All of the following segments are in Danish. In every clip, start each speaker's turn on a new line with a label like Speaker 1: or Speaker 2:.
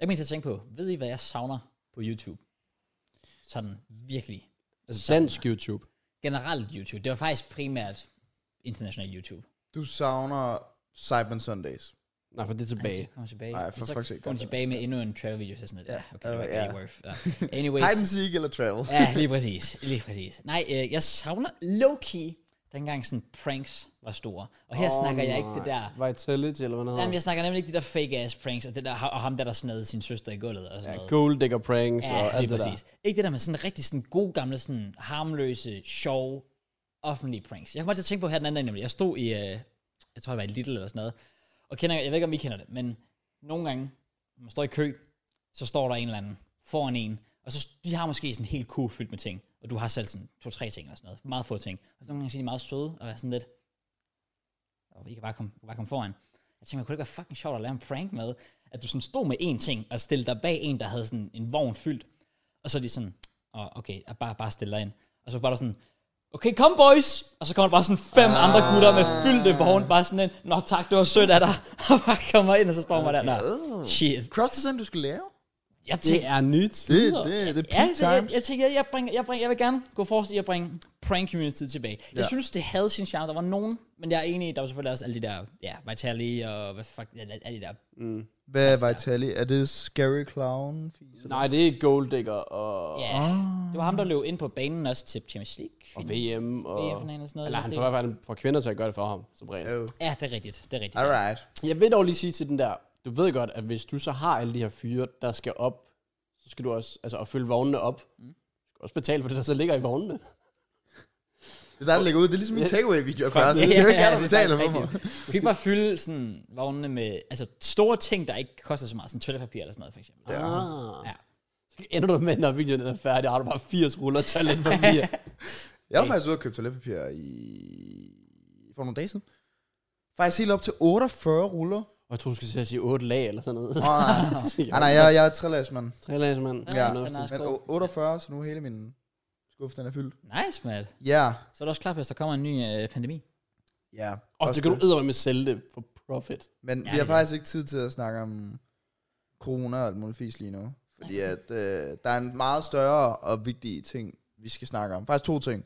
Speaker 1: Jeg mener til at tænke på, ved I hvad jeg savner på YouTube? Sådan virkelig.
Speaker 2: Altså dansk YouTube.
Speaker 1: Generelt YouTube. Det var faktisk primært international YouTube.
Speaker 3: Du savner Cyber Sundays.
Speaker 2: Nej, for det
Speaker 1: Ej,
Speaker 2: er tilbage.
Speaker 1: så kommer tilbage.
Speaker 3: Ej, for
Speaker 1: Men så
Speaker 3: fuck's sake,
Speaker 1: kommer
Speaker 3: godt.
Speaker 1: de tilbage med endnu en travel video. Så sådan, ja,
Speaker 3: Ja,
Speaker 1: okay, det var
Speaker 3: øh,
Speaker 1: ikke
Speaker 3: ja.
Speaker 1: worth. Ja. Anyways.
Speaker 3: Hide and seek eller travel.
Speaker 1: ja, lige præcis. Lige præcis. Nej, øh, jeg savner low-key, dengang sådan pranks var store. Og her oh, snakker jeg ikke det der...
Speaker 2: Vitality, eller hvad den hedder.
Speaker 1: Jamen, jeg snakker nemlig ikke de der fake-ass pranks, og, det der, og ham der, der snede sin søster i gulvet og sådan
Speaker 2: Ja,
Speaker 1: noget.
Speaker 2: gold digger pranks og
Speaker 1: Ja,
Speaker 2: alt
Speaker 1: lige
Speaker 2: det
Speaker 1: præcis. Der. Ikke det der med sådan rigtig sådan gode gamle, sådan harmløse, sjove, offentlige pranks. Jeg kommer til at tænke på her den anden dag nemlig. Jeg stod i, øh, jeg tror det var i Lidl eller sådan noget, og kender, jeg ved ikke om I kender det, men nogle gange, når man står i kø, så står der en eller anden foran en, og så de har måske sådan en hel kur fyldt med ting, og du har selv sådan to-tre ting eller sådan noget, meget få ting. Og så nogle gange så er de meget søde og er sådan lidt, og I kan bare komme, bare komme foran. Jeg tænkte, man kunne det ikke være fucking sjovt at lave en prank med, at du sådan stod med én ting, og stillede dig bag en, der havde sådan en vogn fyldt, og så er de sådan, oh, okay, jeg bare, bare stille dig ind. Og så var der sådan, okay, kom boys! Og så kommer der bare sådan fem ah. andre gutter med fyldte vogn, bare sådan en, nå tak, det var sødt af dig. Og bare kommer ind, og så står man der, nå, shit.
Speaker 3: Cross design, du skal lave?
Speaker 1: Jeg
Speaker 2: der. Det
Speaker 1: tænkte,
Speaker 2: er nyt.
Speaker 3: Det, det, det er
Speaker 1: Ja,
Speaker 3: peak
Speaker 1: det, jeg,
Speaker 3: times.
Speaker 1: jeg tænker, jeg, bringer, jeg, bringer, jeg vil gerne gå forrest i at bringe prank community tilbage. Jeg
Speaker 3: Ja.
Speaker 1: synes, det havde sin charme. Der var nogen, men jeg er enig i, der var selvfølgelig også alle de der, ja, Vitaly og hvad fuck, ja, alle de der.
Speaker 3: Hvad er Vitaly? Er det Scary Clown?
Speaker 2: Nej, det er gold digger og,
Speaker 1: Ja,
Speaker 3: Ah.
Speaker 1: det var ham, der løb ind på banen også til Champions League.
Speaker 2: og VM. Og,
Speaker 1: VM-finalen og sådan noget.
Speaker 2: Eller han får i hvert fald får kvinder til at gøre det for ham, som regel.
Speaker 3: Oh.
Speaker 1: Ja, det er rigtigt, det er rigtigt.
Speaker 3: Alright.
Speaker 2: Jeg vil dog lige sige til den der, du ved godt, at hvis du så har alle de her fyre, der skal op, så skal du også, altså at fylde vognene op, mm. du skal også betale for det, der så ligger i vognene.
Speaker 3: Det er der, der ligger ud. Det er ligesom min takeaway-video, jeg først.
Speaker 1: Ja,
Speaker 3: Det er jo ikke
Speaker 1: ja,
Speaker 3: alle, der
Speaker 1: det er
Speaker 3: betaler for
Speaker 1: faktisk
Speaker 3: mig.
Speaker 1: rigtigt. Du kan ikke bare fylde sådan vognene med altså, store ting, der ikke koster så meget, sådan toiletpapir eller sådan noget, for eksempel.
Speaker 3: Ja.
Speaker 2: Ah.
Speaker 1: Ja.
Speaker 2: Så ender du med, når videoen er færdig, har du bare 80 ruller toiletpapir.
Speaker 3: Jeg var faktisk ude og købe toiletpapir i... for nogle dage siden. Faktisk helt op til 48 ruller.
Speaker 2: og jeg tror, du skulle til at sige 8 lag eller sådan noget.
Speaker 3: Åh, nej, nej, nej, jeg, jeg er trælæs, mand.
Speaker 2: Tre lag, mand.
Speaker 1: Ja,
Speaker 3: Ja,
Speaker 1: den er også
Speaker 3: men
Speaker 1: god.
Speaker 3: o- 48, så nu er hele min skuffe, den er fyldt.
Speaker 1: Nice, mand.
Speaker 3: Ja,
Speaker 1: Så er det også klart, hvis der kommer en ny øh, pandemi.
Speaker 3: ja.
Speaker 2: Og
Speaker 3: også
Speaker 2: det kan du ædre med sælge det for profit.
Speaker 3: Men
Speaker 1: Ja,
Speaker 3: vi
Speaker 1: det
Speaker 3: har
Speaker 1: er
Speaker 3: faktisk ikke tid til at snakke om corona og alt muligt fisk lige nu. Fordi at, øh, der er en meget større og vigtige ting, vi skal snakke om. Faktisk to ting.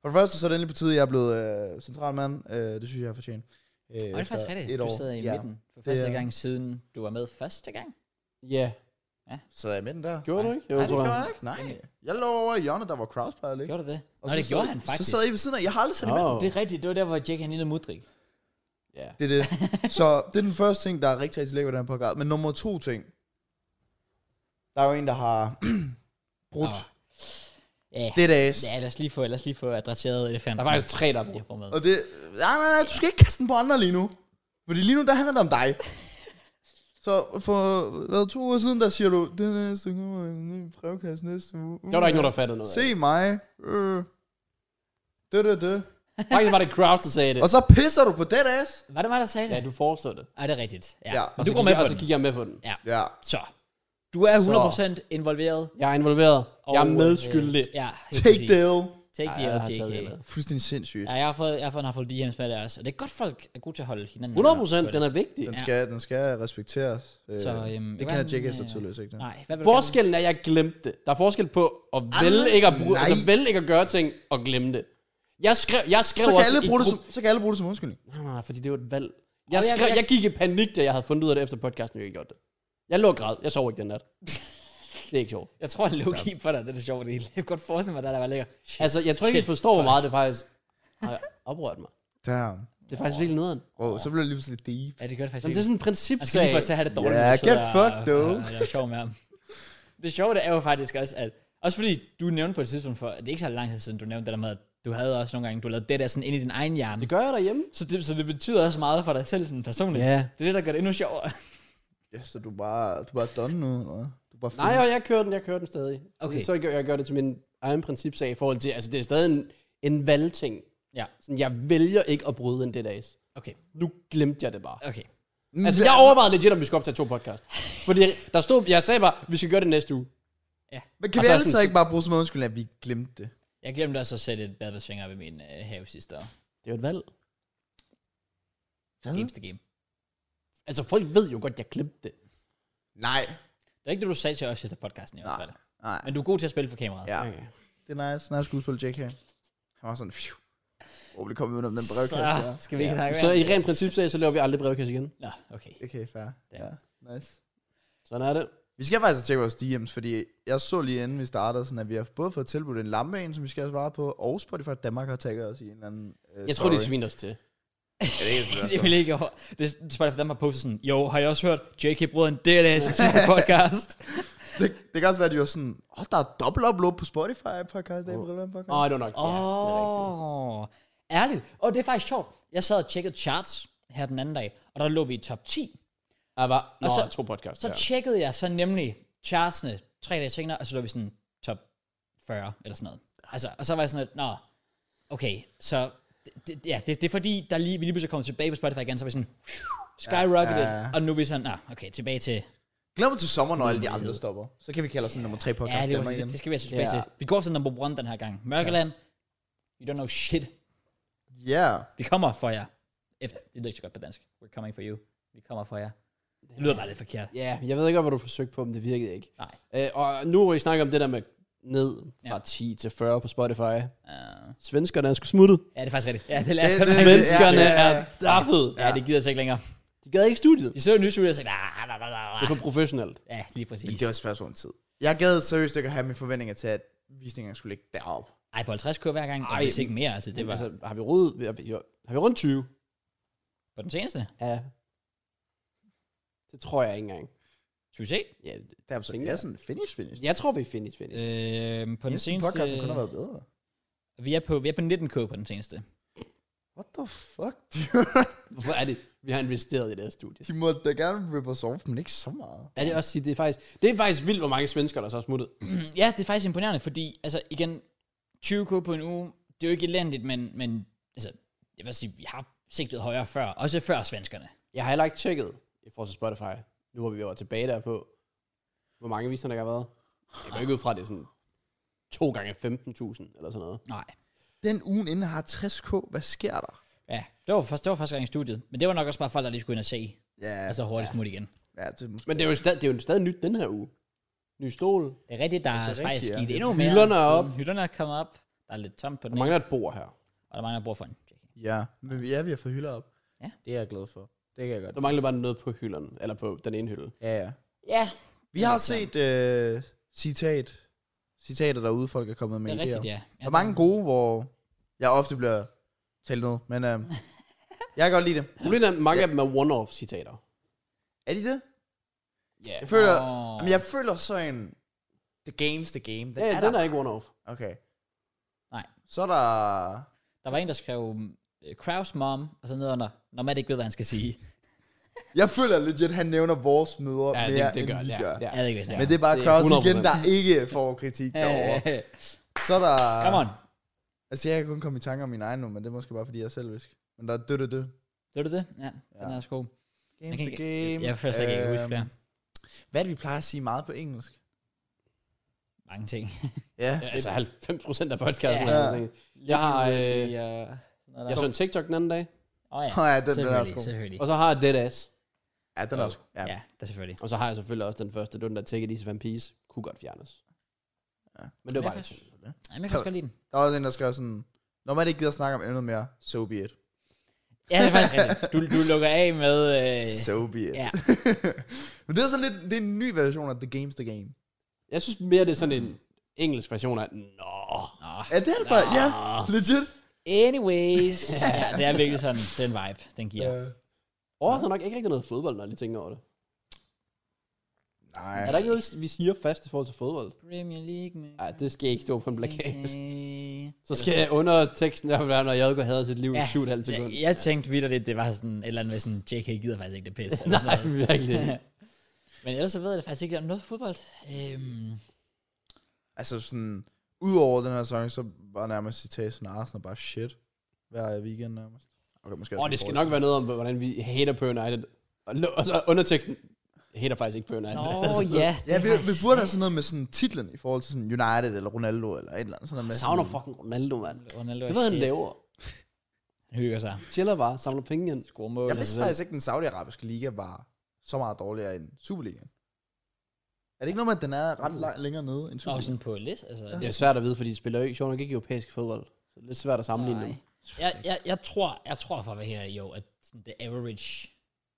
Speaker 3: For det første, så er det endelig på tide, at jeg er blevet øh, centralmand. Øh, det synes jeg er fortjent. Øh,
Speaker 1: Og det er faktisk rigtigt. Du sidder i ja. midten for
Speaker 3: Det
Speaker 1: første
Speaker 3: er-
Speaker 1: gang siden du var med første gang.
Speaker 2: Ja.
Speaker 3: Sidder jeg i midten der?
Speaker 2: Gjorde du ikke? Jo,
Speaker 3: Nej, det
Speaker 2: tror
Speaker 3: gjorde jeg ikke. Nej. Jeg lå over i hjørnet, der var crowdsplejer, ikke?
Speaker 1: Gjorde du det?
Speaker 3: Og
Speaker 1: Nå,
Speaker 3: så
Speaker 1: det gjorde
Speaker 3: sad-
Speaker 1: han faktisk.
Speaker 3: Så sad I ved siden af. Jeg har aldrig sat i midten.
Speaker 2: Åh.
Speaker 1: Det er rigtigt. Det var der, hvor Jake han lignede Mudrik.
Speaker 2: Ja.
Speaker 3: Det er det. Så det er den første ting, der er rigtig, rigtig lækker ved den her podcast. Men nummer to ting. Der er jo en, der har brudt
Speaker 1: Åh.
Speaker 3: oh.
Speaker 1: Ja.
Speaker 3: det dags.
Speaker 1: Ja, lad os lige få, lad os lige få adresseret elefanten.
Speaker 2: Der er
Speaker 3: altså
Speaker 2: faktisk tre, der er
Speaker 1: Jeg
Speaker 2: brugt.
Speaker 1: får med.
Speaker 3: Og det... Nej, nej, nej, du skal ikke kaste den på andre lige nu. Fordi lige nu, der handler det om dig. Så for hvad, to uger siden, der siger du, den næste kommer en ny brevkasse næste uge. Uh,
Speaker 2: Der var der ikke nogen, der fattede noget. af.
Speaker 3: Se mig. Øh. Det, det, det.
Speaker 2: Faktisk var det crowd, der sagde det.
Speaker 3: Og så pisser du på dead ass.
Speaker 1: Var det mig, der sagde det?
Speaker 2: Ja, du foreslår det.
Speaker 1: Ej, det er rigtigt. Ja.
Speaker 3: Ja.
Speaker 1: Men
Speaker 2: Og
Speaker 1: du
Speaker 2: så
Speaker 1: går
Speaker 2: gik
Speaker 1: med
Speaker 2: jeg-
Speaker 1: på
Speaker 2: Og så
Speaker 1: den.
Speaker 2: gik jeg med på den.
Speaker 3: Ja.
Speaker 1: Så. Du er
Speaker 2: Så.
Speaker 1: 100% involveret.
Speaker 2: Jeg er involveret. Jeg er
Speaker 1: og, øh,
Speaker 2: medskyldig.
Speaker 1: Ja, helt
Speaker 3: Take
Speaker 1: præcis.
Speaker 3: deal.
Speaker 1: Take
Speaker 2: Ej,
Speaker 1: deal,
Speaker 2: jeg har taget
Speaker 1: JK.
Speaker 2: det med.
Speaker 3: Fuldstændig sindssygt.
Speaker 1: Ja, jeg har fået, jeg har fået, har fået DM's med det også. Og det er godt, folk er gode til at holde hinanden.
Speaker 2: 100 procent, den er vigtig.
Speaker 3: Den
Speaker 1: Ja.
Speaker 3: skal, den skal respekteres. Øh,
Speaker 1: Så, øhm,
Speaker 3: det
Speaker 1: hvordan,
Speaker 3: kan Jack så
Speaker 1: øh,
Speaker 3: tydeligvis ikke. Det.
Speaker 1: Nej, hvad vil du gerne?
Speaker 2: Forskellen er, at jeg glemte det. Der er forskel på at vælge ikke at, bruge,
Speaker 3: Ah, nej.
Speaker 2: altså vælge ikke at gøre ting og glemme det. Jeg skrev, jeg skrev
Speaker 3: Så, kan
Speaker 2: også
Speaker 3: alle
Speaker 2: i
Speaker 3: bruge det
Speaker 2: gruppen-
Speaker 3: som, så kan alle bruge det som undskyldning.
Speaker 2: Nej, nej, nej, Ah, fordi det var et valg. Jeg,
Speaker 1: jeg-
Speaker 2: skrev,
Speaker 1: jeg-
Speaker 2: jeg, gik i panik, da jeg havde fundet ud af det efter podcasten, jeg ikke gjort det. Jeg lå og græd. Jeg sov ikke den nat. det er ikke sjovt.
Speaker 1: Jeg tror, det er low-key for dig. Det er sjovt, det hele. Jeg kan godt forestille mig, at der var lækker.
Speaker 2: Altså, jeg tror ikke, I
Speaker 1: Shit,
Speaker 2: forstår, hvor meget det faktisk har oprørt mig.
Speaker 3: Damn.
Speaker 2: Det er faktisk virkelig nederen.
Speaker 3: Wow, så bliver det lige pludselig deep.
Speaker 1: Ja, det gør det faktisk
Speaker 2: Men det er
Speaker 1: ikke.
Speaker 2: sådan en
Speaker 1: Han skal lige
Speaker 2: principsag.
Speaker 1: først have det dårligt.
Speaker 3: Ja,
Speaker 1: når du
Speaker 3: get
Speaker 1: sidder
Speaker 3: fucked,
Speaker 1: og- og-
Speaker 3: dude.
Speaker 1: og er sjov med ham. Det sjove det er jo faktisk også, at... Også fordi du nævnte på et tidspunkt for... Det er ikke så lang tid siden, du nævnte det der med, at du havde også nogle gange... Du lavede det der sådan ind i din egen hjerne.
Speaker 2: Det gør jeg derhjemme.
Speaker 1: Så det, så det betyder også meget for dig selv sådan personligt.
Speaker 2: Ja.
Speaker 1: Det er det, der gør det endnu sjovere.
Speaker 3: Ja, så du er bare, du er bare done nu, eller hvad? Du er bare
Speaker 2: Nej, og jeg kører den, jeg kører den stadig.
Speaker 1: Okay.
Speaker 2: Okay. Så jeg gør, jeg gør det til min egen principsag i forhold til, altså det er stadig en, en valgting.
Speaker 1: Ja.
Speaker 2: Sådan, jeg vælger ikke at bryde en det dags.
Speaker 1: Okay,
Speaker 2: Nu glemte jeg det bare.
Speaker 1: okay.
Speaker 2: Altså,
Speaker 3: Mm,
Speaker 2: jeg overvejede legit, om vi skulle optage to podcast. Fordi der stod, jeg sagde bare, vi skal gøre det næste uge.
Speaker 3: Men kan
Speaker 2: Og
Speaker 3: vi
Speaker 1: Altså,
Speaker 2: så er
Speaker 3: alle så
Speaker 2: sådan-
Speaker 3: ikke bare bruge som undskyldning, at vi glemte det?
Speaker 1: Jeg glemte også at sætte et badbadsfinger op i min øh, have sidste år.
Speaker 2: Det er jo et valg.
Speaker 1: Games the game.
Speaker 2: Altså, folk ved jo godt, jeg glemte det.
Speaker 3: Nej.
Speaker 1: Det er ikke det, du sagde til os efter podcasten i hvert
Speaker 3: Nej,
Speaker 1: fald.
Speaker 3: nej.
Speaker 1: Men du er god til at spille for kameraet.
Speaker 3: Ja,
Speaker 2: Okay.
Speaker 3: det er nice. Nice skuespil, JK. Han var sådan, phew. Åh, det kom udenom den brevkasse der.
Speaker 1: Så skal vi ikke
Speaker 2: Ja.
Speaker 1: snakke
Speaker 2: Så
Speaker 1: mere.
Speaker 2: i rent princip så, så laver vi aldrig brevkasse igen.
Speaker 1: Nå, okay.
Speaker 3: Okay, fair.
Speaker 1: Ja.
Speaker 3: Ja, nice.
Speaker 2: Sådan er det.
Speaker 3: Vi skal faktisk tjekke vores DM's, fordi jeg så lige inden vi startede, sådan at vi har både fået tilbudt en lampe en, som vi skal have svaret på, og Spotify Danmark har tagget os i en eller anden øh,
Speaker 2: Jeg tror, de
Speaker 3: story.
Speaker 2: sviner os til.
Speaker 3: Ja, det er
Speaker 1: det vil ikke over. Det er bare for dem har postet sådan, jo, har jeg også hørt, JK brød en del af sin sidste podcast.
Speaker 3: det, det kan også være, at de var sådan, åh, oh, der er dobbelt upload på Spotify podcast, det er relevant podcast.
Speaker 2: Åh, oh, det var nok.
Speaker 1: Åh,
Speaker 2: Ja, det er rigtigt.
Speaker 1: oh, ærligt. Og det er faktisk sjovt. Jeg sad og tjekkede charts her den anden dag, og der lå vi i top 10.
Speaker 2: Ah, var, nå,
Speaker 1: Og
Speaker 2: så,
Speaker 1: så-
Speaker 2: to podcasts.
Speaker 1: Så
Speaker 2: ja.
Speaker 1: tjekkede jeg så nemlig chartsene tre dage senere, og så lå vi sådan top 40 eller sådan noget. Altså, og så var jeg sådan lidt, nå, okay, så det, det, ja, det, det er fordi, der lige, vi lige pludselig kom tilbage på Spotify igen, så var vi sådan, skyrocketed,
Speaker 3: Ja,
Speaker 1: ja,
Speaker 3: ja, ja.
Speaker 1: og nu er vi sådan, nå, okay, tilbage til,
Speaker 3: Glæder mig til sommer, når alle de andre stopper. Så kan vi kalde os en nummer tre podcast.
Speaker 1: Mm. ja, det, var,
Speaker 3: Danmark igen.
Speaker 1: det, det skal vi altså tilbage
Speaker 2: Ja.
Speaker 1: ja. til. Vi går til number one den her gang. Mørkeland, you don't know shit.
Speaker 3: Ja.
Speaker 1: Vi kommer for jer. Efter, det lyder ikke så godt på dansk. We're coming for you. Vi kommer for jer. Det lyder bare lidt forkert.
Speaker 2: Ja, jeg ved ikke, hvad du forsøgte på, men det virkede ikke.
Speaker 1: Nej.
Speaker 2: Øh, og nu hvor I snakker om det der med ned fra ja.
Speaker 1: Ja.
Speaker 2: 10 til 40 på Spotify.
Speaker 1: Uh,
Speaker 2: Svenskerne er sgu smuttet.
Speaker 1: ja, det er faktisk rigtigt. Ja, det lader
Speaker 3: Det-
Speaker 1: sig
Speaker 3: det-
Speaker 2: Svenskerne
Speaker 3: ja, ja,
Speaker 2: ja,
Speaker 3: ja.
Speaker 2: ja, ja. er daffet.
Speaker 1: Ja, det gider jeg så ikke længere.
Speaker 2: De gad ikke studiet.
Speaker 1: De så "Ah, en nyhedsvideo og sagde, nah, nah, nah,
Speaker 2: Det er
Speaker 1: nah, nah.
Speaker 2: for professionelt.
Speaker 1: Ja, lige præcis.
Speaker 3: Men det var et spørgsmål om tid. Jeg gad seriøst ikke at have mine forventninger til, at visningerne skulle ligge deroppe.
Speaker 1: Ej, på 50 kører hver gang, og
Speaker 2: Ej,
Speaker 1: hvis ikke mere. Altså, det var
Speaker 2: Altså, har vi rundt, har vi, har vi rundt 20?
Speaker 1: på den seneste.
Speaker 2: Ja. Det tror jeg ikke engang.
Speaker 1: Skal vi se?
Speaker 2: Ja,
Speaker 3: Det er absolut.
Speaker 2: Tænker
Speaker 3: Jeg er
Speaker 2: jeg.
Speaker 3: sådan finish, finish.
Speaker 2: jeg tror, vi er finish, finish.
Speaker 1: Øh,
Speaker 2: Øh,
Speaker 1: på den
Speaker 3: Jeg synes,
Speaker 1: seneste...
Speaker 3: podcasten kunne have været bedre.
Speaker 1: Vi er på, vi er på 19k på den seneste.
Speaker 3: What the fuck, dude?
Speaker 2: Hvorfor er det, vi har investeret i det her studie?
Speaker 3: De måtte da gerne rippe os off, men ikke så meget.
Speaker 2: Er det også sige, det er faktisk, det er faktisk vildt, hvor mange svensker, der så er smuttet.
Speaker 1: Mm, ja, det er faktisk imponerende, fordi altså igen, 20k på en uge, det er jo ikke elendigt, men, men altså, jeg vil sige, vi har sigtet højere før, også før svenskerne.
Speaker 2: Jeg har heller ikke tjekket i forhold til Spotify, nu hvor vi var tilbage der på, hvor mange visninger der har været. Jeg går ikke ud fra, at det er sådan 2 gange 15.000 eller sådan noget.
Speaker 1: Nej.
Speaker 3: Den ugen inden har 60k. Hvad sker der?
Speaker 1: Ja, det var, første, det var første gang i studiet, men det var nok også bare folk, der lige skulle ind og se,
Speaker 3: Ja,
Speaker 1: og så hurtigt smut igen.
Speaker 3: ja det er måske...
Speaker 2: Men det er jo stadig, det er jo stadig nyt den her uge. Ny stol.
Speaker 1: Det er rigtigt, der er,
Speaker 3: rigtigt,
Speaker 1: faktisk
Speaker 3: ja.
Speaker 1: sket endnu mere.
Speaker 2: Hylderne er
Speaker 1: siden. Hylderne er kommet op, der er lidt tomt på den
Speaker 2: Der
Speaker 1: ene,
Speaker 2: mangler et bord her.
Speaker 1: og der mangler brug for en.
Speaker 3: Ja, men vi- ja, vi har fået hylder op.
Speaker 1: Ja.
Speaker 3: Det er jeg glad for. Det kan jeg
Speaker 2: Der
Speaker 3: godt.
Speaker 2: mangler bare noget på hylderne, eller på den ene hylde.
Speaker 3: Ja, ja.
Speaker 1: Ja,
Speaker 3: Vi har set øh, citat, citater derude, folk er kommet med
Speaker 1: det er
Speaker 3: idéer.
Speaker 1: rigtigt,
Speaker 3: Ja.
Speaker 1: ja. ja
Speaker 3: Der er mange gode, hvor jeg ofte bliver talt ned, men øh, jeg kan godt lide det.
Speaker 2: Problemet er, at mange af dem er one-off citater.
Speaker 3: Er de det?
Speaker 2: Ja.
Speaker 3: Jeg føler,
Speaker 1: Åh.
Speaker 3: oh. jamen, jeg føler sådan, the game's the game. Den
Speaker 2: Ja,
Speaker 3: er
Speaker 2: den
Speaker 3: der.
Speaker 2: er ikke one-off.
Speaker 3: Okay.
Speaker 1: Nej.
Speaker 3: Så er der...
Speaker 1: Der var en, der skrev øh, Kraus mom, og så ned under, når man ikke ved, hvad han skal sige.
Speaker 3: Jeg føler legit, han nævner vores mødre
Speaker 2: Ja,
Speaker 3: mere,
Speaker 2: det, det gør
Speaker 3: end vi
Speaker 2: ja,
Speaker 3: gør.
Speaker 2: ja.
Speaker 1: Jeg ved ikke, hvad jeg
Speaker 3: Men det er bare
Speaker 2: Det er
Speaker 3: Kraus igen,
Speaker 2: 100%.
Speaker 3: der ikke får kritik derovre.
Speaker 1: snakker.
Speaker 3: Så er der...
Speaker 1: Come on.
Speaker 3: Altså, jeg kan kun komme i tanke om min egen nu, men det er måske bare, fordi jeg er selvisk. Men der er dødt det.
Speaker 1: Ved du det? Ja, den
Speaker 3: Ja.
Speaker 1: er også god.
Speaker 3: Game
Speaker 1: kan
Speaker 3: to
Speaker 1: ikke-
Speaker 3: game.
Speaker 1: Jeg føler slet ikke, jeg kan huske
Speaker 3: Øhm,
Speaker 1: flere.
Speaker 3: Hvad er det, vi plejer at sige meget på engelsk?
Speaker 1: Mange ting.
Speaker 3: Ja.
Speaker 2: Ja, altså 90 procent af podcasten.
Speaker 1: Ja.
Speaker 2: Ja. Jeg har, øh,
Speaker 1: Lige, øh, sådan noget der.
Speaker 2: jeg så en TikTok den anden dag,
Speaker 1: Åh ja,
Speaker 3: Åh ja, den, den er også
Speaker 1: selvfølgelig,
Speaker 3: god.
Speaker 1: selvfølgelig.
Speaker 2: og så har jeg Dead Ass.
Speaker 3: Ja, den er også god. Ja.
Speaker 1: Ja, det er selvfølgelig.
Speaker 2: Og så har jeg selvfølgelig også den første, det var den der Take It Easy Van Piece, kunne godt fjernes.
Speaker 3: Ja.
Speaker 2: Ja. Men det
Speaker 1: Men
Speaker 2: var bare
Speaker 1: jeg
Speaker 2: lidt
Speaker 1: kan-
Speaker 2: synd.
Speaker 1: Jamen, jeg kan også godt lide den.
Speaker 3: Der er også en, der skrev sådan, når man ikke gider snakke om emnet mere, so be it.
Speaker 1: Ja, det er faktisk rigtigt. Du, du lukker af med... Øh,
Speaker 3: So be it.
Speaker 1: ja,
Speaker 3: Men det er sådan lidt, det er en ny version af The Game's The Game.
Speaker 2: Jeg synes mere, det er sådan en engelsk version af, nå,
Speaker 1: nå.
Speaker 3: Ja, det er det faktisk, ja, legit.
Speaker 1: Anyways. ja, det er virkelig sådan, den vibe, den giver.
Speaker 3: Øh,
Speaker 2: overrasker nok ikke rigtig noget fodbold, når jeg lige tænker over det.
Speaker 3: nej.
Speaker 2: Er der ikke noget, vi siger fast i forhold til fodbold?
Speaker 1: Premier League, man.
Speaker 2: Nej, det skal ikke stå på en plakat.
Speaker 1: Okay.
Speaker 2: Så skal jeg under teksten der, være, når Jadko havde sit liv i
Speaker 1: Ja,
Speaker 2: 7,5 sekunder.
Speaker 1: Jeg, jeg tænkte vidt lidt, det var sådan et eller andet med sådan, JK gider faktisk ikke det pisse. eller sådan
Speaker 2: Nej,
Speaker 1: noget.
Speaker 2: virkelig ikke.
Speaker 1: Men ellers så ved jeg faktisk ikke om noget fodbold. Øhm,
Speaker 3: Altså sådan, udover den her sæson, så var nærmest citat sådan, Arsenal bare shit hver weekend nærmest. Okay, måske
Speaker 2: Åh, oh, det skal nok være noget om, hvordan vi hater på United. Og, lo- og så underteksten, hater faktisk ikke på United.
Speaker 1: Nå
Speaker 2: Altså,
Speaker 1: ja, det
Speaker 3: Ja, vi,
Speaker 1: har jeg
Speaker 3: vi burde
Speaker 1: set.
Speaker 3: have sådan noget med sådan titlen i forhold til sådan United eller Ronaldo eller et eller andet. Sådan noget
Speaker 2: Jeg
Speaker 3: med
Speaker 2: savner
Speaker 3: sådan,
Speaker 2: fucking Ronaldo, mand.
Speaker 1: Ronaldo
Speaker 2: Det
Speaker 1: er
Speaker 2: ved han
Speaker 1: shit.
Speaker 2: laver.
Speaker 1: Han hygger sig.
Speaker 2: Chiller bare, samler penge ind. Altså,
Speaker 1: Score mål.
Speaker 3: Jeg vidste faktisk ikke, at den saudiarabiske liga var så meget dårligere end Superligaen. Er det ikke noget med, at den er ret lang, længere nede end
Speaker 1: Nå,
Speaker 3: Superligaen?
Speaker 1: sådan på list, altså.
Speaker 2: Det er svært at vide, fordi de spiller jo ikke, sjovt nok ikke europæisk fodbold. Så det er lidt svært at sammenligne
Speaker 1: Nej.
Speaker 2: dem.
Speaker 1: Jeg, jeg, jeg, tror, jeg tror for at være helt ærlig, jo, at sådan the average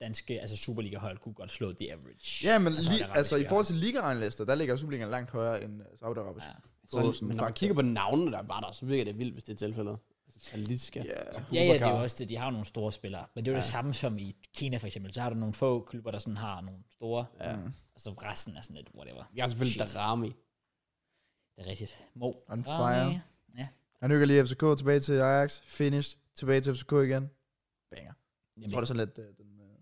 Speaker 1: danske, altså Superliga-hold kunne godt slå the average.
Speaker 3: Ja, men
Speaker 1: Altså,
Speaker 3: altså, lige,
Speaker 1: arabiske
Speaker 3: altså i
Speaker 1: hold.
Speaker 3: forhold til ligaranlister, der ligger Superligaen langt højere end øh, Saudi-Arabisk.
Speaker 1: Ja.
Speaker 2: Så, men når man kigger på navnene, der var der, så virker det vildt, hvis det er tilfældet. Altså, Taliska.
Speaker 3: Ja,
Speaker 1: Ja, ja, det er
Speaker 2: Bubakar.
Speaker 1: jo også det. De har jo nogle store spillere. Men det er jo ja. det samme som i Kina for eksempel. Så har du nogle få klubber, der sådan har nogle store. Ja. Og så resten er sådan lidt whatever.
Speaker 2: Vi har selvfølgelig
Speaker 1: Shit.
Speaker 2: Darami.
Speaker 1: Det er rigtigt. Mo.
Speaker 3: On
Speaker 1: Ah,
Speaker 3: fire.
Speaker 1: ja. Ja.
Speaker 3: Han nykker lige FCK tilbage til Ajax. Finish. Tilbage til FCK igen. Banger. Jeg
Speaker 1: Jamen,
Speaker 3: tror, det er sådan lidt... Øh, den, øh,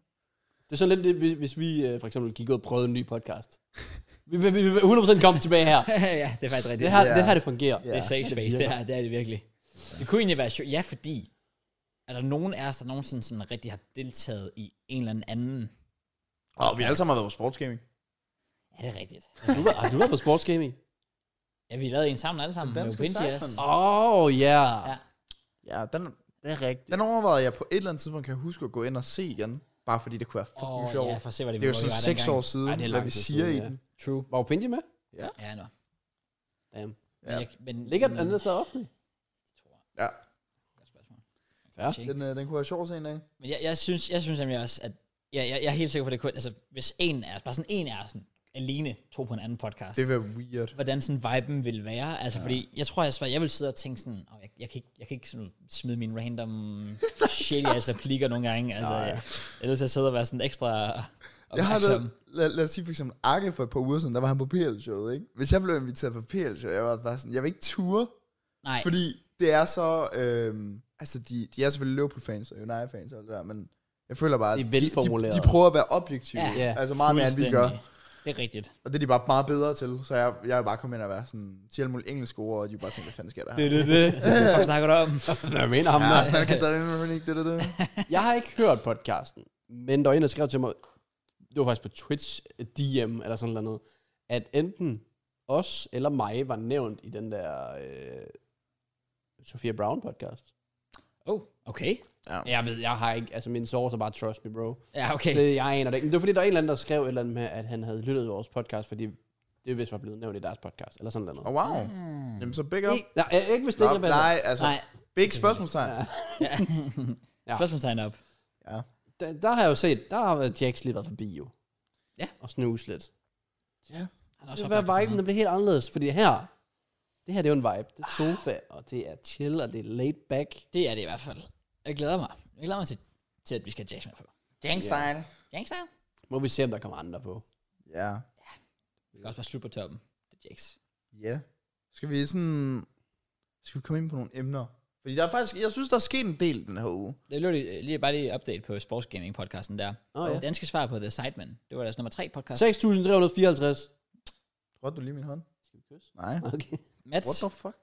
Speaker 2: Det er sådan lidt, det, hvis, hvis vi øh, for eksempel gik ud og prøvede en ny podcast. vi vil vi, vil 100% komme tilbage her.
Speaker 1: ja, det er faktisk rigtigt.
Speaker 2: Det her,
Speaker 3: Ja.
Speaker 2: det her, det fungerer.
Speaker 1: Det er safe space, det,
Speaker 2: virker.
Speaker 1: her, det er det virkelig. Det kunne egentlig være sjovt. Ja, fordi er der nogen af os, der nogensinde sådan rigtig har deltaget i en eller anden anden?
Speaker 3: Og vi alle sammen har været på sportsgaming.
Speaker 1: Ja, det er rigtigt.
Speaker 2: Du, var- har Ah, du været på sportsgaming?
Speaker 1: Ja, vi lavede en sammen alle sammen
Speaker 3: Den
Speaker 1: med
Speaker 3: danske
Speaker 1: Opinji
Speaker 3: Siphon.
Speaker 1: også.
Speaker 2: Oh, yeah.
Speaker 1: Ja.
Speaker 2: ja.
Speaker 3: Ja, den,
Speaker 2: Det er rigtigt.
Speaker 3: den overvejede jeg på et eller andet tidspunkt, kan jeg huske at gå ind og se igen. Bare fordi det kunne være fucking
Speaker 1: Og
Speaker 3: oh, sjovt.
Speaker 1: ja, for at se, hvad det,
Speaker 3: det er jo
Speaker 1: hvor
Speaker 3: sådan
Speaker 1: var
Speaker 3: seks
Speaker 1: dengang.
Speaker 3: år siden,
Speaker 2: Ej,
Speaker 3: Ej,
Speaker 2: det er
Speaker 3: hvad
Speaker 2: lang
Speaker 3: vi
Speaker 2: tid
Speaker 3: siger
Speaker 2: siden,
Speaker 3: i
Speaker 2: ja.
Speaker 3: den.
Speaker 1: True.
Speaker 2: Var Opinji med?
Speaker 1: Ja, nå.
Speaker 2: Damn.
Speaker 1: Men,
Speaker 3: Ja.
Speaker 1: jeg, men,
Speaker 2: Ligger
Speaker 3: Mm.
Speaker 2: den
Speaker 1: men-
Speaker 2: andet sted offentligt?
Speaker 3: Ja,
Speaker 1: Godt spørgsmål.
Speaker 2: Ja.
Speaker 1: Tjek.
Speaker 3: den, øh, den kunne være sjov at se en dag.
Speaker 1: Men jeg, jeg synes, jeg synes nemlig også, at jeg, jeg, jeg er helt sikker på, at det kunne, altså hvis en af os, bare sådan en af os, sådan, alene tog på en anden podcast,
Speaker 3: Det ville være weird.
Speaker 1: hvordan sådan viben ville være. Altså, ja. fordi jeg tror, jeg, svært, jeg ville sidde og tænke sådan, oh, jeg, jeg, kan ikke, jeg kan ikke sådan smide mine random shit i jeres replikker nogle gange. Altså,
Speaker 2: Nej.
Speaker 1: jeg, jeg er nødt til at sidde og være sådan ekstra
Speaker 3: Jeg har
Speaker 1: opmærksom.
Speaker 3: lavet, lad, lad os sige for eksempel Arke for et par uger siden, der var han på PL-showet, ikke? Hvis jeg blev inviteret på PL-showet, jeg var bare sådan, jeg vil ikke ture,
Speaker 1: Nej, fordi,
Speaker 3: fordi det er så, øhm, altså de, de er selvfølgelig Liverpool-fans og United-fans og alt det der, men jeg føler bare, at
Speaker 2: Det er
Speaker 3: de,
Speaker 2: velformuleret.
Speaker 3: de, de prøver at være objektive,
Speaker 1: Ja,
Speaker 2: ja,
Speaker 3: altså meget mere end vi gør,
Speaker 1: Det er rigtigt.
Speaker 3: og det er de bare meget bedre til, så jeg, jeg er bare kommet ind og være sådan, siger alle mulige engelske ord, og de bare tænker, hvad fanden sker der her?
Speaker 1: Det er det. Hvad snakker du om?
Speaker 2: Jeg mener ham.
Speaker 3: Ja,
Speaker 2: nej.
Speaker 3: sådan kan stadig ikke det, det, det.
Speaker 2: Jeg har ikke hørt podcasten, men der var en, der skrev til mig, det var faktisk på Twitch DM eller sådan noget, at enten os eller mig var nævnt i den der øh, Sofia Brown podcast.
Speaker 1: Oh, okay.
Speaker 2: Jeg ved, jeg har ikke, altså min source er bare trust me, bro.
Speaker 1: Ja, okay.
Speaker 2: Det, jeg aner det ikke. Men det var fordi, der var en eller anden, der skrev et eller andet med, at han havde lyttet til vores podcast, fordi det vist var blevet nævnt i deres podcast, eller sådan noget.
Speaker 3: Og wow, jamen så big up.
Speaker 2: Ikke, nej, øh, ikke hvis det
Speaker 3: Nå,
Speaker 2: ikke er bedre.
Speaker 3: nej, altså,
Speaker 1: Nej.
Speaker 3: big spørgsmålstegn.
Speaker 1: Ja.
Speaker 2: Ja.
Speaker 1: Spørgsmålstegn op.
Speaker 3: Ja.
Speaker 2: Der, der, har jeg jo set, der har Jax lige været forbi jo.
Speaker 1: Ja.
Speaker 2: Og snuse lidt.
Speaker 1: Han er
Speaker 2: Og
Speaker 1: også
Speaker 2: så
Speaker 1: opmærksom på
Speaker 2: var viben, den blev helt anderledes, fordi her, det her det er jo en vibe. Det er sofa,
Speaker 1: Ah.
Speaker 2: og det er chill, og det er laid back.
Speaker 1: Det er det i hvert fald. Jeg glæder mig. Jeg glæder mig til, til at vi skal have jazz med på.
Speaker 3: Gangstyle.
Speaker 1: Gangster? Det
Speaker 2: Må vi se, om der kommer andre på.
Speaker 3: Ja.
Speaker 1: kan også være slut på toppen. Det er jazz.
Speaker 3: Ja. Skal vi sådan... Skal vi komme ind på nogle emner? Fordi der er faktisk... Jeg synes, der er sket en del den her uge.
Speaker 1: Det er lige, lige bare lige update på sportsgaming-podcasten der.
Speaker 2: Åh, ja.
Speaker 1: Danske svar på The Sidemen. Det var deres nummer tre podcast.
Speaker 2: 6.354.
Speaker 3: Rødte du lige min hånd?
Speaker 2: Skal vi kysse?
Speaker 3: Nej.
Speaker 2: Okay.
Speaker 1: Mats,
Speaker 3: What the fuck?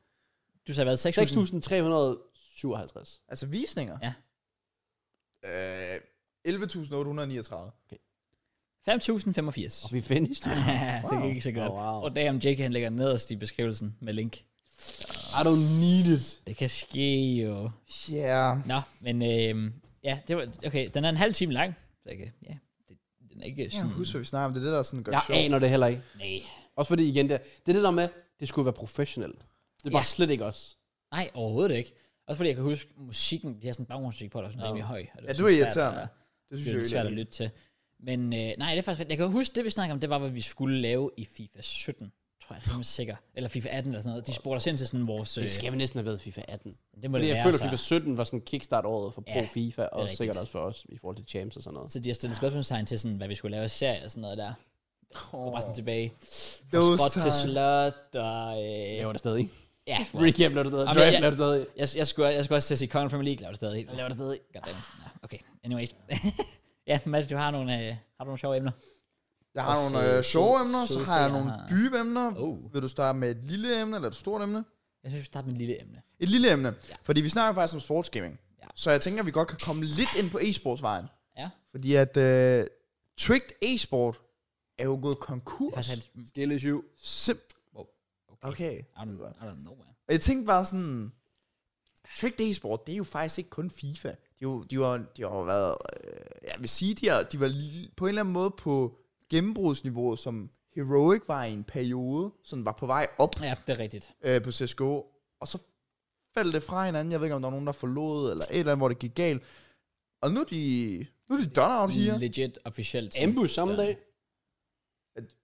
Speaker 1: du sagde hvad? 6.000?
Speaker 2: 6.357.
Speaker 3: Altså visninger?
Speaker 1: Ja.
Speaker 3: Øh, 11.839.
Speaker 1: 5.085.
Speaker 2: Og vi finished.
Speaker 1: Ja, det gik ikke så godt.
Speaker 2: Wow. Wow.
Speaker 1: Og damn, Jake han lægger nederst i beskrivelsen med link.
Speaker 2: I don't need it.
Speaker 1: Det kan ske jo.
Speaker 3: Ja. Yeah.
Speaker 1: Nå, men øhm, ja, det var, okay, den er en halv time lang. Så jeg kan, ja, det, den er ikke
Speaker 3: Jeg
Speaker 1: sådan...
Speaker 3: husker, vi snakker om det. er Det, der sådan gør
Speaker 2: Jeg
Speaker 3: sjov.
Speaker 2: aner det heller ikke.
Speaker 1: Nej,
Speaker 2: Også fordi igen, det, det er det der med, det skulle være professionelt. Det var
Speaker 1: Ja.
Speaker 2: slet ikke os.
Speaker 1: Nej, overhovedet ikke. Også fordi jeg kan huske, musikken, de har sådan baggrundsmusik på, der er sådan rimelig høj. Og
Speaker 3: Ja,
Speaker 1: sådan
Speaker 3: det var
Speaker 1: svært
Speaker 3: irriterende.
Speaker 1: at-
Speaker 3: Det
Speaker 1: Det
Speaker 3: synes jeg
Speaker 1: er
Speaker 3: jo
Speaker 1: svært at
Speaker 3: egentlig.
Speaker 1: lytte til. Men øh, nej, det er faktisk rigtigt. Jeg kan huske, det vi snakkede om, det var, hvad vi skulle lave i FIFA 17, tror jeg, jeg er rimelig sikker. Eller FIFA 18 eller sådan noget. De spurgte os ind til sådan vores... Øh,
Speaker 2: Det skal vi næsten have været FIFA 18.
Speaker 1: det må
Speaker 2: Fordi
Speaker 1: det
Speaker 2: jeg
Speaker 1: være,
Speaker 2: føler,
Speaker 1: så.
Speaker 2: at FIFA 17 var sådan kickstart-året for
Speaker 1: Ja,
Speaker 2: pro FIFA, og
Speaker 1: rigtigt.
Speaker 2: sikkert også for os i forhold til champs og sådan noget.
Speaker 1: Så de har stillet spørgsmålstegn til, sådan, hvad vi skulle lave i serie og sådan noget der. Og bare sådan tilbage. Fra
Speaker 3: Those
Speaker 1: skrot til
Speaker 3: times.
Speaker 1: slot og... Øh,
Speaker 2: Jeg var der stadig.
Speaker 1: ja,
Speaker 2: Recap blev det stadig.
Speaker 1: Jamen,
Speaker 2: Draft
Speaker 1: jeg-
Speaker 2: blev det stadig.
Speaker 1: jeg, jeg, skulle, jeg skulle også til at sige Conor Premier League, laver det stadig.
Speaker 2: Jeg laver det stadig.
Speaker 1: Goddammit. Nå, Okay, anyways. ja, Mads, du har nogle, øh, har du nogle sjove emner?
Speaker 3: Jeg har
Speaker 1: Og
Speaker 3: nogle øh,
Speaker 1: søde-
Speaker 3: sjove emner, så
Speaker 1: søde
Speaker 3: har jeg
Speaker 1: serier
Speaker 3: nogle
Speaker 1: har-
Speaker 3: dybe emner.
Speaker 1: Oh.
Speaker 3: Vil du starte med et lille emne eller et stort emne?
Speaker 1: Jeg synes, vi starter med et lille emne.
Speaker 3: Et lille emne.
Speaker 1: Ja.
Speaker 3: Fordi vi snakker faktisk om sportsgaming.
Speaker 1: Ja.
Speaker 3: Så jeg tænker, at vi godt kan komme lidt ind på e-sportsvejen.
Speaker 1: Ja.
Speaker 3: Fordi at øh, Tricked e-sport er jo gået
Speaker 1: Det er
Speaker 3: konkurs.
Speaker 1: faktisk et...
Speaker 2: Skill issue.
Speaker 3: Sim-
Speaker 1: Wow. Okay.
Speaker 3: okay.
Speaker 1: I don't, I don't know, man.
Speaker 3: Og jeg tænkte bare sådan, Tricked e-sport, det er jo faktisk ikke kun FIFA. De, er jo, de, har, de har jo været, øh, jeg vil sige, de, har, de var lige- på en eller anden måde på gennembrudsniveau som Heroic var i en periode, sådan var på vej op
Speaker 1: Ja, det er rigtigt.
Speaker 3: øh, på CSGO, og så faldt det fra hinanden. Jeg ved ikke, om der var nogen, der forlod, eller et eller andet, hvor det gik galt. Og nu er de, nu er de done out here.
Speaker 1: Legit, officielt.
Speaker 2: Ambush samme dag.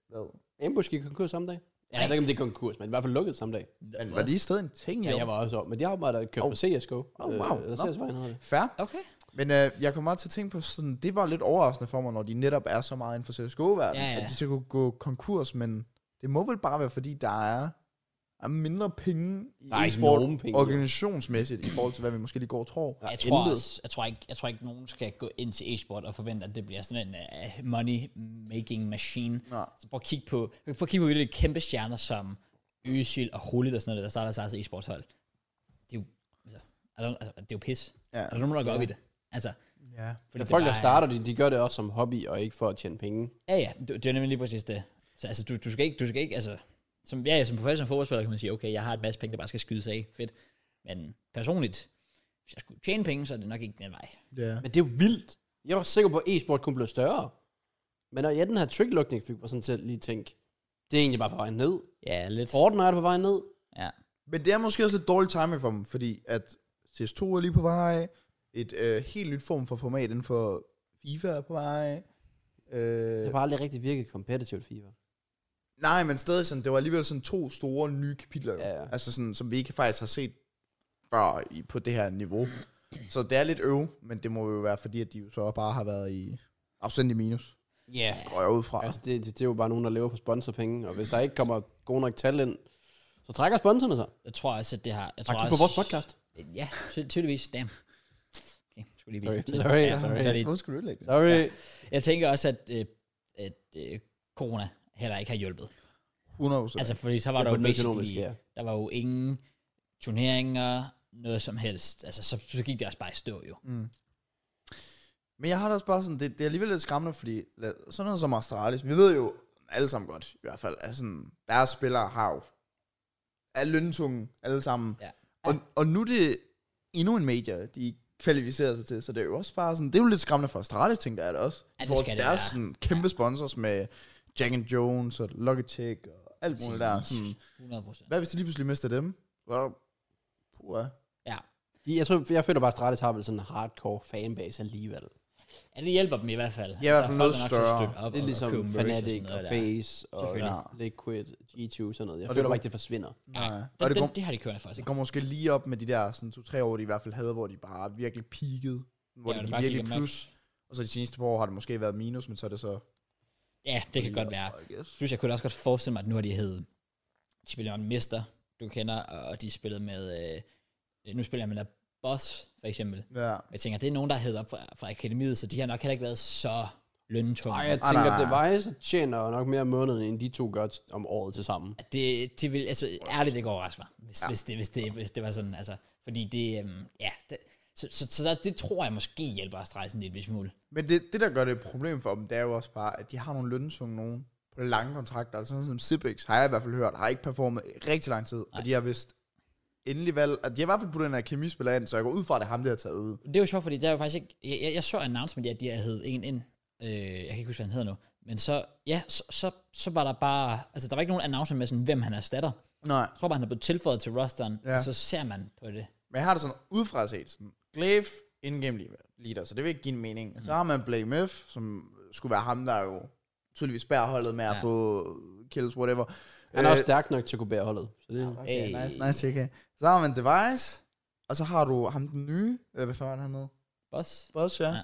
Speaker 3: Hvad?
Speaker 2: Ambush gik konkurs samme dag. Ja, jeg ved ikke, om det er konkurs, men i hvert fald lukket samme dag.
Speaker 3: Men var det i stedet en ting,
Speaker 2: Ja,
Speaker 3: jo?
Speaker 2: jeg var også over. Men de har bare kørt
Speaker 3: Åh.
Speaker 2: på CSGO. Oh,
Speaker 3: wow.
Speaker 2: Eller
Speaker 3: Nå.
Speaker 2: CS-vejen hedder det.
Speaker 3: Fair.
Speaker 1: Okay.
Speaker 3: Men øh, jeg kommer meget til at tænke på sådan, det var lidt overraskende for mig, når de netop er så meget inden for CSGO-verdenen,
Speaker 1: Ja,
Speaker 3: ja,
Speaker 1: ja.
Speaker 3: ja. at de så kunne gå konkurs, men det må vel bare være, fordi der er, er mindre penge i
Speaker 2: Der er ikke
Speaker 3: e-sport
Speaker 2: nogen penge, jo.
Speaker 3: organisationsmæssigt i forhold til, hvad vi måske lige går og tror.
Speaker 1: Jeg
Speaker 2: Der er
Speaker 1: tror,
Speaker 2: intet.
Speaker 1: også, jeg, tror ikke, jeg tror ikke, nogen skal gå ind til e-sport og forvente, at det bliver sådan en uh, money-making machine.
Speaker 3: Nej.
Speaker 1: Så Altså, prøv at kigge på, prøv at kigge på de der kæmpe stjerner som Øsil og Rullit og sådan noget, der starter sig altså e-sportshold. Det er jo, altså, er der, altså, det er jo pis.
Speaker 3: Ja.
Speaker 1: Er der nogen, der går op i det? Altså,
Speaker 3: ja.
Speaker 1: fordi
Speaker 2: Men
Speaker 1: det
Speaker 2: folk,
Speaker 1: bare
Speaker 2: der
Speaker 1: er-
Speaker 2: starter, de, de gør det også som hobby, og ikke for at tjene penge.
Speaker 1: Ja, ja, det, det er nemlig lige præcis det. Så altså, du, du skal ikke, du skal ikke, altså, som, ja, ja, som professionel fodboldspiller kan man sige, okay, jeg har et masse penge, der bare skal skydes af, fedt. Men personligt, hvis jeg skulle tjene penge, så er det nok ikke den vej.
Speaker 3: ja.
Speaker 2: Men det er jo vildt. Jeg var sikker på, at e-sport kunne blive større. Men når jeg den her tricklukning fik mig sådan til at lige tænke, det er egentlig bare på vej ned.
Speaker 1: Ja, lidt.
Speaker 2: Fortnite er på vej ned.
Speaker 1: Ja.
Speaker 3: Men det er måske også lidt dårlig timing for dem, fordi at CS2 er lige på vej, et øh, helt nyt form for format inden for FIFA er på vej.
Speaker 2: Det
Speaker 3: Øh,
Speaker 2: har bare aldrig rigtig virket competitivt FIFA.
Speaker 3: nej, men stadig sådan, det var alligevel sådan to store nye kapitler,
Speaker 2: Ja,
Speaker 3: ja,
Speaker 2: ja.
Speaker 3: ja. altså sådan, som vi ikke faktisk har set før i, på det her niveau. Så det er lidt øv, men det må jo være fordi, at de jo så bare har været i afsendt i minus,
Speaker 2: Ja.
Speaker 3: går jeg ud fra.
Speaker 2: Altså, det, det, det, er jo bare nogen, der lever på sponsorpenge, og hvis der ikke kommer god nok tal ind, så trækker sponsorerne sig.
Speaker 1: Jeg tror også, at det har... Jeg tror
Speaker 2: Tak
Speaker 1: også,
Speaker 2: på vores podcast.
Speaker 1: Ja, ty- tydeligvis. Damn. Okay, skulle lige blive.
Speaker 2: Sorry, sorry,
Speaker 1: Ja,
Speaker 2: sorry.
Speaker 1: det var lige-
Speaker 3: Hvorfor skulle du ødelægge det?
Speaker 2: Sorry.
Speaker 1: Jeg tænker også, at, øh, at øh, corona heller ikke har hjulpet.
Speaker 3: 100 procent.
Speaker 1: Altså, fordi så var der jo
Speaker 2: på den
Speaker 1: basically,
Speaker 2: økonomiske, ja.
Speaker 1: der var jo ingen turneringer, noget som helst. Altså, så, så gik det også bare i stå jo.
Speaker 3: Mm. Men jeg har det også bare sådan, det, det er alligevel lidt skræmmende, fordi la- sådan noget som Astralis, vi ved jo alle sammen godt, i hvert fald, at sådan, deres spillere har jo, er løntunge alle sammen.
Speaker 1: Ja.
Speaker 3: Og, og nu er det endnu en major, de kvalificerer sig til, så det er jo også bare sådan, det er jo lidt skræmmende for Astralis, tænker jeg det også.
Speaker 1: Ja, det
Speaker 3: I forhold
Speaker 1: skal
Speaker 3: til
Speaker 1: det
Speaker 3: deres
Speaker 1: være.
Speaker 3: sådan, kæmpe sponsors med Jack and Jones og Logitech og alt muligt der. Sådan,
Speaker 1: 100 procent.
Speaker 3: hvad hvis de lige pludselig mister dem? Well, puha.
Speaker 1: Ja.
Speaker 2: De, jeg, tror, jeg føler bare, at Stratis har vel sådan en hardcore fanbase alligevel.
Speaker 1: ja, det hjælper dem i hvert fald.
Speaker 3: i hvert fald
Speaker 1: Der er folk,
Speaker 3: noget
Speaker 1: der nok skal
Speaker 3: større.
Speaker 1: støtte op
Speaker 2: Det er
Speaker 1: og- og
Speaker 2: ligesom
Speaker 1: købe merch og sådan
Speaker 2: Fnatic
Speaker 1: noget
Speaker 2: og
Speaker 1: der.
Speaker 2: Face og
Speaker 1: Selvfølgelig.
Speaker 2: ja, Liquid, G2 sådan noget. Jeg
Speaker 3: Og det
Speaker 2: føler bare
Speaker 3: går-
Speaker 2: ikke, det forsvinder.
Speaker 1: Nej,
Speaker 3: Nej.
Speaker 1: det,
Speaker 3: Og det
Speaker 1: det,
Speaker 3: går-
Speaker 1: det, har de kørende for sig.
Speaker 3: Det går Altså, måske lige op med de der sådan to-tre år, de i hvert fald havde, hvor de bare virkelig peakede. Hvor
Speaker 1: Ja,
Speaker 3: ja,
Speaker 1: det
Speaker 3: det
Speaker 1: bare
Speaker 3: gik
Speaker 1: gik
Speaker 3: virkelig
Speaker 1: amok.
Speaker 3: plus. Og så de seneste par år har det måske været minus, men så er det så...
Speaker 1: Ja, det kan godt være.
Speaker 3: I guess.
Speaker 1: Plus, jeg kunne da også godt forestille mig, at nu har de heddet, de spiller med Mister, du kender, og de spillede med, øh, øh, nu spiller jeg med der Boss, for eksempel.
Speaker 3: Ja.
Speaker 1: Jeg tænker, det er nogen, der hedder op fra, fra akademiet, så de har nok heller ikke været så løntunge.
Speaker 2: Ej,
Speaker 1: Ej,
Speaker 2: jeg
Speaker 3: Ah,
Speaker 2: tænker,
Speaker 3: nej,
Speaker 2: at
Speaker 3: nej.
Speaker 2: Device tjener nok mere om måneden, end de to gør t- om året til sammen.
Speaker 1: det, det vil, altså, ærligt, det går overraske mig, hvis, ja. hvis, det, hvis, det, hvis det var sådan, altså, fordi det, øhm, ja, det, så, så, så der, det tror jeg måske hjælper at strejse en lille smule.
Speaker 3: Men det, det, der gør det et problem for dem, det er jo også bare, at de har nogle lønsunge nogen på lange kontrakter. Altså sådan som Zipex, har jeg i hvert fald hørt, har ikke performet i rigtig lang tid. Nej. Og de har vist endelig valgt... At de har i hvert fald puttet en akademispiller ind, så jeg går ud fra, at det er ham, der har taget ud.
Speaker 1: Det er jo sjovt, fordi der er jo faktisk ikke... Jeg, jeg, jeg så announcement, at de havde heddet en ind. Øh, jeg kan ikke huske, hvad han hedder nu. Men så, ja, så, så, så var der bare... Altså, der var ikke nogen announcement med, sådan, hvem han erstatter.
Speaker 3: Nej.
Speaker 1: Jeg tror bare, han er blevet tilføjet til rosteren, ja.
Speaker 3: Ja.
Speaker 1: og så ser man på det.
Speaker 3: Men jeg har det sådan udefra set. Sådan, Glaive, in-game leader- leader, så det vil ikke give en mening.
Speaker 1: Mm.
Speaker 3: Så har man Blame F, som skulle være ham, der jo tydeligvis bærer holdet med at
Speaker 1: Ja.
Speaker 3: ja. få kills, whatever.
Speaker 2: Han er
Speaker 3: Øh,
Speaker 2: også stærk nok til at kunne bære holdet. Så det,
Speaker 3: Okay,
Speaker 1: Hey.
Speaker 3: nice, nice, JK. Så har man Device, og så har du ham den nye, øh, hvad fanden han hed?
Speaker 1: Boss?
Speaker 3: Boss, ja.
Speaker 1: Ja.
Speaker 3: ja.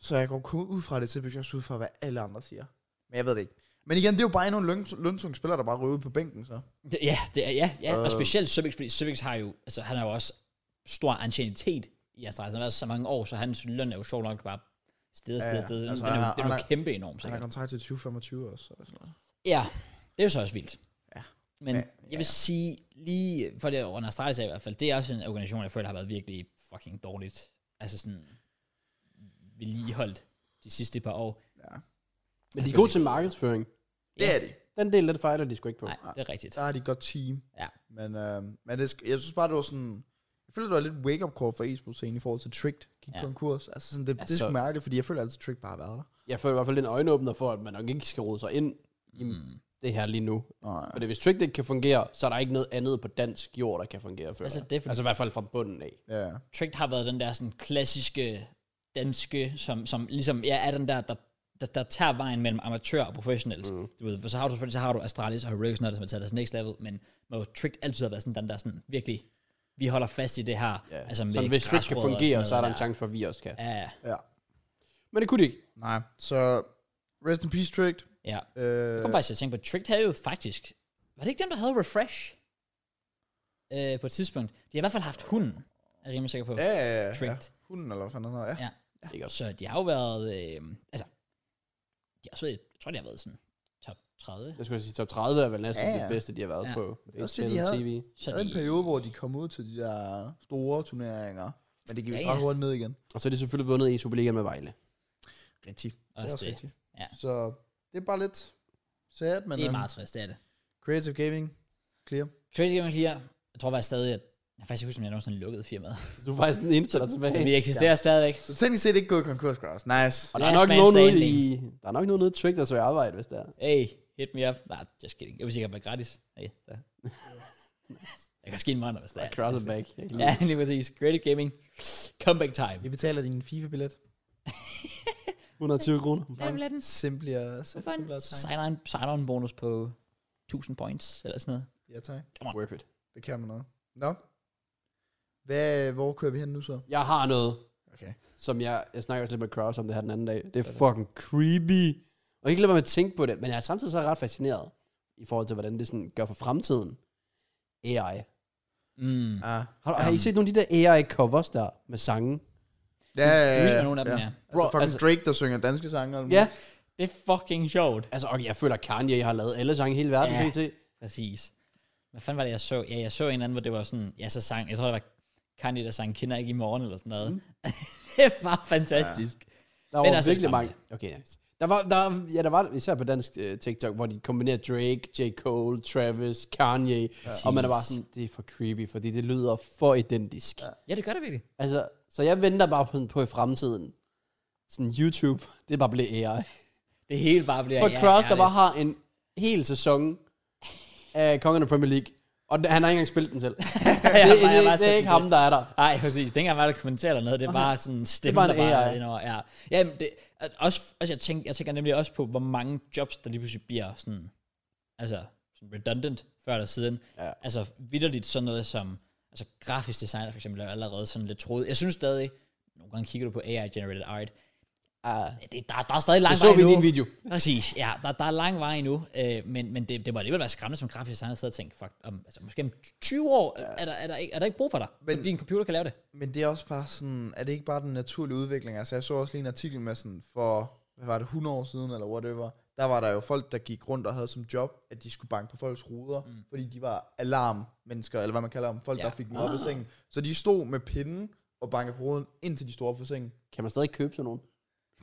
Speaker 3: Så jeg går kun ud fra det til, jeg også ud fra, hvad alle andre siger. Men jeg ved det ikke. Men igen, det er jo bare endnu en løn, løntung spiller, der bare ryger ud på bænken, så.
Speaker 1: Ja, det er, ja, ja. Uh. og
Speaker 3: Øh.
Speaker 1: specielt Subix, fordi Subix har jo... Altså, han har jo også stor ancienitet i Astralis. Han har været så mange år, så hans løn er jo sjovt nok bare sted og
Speaker 3: Ja,
Speaker 1: sted
Speaker 3: ja.
Speaker 1: og sted. Altså,
Speaker 3: Altså,
Speaker 1: den er jo,
Speaker 3: han-
Speaker 1: den er jo
Speaker 3: han er-
Speaker 1: kæmpe enorm,
Speaker 3: Han har
Speaker 1: sikkert.
Speaker 3: kontrakt til 2025 også. Eller sådan noget.
Speaker 1: Ja, det er jo så også vildt.
Speaker 3: Ja.
Speaker 1: Men
Speaker 3: Ja,
Speaker 1: ja, jeg vil sige, lige for det under Astralis er i hvert fald, det er også en organisation, jeg føler har været virkelig fucking dårligt. Altså sådan vedligeholdt de sidste par år.
Speaker 3: Ja.
Speaker 2: men de er gode til markedsføring.
Speaker 3: Det
Speaker 1: Ja.
Speaker 3: er det.
Speaker 2: Den del, den fejler de sgu ikke på.
Speaker 1: Nej, det er rigtigt.
Speaker 3: der har de et godt team.
Speaker 1: Ja.
Speaker 3: Men, øh, men det, sk- jeg synes bare, det var sådan... Jeg føler, det var lidt wake-up call for e scenen i forhold til Tricked gik
Speaker 1: Ja.
Speaker 3: ja. konkurs. Altså sådan, det, altså,
Speaker 2: Altså-
Speaker 3: det er sgu mærkeligt, fordi jeg føler altid, at Tricked bare har været der.
Speaker 2: Jeg føler i hvert fald, det er en øjenåbner for, at man nok ikke skal rode sig ind i det her lige nu.
Speaker 3: Mm. Nej.
Speaker 2: For hvis Trick ikke kan fungere, så er der ikke noget andet på dansk jord, der kan fungere
Speaker 1: Altså,
Speaker 2: før. Altså,
Speaker 1: det er fordi-
Speaker 2: altså i hvert fald fra bunden af.
Speaker 3: Ja.
Speaker 1: Tricked har været den der sådan klassiske danske, som, som ligesom ja, er den der, der, der, der tager vejen mellem amatør og professionels.
Speaker 2: Mhm.
Speaker 1: Mm. Du ved, for så har du selvfølgelig så har du Astralis og Heroic, sådan noget, som har taget deres next level, men hvor Tricked altid har været sådan den der sådan, virkelig, vi holder fast i det her. Ja. Altså med
Speaker 2: Så hvis Trick kan
Speaker 1: græsrødder og
Speaker 2: fungere,
Speaker 1: sådan
Speaker 2: så er der en
Speaker 1: noget
Speaker 2: chance for, at vi også kan.
Speaker 1: Ja,
Speaker 3: Ja.
Speaker 2: Men det kunne de ikke.
Speaker 3: Nej. Så rest in peace, Tricked.
Speaker 1: ja.
Speaker 3: Øh,
Speaker 1: Jeg kom faktisk til at tænke på, Tricked havde jo faktisk, var det ikke dem, der havde Refresh? Øh, på et tidspunkt. De har i hvert fald haft hunden, er jeg rimelig sikker på.
Speaker 3: ja, ja, ja, ja.
Speaker 1: Tricked.
Speaker 3: Hunden, eller hvad fanden han hedder. Ja.
Speaker 1: Ja.
Speaker 2: Ikke også.
Speaker 1: Så de har jo været, øh, altså, de har også været, jeg tror, de har været sådan top 30.
Speaker 2: Jeg skulle sige, top 30 er vel næsten
Speaker 3: Ja,
Speaker 2: ja,
Speaker 3: ja.
Speaker 2: ja. det bedste, de har været
Speaker 1: Ja.
Speaker 2: ja. på. Det
Speaker 3: er også det, de havde.
Speaker 2: TV.
Speaker 1: Så
Speaker 3: Så havde en
Speaker 1: de,
Speaker 3: periode, hvor de kom ud til de der store turneringer. Men det gik vist
Speaker 1: Ja, ja.
Speaker 3: ret hurtigt ned igen.
Speaker 2: Og så er de selvfølgelig vundet E i Superligaen med Vejle.
Speaker 3: Rigtigt. Det er
Speaker 1: også
Speaker 3: også
Speaker 1: det.
Speaker 3: rigtigt.
Speaker 1: Ja.
Speaker 3: Så det er bare lidt sad, men
Speaker 1: det er
Speaker 3: øhm,
Speaker 1: meget trist, det er det.
Speaker 3: creative gaming, clear.
Speaker 1: Crazy Gaming Clear, jeg tror faktisk stadig, at jeg kan faktisk ikke husker, om jeg nogensinde lukkede firmaet.
Speaker 2: Du er faktisk den eneste, der er tilbage.
Speaker 1: Vi eksisterer stadigvæk.
Speaker 3: Så teknisk set ikke gået konkurs, Grass. Nice.
Speaker 2: Og der er,
Speaker 1: Last
Speaker 2: nok
Speaker 1: man
Speaker 2: nogen ude
Speaker 1: standing.
Speaker 2: i, der er nok nogen ude i Trick, der så i arbejde, hvis det er.
Speaker 1: Hey, hit me up. Nej, just kidding. Jeg vil sikkert være gratis. Hey, der. Jeg kan ske en måned, hvis det
Speaker 2: Ja,
Speaker 1: er.
Speaker 2: cross it back. Jeg kan lide
Speaker 1: Ja, lige præcis. Great Gaming. Comeback time.
Speaker 3: Vi betaler din FIFA-billet.
Speaker 2: 120 kroner.
Speaker 3: Simplere. simplere tegn.
Speaker 1: Sign-on sign bonus på 1000 points, eller sådan noget.
Speaker 3: Ja, tak.
Speaker 2: Worth it.
Speaker 3: Det kan man noget. Nå. Hvad, hvor kører vi hen nu så?
Speaker 2: Jeg har noget,
Speaker 3: Okay.
Speaker 2: som jeg, jeg snakker også lidt med Cross om det her den anden dag. Det er fucking creepy. Og ikke lade være med at tænke på det, men jeg er samtidig så ret fascineret i forhold til, hvordan det sådan gør for fremtiden. AI.
Speaker 1: Mm.
Speaker 3: Ah.
Speaker 2: Har, har I set nogle af de der AI-covers der med sange?
Speaker 3: Ja, ja, ja.
Speaker 1: Dream
Speaker 3: ja.
Speaker 1: er nogle af dem, ja.
Speaker 3: Bro, altså fucking
Speaker 2: altså-
Speaker 3: Drake, der synger danske sange. og alt
Speaker 2: Ja,
Speaker 3: muligt.
Speaker 1: Det er fucking sjovt.
Speaker 2: altså okay, jeg føler, at Kanye har lavet alle sange i hele verden,
Speaker 1: Ja.
Speaker 2: ja. pt.
Speaker 1: Præcis. Hvad fanden var det, jeg så? Ja, jeg så en anden, hvor det var sådan, ja, så sang, jeg tror, det var Kanye, der sang Kinder ikke i morgen, eller sådan noget. Mm. det var fantastisk. Ja.
Speaker 2: Der
Speaker 1: Den
Speaker 2: var
Speaker 1: er
Speaker 2: også
Speaker 1: så
Speaker 2: virkelig mange.
Speaker 1: skræmmende.
Speaker 2: Okay, nice. Der var, der, ja, der var især på dansk uh, TikTok, hvor de kombinerer Drake, J. Cole, Travis, Kanye, ja. og man er bare sådan, det er for creepy, fordi det lyder for identisk. Ja.
Speaker 1: ja, det gør det virkelig.
Speaker 2: Altså, så jeg venter bare på, sådan, på i fremtiden, sådan YouTube, det er bare blevet AI.
Speaker 1: Det hele bare bliver...
Speaker 2: For
Speaker 1: ja,
Speaker 2: Cross, der
Speaker 1: ærligt.
Speaker 2: bare har en hel sæson af Kongen af Premier League, og den- han har ikke engang spillet den selv. det,
Speaker 1: han har
Speaker 2: det,
Speaker 1: bare sendt
Speaker 2: det, det er
Speaker 1: den
Speaker 2: ikke
Speaker 1: til.
Speaker 2: ham, der er der.
Speaker 1: Nej, præcis. Det er ikke engang mig, der kommenterer eller noget. Det er bare sådan stemme,
Speaker 2: bare en
Speaker 1: der bare er
Speaker 2: AI.
Speaker 1: indover. Ja, ja men det, at også, altså jeg, tænker, jeg tænker nemlig også på, hvor mange jobs, der lige pludselig bliver sådan, altså sådan redundant før eller siden.
Speaker 2: Ja.
Speaker 1: Altså vidderligt sådan noget som, altså grafisk designer for eksempel, er allerede sådan lidt troet. Jeg synes stadig, nogle gange kigger du på AI-generated art,
Speaker 2: Ah,
Speaker 1: det, der, der er stadig lang
Speaker 2: det så
Speaker 1: vej
Speaker 2: vi i
Speaker 1: endnu.
Speaker 2: din video.
Speaker 1: Præcis, ja, der, der er lang vej endnu, øh, men, men det, det må alligevel være skræmmende som grafisk designer, at sidde og tænke, fuck, om, altså, måske om 20 år, ja. er, der, er, der ikke, er der ikke brug for dig, men,
Speaker 3: Men-
Speaker 1: fordi din computer kan lave det.
Speaker 3: Men det er også bare sådan, er det ikke bare den naturlige udvikling? Altså jeg så også lige en artikel med sådan, for hvad var det, 100 år siden eller whatever, der var der jo folk, der gik rundt og havde som job, at de skulle banke på folks ruder, mm. fordi de var alarmmennesker, eller hvad man kalder dem, folk,
Speaker 1: Ja.
Speaker 3: ja. der fik dem op i sengen. Så de stod med pinden og bankede på ruden, indtil de stod op for sengen.
Speaker 2: Kan man stadig købe sådan nogen?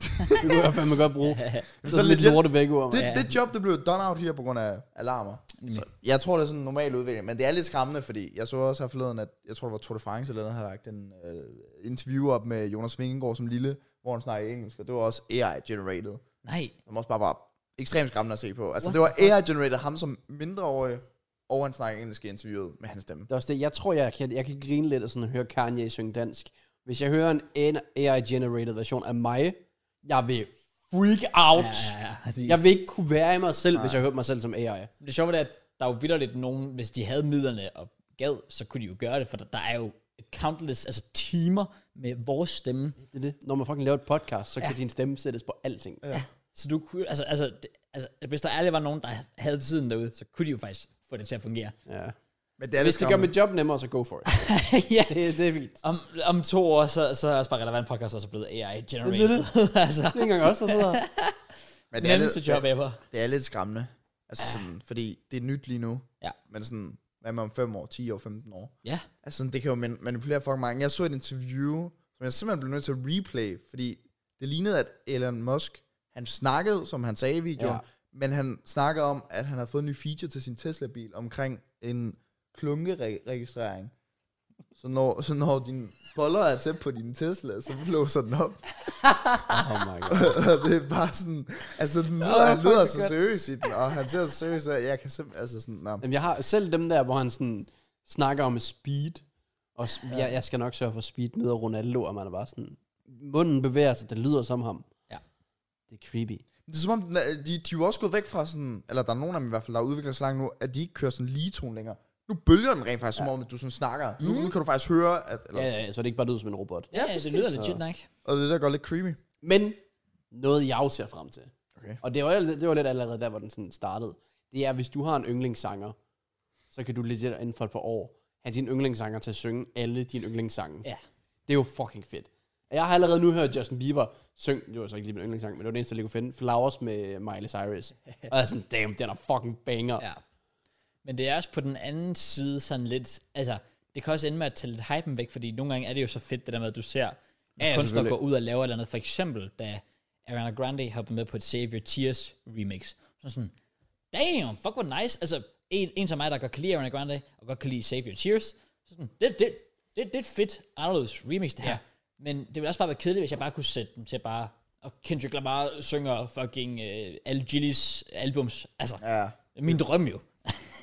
Speaker 2: det kunne jeg fandme godt bruge.
Speaker 3: Men
Speaker 2: Det
Speaker 3: så
Speaker 2: er lidt
Speaker 3: legit-
Speaker 2: lorte væk over
Speaker 3: Det,
Speaker 1: Ja.
Speaker 3: det job, det blev done out her på grund af alarmer. Så jeg tror, det er sådan en normal udvikling, men det er lidt skræmmende, fordi jeg så også her forleden, at jeg tror, det var Tour de France eller noget, havde lagt en øh, interview op med Jonas Vingegaard som lille, hvor han snakkede engelsk, og det var også AI-generated.
Speaker 1: Nej,
Speaker 3: som også bare var ekstremt skræmmende at se på. Altså, det var AI-generated ham som mindreårig, og han snakkede engelsk i interviewet med hans stemme.
Speaker 2: Det er også det. Jeg tror, jeg kan, jeg kan grine lidt og sådan høre Kanye synge dansk. Hvis jeg hører en AI-generated version af mig, jeg vil freak out.
Speaker 1: ja, ja, ja, præcis.
Speaker 2: Jeg vil ikke kunne være i mig selv, Nej. hvis jeg hørte mig selv som AI.
Speaker 1: Det sjove er, at der er jo vidderligt nogen, hvis de havde midlerne og gad, så kunne de jo gøre det, for der, der er jo countless, altså timer med vores stemme.
Speaker 2: Det er det. Når man fucking laver et podcast, så kan din stemme sættes på alting. Ja.
Speaker 1: Så du kunne, altså, altså, det, altså hvis der ærligt var nogen, der havde tiden derude, så kunne de jo faktisk få det til at fungere.
Speaker 2: ja.
Speaker 3: Men det er lidt
Speaker 2: Hvis det gør
Speaker 3: skræmmende.
Speaker 2: mit job nemmere, så go for it.
Speaker 1: ja.
Speaker 2: det, det er vildt.
Speaker 1: Om, om to år, så, så er også bare relevant podcast også blevet AI-generated.
Speaker 2: Det er det.
Speaker 1: altså,
Speaker 2: Det er ikke engang os, der sidder her.
Speaker 3: Men det er
Speaker 1: nemmeste
Speaker 3: lidt,
Speaker 1: job
Speaker 3: det,
Speaker 1: ever.
Speaker 3: det er lidt skræmmende. Altså sådan, fordi det er nyt lige nu.
Speaker 1: Ja.
Speaker 3: Men sådan, hvad med om 5 år, 10 år, 15 år?
Speaker 1: Ja.
Speaker 3: Altså sådan, det kan jo man- manipulere fucking mange. Jeg så et interview, som jeg simpelthen blev nødt til at replay, fordi det lignede, at Elon Musk, han snakkede, som han sagde i videoen,
Speaker 2: Ja.
Speaker 3: ja. men han snakkede om, at han havde fået en ny feature til sin Tesla-bil omkring en klunkeregistrering. Så når, så når din boller er tæt på din Tesla, så blåser den op.
Speaker 2: Oh my god.
Speaker 3: Og det er bare sådan... Altså, den lyder, han lyder så seriøs i den, og han ser så seriøs ud, at jeg kan simpelthen... Altså sådan, nå.
Speaker 2: Jamen, jeg har selv dem der, hvor han sådan snakker om speed, og sp- ja. jeg, jeg, skal nok sørge for speed med og Ronaldo, og man er bare sådan, munden bevæger sig, det lyder som ham.
Speaker 1: Ja.
Speaker 2: Det er creepy.
Speaker 3: Det er som om, den er- de, de er jo også gået væk fra sådan... Eller der er nogen af dem i hvert fald, der har udviklet sig langt nu, at de ikke kører sådan lige tone længere. Nu bølger den rent faktisk, ja. som om at du sådan snakker. Mm. Nu, nu, kan du faktisk høre, at... Eller,
Speaker 2: Ja, ja, ja, så det ikke bare lyder som en robot.
Speaker 1: Ja, ja det lyder legit nok.
Speaker 3: Og det er der går lidt creepy.
Speaker 2: Men noget, jeg også ser frem til.
Speaker 3: Okay.
Speaker 2: Og det var, det var lidt allerede der, hvor den sådan startede. Det er, hvis du har en yndlingssanger, så kan du lidt inden for et par år have din yndlingssanger til at synge alle dine yndlingssange.
Speaker 1: Ja.
Speaker 2: Det er jo fucking fedt. Og Jeg har allerede nu hørt Justin Bieber synge, det var så ikke lige min yndlingssang, men det var det eneste, jeg kunne finde, Flowers med Miley Cyrus. Og jeg er sådan, damn, den er fucking banger.
Speaker 1: Ja. Men det er også på den anden side sådan lidt, altså, det kan også ende med at tage lidt hypen væk, fordi nogle gange er det jo så fedt, det der med, at du ser ja, kunstnere
Speaker 2: selvfølgelig.
Speaker 1: gå ud og lave et eller andet. For eksempel, da Ariana Grande hoppede med på et Save Your Tears remix. Så sådan, damn, fuck hvor nice. Altså, en, en som mig, der godt kan lide Ariana Grande, og godt kan lide Save Your Tears, så sådan, det, det, det, det er et fedt, anderledes remix, det her.
Speaker 2: Ja.
Speaker 1: Men det ville også bare være kedeligt, hvis jeg bare kunne sætte dem til bare, og Kendrick Lamar synger fucking øh, alle Gillies albums. Altså, ja.
Speaker 3: Ja.
Speaker 1: min drøm jo.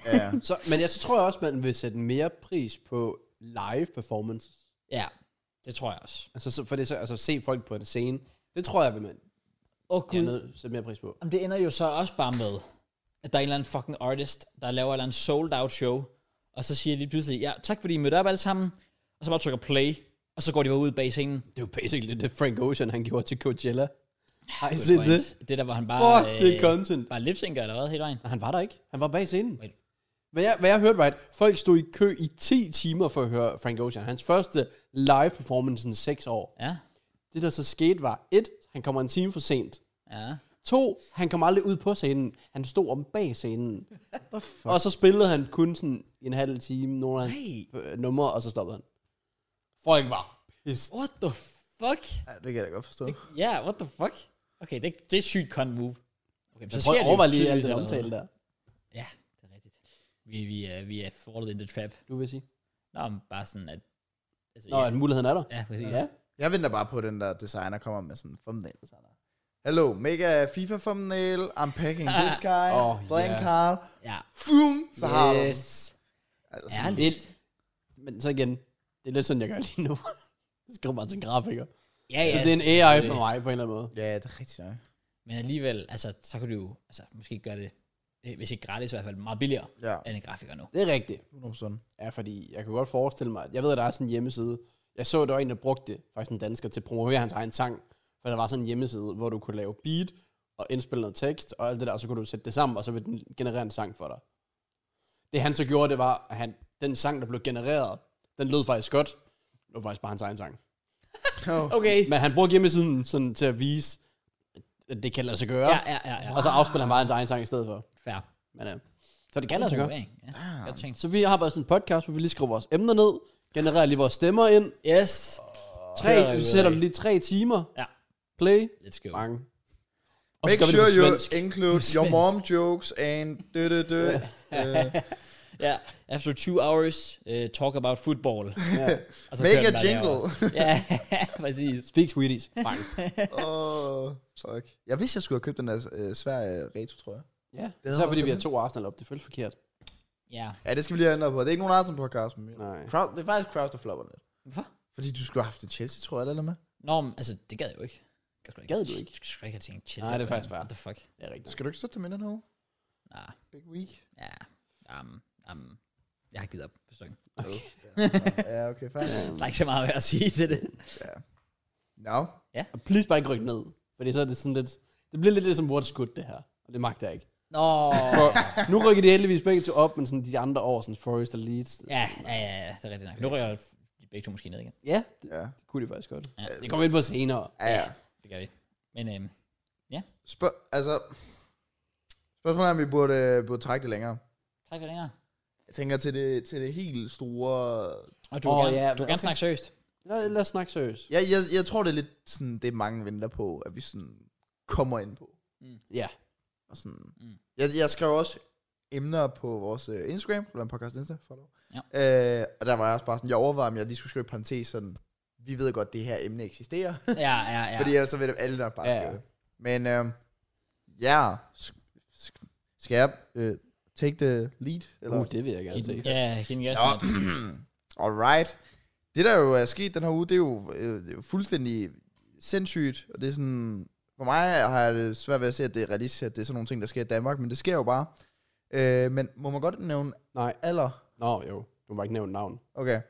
Speaker 3: Ja.
Speaker 2: Så, men jeg så tror jeg også, man vil sætte mere pris på live performances.
Speaker 1: Ja, det tror jeg også.
Speaker 2: Altså, så- for det, er så, altså se folk på en scene. Det tror jeg, vil man
Speaker 1: Åh oh,
Speaker 2: jeg er
Speaker 1: gud,
Speaker 2: nødt til at sætte mere pris på.
Speaker 1: Jamen, det ender jo så også bare med, at der er en eller anden fucking artist, der laver en eller anden sold out show, og så siger de lige pludselig, ja, tak fordi I mødte op alle sammen, og så bare trykker play, og så går de bare ud bag scenen.
Speaker 2: Det er jo basically det, Frank Ocean, han gjorde til Coachella. Har I
Speaker 1: Good
Speaker 2: set
Speaker 1: point.
Speaker 2: det?
Speaker 1: Det der, hvor han bare, øh,
Speaker 2: Fuck, det er content.
Speaker 1: bare lipsynker eller hvad, hele vejen.
Speaker 2: Og han var der ikke. Han var bag scenen.
Speaker 1: Wait.
Speaker 2: Hvad jeg, hvad jeg hørte, var, at folk stod i kø i 10 timer for at høre Frank Ocean. Hans første live performance i 6 år.
Speaker 1: Ja,
Speaker 2: Det, der så skete, var 1. Han kommer en time for sent.
Speaker 1: ja.
Speaker 2: 2. Han kom aldrig ud på scenen. Han stod om bag scenen. og så spillede han kun sådan en halv time, nogle af hans øh, numre, og så stoppede han. Folk var pissed.
Speaker 1: What the fuck?
Speaker 3: ja, det kan jeg da godt forstå.
Speaker 1: Ja, yeah, what the fuck? Okay, det, det er et sygt con move. Okay, men
Speaker 2: Så prøv
Speaker 1: sker
Speaker 2: at
Speaker 1: det jo
Speaker 2: overveje lige alt
Speaker 1: tydeligvis
Speaker 2: det
Speaker 1: allerede.
Speaker 2: omtale der.
Speaker 1: Ja, det er rigtigt. Vi, vi, er, vi er fallet in the trap.
Speaker 2: Du vil sige.
Speaker 1: Nå, men bare sådan, at... Altså,
Speaker 2: Nå,
Speaker 1: ja,
Speaker 2: at muligheden er der.
Speaker 1: ja, præcis.
Speaker 2: Ja.
Speaker 3: Jeg venter bare på, at den der designer kommer med sådan en thumbnail. Sådan der. Hello, mega FIFA thumbnail. I'm packing this guy.
Speaker 2: Åh,
Speaker 3: Oh, blank
Speaker 2: ja.
Speaker 3: yeah. card.
Speaker 1: ja.
Speaker 3: Fum, så har du den.
Speaker 1: yes.
Speaker 3: altså, sådan-
Speaker 1: Ærligt.
Speaker 2: Vildt. Men så igen, det er lidt sådan, jeg gør lige nu. Jeg skriver bare til en grafiker.
Speaker 1: Ja, ja.
Speaker 2: Så det er en AI for mig på en eller anden måde.
Speaker 3: Ja, det er rigtigt nok.
Speaker 1: Men alligevel, altså, så kan du jo altså, måske gøre det, øh, hvis ikke gratis, i hvert fald meget billigere
Speaker 3: Ja,
Speaker 1: end en grafiker nu.
Speaker 2: Det er rigtigt.
Speaker 3: 100%.
Speaker 2: Ja, fordi jeg kunne godt forestille mig, at jeg ved, at der er sådan en hjemmeside. Jeg så, at der var en, der brugte det, faktisk en dansker, til at promovere hans egen sang. For der var sådan en hjemmeside, hvor du kunne lave beat og indspille noget tekst og alt det der, og så kunne du sætte det sammen, og så ville den generere en sang for dig. Det han så gjorde, det var, at han, den sang, der blev genereret, den lød faktisk godt. Det var faktisk bare hans egen sang.
Speaker 3: Oh.
Speaker 1: Okay.
Speaker 2: Men han brugte hjemmesiden sådan til at vise, at det kan lade sig gøre.
Speaker 1: Ja, ja, ja. ja.
Speaker 2: Og så afspiller han bare hans egen sang i stedet for.
Speaker 1: Fair.
Speaker 2: Men, øh, så det kan Ah. lade sig gøre.
Speaker 1: Promovering, Ja. Godt tænkt.
Speaker 2: Så vi har bare sådan en podcast, hvor vi lige skriver vores emner ned, genererer lige vores stemmer ind.
Speaker 1: Yes.
Speaker 2: Tre, vi
Speaker 1: videre.
Speaker 2: sætter lige tre timer.
Speaker 1: Ja.
Speaker 2: Play.
Speaker 1: Let's go.
Speaker 2: Bang. Og
Speaker 3: Make
Speaker 2: gør vi det
Speaker 3: sure
Speaker 2: på
Speaker 3: you
Speaker 2: svensk.
Speaker 3: include your mom jokes and dø dø dø. Uh,
Speaker 1: Ja. After two hours, uh, talk about football.
Speaker 2: Ja.
Speaker 1: Og så
Speaker 3: Make
Speaker 1: kører
Speaker 3: a
Speaker 1: den bare
Speaker 3: jingle.
Speaker 1: derovre. ja, præcis.
Speaker 2: Speak Swedish. Bang.
Speaker 3: Åh, fuck. Jeg vidste, jeg skulle have købt den der øh, svære retro, tror jeg.
Speaker 2: ja.
Speaker 3: Det
Speaker 2: Så
Speaker 3: havde
Speaker 2: fordi vi har
Speaker 3: været
Speaker 2: to Arsenal op. Det føles forkert.
Speaker 1: Ja.
Speaker 3: Ja, det skal vi lige ændre på. Det er ikke nogen Arsenal podcast, men
Speaker 2: Nej.
Speaker 3: crowd, det er faktisk crowd, der flopper lidt.
Speaker 1: Hvorfor?
Speaker 3: Fordi du skulle have haft en Chelsea, tror jeg, eller hvad?
Speaker 1: Nå, men, altså, det gad jeg jo ikke. Jeg skulle
Speaker 2: Gad du ikke?
Speaker 1: Jeg skulle ikke have tænkt chill.
Speaker 2: Nej, det er faktisk fair.
Speaker 1: What the fuck?
Speaker 2: Det er rigtigt.
Speaker 3: Skal du ikke stå til midten herovre?
Speaker 1: Nej.
Speaker 3: Big week.
Speaker 1: Ja. Um, um, jeg har givet op på stykken.
Speaker 2: Okay.
Speaker 3: ja, okay, fair.
Speaker 1: Der er ikke så meget at sige til det.
Speaker 3: Ja. Nå.
Speaker 2: Og please bare ikke rykke ned. Fordi så er det sådan lidt... Det bliver lidt ligesom What's Good, det her. Og det magter jeg ikke.
Speaker 1: Nå.
Speaker 2: For, nu rykker de heldigvis begge to op, men sådan de andre år, sådan Forrest og Leeds.
Speaker 1: ja, ja, ja, ja, det er rigtigt nok. Nu rykker de begge to måske ned igen.
Speaker 2: Ja, det,
Speaker 3: Ja.
Speaker 2: det kunne de faktisk godt.
Speaker 1: Ja,
Speaker 2: Det kommer vi ind på senere.
Speaker 3: Ja, ja.
Speaker 1: det gør vi. Men øhm,
Speaker 3: Spørg, altså, spørgsmålet er, om vi burde, øh, burde trække det længere.
Speaker 1: træk det længere.
Speaker 3: Jeg tænker til det, til det helt store...
Speaker 1: Og du, oh,
Speaker 2: Åh,
Speaker 1: gerne,
Speaker 2: ja,
Speaker 1: ja, du
Speaker 2: men
Speaker 1: kan gerne snakke seriøst.
Speaker 2: Lad, lad os snakke seriøst.
Speaker 3: Jeg, jeg, jeg tror, det er lidt sådan, det mange venter på, at vi sådan kommer ind på.
Speaker 2: Ja.
Speaker 3: Og sådan.
Speaker 1: Mm.
Speaker 3: Mm. Jeg, jeg skrev også emner på vores øh, Instagram, eller en podcast Insta, for
Speaker 1: Ja.
Speaker 3: ja. øh, og der var jeg også bare sådan, jeg overvejede, om jeg lige skulle skrive i parentes sådan, vi ved godt, det her emne eksisterer,
Speaker 1: Ja, ja, ja.
Speaker 3: ja. fordi ellers så vil alle nok bare
Speaker 2: Ja, ja.
Speaker 3: ja. skrive det. Men øh, ja, sk- sk- skal jeg øh, take the lead?
Speaker 2: Uh, det vil jeg gerne se.
Speaker 1: Giv den- Ja, giv den gas, mand.
Speaker 3: Nå, alright. Det der jo er sket den her uge, det er jo, øh, det er jo fuldstændig sindssygt, og det er sådan, for mig har jeg det svært ved at se, at det er realistisk, at det er sådan nogle ting, der sker i Danmark, men det sker jo bare. Øh, men må man godt nævne
Speaker 2: Nej.
Speaker 3: alder?
Speaker 2: Nå, jo. Du må ikke nævne navn.
Speaker 3: Okay,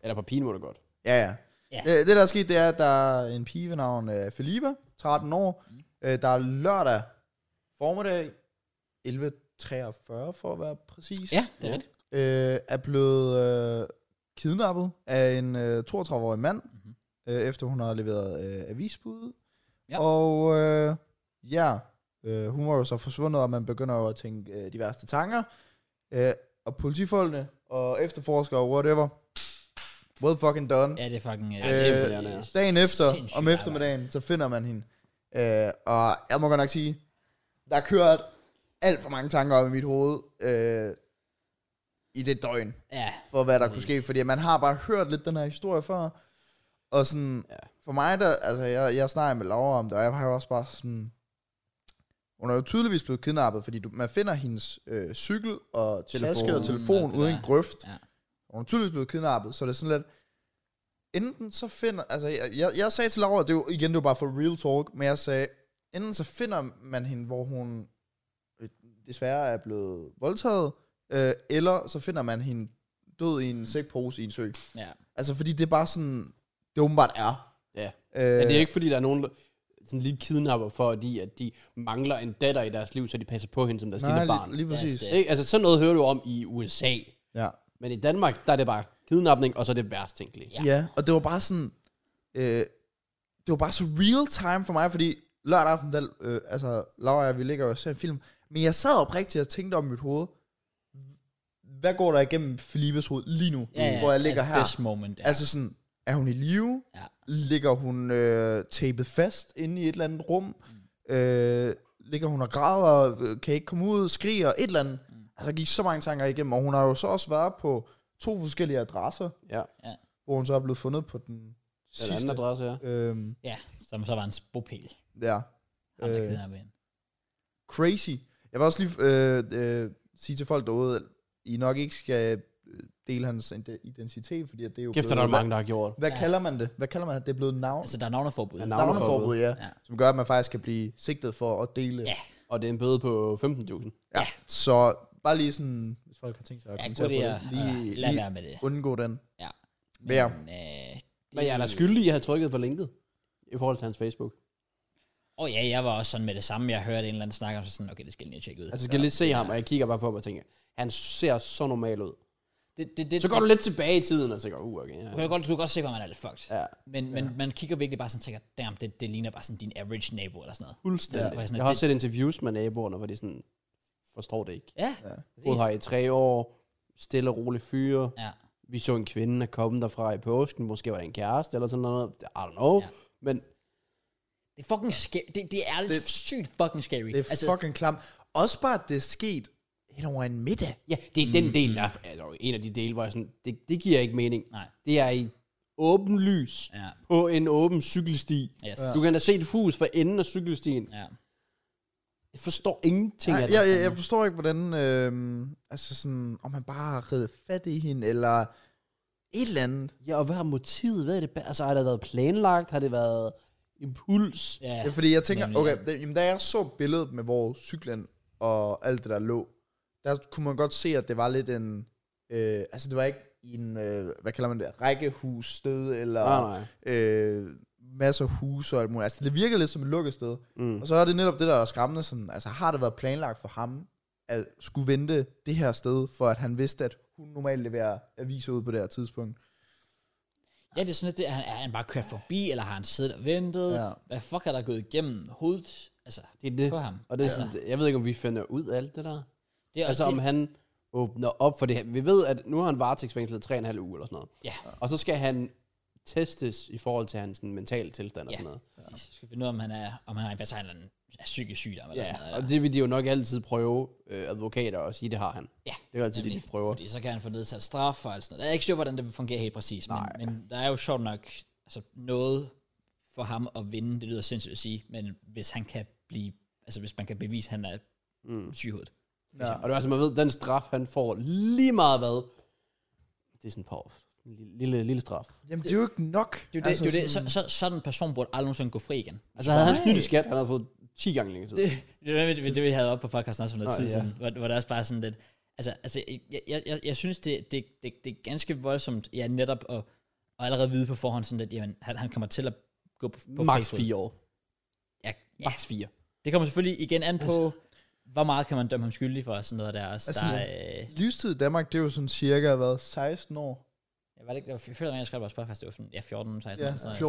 Speaker 2: Eller på pigen må du godt.
Speaker 3: ja ja.
Speaker 1: Ja.
Speaker 3: Øh, det der er sket, det er, at der er en pige ved navn øh, Felipa, 13 år,
Speaker 1: Mm.
Speaker 3: øh, der er lørdag formiddag, 11.43 for at være præcis.
Speaker 1: Ja, det er rigtigt.
Speaker 3: øh, er blevet øh, kidnappet af en øh, 32-årig mand,
Speaker 1: Mhm.
Speaker 3: mm-hmm. øh, efter hun har leveret øh, avisbud.
Speaker 1: Ja.
Speaker 3: Ja. Og øh, ja, øh, hun var jo så forsvundet, og man begynder jo at tænke øh, de værste tanker. Øh, og politifolkene og efterforskere og whatever, well fucking done.
Speaker 1: Ja, det er fucking...
Speaker 2: Ja, det er imponerende, ja.
Speaker 3: Øh, Dagen efter,
Speaker 1: Sindssygt
Speaker 3: om eftermiddagen, så finder man hende. Øh, og jeg må godt nok sige, der har kørt alt for mange tanker op i mit hoved øh, i det døgn,
Speaker 1: Ja,
Speaker 3: for hvad der
Speaker 1: Præcis.
Speaker 3: kunne ske. Fordi man har bare hørt lidt den her historie før. Og sådan,
Speaker 2: Ja.
Speaker 3: ja. for mig, der, altså jeg, jeg snakker med Laura om det, og jeg har jo også bare sådan... Hun er jo tydeligvis blevet kidnappet, fordi du, man finder hendes øh, cykel og telefon, taske
Speaker 2: Telefonen
Speaker 3: og
Speaker 2: og
Speaker 3: telefon
Speaker 1: det
Speaker 3: uden
Speaker 1: der.
Speaker 3: grøft.
Speaker 1: Ja.
Speaker 3: Hun er tydeligvis blevet kidnappet, så det er sådan lidt... Enten så finder... Altså, jeg, jeg, jeg sagde til Laura, det er jo, igen, det var bare for real talk, men jeg sagde, enten så finder man hende, hvor hun øh, desværre er blevet voldtaget, øh, eller så finder man hende død i en sækpose i en sø.
Speaker 1: ja.
Speaker 3: Altså, fordi det er bare sådan, det åbenbart er.
Speaker 2: Ja.
Speaker 3: Øh,
Speaker 2: Men det er ikke, fordi der er nogen, der sådan lige kidnapper, fordi at de mangler en datter i deres liv, så de passer på hende som deres
Speaker 3: nej,
Speaker 2: lille barn.
Speaker 3: lige, lige præcis.
Speaker 1: det-
Speaker 2: Ikke? Altså, sådan noget hører du om i USA.
Speaker 3: Ja.
Speaker 2: Men i Danmark, der er det bare kidnapning, og så er det værst tænkelige.
Speaker 1: Ja.
Speaker 3: Ja. ja, og det var bare sådan, øh, det var bare så real time for mig, fordi lørdag aften, der, øh, altså Laura og jeg, vi ligger jo og ser en film, men jeg sad oprigtigt og tænkte om mit hoved, hvad går der igennem Filipes hoved lige nu,
Speaker 1: Ja, ja,
Speaker 3: hvor jeg ligger
Speaker 1: at
Speaker 3: her?
Speaker 1: This moment. Ja.
Speaker 3: Altså sådan, er hun i live?
Speaker 1: Ja.
Speaker 3: Ligger hun øh, tapet fast inde i et eller andet rum? Mm. Øh, ligger hun og græder? øh, Kan ikke komme ud? Skriger? Et eller andet. Mm. Altså, der gik så mange tanker igennem, og hun har jo så også været på to forskellige adresser,
Speaker 2: ja.
Speaker 3: hvor hun så er blevet fundet på den
Speaker 2: Den anden
Speaker 3: sidste.
Speaker 2: adresse, ja.
Speaker 3: Øhm,
Speaker 1: ja, som så var en bopæl.
Speaker 3: ja.
Speaker 1: Ham, der
Speaker 3: Øh.
Speaker 1: kidnappede hende.
Speaker 3: Crazy. Jeg vil også lige øh, øh, sige til folk derude, at I nok ikke skal øh, dele hans ide- identitet, fordi at det er jo
Speaker 2: Kæft, der er der mange, der har gjort.
Speaker 3: Hvad,
Speaker 1: Ja.
Speaker 3: hvad kalder man det? Hvad kalder man det? Det er blevet navn.
Speaker 1: Altså, der er navneforbud.
Speaker 2: Ja,
Speaker 1: navn.
Speaker 2: navn- Navneforbud.
Speaker 3: navneforbud, ja,
Speaker 1: Ja.
Speaker 3: ja. Som gør, at man faktisk kan blive sigtet for at dele.
Speaker 1: Ja.
Speaker 2: Og det er en bøde på 15.000.
Speaker 3: ja. Så bare lige sådan, hvis folk har tænkt sig at
Speaker 1: Ja,
Speaker 3: kommentere
Speaker 1: god
Speaker 3: på
Speaker 1: idé.
Speaker 3: det, lige,
Speaker 1: Lad
Speaker 3: lige
Speaker 1: være med det.
Speaker 3: undgå den.
Speaker 1: Ja.
Speaker 3: Men ja.
Speaker 1: øh,
Speaker 2: Men jeg er da skyldig, at jeg har trykket på linket i forhold til hans Facebook.
Speaker 1: Og ja, jeg var også sådan med det samme. Jeg hørte en eller anden snakke om så sådan, okay, det skal jeg lige tjekke ud.
Speaker 2: Altså, jeg skal lige se ham, og jeg kigger bare på ham og tænker, han ser så normal ud.
Speaker 1: det, det, det,
Speaker 2: Så går du lidt tilbage i tiden, og så går, uh, okay.
Speaker 1: Du kan,
Speaker 2: Ja.
Speaker 1: godt, du kan godt se, hvor man er lidt fucked.
Speaker 2: ja.
Speaker 1: Men, men man kigger virkelig bare sådan og tænker, damn, det, det ligner bare sådan din average nabo eller sådan noget.
Speaker 2: Fuldstændig.
Speaker 1: Ja.
Speaker 2: Jeg har også set interviews med naboerne, hvor de sådan, forstår det ikke.
Speaker 1: Ja,
Speaker 2: Boet her i tre år, stille og rolig fyre.
Speaker 1: ja.
Speaker 2: Vi så en kvinde der komme derfra i påsken, måske var det en kæreste eller sådan noget. I don't know.
Speaker 1: Ja.
Speaker 2: Ja. Men
Speaker 1: Det er fucking scary. Det, det er det,
Speaker 3: Det-
Speaker 1: sygt fucking scary.
Speaker 3: Det er altså, fucking klamt. Også bare, at det er sket hen over en middag.
Speaker 2: ja, det er mm. den del, der er, altså, en af de dele, hvor jeg sådan, det, det giver ikke mening.
Speaker 1: Nej.
Speaker 2: Det er i åben lys
Speaker 1: Ja.
Speaker 2: på en åben cykelsti.
Speaker 1: Yes.
Speaker 2: Du kan da se et hus fra enden af cykelstien.
Speaker 1: Ja.
Speaker 2: Jeg forstår ingenting
Speaker 3: Nej,
Speaker 2: af det.
Speaker 3: jeg, jeg, jeg forstår ikke, hvordan... Øh, altså sådan, om han bare har reddet fat i hende, eller et eller andet.
Speaker 2: Ja, og hvad har motivet været? Det, altså, har det været planlagt? Har det været impuls?
Speaker 1: Ja.
Speaker 3: Ja, fordi jeg tænker,
Speaker 1: nemlig,
Speaker 3: okay,
Speaker 1: ja.
Speaker 3: da, jamen, da jeg så billedet med, hvor cyklen og alt det der lå, der kunne man godt se, at det var lidt en, øh, altså det var ikke i en, øh, hvad kalder man det, rækkehus sted,
Speaker 2: Nej,
Speaker 3: eller
Speaker 2: nej.
Speaker 3: øh, masser af huse og alt muligt. Altså det virkede lidt som et lukket sted.
Speaker 2: Mm.
Speaker 3: Og så er det netop det, der er skræmmende, sådan, altså har det været planlagt for ham, at skulle vente det her sted, for at han vidste, at hun normalt leverer aviser ud på det her tidspunkt.
Speaker 1: ja, det er sådan lidt, det, er, han, er han bare kørt forbi, eller har han siddet og ventet? Ja.
Speaker 3: Ja.
Speaker 1: Hvad fuck er der gået igennem hovedet? Altså,
Speaker 2: Det er det.
Speaker 1: på ham. Altså,
Speaker 2: Og det er sådan, jeg ved ikke, om vi finder ud af alt det der.
Speaker 1: det er
Speaker 2: Altså,
Speaker 1: det,
Speaker 2: om han åbner op for det her. Vi ved, at nu har han varetægtsfængslet 3,5 uger eller sådan noget.
Speaker 1: Ja,
Speaker 2: Og så skal han testes i forhold til hans sådan, mentale tilstand og
Speaker 1: Ja.
Speaker 2: sådan noget.
Speaker 1: præcis. Skal vi finde ud af, om han er, om han er, hvad en eller anden er psykisk sygdom eller
Speaker 2: Ja,
Speaker 1: sådan noget.
Speaker 2: og det vil de jo nok altid prøve, øh, advokater, og sige, det har han.
Speaker 1: Ja,
Speaker 2: Det er jo altid det,
Speaker 1: nemlig.
Speaker 2: de prøver.
Speaker 1: Fordi så kan han få nedsat straf og alt sådan noget. Jeg er ikke sikker, på, hvordan det fungerer helt præcis, men,
Speaker 2: Nej.
Speaker 1: men der er jo sjovt nok altså, noget for ham at vinde, det lyder sindssygt at sige, men hvis han kan blive, altså hvis man kan bevise, at han er
Speaker 2: Mm.
Speaker 1: sygehovedet.
Speaker 3: Ja.
Speaker 2: Og det er altså, man ved, den straf, han får lige meget hvad, det er sådan et par år. Lille, lille, lille straf.
Speaker 3: Jamen, det er jo ikke nok.
Speaker 1: Det er jo det, altså, det, er jo det. Så, så, sådan en person burde aldrig nogensinde gå fri igen.
Speaker 2: Altså, havde han
Speaker 3: Nej.
Speaker 2: snydt i skat, han havde fået 10 gange længere tid.
Speaker 1: Det, det, var det, det, det, vi havde op på podcasten også for noget
Speaker 2: Nå,
Speaker 1: tid
Speaker 2: ja.
Speaker 1: siden, hvor, hvor det også bare sådan lidt, altså, altså jeg, jeg, jeg, jeg synes, det, det, det, det er ganske voldsomt, ja, netop at, at allerede vide på forhånd sådan lidt, jamen, han, han kommer til at gå på, på
Speaker 2: Max
Speaker 1: fri fod.
Speaker 2: 4 år.
Speaker 1: Ja, ja,
Speaker 2: Max 4.
Speaker 1: Det kommer selvfølgelig igen an på,
Speaker 2: Altså-
Speaker 1: hvor meget kan man dømme ham skyldig for, og sådan noget der også.
Speaker 3: Altså,
Speaker 1: der, er, øh,
Speaker 3: Livstid i Danmark, det er jo sådan cirka, hvad, 16 år?
Speaker 1: jeg, var det ikke, jeg føler, at jeg skrev vores podcast, det var sådan, ja, 14, 16,
Speaker 3: Ja,
Speaker 1: eller sådan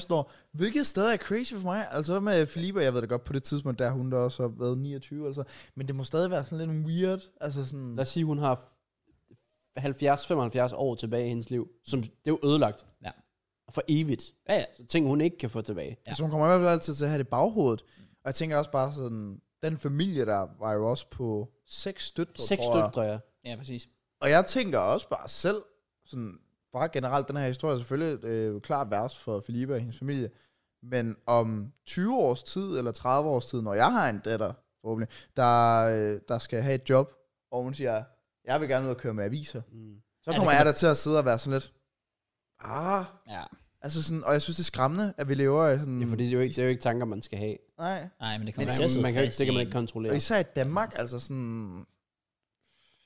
Speaker 1: noget.
Speaker 3: 14-16 år. Hvilket stadig er crazy for mig. Altså med Filipe, jeg ved det godt, på det tidspunkt, der hun der også har været 29, altså. Men det må stadig være sådan lidt weird. Altså sådan...
Speaker 2: Lad os sige, hun har 70-75 år tilbage i hendes liv. Som, det er jo ødelagt.
Speaker 1: Ja.
Speaker 2: For evigt.
Speaker 1: Ja, ja.
Speaker 2: Så ting, hun ikke kan få tilbage.
Speaker 1: Ja.
Speaker 3: Ja. Altså hun kommer i hvert fald altid til at have det i baghovedet. Og jeg tænker også bare sådan, den familie der var jo også på seks støtter,
Speaker 2: Seks
Speaker 3: tror jeg.
Speaker 2: stykker, ja.
Speaker 1: ja, præcis.
Speaker 3: Og jeg tænker også bare selv, sådan, bare generelt den her historie er selvfølgelig øh, klart værst for Filipe og hendes familie. Men om 20 års tid eller 30 års tid, når jeg har en datter, forhåbentlig, der, øh, der skal have et job, og hun siger, jeg vil gerne ud og køre med aviser,
Speaker 2: Mm.
Speaker 3: så
Speaker 1: det
Speaker 3: kommer
Speaker 1: kan
Speaker 3: jeg der til at sidde og være sådan lidt, ah,
Speaker 1: Ja.
Speaker 3: altså sådan, og jeg synes, det er skræmmende, at vi lever i sådan...
Speaker 2: Ja, fordi det er, jo ikke, det er jo ikke tanker, man skal have.
Speaker 3: Nej.
Speaker 1: Nej, men det
Speaker 2: Men
Speaker 1: kommer til at
Speaker 2: man,
Speaker 1: sidde
Speaker 2: man kan, jo ikke-
Speaker 1: fast
Speaker 2: det kan man
Speaker 1: i
Speaker 2: ikke
Speaker 1: en.
Speaker 2: kontrollere.
Speaker 3: Og især i Danmark, altså sådan...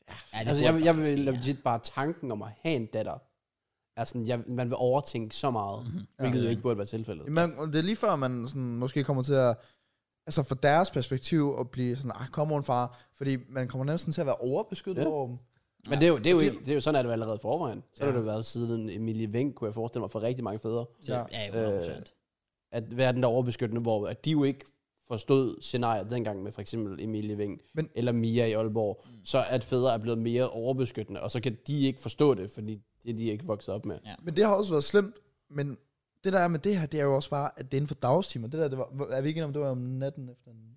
Speaker 1: Ja, det
Speaker 2: Altså,
Speaker 1: burde
Speaker 2: jeg, jeg vil
Speaker 1: faktisk, ja.
Speaker 2: legit bare tanken om at have en datter. Altså, jeg, man vil overtænke så meget,
Speaker 1: Mhm.
Speaker 2: mm-hmm. hvilket jo ikke burde være tilfældet.
Speaker 3: Man, det er lige før, man sådan, måske kommer til at... Altså fra deres perspektiv at blive sådan, ah, kom on far, fordi man kommer næsten til at være overbeskyttet
Speaker 2: Ja.
Speaker 3: ja. over dem.
Speaker 2: Men det er jo, det er jo, ikke, det er jo sådan, at det var allerede i forvejen. Så har det jo været siden Emilie Vink, kunne jeg forestille mig, for rigtig mange fædre,
Speaker 1: Så, ja,
Speaker 2: Øh,
Speaker 1: 100%.
Speaker 2: at være den der overbeskyttende, hvor at de jo ikke forstod scenariet dengang med for eksempel Emilie Vink Men,
Speaker 3: Men-
Speaker 2: eller Mia i Aalborg, mm. så at fædre er blevet mere overbeskyttende, og så kan de ikke forstå det, fordi det er de ikke vokset op med.
Speaker 1: Ja.
Speaker 3: Men det har også været slemt, men det der er med det her, det er jo også bare, at det er inden for dagstimer. Det der, det var, er vi ikke enige om, det var om natten efter en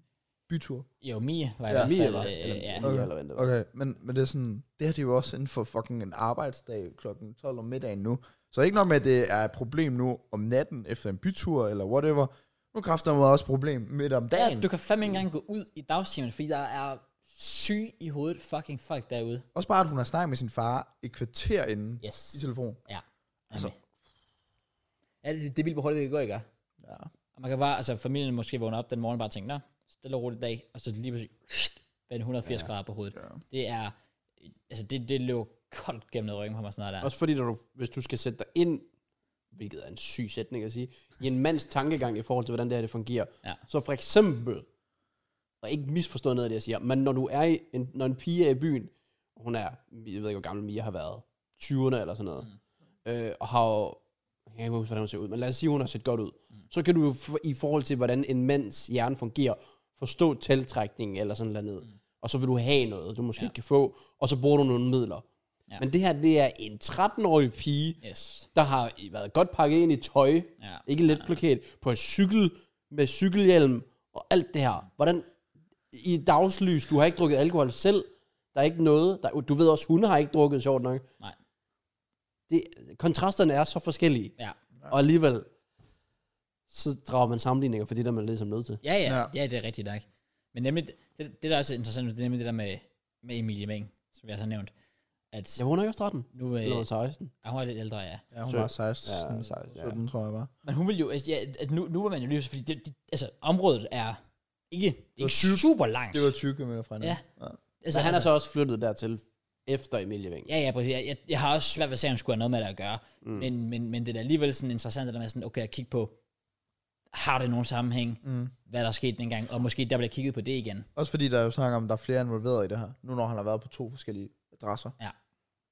Speaker 3: bytur?
Speaker 1: Jo, Mia var i
Speaker 3: Ja,
Speaker 1: hvert
Speaker 2: Mia
Speaker 1: fald...
Speaker 2: var,
Speaker 1: øh,
Speaker 2: eller,
Speaker 1: ja.
Speaker 2: Mia
Speaker 3: Okay.
Speaker 2: eller hvad det var.
Speaker 3: Okay, men, men det er sådan, det her det er jo også inden for fucking en arbejdsdag kl. 12 om middagen nu. Så ikke nok med, at det er et problem nu om natten efter en bytur eller whatever. Nu kræfter man også et problem midt om
Speaker 1: Der,
Speaker 3: dagen.
Speaker 1: du kan fandme ikke engang gå ud i dagstimerne, fordi der er syg i hovedet fucking folk derude.
Speaker 3: Også bare, at hun har snakket med sin far et kvarter inden
Speaker 1: Yes.
Speaker 3: i telefon.
Speaker 1: Ja. Altså. Ja, det, det er vildt, hvor hurtigt det går, ikke?
Speaker 3: Ja.
Speaker 1: Og man kan bare, altså familien måske vågner op den morgen og bare tænker, nå, stille og roligt dag, og så lige pludselig vende 180 ja. grader på hovedet. Ja. Det er, altså det, det løber koldt gennem ryggen på mig snart der.
Speaker 2: Også fordi, når du, hvis du skal sætte dig ind, hvilket er en syg sætning at sige, i en mands tankegang i forhold til, hvordan det her det fungerer.
Speaker 1: Ja.
Speaker 2: Så for eksempel, og ikke misforstå noget af det, jeg siger, men når du er i en, når en pige er i byen, og hun er, jeg ved ikke, hvor gammel Mia har været, 20'erne eller sådan noget, mm. øh, og har jo, jeg kan ikke huske, hvordan hun ser ud, men lad os sige, hun har set godt ud, mm. så kan du jo for- i forhold til, hvordan en mands hjerne fungerer, forstå tiltrækning eller sådan noget, mm. og så vil du have noget, du måske
Speaker 1: Ja.
Speaker 2: ja. kan få, og så bruger du nogle midler.
Speaker 1: Ja.
Speaker 2: Ja. Men det her, det er en 13-årig pige,
Speaker 1: Yes.
Speaker 2: der har været godt pakket ind i tøj,
Speaker 1: Ja.
Speaker 2: ikke let plakat, på en cykel, med cykelhjelm og alt det her. Hvordan, i dagslys, du har ikke drukket alkohol selv, der er ikke noget, der, du ved også, hunde har ikke drukket, sjovt nok.
Speaker 1: Nej.
Speaker 2: Det, kontrasterne er så forskellige,
Speaker 1: Ja.
Speaker 2: og alligevel, så drager man sammenligninger for det, der man er ligesom nødt til.
Speaker 1: Ja, ja,
Speaker 3: Ja.
Speaker 1: ja, det er rigtigt nok. Men nemlig, det, det der er også interessant, det er nemlig det der med, med Emilie Meng, som jeg så har nævnt, at
Speaker 2: Ja, hun er ikke også 13.
Speaker 1: nu øh,
Speaker 2: Eller 16.
Speaker 1: er hun er lidt ældre, ja.
Speaker 3: Ja, hun
Speaker 2: Så-
Speaker 3: var 16,
Speaker 2: ja,
Speaker 3: ja,
Speaker 2: 16,
Speaker 3: 16
Speaker 2: ja.
Speaker 3: 17, tror jeg bare.
Speaker 1: Men hun vil jo, altså, ja, at nu, nu er man jo lige, fordi det, det, altså, området er ikke, det er ikke super langt.
Speaker 3: Det var 20 km fra hende.
Speaker 1: Ja.
Speaker 3: ja.
Speaker 1: altså,
Speaker 2: Så han er så også flyttet dertil, efter Emilie Veng.
Speaker 1: Ja, ja, præcis. Jeg, jeg, jeg har også svært ved at se, om det skulle have noget med det at gøre. Mm. Men, men, men det er da alligevel sådan interessant, at der er sådan, okay, at kigge på, har det nogen sammenhæng, mm. hvad der er sket dengang, og måske der bliver kigget på det igen.
Speaker 3: Også fordi der er jo snak om, at der er flere involveret i det her. Nu når han har været på to forskellige adresser.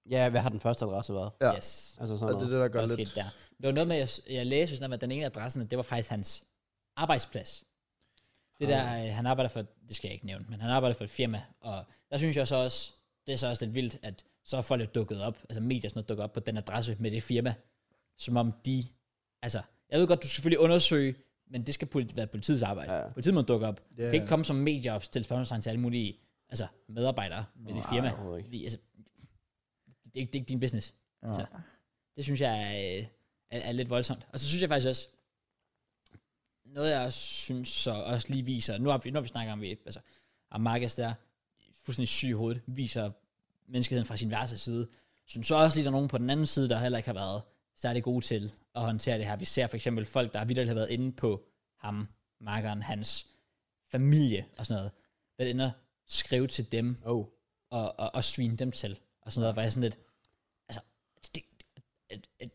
Speaker 2: Ja, hvad har den første adresse været?
Speaker 3: Ja.
Speaker 1: Yes.
Speaker 2: Altså
Speaker 3: Og
Speaker 2: sådan
Speaker 3: det er
Speaker 2: noget.
Speaker 3: det, der
Speaker 1: Hvad
Speaker 3: gør
Speaker 1: der
Speaker 3: lidt...
Speaker 1: skete der. Det var noget med, at jeg, jeg læste sådan, noget med, at den ene af adresserne, det var faktisk hans arbejdsplads. Det der, øh, han arbejder for, det skal jeg ikke nævne, men han arbejder for et firma, og der synes jeg så også, det er så også lidt vildt, at så er folk jo dukket op, altså medier og sådan noget, dukket op på den adresse med det firma, som om de, altså, jeg ved godt, du skal selvfølgelig undersøge, men det skal politi- være politiets arbejde.
Speaker 2: Ja.
Speaker 1: Ja. Politiet må dukke op. Yeah.
Speaker 3: Ja.
Speaker 1: kan ikke komme som medier og stille spørgsmålstegn til alle mulige altså, medarbejdere ved dit
Speaker 2: Nej,
Speaker 1: firma.
Speaker 2: overhovedet ikke.
Speaker 1: Fordi, altså, det, er ikke, det er ikke din business.
Speaker 3: Ja.
Speaker 1: Altså, det synes jeg er, er, er lidt voldsomt. Og så synes jeg faktisk også, noget jeg også synes så også lige viser, nu har vi, når vi snakker om, vi, altså, om Marcus der, fuldstændig syg i hovedet, viser menneskeheden fra sin værste side, synes så også lige, der er nogen på den anden side, der heller ikke har været særlig gode til at håndtere det her. Vi ser for eksempel folk, der vidderligt har været inde på ham, markeren, hans familie og sådan noget, der ender at skrive til dem
Speaker 2: Oh.
Speaker 1: og, og, og svine dem til, og sådan noget, var jeg sådan lidt, altså, det, at, at,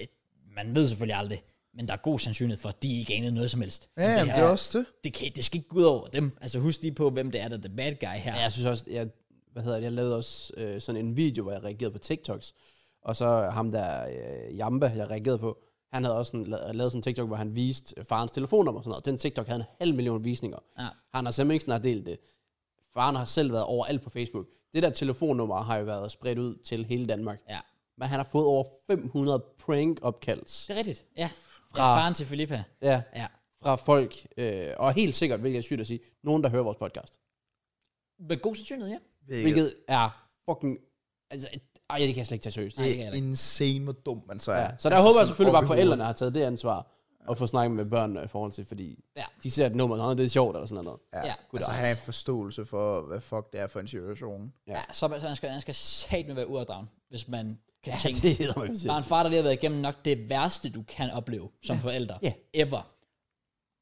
Speaker 1: at, man ved selvfølgelig aldrig, men der er god sandsynlighed for, at de ikke anede noget som helst.
Speaker 3: Ja,
Speaker 1: Men
Speaker 3: jamen, det er også det.
Speaker 1: det, kan, det skal ikke gå ud over dem. Altså husk lige på, hvem det er, der er the bad guy her.
Speaker 2: Ja, jeg synes også, jeg, hvad hedder det, jeg lavede også øh, sådan en video, hvor jeg reagerede på TikToks. Og så ham der, øh, Jamba, jeg reagerede på, han havde også sådan, la- lavet sådan en TikTok, hvor han viste øh, farens telefonnummer og sådan noget. Den TikTok havde en halv million visninger.
Speaker 1: Ja.
Speaker 2: Han har simpelthen ikke snart delt det. Faren har selv været overalt på Facebook. Det der telefonnummer har jo været spredt ud til hele Danmark.
Speaker 1: ja.
Speaker 2: Men han har fået over 500 prank-opkalds
Speaker 1: Det er rigtigt. Ja. Fra
Speaker 2: Fra-
Speaker 1: ja, faren til Filippa.
Speaker 2: ja,
Speaker 1: Ja.
Speaker 2: fra folk. Øh, og helt sikkert, hvilket er sygt at sige, nogen, der hører vores podcast.
Speaker 1: Med god sandsynlighed, ja.
Speaker 3: Hvilket,
Speaker 2: Hvilket er fucking... Altså, ej, det kan jeg slet ikke tage seriøst.
Speaker 1: Nej, det
Speaker 3: det
Speaker 1: kan jeg
Speaker 3: er
Speaker 1: da ikke.
Speaker 3: insane, hvor dum man så er.
Speaker 2: Ja. Så der altså håber jeg
Speaker 3: sådan
Speaker 2: selvfølgelig
Speaker 3: op
Speaker 2: bare,
Speaker 3: i
Speaker 2: at forældrene har taget det ansvar og få snakket med børnene i forhold til, fordi
Speaker 1: Ja.
Speaker 2: de ser et nummer, og det er sjovt eller sådan noget.
Speaker 3: hovedet.
Speaker 1: Ja,
Speaker 3: Ja, altså,
Speaker 1: præcis.
Speaker 3: han har en forståelse for, hvad fuck det er for en situation.
Speaker 2: Ja.
Speaker 1: ja. så, så han skal, han skal satme med være uaddragen, hvis man kan ja,
Speaker 2: Ja,
Speaker 1: tænke,
Speaker 2: det hedder man
Speaker 1: der er en
Speaker 2: sindssygt.
Speaker 1: far, der lige har været igennem nok det værste, du kan opleve som ja. forælder.
Speaker 2: Ja.
Speaker 1: Ever.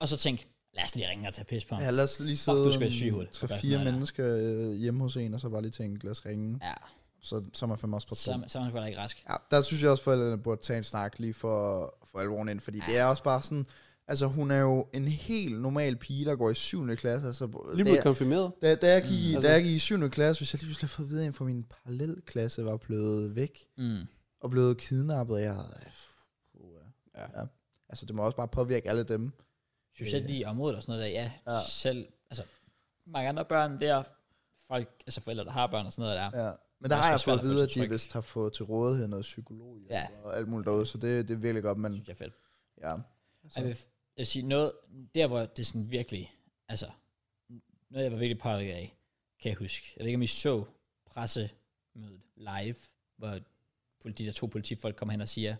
Speaker 1: Og så tænk, lad os lige ringe og tage pis på ham.
Speaker 3: Ja, lad os lige
Speaker 1: Fuck, du skal være syg i
Speaker 3: sidde
Speaker 1: hovedet. Bare sådan
Speaker 3: 3-4
Speaker 1: noget der.
Speaker 3: mennesker øh, hjemme hos en, og så bare lige tænke, lad os ringe.
Speaker 1: ja.
Speaker 3: Så, så er man fandme også på
Speaker 1: Så,
Speaker 3: to.
Speaker 1: så er man sgu da ikke rask.
Speaker 3: Ja, der synes jeg også, forældrene burde tage en snak lige for, for alvoren ind, fordi ja. det er også bare sådan, altså hun er jo en helt normal pige, der går i 7. klasse. Altså,
Speaker 2: Lige
Speaker 3: det
Speaker 2: blevet
Speaker 3: er,
Speaker 2: konfirmeret.
Speaker 3: da, da, jeg gik, mm,
Speaker 2: altså-
Speaker 3: da jeg gik i 7. klasse, hvis jeg lige pludselig havde fået at vide, at en fra min parallelklasse var blevet væk,
Speaker 1: Mm.
Speaker 3: og blevet kidnappet, og jeg havde, øh, puha.
Speaker 2: Ja.
Speaker 3: ja. Altså, det må også bare påvirke alle dem.
Speaker 1: Specielt lige i området og sådan noget der, ja,
Speaker 3: Ja.
Speaker 1: ja. selv, altså, mange andre børn, det er folk, altså forældre, der har børn og sådan noget der. Ja.
Speaker 3: Ja. Men
Speaker 1: Det
Speaker 3: der
Speaker 1: er
Speaker 3: har
Speaker 1: også
Speaker 3: jeg
Speaker 1: svært at
Speaker 3: fået at
Speaker 1: føle
Speaker 3: vide,
Speaker 1: sig
Speaker 3: at de
Speaker 1: tryg.
Speaker 3: vist har fået til rådighed noget psykolog
Speaker 1: Ja.
Speaker 3: og alt muligt derude, så det, det er virkelig godt,
Speaker 1: Det
Speaker 3: men
Speaker 1: synes jeg er fedt.
Speaker 3: ja.
Speaker 1: Jeg vil, jeg vil sige noget, der hvor det sådan virkelig, altså, noget jeg var virkelig påvirket af, kan jeg huske. Jeg ved ikke, om I så pressemødet live, hvor politi, de der to politifolk kommer hen og siger, at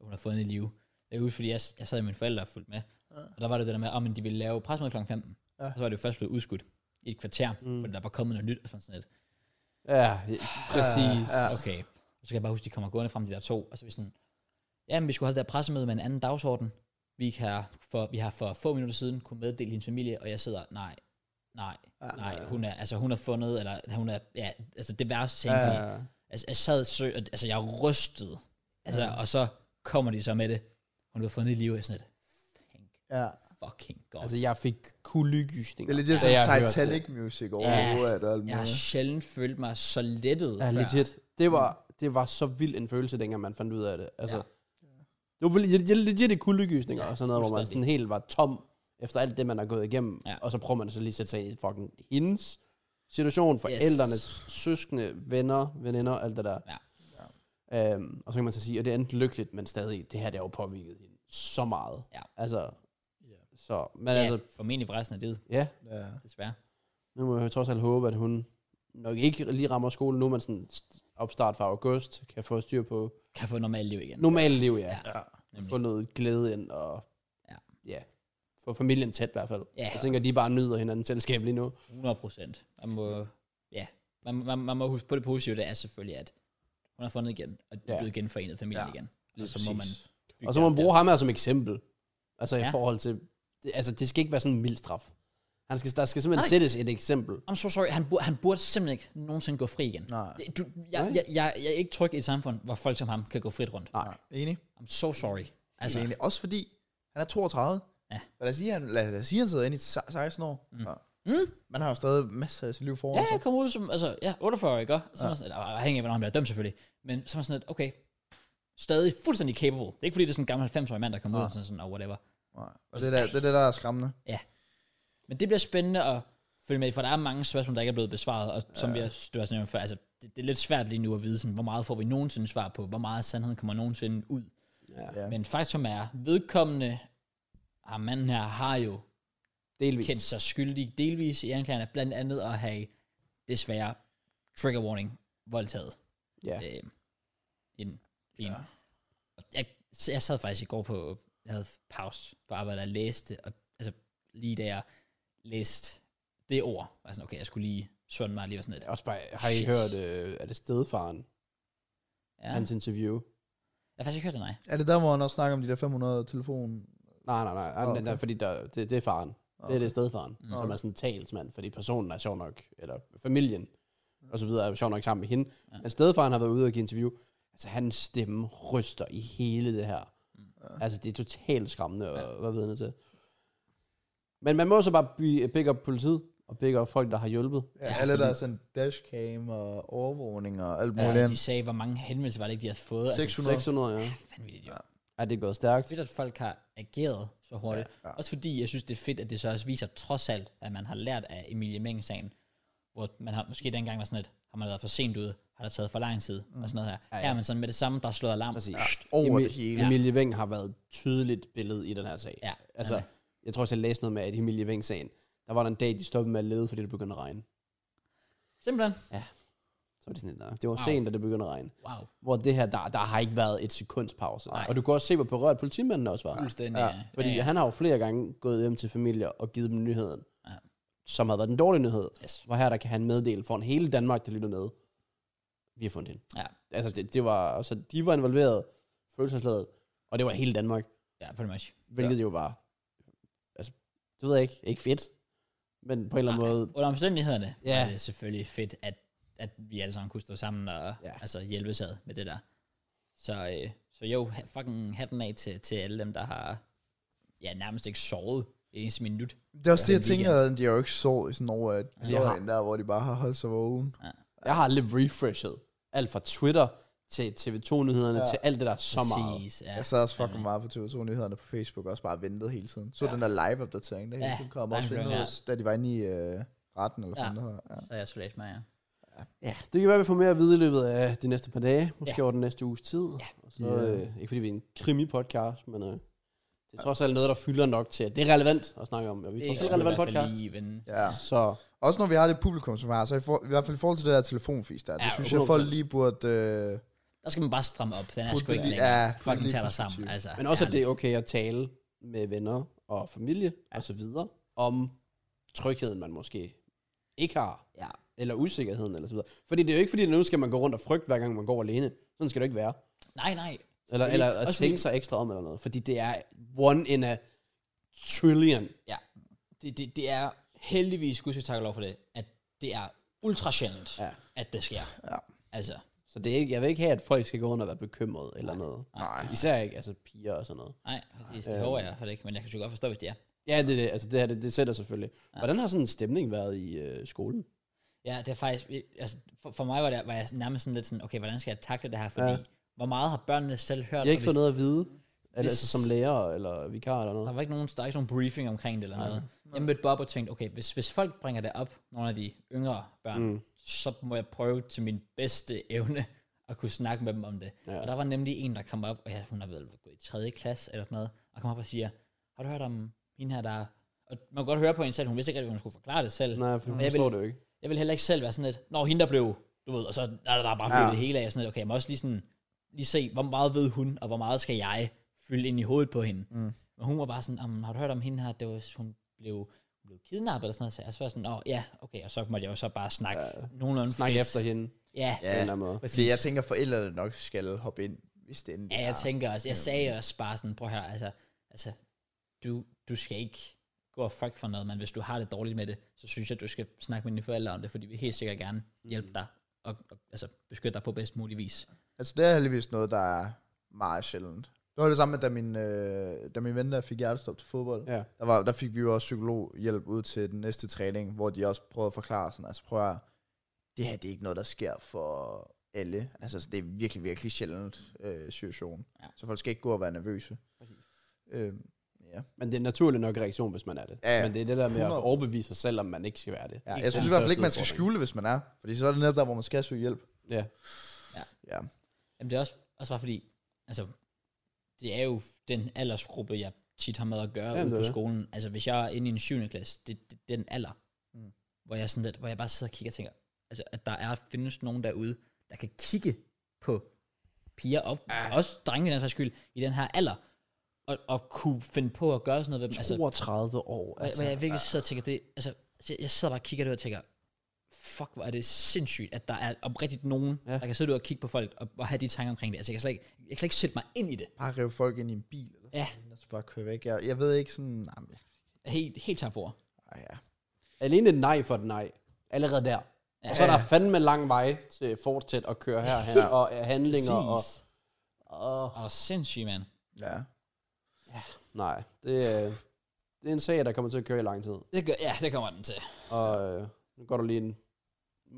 Speaker 1: hun har fået en i live. Jeg husker, fordi jeg, jeg sad med mine forældre og fulgte med,
Speaker 3: Ja.
Speaker 1: og der var det det der med, om de ville lave pressemøde kl. 15,
Speaker 3: Ja.
Speaker 1: ja. og så var det jo først blevet udskudt i et kvarter,
Speaker 2: Mm.
Speaker 1: mm. fordi der var kommet noget nyt, og sådan sådan lidt.
Speaker 2: Ja, ja, præcis.
Speaker 3: Ja,
Speaker 2: Ja,
Speaker 3: ja.
Speaker 1: okay. Og så kan jeg bare huske, de kommer gående frem, de der to, og så er vi sådan, jamen vi skulle holde det her pressemøde med en anden dagsorden. Vi, kan for, vi har for få minutter siden kunne meddele hendes familie, og jeg sidder, nej, nej, nej,
Speaker 2: Ah.
Speaker 1: hun er, altså hun er fundet, eller hun er, ja, altså det værste ting.
Speaker 2: ja.
Speaker 1: Ja. Altså jeg sad sø, altså jeg er rystet, altså,
Speaker 3: Ja.
Speaker 1: ja. og så kommer de så med det, hun er fundet i live, og jeg er sådan lidt, thank
Speaker 3: ja.
Speaker 1: fucking god.
Speaker 2: Altså, jeg fik kuldegysninger.
Speaker 3: Det er lidt det,
Speaker 2: da jeg
Speaker 3: sådan
Speaker 2: hørte
Speaker 3: Titanic music over
Speaker 1: Ja.
Speaker 3: hovedet og alt
Speaker 1: jeg har
Speaker 3: muligt.
Speaker 1: sjældent følt mig så lettet
Speaker 2: Ja,
Speaker 1: før.
Speaker 2: legit. Det var, det var så vild en følelse, dengang man fandt ud af det. Altså,
Speaker 1: Ja.
Speaker 2: ja. Det var vel- jeg- jeg- legit et kuldegysninger
Speaker 1: Ja,
Speaker 2: og sådan noget, hvor man
Speaker 1: fuldstændig.
Speaker 2: sådan helt var tom efter alt det, man har gået igennem.
Speaker 1: Ja.
Speaker 2: Ja. Og så prøver man så lige at sætte sig ind i fucking hendes situation, forældrenes, yes. søskende, venner, veninder, alt det der.
Speaker 1: Ja.
Speaker 2: Øhm, og så kan man så sige, at det er enten lykkeligt, men stadig, det her det har jo påvirket hende så meget.
Speaker 1: Ja.
Speaker 2: Altså, så, men
Speaker 1: Ja,
Speaker 2: altså,
Speaker 1: altså, formentlig for resten af livet,
Speaker 2: ja,
Speaker 3: Ja.
Speaker 1: desværre.
Speaker 2: nu må jeg trods alt håbe, at hun nok ikke lige rammer skolen nu, men sådan opstart fra august, kan få styr på
Speaker 1: Kan få normalt liv igen.
Speaker 2: normalt liv, ja.
Speaker 1: Ja.
Speaker 2: ja.
Speaker 3: ja.
Speaker 1: Nemlig.
Speaker 2: Få noget glæde ind og
Speaker 1: Ja.
Speaker 2: ja. få familien tæt i hvert fald.
Speaker 1: Ja.
Speaker 2: Jeg tænker, de bare nyder hinandens selskab lige nu.
Speaker 1: 100 procent. Man må, ja, man, man, man må huske på det positive, det er selvfølgelig, at hun har fundet igen, og det er
Speaker 2: Ja.
Speaker 1: blevet genforenet familien
Speaker 3: Ja,
Speaker 1: ja, igen. Og
Speaker 3: lige
Speaker 1: så må Ligesom man
Speaker 3: præcis.
Speaker 1: bygge
Speaker 2: Og så må man
Speaker 1: op der.
Speaker 2: bruge ham her som eksempel. Altså ja.
Speaker 1: Ja.
Speaker 2: i forhold til, det, altså det skal ikke være sådan en mild straf. Han skal, der skal simpelthen
Speaker 1: Nej.
Speaker 2: sættes et eksempel.
Speaker 1: I'm so sorry, han burde, han burde simpelthen ikke nogensinde gå fri igen.
Speaker 3: Nej.
Speaker 1: Du, jeg,
Speaker 2: Nej.
Speaker 1: jeg, jeg, jeg er ikke tryg i et samfund, hvor folk som ham kan gå frit rundt.
Speaker 3: Nej. Enig.
Speaker 1: I'm so sorry.
Speaker 3: Altså.
Speaker 1: Altså,
Speaker 3: Enig. Også fordi, han er 32.
Speaker 1: Ja.
Speaker 3: Og lad os sige, han, lad, lad os sige, han sidder inde i se- 16 år. Mm.
Speaker 1: Mm.
Speaker 3: Man har jo stadig masser af sit liv foran
Speaker 1: ja,
Speaker 3: sig.
Speaker 1: jeg kom ud som, altså, ja, 48, ikke? Så ja. Sådan, eller afhængig af, hvornår han bliver dømt selvfølgelig. Men så er man sådan lidt, okay, stadig fuldstændig capable. Det er ikke fordi, det er sådan en gammel 90-årig mand, der kommer ud og sådan, sådan, og whatever.
Speaker 3: Nej. Og det, er der, det er det, der er skræmmende.
Speaker 1: Men det bliver spændende at følge med, i, for der er mange spørgsmål, der ikke er blevet besvaret, og som vi har stået sådan før, altså, det, det, er lidt svært lige nu at vide, sådan, hvor meget får vi nogensinde svar på, hvor meget af sandheden kommer nogensinde ud.
Speaker 2: Ja.
Speaker 3: Ja.
Speaker 1: Men faktum er, vedkommende ah, manden her har jo
Speaker 2: Delvis.
Speaker 1: kendt sig skyldig delvis i anklagerne, blandt andet at have desværre trigger warning voldtaget.
Speaker 2: Ja.
Speaker 1: Øh, en, en. Ja. Jeg, så jeg sad faktisk i går på, jeg havde pause på arbejde og læste, og altså lige da jeg læste det ord, var jeg sådan, okay, jeg skulle lige sunde mig lige og sådan lidt.
Speaker 2: Også bare, har I
Speaker 1: Shit.
Speaker 2: hørt, øh, er det stedfaren?
Speaker 1: Ja.
Speaker 2: Ja. Hans interview?
Speaker 1: Jeg har faktisk ikke hørt det, nej.
Speaker 3: Er det der, hvor han også snakker om de der 500 telefon?
Speaker 2: Nej, nej, nej. Han,
Speaker 3: Nå,
Speaker 2: okay.
Speaker 3: okay.
Speaker 2: der, fordi der, det, det er faren. Okay. Det er det stedfaren, mm. som
Speaker 3: Okay.
Speaker 2: er sådan en talsmand, fordi personen er sjov nok, eller familien og så videre, er jo sjov nok sammen med hende. Ja. Men stedfaren har været ude og give interview. Altså, hans stemme ryster i hele det her. Ja. Altså, det er totalt skræmmende at ja. være vidne til. Men man må så bare bi- pick up politiet, og pick up folk, der har hjulpet.
Speaker 3: Ja,
Speaker 1: Ja,
Speaker 3: alle, der
Speaker 1: fordi-
Speaker 3: er sådan dashcam og overvågning og alt muligt
Speaker 1: Ja, de
Speaker 3: andet.
Speaker 1: sagde, hvor mange henvendelser var det ikke, de havde fået.
Speaker 3: 600.
Speaker 2: 600, Altså, ja.
Speaker 1: Altså, vanvittigt jo.
Speaker 3: Ja.
Speaker 2: Er det er gået stærkt?
Speaker 1: Fedt, at folk har ageret så hurtigt. Ja, ja.
Speaker 3: Ja, ja.
Speaker 1: Også fordi, jeg synes, det er fedt, at det så også viser trods alt, at man har lært af Emilie Meng-sagen, hvor man har, måske dengang var sådan lidt, har man været for sent ude, har det taget for lang tid, mm. og sådan noget her. Ja, ja.
Speaker 2: Ja, ja.
Speaker 1: Her er man sådan med det samme, der er slået alarm.
Speaker 2: Præcis.
Speaker 3: Over det
Speaker 2: Emil-
Speaker 3: hele.
Speaker 2: Emilie Veng har været tydeligt billede i den her sag.
Speaker 1: Ja,
Speaker 2: Altså,
Speaker 1: ja.
Speaker 2: jeg tror også, jeg læste noget med, at i Emilie Veng-sagen, der var der en dag, de stoppede med at lede, fordi det begyndte at regne.
Speaker 1: Simpelthen.
Speaker 2: Så var det sådan, nej, det var
Speaker 1: Wow.
Speaker 2: sent, da det begyndte at regne.
Speaker 1: Wow.
Speaker 2: Hvor det her, der, der har ikke været et sekunds pause.
Speaker 1: Nej.
Speaker 2: Og du kan også se, hvor berørt politimanden også var.
Speaker 1: Fuldstændig, ja.
Speaker 2: Fordi
Speaker 1: Ja, ja.
Speaker 2: han har jo flere gange gået hjem til familier og givet dem nyheden,
Speaker 1: Ja.
Speaker 2: som havde været den dårlige nyhed.
Speaker 1: Yes.
Speaker 2: Hvor her, der kan han meddele foran hele Danmark, der lytter med, vi har fundet hende.
Speaker 1: Ja.
Speaker 2: Altså, det, det var, så de var involveret, følelsesladet, og det var hele Danmark.
Speaker 1: Ja, pretty much.
Speaker 2: Hvilket ja. jo var, altså, det ved jeg ikke, ikke fedt, men på en eller anden
Speaker 1: Nej.
Speaker 2: måde,
Speaker 1: Ah, Under omstændighederne
Speaker 2: Ja.
Speaker 1: er det selvfølgelig fedt, at, at vi alle sammen kunne stå sammen og ja.
Speaker 2: Ja.
Speaker 1: altså, hjælpes ad med det der. Så, øh, så jo, ha- fucking hatten af til, til alle dem, der har ja, nærmest ikke sovet et eneste minut.
Speaker 3: Det er også det,
Speaker 1: Ja,
Speaker 3: jeg tænker, at de har jo ikke sovet i sådan over at
Speaker 1: Ja.
Speaker 3: historien der, hvor de bare har holdt sig vågen.
Speaker 2: jeg har lidt refreshet, alt fra Twitter til TV2-nyhederne,
Speaker 3: Ja.
Speaker 2: ja. til alt det der er så meget.
Speaker 1: Præcis, Ja.
Speaker 3: Jeg sad også fucking meget på TV2 Nyhederne på Facebook, og også bare ventede hele tiden. Så ja. den der live-opdatering, der hele
Speaker 1: Ja,
Speaker 3: tiden kom.
Speaker 1: nej,
Speaker 3: Også
Speaker 1: det blev-
Speaker 3: ja. da de var inde i øh, retten, eller
Speaker 1: Ja.
Speaker 3: ja. noget. Ja.
Speaker 1: Så er jeg selvfølgelig med, ja.
Speaker 2: Ja, det kan være, vi får mere at vide i løbet af de næste par dage, måske
Speaker 1: Ja.
Speaker 2: ja. over den næste uges tid. Ja. Og så,
Speaker 3: Ja.
Speaker 2: øh, ikke fordi vi er en krimi-podcast, men øh, det er trods alt noget, der fylder nok til, at det er relevant at snakke om, og vi er trods alt
Speaker 1: skulle i
Speaker 2: relevant
Speaker 1: hvert fald
Speaker 2: podcast.
Speaker 1: Lige vende.
Speaker 3: ja.
Speaker 2: Så
Speaker 3: Også når vi har det publikum, som vi har, så i, for, i hvert fald i forhold til det der telefonfis der, det
Speaker 1: Ja,
Speaker 3: synes jeg, folk lige burde... Øh,
Speaker 1: Der skal man bare stramme op. Den er
Speaker 3: Put
Speaker 1: sgu
Speaker 3: det
Speaker 1: ikke
Speaker 3: lige-
Speaker 1: længere.
Speaker 3: ja, put det
Speaker 1: fucking
Speaker 3: lige
Speaker 1: tager dig
Speaker 3: perspektiv.
Speaker 1: sammen. Altså,
Speaker 2: Men også, at det er
Speaker 1: ærligt.
Speaker 2: okay at tale med venner og familie ja. og så videre om trygheden, man måske ikke har,
Speaker 1: Ja.
Speaker 2: eller usikkerheden, eller så videre. Fordi det er jo ikke, fordi nu skal man gå rundt og frygte, hver gang man går alene. Sådan skal det jo ikke være.
Speaker 1: Nej, nej.
Speaker 2: Eller, eller at
Speaker 1: også
Speaker 2: tænke
Speaker 1: fordi-
Speaker 2: sig ekstra om, eller noget. Fordi det er one in a trillion.
Speaker 1: Ja. Det, det, det er heldigvis, gud skal takke lov for det, at det er ultra sjældent, ja.
Speaker 2: Ja.
Speaker 1: at det sker.
Speaker 3: Ja.
Speaker 1: Altså,
Speaker 2: Så det er ikke, jeg vil ikke have, at folk skal gå rundt og være bekymrede, eller noget.
Speaker 3: nej.
Speaker 2: Især ikke, altså piger og sådan noget.
Speaker 1: nej, det, det håber jeg for det ikke, men jeg kan jo godt forstå, hvis det er.
Speaker 2: Ja, det er det. Altså, det her, det, det sætter selvfølgelig. Hvordan har sådan en stemning været i øh, skolen?
Speaker 1: Ja, det er faktisk, altså, for, for mig var, det, var jeg nærmest sådan lidt sådan, okay, hvordan skal jeg takle det her, fordi ja.
Speaker 2: Ja.
Speaker 1: hvor meget har børnene selv hørt?
Speaker 2: Jeg har
Speaker 1: og
Speaker 2: ikke
Speaker 1: hvis-
Speaker 2: fået noget at
Speaker 3: Mm.
Speaker 2: vide. Eller,
Speaker 1: hvis-
Speaker 2: altså, som lærer, eller vikar, eller noget.
Speaker 1: Der var ikke nogen, der er ikke nogen briefing omkring det eller noget. Jeg mødte bare op og tænkte, okay, hvis, hvis folk bringer det op, nogle af de yngre børn, mm. så må jeg prøve til min bedste evne at kunne snakke med dem om det. Ja.
Speaker 2: Ja.
Speaker 1: Og der var nemlig en, der kom op, og ja, hun har været gået i 3. klasse eller sådan noget, og kom op og siger, har du hørt om hende her, der... Og man kunne godt høre på hende selv, hun vidste ikke rigtig, hun skulle forklare det selv.
Speaker 2: Nej, for hun
Speaker 1: Men jeg vil-
Speaker 2: forstår det jo ikke.
Speaker 1: Jeg vil heller ikke selv være sådan lidt, når hende der blev, du ved, og så er der, der er bare fyldt
Speaker 3: Ja.
Speaker 1: ja. det hele af, sådan lidt, okay, jeg må også lige sådan, lige se, hvor meget ved hun, og hvor meget skal jeg fylde ind i hovedet på hende. Mm. Men hun var bare sådan, "Jamen, har du hørt om hende her, det var, hun blev, hun blev kidnappet eller sådan noget, så jeg så var jeg sådan, åh ja, okay, og så måtte jeg jo så bare snakke ja. nogenlunde
Speaker 2: Snak
Speaker 1: frit.
Speaker 2: efter hende, på
Speaker 1: Ja,
Speaker 2: en
Speaker 1: ja.
Speaker 2: eller anden måde.
Speaker 1: præcis.
Speaker 3: Det, jeg tænker, forældrene nok skal hoppe ind, hvis det endelig
Speaker 1: Ja, jeg
Speaker 3: er.
Speaker 1: tænker også, jeg sagde også bare sådan, prøv her, altså, altså du, du skal ikke gå og fuck for noget, men hvis du har det dårligt med det, så synes jeg, du skal snakke med dine forældre om det, fordi vi helt sikkert gerne
Speaker 3: Mm.
Speaker 1: hjælpe dig og, og altså, beskytte dig på bedst mulig vis.
Speaker 3: Altså, det er heldigvis noget, der er meget sjældent. Det var det samme med, da min, øh, da min ven der fik hjertestop til fodbold.
Speaker 2: Ja.
Speaker 3: Der, var, der fik vi jo også psykologhjælp ud til den næste træning, hvor de også prøvede at forklare sådan, altså prøv at, høre, det her det er ikke noget, der sker for alle. Altså det er virkelig, virkelig sjældent øh, situation.
Speaker 1: Ja.
Speaker 3: Ja. Så folk skal ikke gå og være nervøse. Øh, ja.
Speaker 2: Men det er en naturlig nok reaktion, hvis man er det.
Speaker 3: Ja, ja.
Speaker 2: Men det er det der med at
Speaker 3: 100.
Speaker 2: overbevise sig selv, om man ikke skal være det.
Speaker 3: Ja,
Speaker 1: Helt
Speaker 3: jeg synes i
Speaker 2: klart.
Speaker 3: hvert fald ikke, man skal
Speaker 2: Største
Speaker 3: skjule det, hvis man er. Fordi så er det netop der, hvor man skal søge hjælp.
Speaker 2: Ja.
Speaker 3: Ja.
Speaker 1: Jamen det er også, også bare fordi, altså, det er jo den aldersgruppe, jeg tit har med at gøre
Speaker 2: Jamen,
Speaker 1: Jamen, ude
Speaker 2: det er
Speaker 1: på
Speaker 2: det.
Speaker 1: skolen. Altså, hvis jeg er inde i en 7. klasse, det, det, det er den alder,
Speaker 3: Mm.
Speaker 1: mm. hvor, jeg sådan lidt, hvor jeg bare sidder og kigger og tænker, altså, at der er, findes nogen derude, der kan kigge på piger, og
Speaker 2: Ah.
Speaker 1: også drenge i den sags skyld, i den her alder, og, og kunne finde på at gøre sådan noget ved dem. Altså,
Speaker 2: 32 år.
Speaker 1: altså, hvor jeg virkelig sidder og tænker, det, altså, jeg- jeg sidder bare og kigger det og tænker, fuck, hvor er det sindssygt, at der er oprigtigt nogen,
Speaker 2: Ja.
Speaker 1: ja. der kan sidde ud og kigge på folk, og, og have de tanker omkring det. Altså, jeg kan slet ikke, jeg kan slet ikke sætte mig ind i det.
Speaker 3: Bare rive folk ind i en bil. Eller
Speaker 1: Ja.
Speaker 3: sådan, og så bare køre væk. Jeg, jeg ved ikke sådan... Nej, men,
Speaker 1: Helt, helt tabt for.
Speaker 3: ej, ja.
Speaker 2: Alene et nej for et nej. Allerede der. Ja. Og så er der fandme lang vej til fortsæt at køre herhen, og øh, handlinger, og,
Speaker 1: Præcis.
Speaker 2: og
Speaker 1: Og sindssygt, mand.
Speaker 3: ja.
Speaker 2: nej, det, er- det er en sag, der kommer til at køre i lang tid.
Speaker 1: Det gør, ja, det kommer den til.
Speaker 2: Og øh, nu går der lige en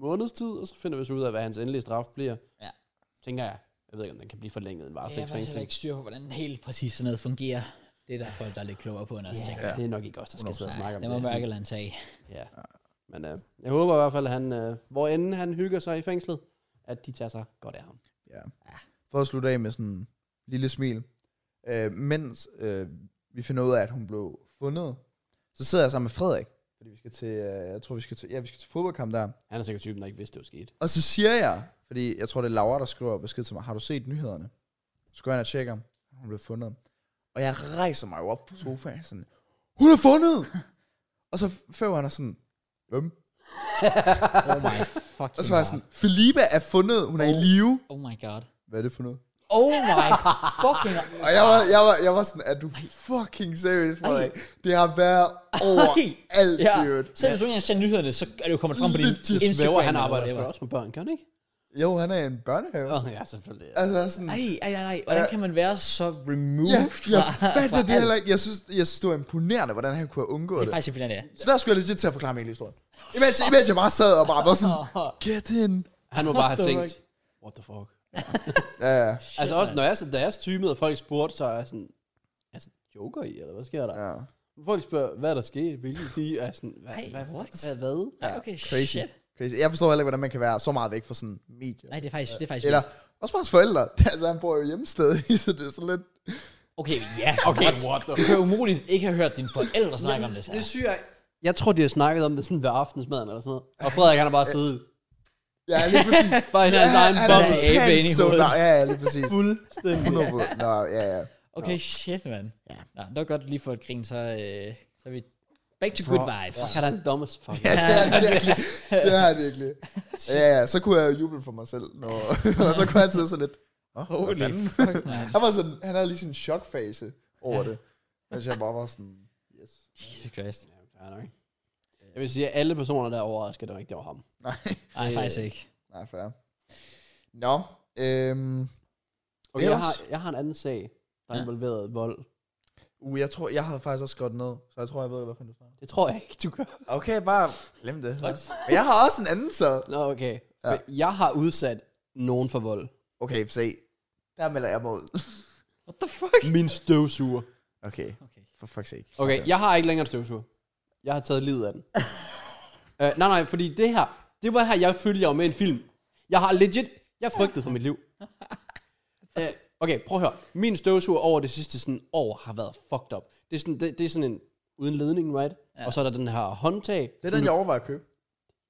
Speaker 2: måneds tid, og så finder vi så ud af, hvad hans endelige straf bliver.
Speaker 1: Ja.
Speaker 2: Tænker jeg. Jeg ved ikke, om den kan blive forlænget en
Speaker 1: Jeg har faktisk heller
Speaker 2: varetægtsfængsling.
Speaker 1: ikke styr på, hvordan helt præcis sådan noget fungerer. Det er der folk, der er lidt klogere på, end os.
Speaker 2: Ja, det er nok ikke os, der skal sidde og snakke om
Speaker 1: det
Speaker 2: det.
Speaker 1: må Mørkeland tage.
Speaker 2: Ja. Men øh, jeg håber i hvert fald, at han, øh, hvor end han hygger sig i fængslet, at de tager sig godt af ham.
Speaker 3: Ja. For at slutte af med sådan en lille smil. Øh, mens øh, vi finder ud af, at hun blev fundet, så sidder jeg sammen med Frederik. Fordi vi skal til, øh, jeg tror vi skal til, ja, vi skal til fodboldkamp der.
Speaker 2: Han er sikkert typen, der ikke vidste, det var sket.
Speaker 3: Og så siger jeg, fordi jeg tror, det er Laura, der skriver besked til mig, har du set nyhederne? Så går jeg ind og tjekker, om hun blev fundet. Og jeg rejser mig jo op på sofaen, sådan, hun er fundet! og så før han er sådan, hvem?
Speaker 1: Oh my fucking
Speaker 3: Og så var jeg sådan, Felipe er fundet, hun er i live.
Speaker 1: god. Oh my god.
Speaker 3: Hvad er det for noget?
Speaker 1: Oh my fucking
Speaker 3: Og jeg var, jeg var, jeg var sådan, er du fucking seriøs, Frederik? Det har været overalt,
Speaker 1: Ja,
Speaker 3: dude.
Speaker 1: selv hvis du ikke engang ser nyhederne, så er det jo kommet frem på din
Speaker 3: Legit.
Speaker 1: Instagram.
Speaker 2: Svæver, han
Speaker 1: eller
Speaker 2: arbejder sgu
Speaker 1: whatever.
Speaker 2: også med børn, kan han ikke?
Speaker 3: Jo, han er i en børnehave.
Speaker 2: Åh, ja, selvfølgelig. Ja.
Speaker 3: Altså sådan,
Speaker 1: Ej, ej, ej, ej. Hvordan kan man være så removed
Speaker 3: ja, jeg
Speaker 1: fra,
Speaker 3: fatter
Speaker 1: fra
Speaker 3: det
Speaker 1: alt?
Speaker 3: heller ikke. Jeg synes, jeg synes, det var imponerende, hvordan han kunne have undgået
Speaker 1: Det
Speaker 3: det.
Speaker 1: er faktisk imponerende, ja.
Speaker 3: Så der skulle jeg legit til at forklare mig hele historien. Imens, imens jeg bare sad og bare var sådan, get in.
Speaker 2: Han må bare have
Speaker 1: What the
Speaker 2: tænkt, what the fuck?
Speaker 3: Ja, ja.
Speaker 2: Altså også, når jeg, så- da jeg streamede, og folk spurgte, så er jeg sådan, altså, joker I, eller hvad sker der?
Speaker 3: ja.
Speaker 2: Folk spørger, hvad er der sket, hvilket de er sådan, hvad,
Speaker 1: Ej,
Speaker 2: hvad,
Speaker 1: what?
Speaker 2: hvad, hvad?
Speaker 1: Ej, okay,
Speaker 3: Crazy.
Speaker 1: shit.
Speaker 3: Crazy. Jeg forstår heller ikke, hvordan man kan være så meget væk fra sådan medier.
Speaker 1: Nej, det er faktisk, det er faktisk
Speaker 3: Eller
Speaker 1: vildt.
Speaker 3: også bare hans forældre. Altså, han bor jo hjemmested, så det er så lidt...
Speaker 1: Okay, ja. Okay,
Speaker 2: what the
Speaker 1: Du kan umuligt ikke have hørt dine forældre snakke om det. Så.
Speaker 2: Det synes jeg, jeg tror, de har snakket om det sådan ved aftensmaden eller sådan noget. Og Frederik, han har bare siddet
Speaker 3: Ja, lige præcis.
Speaker 2: bare i hans
Speaker 1: altså
Speaker 3: Ja,
Speaker 2: egen
Speaker 3: han er
Speaker 2: boble.
Speaker 1: totalt abe
Speaker 3: totalt
Speaker 1: inde i
Speaker 3: så
Speaker 1: hovedet.
Speaker 3: nej. Ja, ja, lige præcis.
Speaker 2: Fuldstændig.
Speaker 3: 100%. Nå, ja, ja.
Speaker 1: Okay, shit, mand. Ja. Nå, det var godt lige for et grin, så, øh, så er vi back to good vibes.
Speaker 2: Han er en dumb as fuck.
Speaker 3: Ja, det er han virkelig. Det er han virkelig. Ja, ja, så kunne jeg jo juble for mig selv. Når, og så kunne han sidde sådan lidt... Oh,
Speaker 1: Holy
Speaker 3: Holy fanden?
Speaker 1: fuck, man.
Speaker 3: Han, var sådan, han havde lige sin chokfase over det. Mens jeg bare var sådan... Yes.
Speaker 1: Jesus Christ.
Speaker 2: Fair nok. Jeg vil sige, at alle personer derovre skal det var ikke, det var ham.
Speaker 3: Nej.
Speaker 1: Nej, faktisk ikke.
Speaker 3: Nej, fair. Nå, øhm,
Speaker 2: Okay, jeg
Speaker 3: Ellers?
Speaker 2: har, jeg har en anden sag, der
Speaker 1: Ja.
Speaker 2: ja. involveret vold.
Speaker 3: uh, jeg tror, jeg har faktisk også skrevet ned, så jeg tror, jeg ved, hvad fanden du snakker
Speaker 2: Det tror jeg ikke, du gør.
Speaker 3: om. Okay, bare glem det.
Speaker 1: Godt.
Speaker 3: Men jeg har også en anden så.
Speaker 2: Nå, okay.
Speaker 3: Ja.
Speaker 2: Ja. Jeg har udsat nogen for vold.
Speaker 3: Okay, se. Der melder jeg mig ud.
Speaker 1: What the fuck?
Speaker 2: Min støvsuger.
Speaker 3: Okay,
Speaker 1: Okay.
Speaker 3: for fuck's sake.
Speaker 2: Okay, jeg har ikke længere en støvsuger. Jeg har taget livet af den. øh, nej, nej, fordi det her, det var her, jeg følte, jeg var med i en film. Jeg har legit, jeg frygtede for mit liv. øh, okay, prøv at høre. Min støvsuger over det sidste sådan år har været fucked up. Det er sådan, det, det er sådan en uden ledning, right? Ja. Og så er der den her håndtag.
Speaker 3: Det er den, jeg overvejer at købe.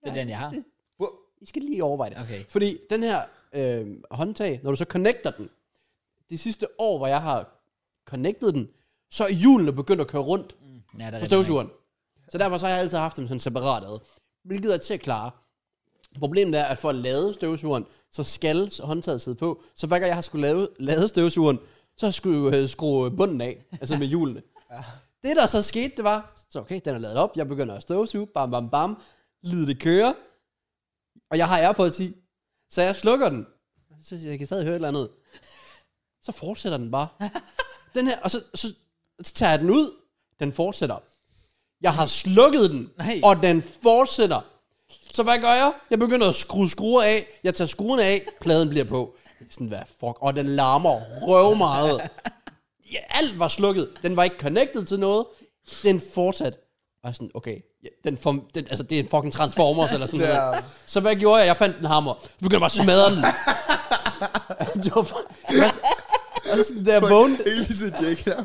Speaker 1: Det er den, jeg har.
Speaker 2: I skal lige overveje det.
Speaker 1: Okay.
Speaker 2: Fordi den her øh, håndtag, når du så connecter den, de sidste år, hvor jeg har connectet den, så er hjulene begyndt at køre rundt
Speaker 1: Ja, der er rigtig
Speaker 2: på
Speaker 1: mange.
Speaker 2: støvsugeren. Så derfor så har jeg altid haft dem sådan separat ad. Hvilket er til at klare. Problemet er, at for at lade støvsugeren, så skal håndtaget sidde på. Så hver gang jeg har skulle lave, lade støvsugeren, så skulle jeg øh, skrue bunden af, altså med hjulene. Det der så skete, det var, så okay, den er lavet op, jeg begynder at støvsuge, bam bam bam, lide det køre, og jeg har AirPods i, så jeg slukker den. Så siger jeg, jeg kan stadig høre et eller andet. Så fortsætter den bare. Den her, og så, så, så tager jeg den ud, den fortsætter. Jeg har slukket den,
Speaker 1: Nej.
Speaker 2: og den fortsætter. Så hvad gør jeg? Jeg begynder at skrue skruer af. Jeg tager skruerne af, pladen bliver på. Sådan, hvad fuck? Og den larmer røv meget. Ja, alt var slukket. Den var ikke connected til noget. Den fortsat. Og jeg sådan, okay, ja, den form, den, altså, det er en fucking Transformers eller sådan
Speaker 3: Det er-
Speaker 2: noget. Så hvad gjorde jeg? Jeg fandt en hammer. Så begyndte jeg bare at smadre den. Altså, det var, fa- Og sådan der vågen.
Speaker 3: Ikke lige så Jake her.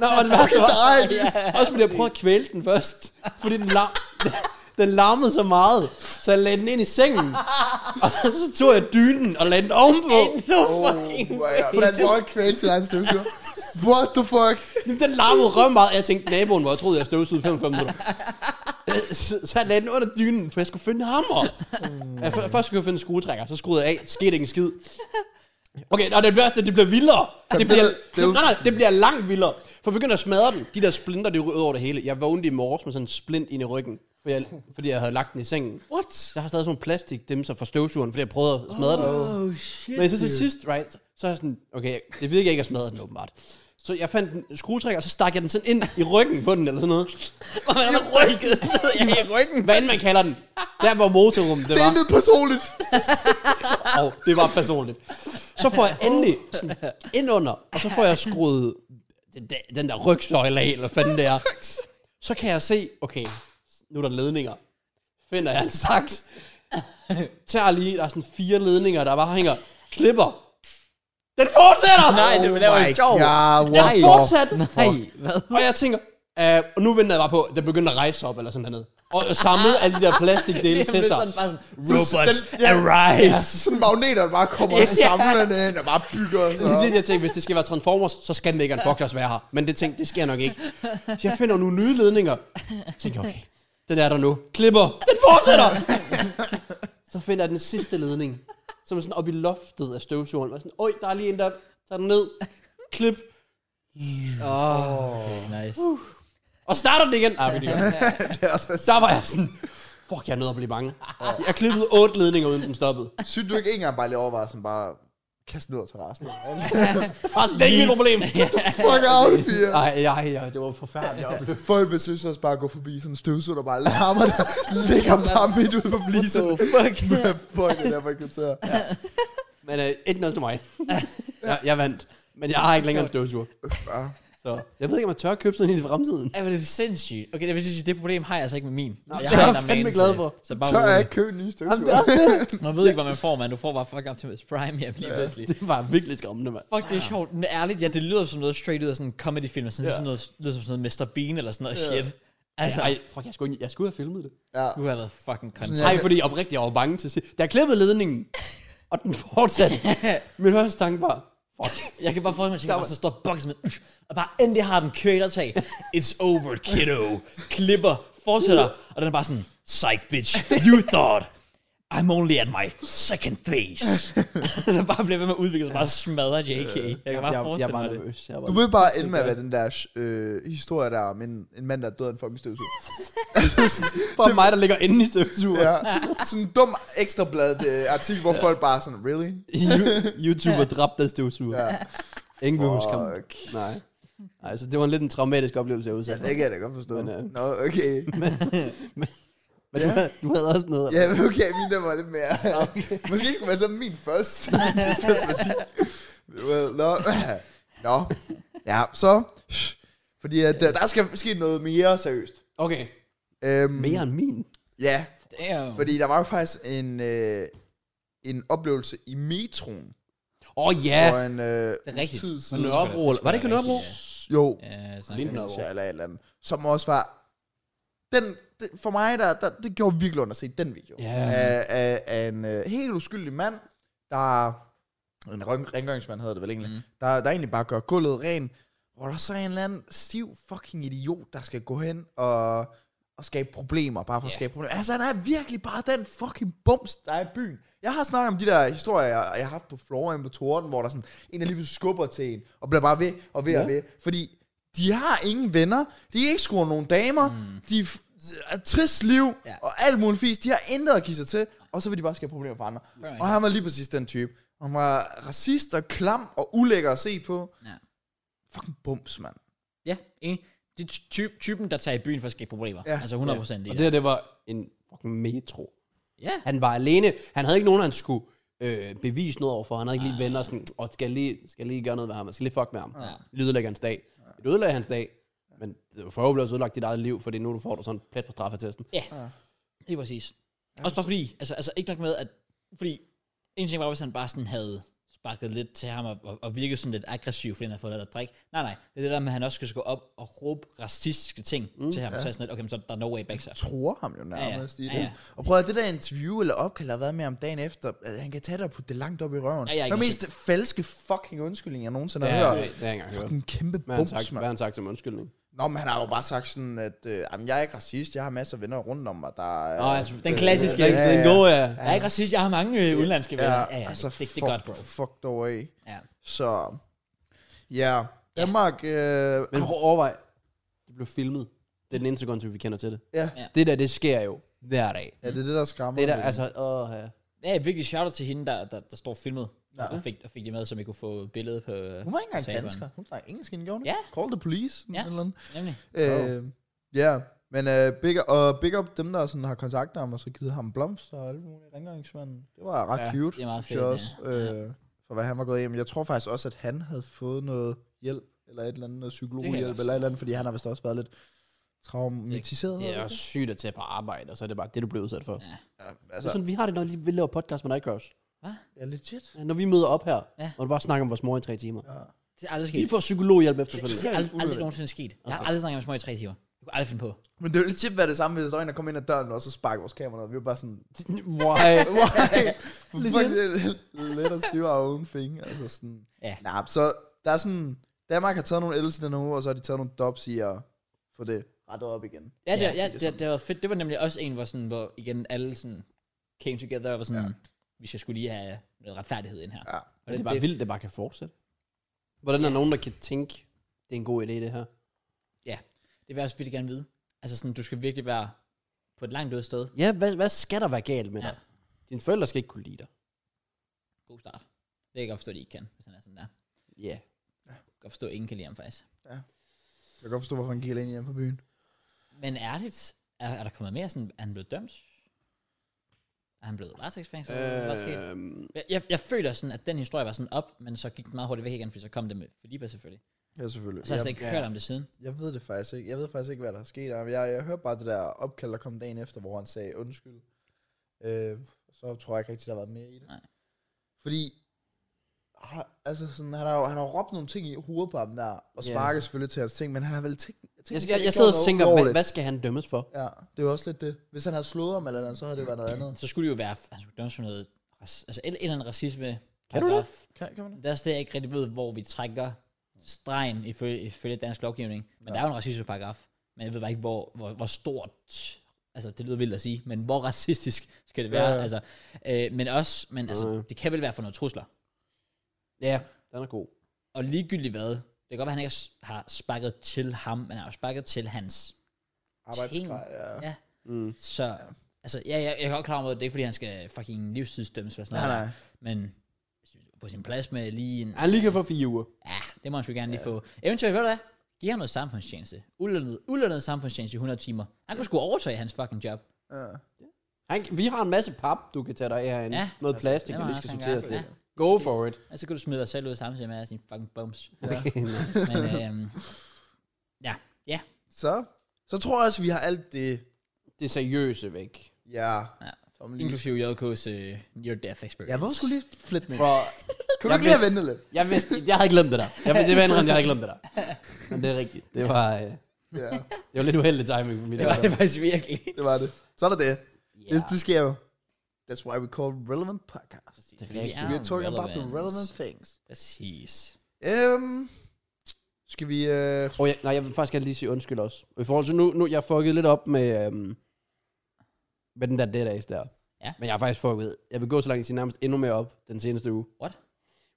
Speaker 2: Nå, og det værste var,
Speaker 3: Nej,
Speaker 2: også fordi jeg prøvede at kvæle den først. Fordi den, lar den larmede så meget, så jeg lagde den ind i sengen. Og så tog jeg dynen og lagde den ovenpå.
Speaker 1: Endnu
Speaker 3: oh my
Speaker 1: fucking
Speaker 3: god. Hvordan tror jeg kvæle sin egen støvsuger? What the fuck?
Speaker 2: Den larmede røv meget. Jeg tænkte, naboen var, jeg troede, jeg støvsugede 45 minutter. Øh, Så, så jeg lagde den under dynen, for jeg skulle finde en hammer. Jeg, f- først skulle jeg finde en skruetrækker, så skruede jeg af. Skete ikke en skid. Okay, og det værste, det bliver vildere. Det bliver,
Speaker 3: det er jo-
Speaker 2: nej, nej, det bliver langt vildere. For jeg begynder at smadre den. De der splinter, det er ud over det hele. Jeg vågnede i morges med sådan en splint ind i ryggen, fordi jeg, fordi jeg havde lagt den i sengen.
Speaker 1: What?
Speaker 2: Så jeg har stadig sådan nogle plastikdæmser fra støvsugeren, fordi jeg prøvede at smadre den.
Speaker 1: Oh shit.
Speaker 2: Men så til sidst, right, så- så er jeg sådan, okay, det virker ikke at smadre den åbenbart. Så jeg fandt en skruetrækker, og så stak jeg den sådan ind i ryggen på den, eller sådan noget.
Speaker 1: Man har rykket ned i ryggen.
Speaker 2: Hvad end man kalder den. Der hvor motorrummet det
Speaker 3: Det er
Speaker 2: var.
Speaker 3: intet personligt.
Speaker 2: Og det var personligt. Så får jeg endelig sådan ind under, og så får jeg skruet den der, den der rygsøjle af, eller hvad fanden det er. Så kan jeg se, okay, nu er der ledninger. Finder jeg en saks. Tager lige, der er sådan fire ledninger, der bare hænger. Klipper. Den fortsætter!
Speaker 1: Nej, det
Speaker 3: Oh
Speaker 1: laver
Speaker 3: my
Speaker 1: en sjov.
Speaker 3: god,
Speaker 2: Den
Speaker 3: what the
Speaker 2: fortsat.
Speaker 1: Nej, hvad?
Speaker 2: Og jeg tænker, øh, og nu venter jeg bare på, at den begyndte at rejse sig op eller sådan hernede. Og samlede alle de der plastikdele
Speaker 1: Det
Speaker 2: til
Speaker 1: er
Speaker 2: sig.
Speaker 1: sådan bare sådan,
Speaker 3: robots
Speaker 2: arise.
Speaker 3: Sådan magneter, der bare kommer og samler den ind og bare bygger. Så.
Speaker 2: Det er det, jeg tænkte, hvis det skal være Transformers, så skal Megan Fox også være her. Men det tænkte, det sker nok ikke. Så jeg finder nogle nye ledninger. Jeg tænker, okay, den er der nu. Klipper. Den fortsætter. Så finder jeg den sidste ledning, som er sådan oppe i loftet af støvsugeren. Og sådan, oj, der er lige en der. Tag den ned. Klip.
Speaker 1: okay, nice.
Speaker 2: Og starter den igen. Ej, det er godt.
Speaker 3: Det er også
Speaker 2: Der var jeg sådan, fuck, jeg er nødt til at blive bange. Jeg klippede otte ledninger, uden den stoppede.
Speaker 3: Synes du ikke engang bare lige overvejer sådan bare kaste ned over terrassen?
Speaker 2: Bare sådan, det er ikke mit problem.
Speaker 3: Fuck out, Pia.
Speaker 2: Ej, ej, ej, det var forfærdeligt. Jeg oplevede.
Speaker 3: Altså, Folk vil synes også bare at gå forbi sådan en støvsug, der bare larmer der ligger bare midt ude på blisen.
Speaker 2: What the fuck?
Speaker 3: Hvad fuck er det, jeg var irriteret?
Speaker 2: Men øh, 1-0 til mig. Jeg, jeg vandt. Men jeg har ikke længere en støvsuger.
Speaker 3: Ja.
Speaker 2: Så jeg ved ikke, om jeg tør købe sådan en i fremtiden.
Speaker 1: Ej, hvor er det sindssygt. Okay, det vil sige, det problem har jeg altså ikke med min. Nå, jeg
Speaker 2: det er
Speaker 1: har
Speaker 2: jeg
Speaker 1: en, der
Speaker 2: fandme
Speaker 1: magen
Speaker 2: glad
Speaker 1: til.
Speaker 2: for.
Speaker 1: Så bare
Speaker 3: Tør jeg
Speaker 1: rolig.
Speaker 3: ikke købe en ny
Speaker 2: Jamen,
Speaker 3: støvsug?
Speaker 2: det er også det.
Speaker 1: Man ved ikke, hvad man får, man. Du får bare fuck Optimus Prime hjem lige pludselig.
Speaker 2: Det var virkelig skræmmende, mand.
Speaker 1: Fuck, det er sjovt. Men ærligt, ja, det lyder som noget straight ud af sådan en comedy-film. Sådan, yeah. sådan noget, lyder som sådan noget Mr. Bean eller sådan noget yeah. shit. Altså,
Speaker 2: Ej, fuck, jeg skulle, ikke- jeg skulle have filmet det.
Speaker 3: Ja.
Speaker 1: du har været fucking content.
Speaker 2: Nej, fordi oprigtigt, jeg var bange til sidst. Da jeg klippede ledningen, og den fortsatte. Min første tanke var, fuck,
Speaker 1: Jeg kan bare forestille mig, at jeg tænker bare, så står boksen med, og bare endelig har den kvælertag. It's over, kiddo. Klipper, fortsætter, og den er bare sådan, psych bitch, you thought. I'm only at my second phase. så bare bliver ved med at udvikle sig, bare smadrer
Speaker 2: Øh,
Speaker 1: JK. Jeg kan bare
Speaker 2: jeg, jeg
Speaker 1: forestille
Speaker 2: var
Speaker 1: mig det.
Speaker 2: nervøs. Jeg var
Speaker 3: Du vil bare ende med at være den der øh, historie der om en, en mand, der er død af en fucking støvsug.
Speaker 2: bare mig, der ligger inde i støvsugeren.
Speaker 3: Ja. Sådan en dum ekstrabladet øh, artikel, hvor folk bare er sådan, really?
Speaker 2: You- YouTuber dræbt af støvsuger.
Speaker 3: Ja.
Speaker 2: Ingen vil huske ham.
Speaker 3: Fuck.
Speaker 2: Nej. Nej, så det var en lidt en traumatisk oplevelse, jeg var udsat for.
Speaker 3: Det kan jeg da godt forstå.
Speaker 2: Men, øh,
Speaker 3: Nå, okay.
Speaker 2: Men du, havde- du havde også noget.
Speaker 3: Ja, men okay, min der var lidt mere. Måske skulle man så min først. I stedet for din. Well, Nå, Nå. Ja, så. Fordi at, øh, der skal ske noget mere seriøst.
Speaker 2: Okay.
Speaker 3: Øhm,
Speaker 2: Mere end min.
Speaker 3: Ja,
Speaker 1: Damn.
Speaker 3: fordi der var jo faktisk en, øh, en oplevelse i metroen.
Speaker 2: Åh oh, ja.
Speaker 3: Ja. For en øh,
Speaker 1: Det er rigtigt.
Speaker 3: tid
Speaker 2: På
Speaker 3: siden.
Speaker 2: Nørrebro. eller- Var det ikke Nørrebro?
Speaker 3: Jo,
Speaker 1: Ja, sådan
Speaker 2: Lige
Speaker 1: er det.
Speaker 2: Nørrebro.
Speaker 3: ja. eller et eller andet. Som også var... Den, det, for mig, der, der, det gjorde virkelig ondt at se den video.
Speaker 2: Ja.
Speaker 3: Af, af, af en øh, helt uskyldig mand, der... En reng- rengøringsmand hedder det vel egentlig. Mm. Der, der egentlig bare gør gulvet ren. Hvor der så er en eller anden stiv fucking idiot, der skal gå hen og, og skabe problemer. Bare for at
Speaker 1: Ja.
Speaker 3: skabe problemer. Altså, han er virkelig bare den fucking bums, der er i byen. Jeg har snakket om de der historier, jeg, jeg har haft på Florida på Torden, hvor der sådan en, der lige pludselig skubber til en, og bliver bare ved og ved ja. og ved. Fordi de har ingen venner, de er ikke scoret nogen damer, mm. de er f- er et trist liv,
Speaker 1: Ja.
Speaker 3: ja. og alt muligt fisk, de har intet at give sig til, og så vil de bare skabe problemer for andre.
Speaker 1: Fair
Speaker 3: Og han var lige præcis den type. Han var racist og klam og ulækker at se på.
Speaker 1: Ja.
Speaker 3: Fucking bums, mand.
Speaker 1: Ja, enig. Det er ty- typen, der tager i byen for at skabe problemer. Ja.
Speaker 3: Ja.
Speaker 1: Altså 100 procent
Speaker 2: Og
Speaker 1: i
Speaker 2: det
Speaker 1: det.
Speaker 2: her, det var en fucking metro.
Speaker 1: Ja.
Speaker 2: Han var alene. Han havde ikke nogen, han skulle øh, bevise noget overfor. Han havde ikke lige venner sådan, og skal lige, skal lige gøre noget ved ham. Jeg skal lige fuck med ham. Ja. Det ødelægger hans dag. Det ødelægger hans dag. Men det var forhåbentlig også ødelagt dit eget liv, fordi nu får du sådan en plet på straffetesten.
Speaker 1: Ja,
Speaker 3: Ah.
Speaker 1: lige præcis. Også bare fordi, altså, altså ikke nok med, at... Fordi en ting var, hvis han bare sådan havde sparkede lidt til ham og, og, og virkede sådan lidt aggressiv, fordi han havde fået lidt at drikke. Nej, nej, det er det der med, at han også skal gå op og råbe racistiske ting mm, til ham. Ja. Så er jeg sådan lidt, okay, men så er der er no way back, så.
Speaker 3: tror ham jo nærmest ja, ja. i det. Ja,
Speaker 1: ja.
Speaker 3: ja. Og prøv at høre, det der interview eller opkald, der har været med om dagen efter, at han kan tage dig og putte det langt op i røven.
Speaker 1: Ja, jeg er ikke
Speaker 3: det er mest falske fucking undskyldning, jeg nogensinde har
Speaker 2: Ja,
Speaker 3: hørt.
Speaker 2: det det har jeg ikke engang hørt.
Speaker 3: Fucking kæmpe
Speaker 2: Hvad har han
Speaker 3: bums,
Speaker 2: sagt, hvad har
Speaker 3: mand.
Speaker 2: han sagt som undskyldning?
Speaker 3: Nå, men han har jo bare sagt sådan, at øh, jamen, jeg er ikke racist, jeg har masser af venner rundt om mig, der er... øh,
Speaker 2: Nå, altså,
Speaker 1: Den klassiske.
Speaker 2: Den, den
Speaker 3: Ja, ja.
Speaker 2: gode, ja.
Speaker 1: Jeg er ikke racist, jeg har mange øh, udenlandske venner. Ja, ja,
Speaker 3: altså,
Speaker 1: det, det, det
Speaker 3: fuck,
Speaker 1: er godt, bro.
Speaker 3: Fuck dog af.
Speaker 1: Ja.
Speaker 3: Så, ja. Danmark, øh,
Speaker 2: Men prøv at overvej. Det blev filmet. Det er den eneste grund til, at vi kender til det.
Speaker 3: ja.
Speaker 1: Ja.
Speaker 2: Det der, det sker jo hver dag.
Speaker 3: ja, det er det, der skræmmer.
Speaker 2: Det der,
Speaker 3: lidt.
Speaker 2: altså, åh, ja.
Speaker 1: Ja, virkelig shout til hende, der, der, der står filmet ja.
Speaker 3: Ja.
Speaker 1: og, fik, og fik det med, så vi kunne få billedet på... øh,
Speaker 3: Hun var ikke engang
Speaker 1: Taberen.
Speaker 3: dansker. Hun snakker engelsk, hende gjorde hun
Speaker 1: Ja.
Speaker 3: ikke? Call the police.
Speaker 1: Ja.
Speaker 3: Ja. Eller andet.
Speaker 1: Nemlig.
Speaker 3: Øh, ja, men uh, big, og big up dem, der sådan har kontaktet ham, og så givet ham blomster og alle mulige rengøringsmænd. Det var ret
Speaker 2: Ja,
Speaker 3: ja, cute,
Speaker 1: det er meget
Speaker 3: synes jeg
Speaker 1: fedt,
Speaker 3: også,
Speaker 1: ja.
Speaker 3: øh, for hvad han var gået hjem. Jeg tror faktisk også, at han havde fået noget hjælp, eller et eller andet noget psykologhjælp,
Speaker 1: også
Speaker 3: eller et eller andet, fordi han har vist også været lidt traumatiseret.
Speaker 2: Det er
Speaker 3: eller
Speaker 2: også sygt at tage på arbejde, og så er det bare det, du bliver udsat for.
Speaker 1: Ja.
Speaker 3: hvad? Ja,
Speaker 2: Altså,
Speaker 3: altså,
Speaker 2: sådan, vi har det, når vi laver podcast med Nightcrows.
Speaker 3: ja, legit.
Speaker 2: Når vi møder op her,
Speaker 1: Ja.
Speaker 2: og du bare snakker om vores mor i tre timer.
Speaker 3: Ja.
Speaker 1: Det er aldrig
Speaker 2: I
Speaker 1: sket.
Speaker 2: får psykologhjælp
Speaker 1: Det er
Speaker 2: efterfølgende.
Speaker 1: aldrig,
Speaker 3: helt
Speaker 1: aldrig
Speaker 3: ulækkert.
Speaker 1: nogensinde sket. Jeg har aldrig snakket med små i tre timer. Jeg kunne aldrig finde på.
Speaker 3: Men det ville legit være det samme, hvis der var en, der kom ind ad døren, og så sparkede vores kamera ned. Vi var bare sådan,
Speaker 2: Why?
Speaker 3: Why? Fuck, det er let at styre af own thing. Altså sådan.
Speaker 1: Ja.
Speaker 3: Nah, så der er sådan... Danmark har taget nogle L's i den her uge, og så har de taget nogle dobs i at få det rettet op igen.
Speaker 1: Ja, det,
Speaker 2: Ja,
Speaker 1: ja, ja
Speaker 3: det er
Speaker 1: det, det, var fedt. Det var nemlig også en, hvor, sådan, hvor igen alle sådan came together og var sådan, ja.
Speaker 3: Ja.
Speaker 1: vi skal skulle lige have noget retfærdighed ind her.
Speaker 3: Ja.
Speaker 1: Og
Speaker 2: Men det er bare vildt, det bare kan fortsætte. Hvordan er nogen, der kan tænke, det er en god idé, det her?
Speaker 1: det vil jeg også virkelig gerne vide. Altså sådan, du skal virkelig være på et langt ude sted.
Speaker 2: Ja, hvad, hvad skal der være galt med
Speaker 1: Ja.
Speaker 2: dig? Dine forældre skal ikke kunne lide dig.
Speaker 1: God start. Det kan jeg godt forstå, at I ikke kan, hvis han er sådan der. Jeg
Speaker 2: Ja.
Speaker 1: kan godt forstå, at ingen kan lide ham faktisk.
Speaker 3: Jeg kan godt forstå, hvorfor han gik ind hjemme på byen.
Speaker 1: Men ærligt, er, er der kommet mere sådan, er han blevet dømt? Er han blevet varetægtsfængslet? Øh,
Speaker 2: Øhm,
Speaker 1: jeg, jeg, jeg føler sådan, at den historie var sådan op, men så gik den meget hurtigt væk igen, fordi så kom det med Filipa selvfølgelig.
Speaker 3: Ja, selvfølgelig.
Speaker 1: Og så har jeg slet
Speaker 3: jeg,
Speaker 1: ikke
Speaker 2: ja.
Speaker 1: hørt om det siden.
Speaker 3: jeg, ved det faktisk ikke. Jeg ved faktisk ikke, hvad der er sket. Jeg, jeg hørte bare det der opkald, der kom dagen efter, hvor han sagde undskyld. Øh, så tror jeg ikke rigtig, der har været mere i det.
Speaker 1: Nej.
Speaker 3: Fordi har- altså sådan, han har, jo- han har råbt nogle ting i hovedet på ham der, og
Speaker 2: Ja.
Speaker 3: sparket selvfølgelig til hans ting, men han har vel tænkt... tænkt
Speaker 2: Jeg, jeg, jeg sidder og tænker, hvad, hvad skal han dømmes for?
Speaker 3: Ja, det er jo også lidt det. Hvis han havde slået ham eller noget, så havde det været noget andet.
Speaker 1: Så skulle det jo være, han skulle dømmes for noget, rac- altså et, et eller andet racisme.
Speaker 2: Kan du det?
Speaker 3: Kan, kan man det?
Speaker 1: Det er også det, jeg ikke rigtig ved, hvor vi trækker stregen ifølge, ifølge dansk lovgivning. Men ja. der er jo en racismeparagraf, men jeg ved bare ikke, hvor, hvor, hvor stort, altså det lyder vildt at sige, men hvor racistisk skal det være? Ja,
Speaker 3: Ja,
Speaker 1: ja.
Speaker 3: ja.
Speaker 1: Altså, øh, men også, men altså,
Speaker 2: Ja, ja.
Speaker 1: det kan vel være for noget trusler.
Speaker 2: Ja, den er god.
Speaker 1: Og ligegyldigt hvad, det kan godt være, han ikke har s- har sparket til ham, men han har jo sparket til hans.
Speaker 3: Arbejdsgrej, ja.
Speaker 1: Ja.
Speaker 2: Mm.
Speaker 1: Så, altså, ja, jeg, jeg er godt klar over, at det er ikke, fordi han skal fucking livstidsdømmes eller sådan
Speaker 3: Nej,
Speaker 1: noget.
Speaker 3: nej.
Speaker 1: Men jeg synes, på sin plads med lige en...
Speaker 2: Han lige kan få fire uger.
Speaker 1: Ja, det må han sgu gerne lige få. Eventuelt, ved du hvad? Giv ham noget samfundstjeneste. Ulønnet, ulønnet samfundstjeneste i 100 timer. Han kunne sgu overtage hans fucking job.
Speaker 3: Ja.
Speaker 2: Han, vi har en masse pap, du kan tage dig af herinde.
Speaker 1: Ja. altså,
Speaker 2: Ja. Noget plastik,
Speaker 1: det
Speaker 2: der
Speaker 1: må
Speaker 2: lige
Speaker 1: han
Speaker 2: skal
Speaker 1: også
Speaker 2: sorteres
Speaker 1: gerne.
Speaker 2: lidt. Go for it.
Speaker 1: Og så kunne du smide dig selv ud samtidig med at sige fucking bums.
Speaker 2: Okay.
Speaker 1: Men øhm, ja, ja.
Speaker 3: Så, så tror jeg også, vi har alt det.
Speaker 2: det seriøse væk.
Speaker 3: Ja.
Speaker 1: Ja.
Speaker 3: Som lige.
Speaker 1: Inklusive JK's uh, near death experience.
Speaker 3: Ja, hvorfor skulle lige flytte ned?
Speaker 2: Bro,
Speaker 3: Kunne du
Speaker 2: jeg
Speaker 3: ikke lige
Speaker 2: vidste-
Speaker 3: have ventet lidt?
Speaker 2: jeg vidste, jeg havde glemt det der. Jeg, det var indrømt, jeg havde glemt det der. Men det er rigtigt. Det var, øh,
Speaker 3: Ja,
Speaker 2: det var lidt uheldig timing for mit
Speaker 1: Det var det faktisk virkelig.
Speaker 3: det var det. Så er der det.
Speaker 1: Ja.
Speaker 3: Ja. Det, det sker jo. That's why we call relevant podcast.
Speaker 1: Det
Speaker 2: er rigtigt.
Speaker 3: We're talking about the relevant things.
Speaker 1: Præcis.
Speaker 3: Øhm, skal vi... Øh,
Speaker 2: Og jeg, nej, jeg vil faktisk gerne lige sige undskyld også. Og i forhold til nu, nu jeg fuckede lidt op med, øhm, med den der dead ass der.
Speaker 1: Ja.
Speaker 2: Men jeg har faktisk fucket, jeg vil gå så langt, at jeg siger nærmest endnu mere op den seneste uge.
Speaker 1: What?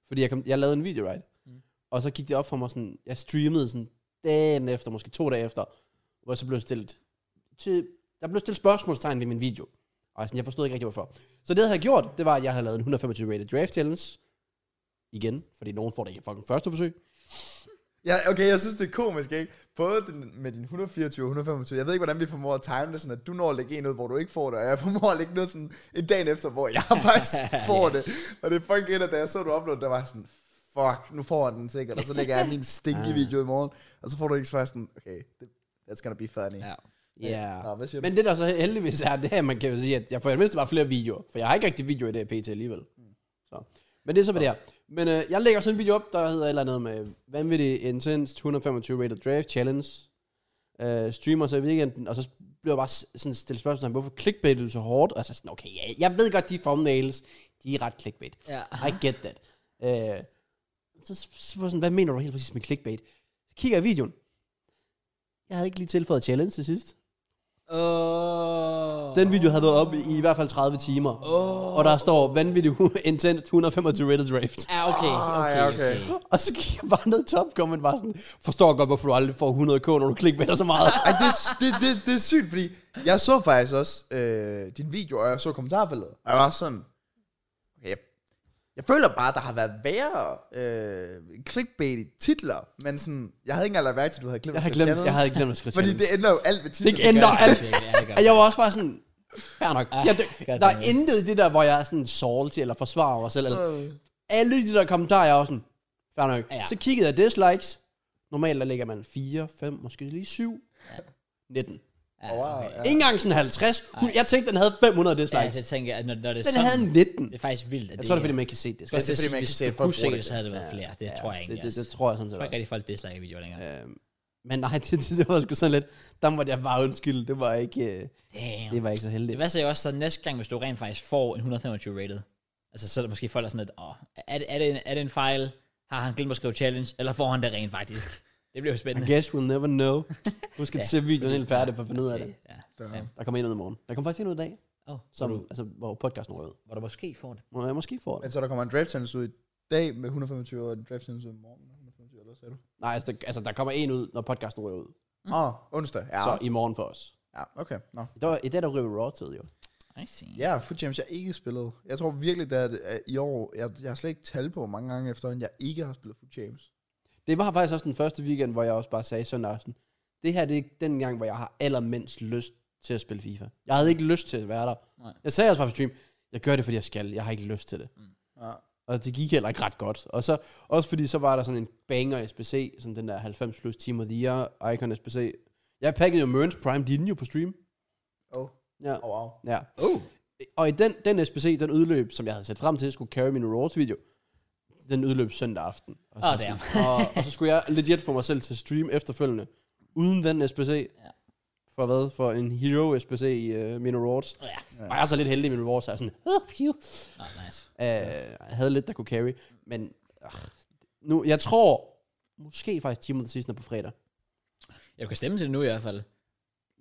Speaker 2: Fordi jeg, kom, jeg lavede en video, right?
Speaker 1: Mm.
Speaker 2: Mm. Og så gik det op for mig sådan, jeg streamede sådan dagen efter, måske to dage efter, hvor jeg så blev stillet til, der blev stillet spørgsmålstegn ved min video. Og jeg sådan, jeg forstod ikke rigtig, hvorfor. Så det, jeg havde gjort, det var, at jeg havde lavet en 125 rated draft challenge. Igen, fordi nogen får det ikke fucking første forsøg.
Speaker 3: ja, okay, jeg synes, det er komisk, ikke? Både den, med din 124 og 125. Jeg ved ikke, hvordan vi formår at time det sådan, at du når at lægge en ud, hvor du ikke får det, og jeg formår at lægge noget sådan en dag efter, hvor jeg faktisk får det. Og det er fucking et, at da jeg så, du upload, der var jeg sådan, fuck, nu får han den sikkert, og så lægger jeg min
Speaker 1: Ah.
Speaker 3: stinky video i morgen, og så får du ikke svar sådan, okay, det, that's gonna be funny.
Speaker 1: Ja.
Speaker 2: Ja. Yeah.
Speaker 3: Nå, hvad siger du?
Speaker 2: Men det der så heldigvis er, det er, at man kan jo sige, at jeg får i det mindste bare flere videoer. For jeg har ikke rigtig video i det her pt alligevel. Så. Men det er så, hvad det er. Men øh, jeg lægger sådan en video op, der hedder et eller andet med vanvittig intense 225 rated draft challenge. Øh, streamer så i weekenden, og så bliver jeg bare s- sådan stillet spørgsmål, hvorfor clickbait du så hårdt? Og så sådan, okay, ja, jeg ved godt, de thumbnails, de er ret clickbait.
Speaker 1: Ja.
Speaker 2: I get that. Øh, så spørger jeg sådan, hvad mener du helt præcis med clickbait? Så kigger jeg i videoen. Jeg havde ikke lige tilføjet challenge til sidst.
Speaker 1: Oh.
Speaker 2: Den video havde været oppe i, i hvert fald 30 timer. Oh. Og der står vanvittigt intense 225 rated draft.
Speaker 1: Ja, okay.
Speaker 3: Ah,
Speaker 1: okay,
Speaker 3: ja,
Speaker 1: okay.
Speaker 3: okay.
Speaker 2: Og så gik jeg bare ned i topkomment bare sådan, forstår godt, hvorfor du aldrig får 100k, når du clickbaiter så meget.
Speaker 3: Ej, det, det, det, det er sygt, fordi jeg så faktisk også øh, din video, og jeg så kommentarfeltet, og jeg var sådan, okay, jeg, jeg føler bare, der har været værre øh, clickbait titler, men sådan, jeg havde ikke engang lagt mærke til, at du havde glemt
Speaker 2: Jeg
Speaker 3: at
Speaker 2: havde
Speaker 3: skrive
Speaker 2: glemt, jeg
Speaker 3: challenge.
Speaker 2: havde glemt at skrive
Speaker 3: Fordi det
Speaker 2: challenge.
Speaker 3: ændrer jo alt ved titlen.
Speaker 2: Det ændrer alt.
Speaker 1: Ja, det gør
Speaker 2: Jeg var også bare sådan, fair nok.
Speaker 1: Ah,
Speaker 2: Jeg, der, der er
Speaker 1: goddammit.
Speaker 2: intet i det der, hvor jeg er sådan salty eller forsvarer mig selv. Eller,
Speaker 3: Øh.
Speaker 2: alle de der kommentarer, jeg er også sådan, fair nok.
Speaker 1: Ja.
Speaker 2: Ja. Så kiggede jeg dislikes. Normalt der ligger man 4, 5, måske lige 7, ja. 19.
Speaker 1: Ja,
Speaker 3: Wow,
Speaker 1: okay.
Speaker 3: ja.
Speaker 2: Ja. Ikke engang sådan 50. Hun, jeg tænkte, den havde 500
Speaker 1: Ja,
Speaker 2: dislikes.
Speaker 1: så
Speaker 2: Ja,
Speaker 1: tænker jeg, at når, når det er
Speaker 2: den
Speaker 1: sådan,
Speaker 2: havde 19.
Speaker 1: det er faktisk vildt, at
Speaker 2: Jeg tror, det er, fordi
Speaker 1: man
Speaker 2: man ikke kan se det.
Speaker 1: skal
Speaker 2: Skal
Speaker 1: det,
Speaker 3: fordi man
Speaker 1: sige, hvis
Speaker 3: ikke kan se,
Speaker 1: du
Speaker 3: at folk
Speaker 1: kunne se
Speaker 3: bruger
Speaker 1: det,
Speaker 3: det.
Speaker 1: så havde det været flere. Det tror jeg ikke. altså.
Speaker 2: det, det, det,
Speaker 1: tror
Speaker 2: tror jeg sådan set
Speaker 1: jeg ikke
Speaker 2: også.
Speaker 1: rigtig, folk disliker videoer længere.
Speaker 2: Øhm, men nej, det, det, det, var sgu sådan lidt, der måtte jeg bare undskylde, det var ikke, øh,
Speaker 1: Damn.
Speaker 2: det var ikke så heldigt.
Speaker 1: Det værste er jo også, så næste gang, hvis du rent faktisk får en 125 rated, altså så er der måske folk, der er sådan lidt, åh, er det, er, det en, er det en fejl? Har han glemt at skrive challenge? Eller får han det rent faktisk? Det bliver jo
Speaker 2: I
Speaker 1: spændende.
Speaker 2: guess we'll never know. Nu skal
Speaker 1: Ja,
Speaker 2: ja, se videoen helt færdig for at finde ud af det.
Speaker 1: Ja.
Speaker 3: Der.
Speaker 2: Der kommer en ud i morgen. Der kommer faktisk en ud i dag,
Speaker 1: Oh,
Speaker 2: som,
Speaker 1: som, hvor, du, Altså-
Speaker 2: altså, hvor podcasten rød.
Speaker 1: hvor du måske får det.
Speaker 2: Må jeg måske får det?
Speaker 3: Men så der kommer en draft challenge ud i dag med 125, og en draft challenge ud i morgen med 125, eller hvad sagde du?
Speaker 2: Nej, altså, der, altså, der kommer en ud, når podcasten rød ud.
Speaker 3: Åh, oh, onsdag. Ja,
Speaker 2: Ja. Mm. Så i morgen for os.
Speaker 3: ja okay. Nå.
Speaker 2: I dag, i dag der ryger raw tid, jo.
Speaker 1: I see.
Speaker 3: Ja, Foot Champs, jeg ikke spillet. Jeg tror virkelig, det er, at at i år, jeg, jeg har slet ikke tal på, hvor mange gange efterhånden, jeg ikke har spillet Foot Champs.
Speaker 2: Det var faktisk også den første weekend, hvor jeg også bare sagde søndag aften, det her det er den gang, hvor jeg har allermindst lyst til at spille FIFA. Jeg havde ikke lyst til at være der.
Speaker 1: Nej.
Speaker 2: Jeg sagde også bare på stream, jeg gør det, fordi jeg skal. Jeg har ikke lyst til det.
Speaker 3: Ja.
Speaker 2: Og det gik heller ikke ret godt. Og så, også fordi så var der sådan en banger SBC, sådan den der 90 plus Team of the Year Icon SBC. Jeg pakkede jo Mørns Prime din jo på stream.
Speaker 3: Oh,
Speaker 2: Ja.
Speaker 3: oh wow.
Speaker 2: ja.
Speaker 1: Oh.
Speaker 2: Og i den, den SBC, den udløb, som jeg havde set frem til, skulle carry min Rewards video, den udløb søndag aften. Og, så
Speaker 1: Åh,
Speaker 2: sådan- og, og, så skulle jeg legit få mig selv til stream efterfølgende, uden den SBC.
Speaker 1: Ja.
Speaker 2: For hvad? For en hero SBC i uh, min Rewards.
Speaker 1: Ja.
Speaker 2: Og jeg er så lidt heldig i min Rewards, så jeg er sådan, "Åh, phew."
Speaker 1: Oh, nice.
Speaker 2: Øh, jeg havde lidt, der kunne carry. Men øh, nu, jeg tror, måske faktisk Team of the Season er på fredag.
Speaker 1: Jeg kan stemme til det nu i hvert fald.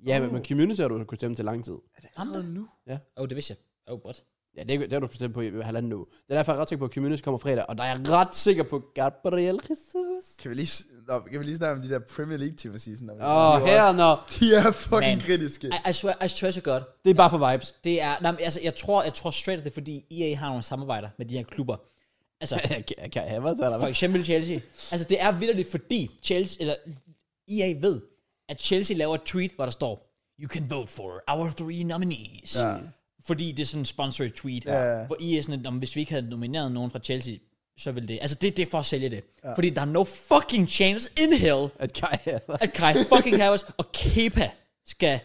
Speaker 2: Ja,
Speaker 3: Uh.
Speaker 2: men, men Community har du kunnet stemme til lang tid.
Speaker 3: Er det
Speaker 1: Ham der?
Speaker 3: allerede nu?
Speaker 1: Oh, det vidste jeg. Oh, what?
Speaker 2: Ja, det, det har du kunnet stemme på i halvanden nu. Det er derfor, jeg er ret sikker på, at Community kommer fredag. Og der er jeg ret sikker på Gabriel Jesus.
Speaker 3: Kan vi lige, s- nå, kan vi lige snakke om de der Premier League Team af season?
Speaker 2: Åh, oh, her når.
Speaker 3: De er fucking
Speaker 1: Man.
Speaker 3: Man. kritiske.
Speaker 1: I, I, swear, I swear to God.
Speaker 2: Det er bare for vibes.
Speaker 1: Det er, nej, men, altså, jeg tror, jeg tror straight, at det er, fordi EA har nogle samarbejder med de her klubber. Altså,
Speaker 2: kan, kan jeg have mig til, eller
Speaker 1: For
Speaker 2: hvad?
Speaker 1: eksempel Chelsea. Altså, det er vidderligt, fordi Chelsea, eller EA ved, at Chelsea laver et tweet, hvor der står, You can vote for our three nominees. Ja. Fordi det er sådan en sponsored tweet.
Speaker 3: Ja.
Speaker 1: Hvor EA er sådan, om hvis vi ikke havde nomineret nogen fra Chelsea, så ville det... Altså, det, det er for at sælge det. Ja. Fordi der er no fucking chance in hell,
Speaker 2: At kan jeg have mig.
Speaker 1: at Kai fucking Havertz og Kepa skal,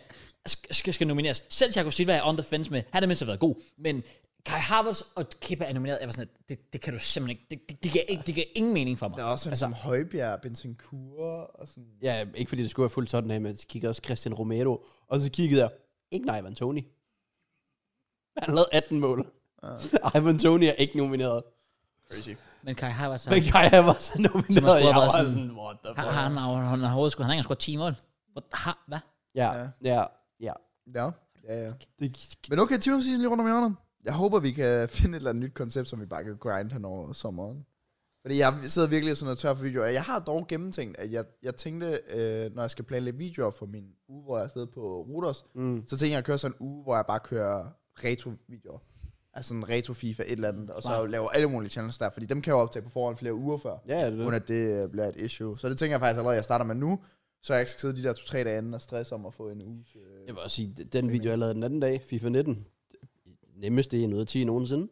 Speaker 1: skal, skal nomineres. Selv Thiago Silva er on the fence med. Han har mindst været god, men Kai Havertz og Kepa er nomineret. Jeg var sådan, at det, det kan du simpelthen ikke. Det, det, det, giver, ikke, det giver ingen mening for mig.
Speaker 3: Der er også sådan altså, som Højbjerg, Bentancur og sådan.
Speaker 2: Ja, ikke fordi det skulle være fuldt sådan her, men så kiggede jeg også Christian Romero. Og så kiggede jeg, ikke nej, Ivan Toni. Han lavede 18 mål.
Speaker 1: Ah.
Speaker 2: Uh. Ivan Toni er ikke nomineret.
Speaker 3: Crazy.
Speaker 1: Men Kai Havertz har,
Speaker 2: Men Kai Havertz er nomineret.
Speaker 1: man skulle
Speaker 2: Jeg
Speaker 1: have
Speaker 2: var
Speaker 1: været sådan,
Speaker 2: sådan, what the
Speaker 1: har, har, han, har, han har overskud. Han har ikke engang scoret 10 mål. Hvor- har- Hvad?
Speaker 2: Ja,
Speaker 3: Ja.
Speaker 2: ja, ja.
Speaker 3: Ja, ja, ja.
Speaker 2: Det,
Speaker 3: Men okay, Team of season lige rundt om hjørnet. Jeg håber, vi kan finde et eller andet nyt koncept, som vi bare kan grind hen over sommeren. Fordi jeg sidder virkelig sådan og tør for videoer. Jeg har dog gennemtænkt, at jeg, jeg tænkte, øh, når jeg skal planlægge videoer for min uge, hvor jeg er afsted på Ruders,
Speaker 2: mm.
Speaker 3: så tænkte jeg at køre sådan en uge, hvor jeg bare kører retro-videoer. Altså en retro-FIFA, et eller andet, og så
Speaker 1: Smart.
Speaker 3: laver alle mulige channels der, fordi dem kan jeg jo optage på forhånd flere uger før,
Speaker 2: ja, det er
Speaker 3: uden
Speaker 2: det.
Speaker 3: at det øh, bliver et issue. Så det tænker jeg faktisk allerede, at jeg starter med nu, så jeg ikke skal sidde de der to-tre dage inden og stresse om at få en uge.
Speaker 1: Øh,
Speaker 2: Jeg vil også sige, d- den video, jeg lavede den anden dag, FIFA 19, nemmest det er noget 10 nogensinde.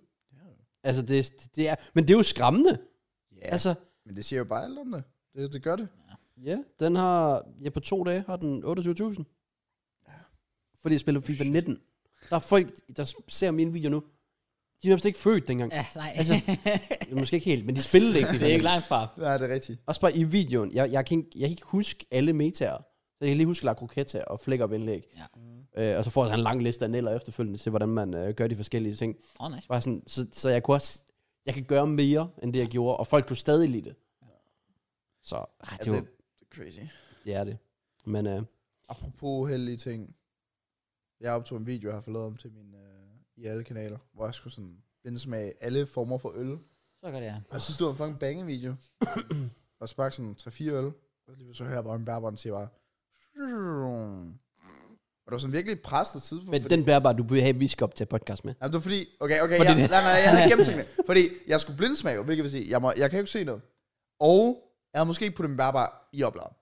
Speaker 2: Altså, det, det er, men det er jo skræmmende.
Speaker 3: Ja, altså,
Speaker 2: Altså,
Speaker 3: men det siger jo bare alt om det. Det, det gør det.
Speaker 2: ja, den har, ja, på to dage har den 28.000. Fordi jeg spiller FIFA 19. Der er folk, der s- ser min video nu, De er nærmest ikke født dengang.
Speaker 1: Ja, nej.
Speaker 2: Altså, Måske ikke helt, men de spillede ikke.
Speaker 1: det er ikke langt fra.
Speaker 3: Nej, det er rigtigt.
Speaker 2: Også bare i videoen. Jeg, jeg, kan, ikke, jeg kan ikke huske alle metaer. Så jeg kan lige huske La Croqueta og flæk op indlæg.
Speaker 1: Ja.
Speaker 2: Øh, og så får han en lang liste af neller efterfølgende til, hvordan man øh, gør de forskellige ting.
Speaker 1: Åh, oh, nice.
Speaker 2: Bare sådan, så, så jeg kunne også, jeg kan gøre mere, end det jeg gjorde, og folk kunne stadig lide det. Så ah, det,
Speaker 3: Ja,
Speaker 2: var,
Speaker 3: det, det er crazy.
Speaker 2: det er det. Men øh,
Speaker 3: Apropos heldige ting. Jeg optog en video, jeg har forladt om til min, øh, i alle kanaler, hvor jeg skulle sådan binde smag alle former for øl.
Speaker 1: Så godt, ja.
Speaker 3: Jeg synes, det var en fucking bange video. og smagte sådan 3-4 øl. Og lige så hører jeg bare en bærbånd sige bare... Og det var sådan virkelig et presset tidspunkt.
Speaker 2: men
Speaker 3: fordi-
Speaker 2: den bærer bare, du vil have, vi skal op til podcast med.
Speaker 3: Jamen, det var fordi... Okay, okay,
Speaker 2: Fordi
Speaker 3: fordi
Speaker 2: det-
Speaker 3: jeg, nej, nej, jeg havde gennemtænkt det. Fordi jeg skulle blindsmage, hvilket vil sige, jeg, må, jeg kan jo ikke se noget. Og jeg havde måske ikke puttet min bærbar i opladen.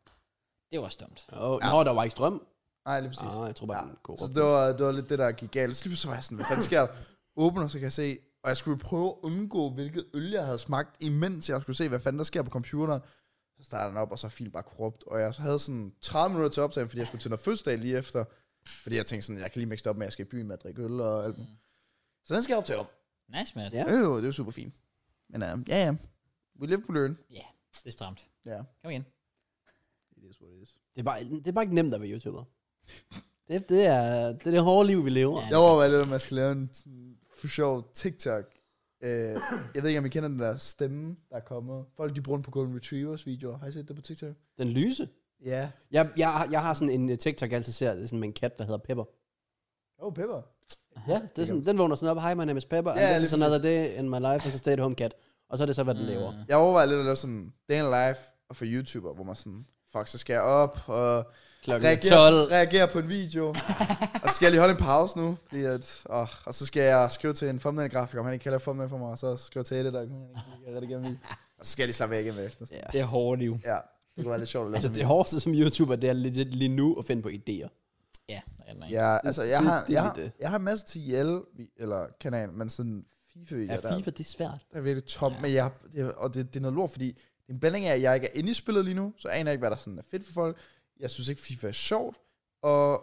Speaker 1: Det var stumt.
Speaker 2: Og, ja. Nå, der var ikke strøm.
Speaker 3: Nej, lige præcis.
Speaker 2: Ah, jeg tror bare, ja. den går
Speaker 3: Så
Speaker 2: op.
Speaker 3: det var, det var lidt det, der gik galt. Så lige pludselig var jeg sådan, hvad fanden sker der? Åbner, så kan jeg se, og jeg skulle jo prøve at undgå, hvilket øl jeg havde smagt, imens jeg skulle se, hvad fanden der sker på computeren. Så starter den op, og så er filen bare korrupt. Og jeg havde sådan 30 minutter til optagen, fordi jeg skulle til noget fødselsdag lige efter. Fordi jeg tænkte sådan, jeg kan lige mixe det op med, at jeg skal i byen med at drikke øl og alt. muligt. Så den skal jeg optage om.
Speaker 1: Nice, man.
Speaker 2: Ja.
Speaker 1: Ja.
Speaker 3: Øh, det er jo super fint. Men uh, ja, ja. We live, we learn.
Speaker 1: Det er stramt.
Speaker 3: Ja.
Speaker 1: Kom igen.
Speaker 3: It is what it is.
Speaker 2: Det er, bare, det er bare ikke nemt at være YouTuber. Det, det, er, det er det hårde liv, vi lever.
Speaker 1: Ja.
Speaker 2: Ja.
Speaker 3: Jeg overvejer lidt, om jeg skal lave en sådan for sjov TikTok. Øh, jeg ved ikke, om I kender den der stemme, der er kommet. Folk, de bruger den på Golden Retrievers videoer. Har I set det på TikTok?
Speaker 2: Den lyse.
Speaker 3: Ja.
Speaker 2: Jeg, jeg, jeg har sådan en øh, TikTok, jeg altid ser, det er sådan med en kat, der hedder Pepper.
Speaker 3: Åh, oh, Pepper.
Speaker 2: Ja, det er sådan, den vågner sådan op, hi, my name is Pepper,
Speaker 3: Ja,
Speaker 2: and this
Speaker 3: lige
Speaker 2: is another day in my life as a stay-at-home cat. Og så er det så, hvad den
Speaker 1: Mm.
Speaker 2: laver.
Speaker 3: Jeg overvejer lidt at lave sådan Dan Live og for YouTuber, hvor man sådan, fuck, så skal jeg op og
Speaker 2: Klokken
Speaker 3: reagere, reagere på en video. og så skal jeg lige holde en pause nu, fordi at, åh, og så skal jeg skrive til en thumbnail-grafiker, om han ikke kan lave thumbnail for mig, og så skrive til editor, om han ikke kan redigere en video. Og så skal jeg lige slappe af igen efter.
Speaker 2: Ja.
Speaker 1: Det er hårdt liv.
Speaker 3: Ja, det kunne være lidt sjovt at lave
Speaker 2: Altså
Speaker 3: sådan en
Speaker 2: det hårdeste som YouTuber, det er legit lige nu at finde på idéer.
Speaker 1: Ja, der er den ikke.
Speaker 3: Ja, altså jeg
Speaker 2: det-
Speaker 3: har,
Speaker 2: det er
Speaker 3: jeg,
Speaker 2: lidt
Speaker 3: har,
Speaker 2: det.
Speaker 3: jeg har en masse til IL, eller kanal, men sådan FIFA
Speaker 2: Ja,
Speaker 3: videoer der,
Speaker 2: FIFA, det er svært.
Speaker 3: der er virkelig top, men jeg, det, og det, det er noget lort, fordi det er en blanding af, at jeg ikke er inde i spillet lige nu, så aner jeg ikke, hvad der sådan er fedt for folk. Jeg synes ikke, FIFA er sjovt, og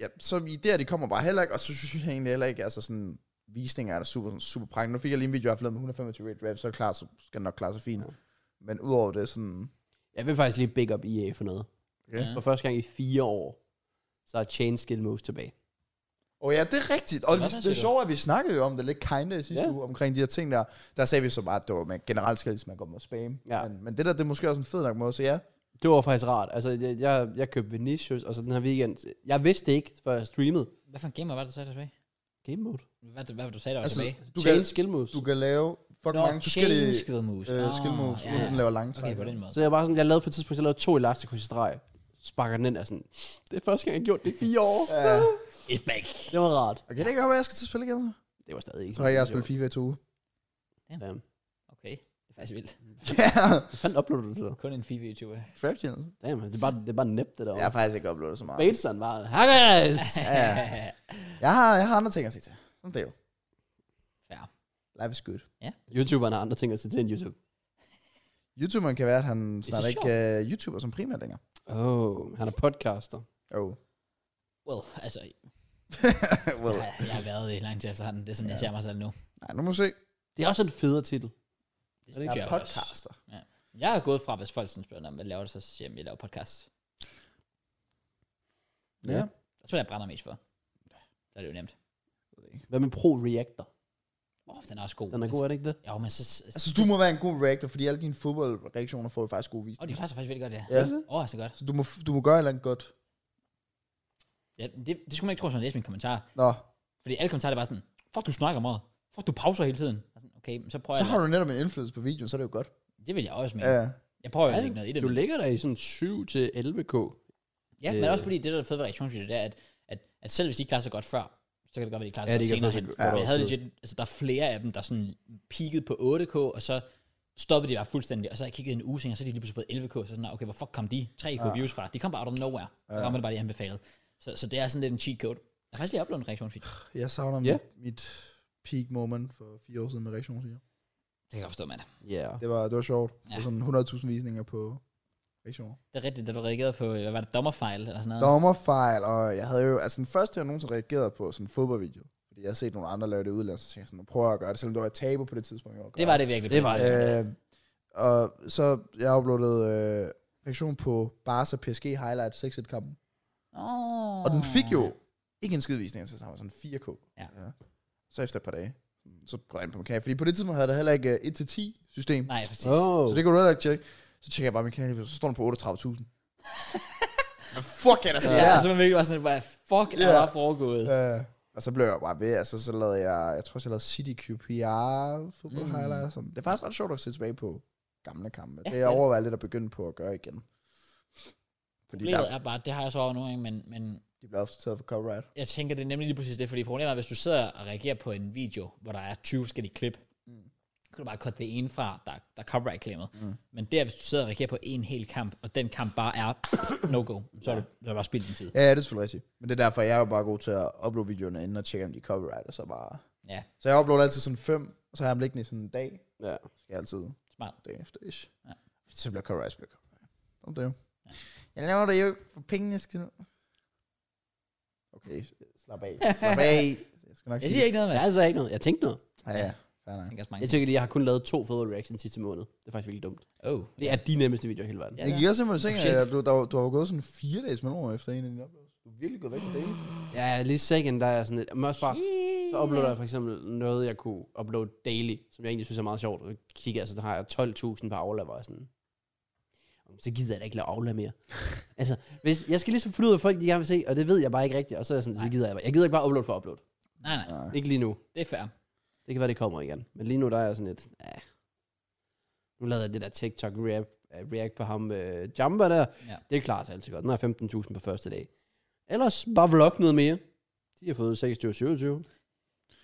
Speaker 3: ja, så idéer, de kommer bare heller ikke, og så synes jeg egentlig heller ikke, altså sådan visninger er der super, sådan, super prangende. Nu fik jeg lige en video, jeg har med 125 rate rap, så er det klart, så skal den nok klare sig fint.
Speaker 2: Ja.
Speaker 3: Men udover det, sådan...
Speaker 2: Jeg vil faktisk lige big up EA for noget.
Speaker 3: Okay.
Speaker 1: Ja.
Speaker 2: For første gang i fire år, så er Chain Skill Moves tilbage.
Speaker 3: Og ja, det er rigtigt. Og
Speaker 1: Hvad
Speaker 3: det,
Speaker 1: der
Speaker 3: det,
Speaker 1: siger
Speaker 3: er
Speaker 1: du?
Speaker 3: sjovt, at vi snakkede jo om det lidt kinda i sidste
Speaker 2: Ja.
Speaker 3: ja. uge, omkring de her ting der. Der sagde vi så bare, at det var, man generelt skal ligesom man gå med spam.
Speaker 2: Ja.
Speaker 3: Men, men, det der, det er måske også en fed nok måde, så ja.
Speaker 2: Det var faktisk rart. Altså, jeg, jeg, jeg købte Vinicius, og så den her weekend. Jeg vidste det ikke, før jeg streamede.
Speaker 1: Hvad for en gamer var det, du sagde der tilbage?
Speaker 2: Game mode.
Speaker 1: Hvad, hvad var det, du sagde der var
Speaker 3: Altså,
Speaker 1: tilbage?
Speaker 3: du
Speaker 2: Chain
Speaker 3: kan,
Speaker 2: Skill Moves.
Speaker 3: du kan lave fucking mange forskellige
Speaker 1: change skill moves.
Speaker 3: øh,
Speaker 1: Ah,
Speaker 3: skill moves,
Speaker 1: ja,
Speaker 3: uden
Speaker 1: ja.
Speaker 3: at den laver lange træk.
Speaker 1: Okay, på den måde.
Speaker 2: Så jeg var sådan, jeg lavede på et tidspunkt, jeg lavede to elastikryds i streg. Sparker den ind, og sådan, det er første gang, jeg har gjort det i fire år.
Speaker 3: Ja.
Speaker 1: It's back.
Speaker 2: Det var rart.
Speaker 3: Okay, det kan godt være, jeg skal til at spille igen. så.
Speaker 2: Det var stadig ikke
Speaker 3: Så har jeg spillet FIFA i to uger.
Speaker 2: Ja.
Speaker 1: Okay, det er faktisk vildt.
Speaker 3: Ja,
Speaker 2: Hvad fanden uploader du til?
Speaker 1: Kun en FIFA-YouTuber.
Speaker 3: Trap Channel.
Speaker 2: Damn, det er bare, det er bare nemt, det der.
Speaker 3: Jeg har faktisk ikke uploadet så meget.
Speaker 2: Bateson var, hey guys!
Speaker 3: Ja, jeg, har, jeg har andre ting at sige til. Sådan det er jo.
Speaker 1: Ja.
Speaker 3: Life is good.
Speaker 2: YouTuberen har andre ting at se til end YouTube.
Speaker 3: YouTuberen kan være, at han
Speaker 1: så
Speaker 3: snart ikke er YouTuber som primært længere.
Speaker 2: Oh, han er podcaster.
Speaker 3: Oh.
Speaker 1: Well, altså,
Speaker 3: well.
Speaker 1: jeg, jeg har været det lang tid efterhånden. Det er sådan, jeg
Speaker 3: Ja.
Speaker 1: ser mig selv nu.
Speaker 3: Nej, nu må vi se.
Speaker 2: Det er også en federe titel.
Speaker 1: Det
Speaker 2: det
Speaker 1: synes
Speaker 3: Jeg er
Speaker 1: også.
Speaker 3: podcaster.
Speaker 1: Jeg er gået fra, hvis folk sådan spørger, "Nå, hvad laver du så, så siger jeg, jeg laver podcast.
Speaker 3: Ja.
Speaker 2: Ja.
Speaker 1: Det er jeg brænder mest for. Så er det jo nemt.
Speaker 2: Hvad med Pro Reactor?
Speaker 1: Åh, oh, den er også god.
Speaker 2: Den er god, er det ikke det?
Speaker 1: Jo, men så...
Speaker 3: Jeg synes, Altså, du må være en god reactor, fordi alle dine fodboldreaktioner får jo faktisk gode
Speaker 1: Åh, oh, de
Speaker 3: visninger.
Speaker 1: klarer sig faktisk virkelig godt, ja.
Speaker 3: Ja.
Speaker 1: Åh, oh, så godt.
Speaker 3: Så du må, du må gøre et eller andet godt.
Speaker 1: Ja, det, det skulle man ikke tro, hvis man læste mine kommentarer.
Speaker 3: Nå,
Speaker 1: Fordi alle kommentarer er bare sådan, fuck, du snakker meget. Fuck, du pauser hele tiden. Og Sådan, okay, men så prøver
Speaker 3: så
Speaker 1: jeg...
Speaker 3: har du netop en indflydelse på videoen, så er det jo godt.
Speaker 1: Det vil jeg også mene.
Speaker 3: Ja,
Speaker 1: Ja.
Speaker 3: ja.
Speaker 1: Jeg prøver jo ikke noget i det. Altså,
Speaker 2: Du
Speaker 1: men-
Speaker 2: ligger der i sådan 7 til 11k.
Speaker 1: Ja, men
Speaker 2: Øh.
Speaker 1: også fordi det, der er fedt ved reaktionsvideo, det er, at, at, at selv hvis de ikke klarer sig godt før, så kan det godt være, de klarer sig
Speaker 2: Ja,
Speaker 1: godt
Speaker 2: de kan
Speaker 1: senere hen.
Speaker 2: faktisk godt
Speaker 1: Ja, jeg havde
Speaker 2: absolut.
Speaker 1: legit, altså, der er flere af dem, der sådan peakede på 8K, og så stoppede de bare fuldstændig, og så har jeg kigget en uge senere, og så har de lige pludselig fået 11K, så sådan, "Nå, okay, hvor fuck kom de 3K ja. views fra? De kom bare out of nowhere. Så rammer det bare, de anbefalede. Så, så det er sådan lidt en cheat code. Jeg har faktisk lige uploadet en reaktionsvideo.
Speaker 3: Jeg savner
Speaker 2: Ja.
Speaker 3: yeah. mit, mit peak moment for fire år siden med reaktionsvideoer.
Speaker 1: Det kan jeg godt forstå, mand.
Speaker 2: Ja. Yeah.
Speaker 3: Det var, det var sjovt. Ja.
Speaker 1: Ja.
Speaker 3: Sådan 100.000 visninger på reaktioner.
Speaker 1: Det er rigtigt, da du reagerede på, øh, hvad var det, dommerfejl eller sådan noget.
Speaker 3: Dommerfejl, og jeg havde jo, altså den første, jeg nogensinde reagerede på, sådan en fodboldvideo. Fordi jeg har set nogle andre lave det i udlandet, så tænkte jeg sådan, nu prøver jeg at gøre det, selvom det var et tabu på det tidspunkt. Jeg
Speaker 1: Det var det virkelig. på
Speaker 2: Det var
Speaker 1: tidspunkt.
Speaker 2: det.
Speaker 3: Øh, og så jeg uploadede øh, reaktion på Barca PSG Highlight 6 1 kampen
Speaker 1: Åh.
Speaker 3: Og den fik jo ikke en skid visning, så var sådan 4K.
Speaker 1: Ja.
Speaker 3: Så efter et par dage, så går jeg ind på min kanal. Fordi på det tidspunkt havde der heller ikke øh, 1-10 system.
Speaker 1: Nej, præcis.
Speaker 2: Oh.
Speaker 3: Så det kunne du heller ikke tjekke. Så tjekker jeg bare min kanal, og så står den på 38.000. Hvad fuck er der sket
Speaker 1: Ja,
Speaker 3: der?
Speaker 1: så man virkelig var sådan, hvad fuck er
Speaker 3: Ja.
Speaker 1: der foregået?
Speaker 3: Øh, og så blev jeg bare ved, altså så lavede jeg, jeg tror også jeg lavede City QPR football
Speaker 1: Mm.
Speaker 3: mm. highlights. og Sådan. Det er faktisk ret sjovt at se tilbage på gamle kampe.
Speaker 1: Ja,
Speaker 3: Ja, det jeg
Speaker 1: det er det.
Speaker 3: overvejer lidt at begynde på at gøre igen. Fordi
Speaker 1: Problemet
Speaker 3: der,
Speaker 1: er bare, det har jeg så over nu, ikke? men, men
Speaker 3: de bliver ofte taget for copyright.
Speaker 1: jeg tænker, det er nemlig lige præcis det, fordi problemet er, hvis du sidder og reagerer på en video, hvor der er 20 forskellige klip, mm. kan du bare cutte det ene fra, der, der er copyright-claimet. Mm. Men der, hvis du sidder og reagerer på en hel kamp, og den kamp bare er no-go, så er det, så er det bare spildt din tid.
Speaker 3: Ja, ja, det er selvfølgelig rigtigt. Men det er derfor, jeg er jo bare god til at uploade videoerne inden og tjekke, om de er copyright. Og så, bare...
Speaker 1: Ja,
Speaker 3: så jeg uploader altid sådan fem, og så har jeg dem liggende i sådan en dag.
Speaker 2: Ja.
Speaker 3: Så skal jeg altid
Speaker 1: smart.
Speaker 3: dagen efter ish.
Speaker 1: Ja.
Speaker 3: Ja. Så bliver copyright, så bliver copyright. Om det jo. Jeg laver det jo ikke for pengene, jeg skal... Okay, slap af. Slap af. Jeg skal nok
Speaker 1: Jeg siger ikke noget, men
Speaker 2: Jeg
Speaker 1: jeg
Speaker 2: altså ikke noget. Jeg tænkte noget.
Speaker 3: Ja, ja. Fair nok.
Speaker 1: tænker også mange.
Speaker 2: Jeg tænker, at jeg har kun lavet to fodbold reactions sidste måned. Det er faktisk virkelig dumt.
Speaker 1: Oh.
Speaker 2: Det er de nemmeste videoer i hele verden.
Speaker 1: Ja,
Speaker 3: Jeg gik også simpelthen
Speaker 1: Oh,
Speaker 3: tænke,
Speaker 1: shit.
Speaker 3: at du, der, var- du har jo gået sådan fire dages mellemrum efter en af dine oplevelser. Du er virkelig gået væk fra det.
Speaker 2: Ja, lige second, der er sådan lidt... Men også bare, så
Speaker 1: Shit.
Speaker 2: uploader jeg for eksempel noget, jeg kunne uploade daily, som jeg egentlig synes er meget sjovt. Og kigger, altså, der har jeg 12.000 på Aula, hvor jeg sådan... Så gider jeg da ikke lave Aula mere. altså, hvis, jeg skal ligesom finde ud af, hvad folk de gerne vil se, og det ved jeg bare ikke rigtigt. Og så er jeg sådan, så gider jeg bare. Jeg gider ikke bare uploade for at uploade.
Speaker 1: Nej, nej,
Speaker 3: Nej.
Speaker 2: Ikke lige nu.
Speaker 1: det er fair.
Speaker 2: Det kan være, det kommer igen. Men lige nu, der er jeg sådan lidt... Ja. Nu lavede jeg det der TikTok react, react på ham øh, Jumper der.
Speaker 1: Ja.
Speaker 2: Det klarer sig altid godt. Nu er jeg 15.000 på første dag. Ellers bare vlog noget mere. De har fået 26-27.
Speaker 1: Det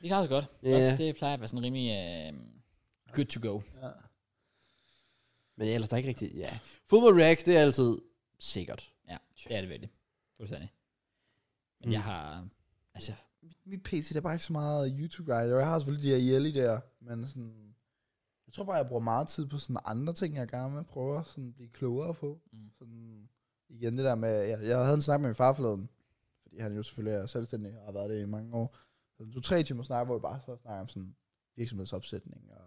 Speaker 1: klarer sig godt.
Speaker 2: Ja.
Speaker 1: Yeah. Det plejer at være sådan rimelig uh, good to go.
Speaker 3: Ja.
Speaker 2: Men ellers der er ikke rigtigt, ja. Fodbold reacts, det er altid sikkert.
Speaker 1: Ja, det er det virkelig. Fuldstændig. Men
Speaker 2: Mm.
Speaker 1: jeg har... Altså,
Speaker 3: Mit PC, der er bare ikke så meget youtube guy. Jeg har selvfølgelig de her Jelly der, men sådan... Jeg tror bare, jeg bruger meget tid på sådan andre ting, jeg gerne vil prøve at sådan blive klogere på.
Speaker 1: Mm.
Speaker 3: Mm. Sådan, igen det der med... Jeg, jeg havde en snak med min far forleden, fordi han jo selvfølgelig er selvstændig og har været det i mange år. Så du tre timer snak, hvor vi bare så snakker om sådan virksomhedsopsætning og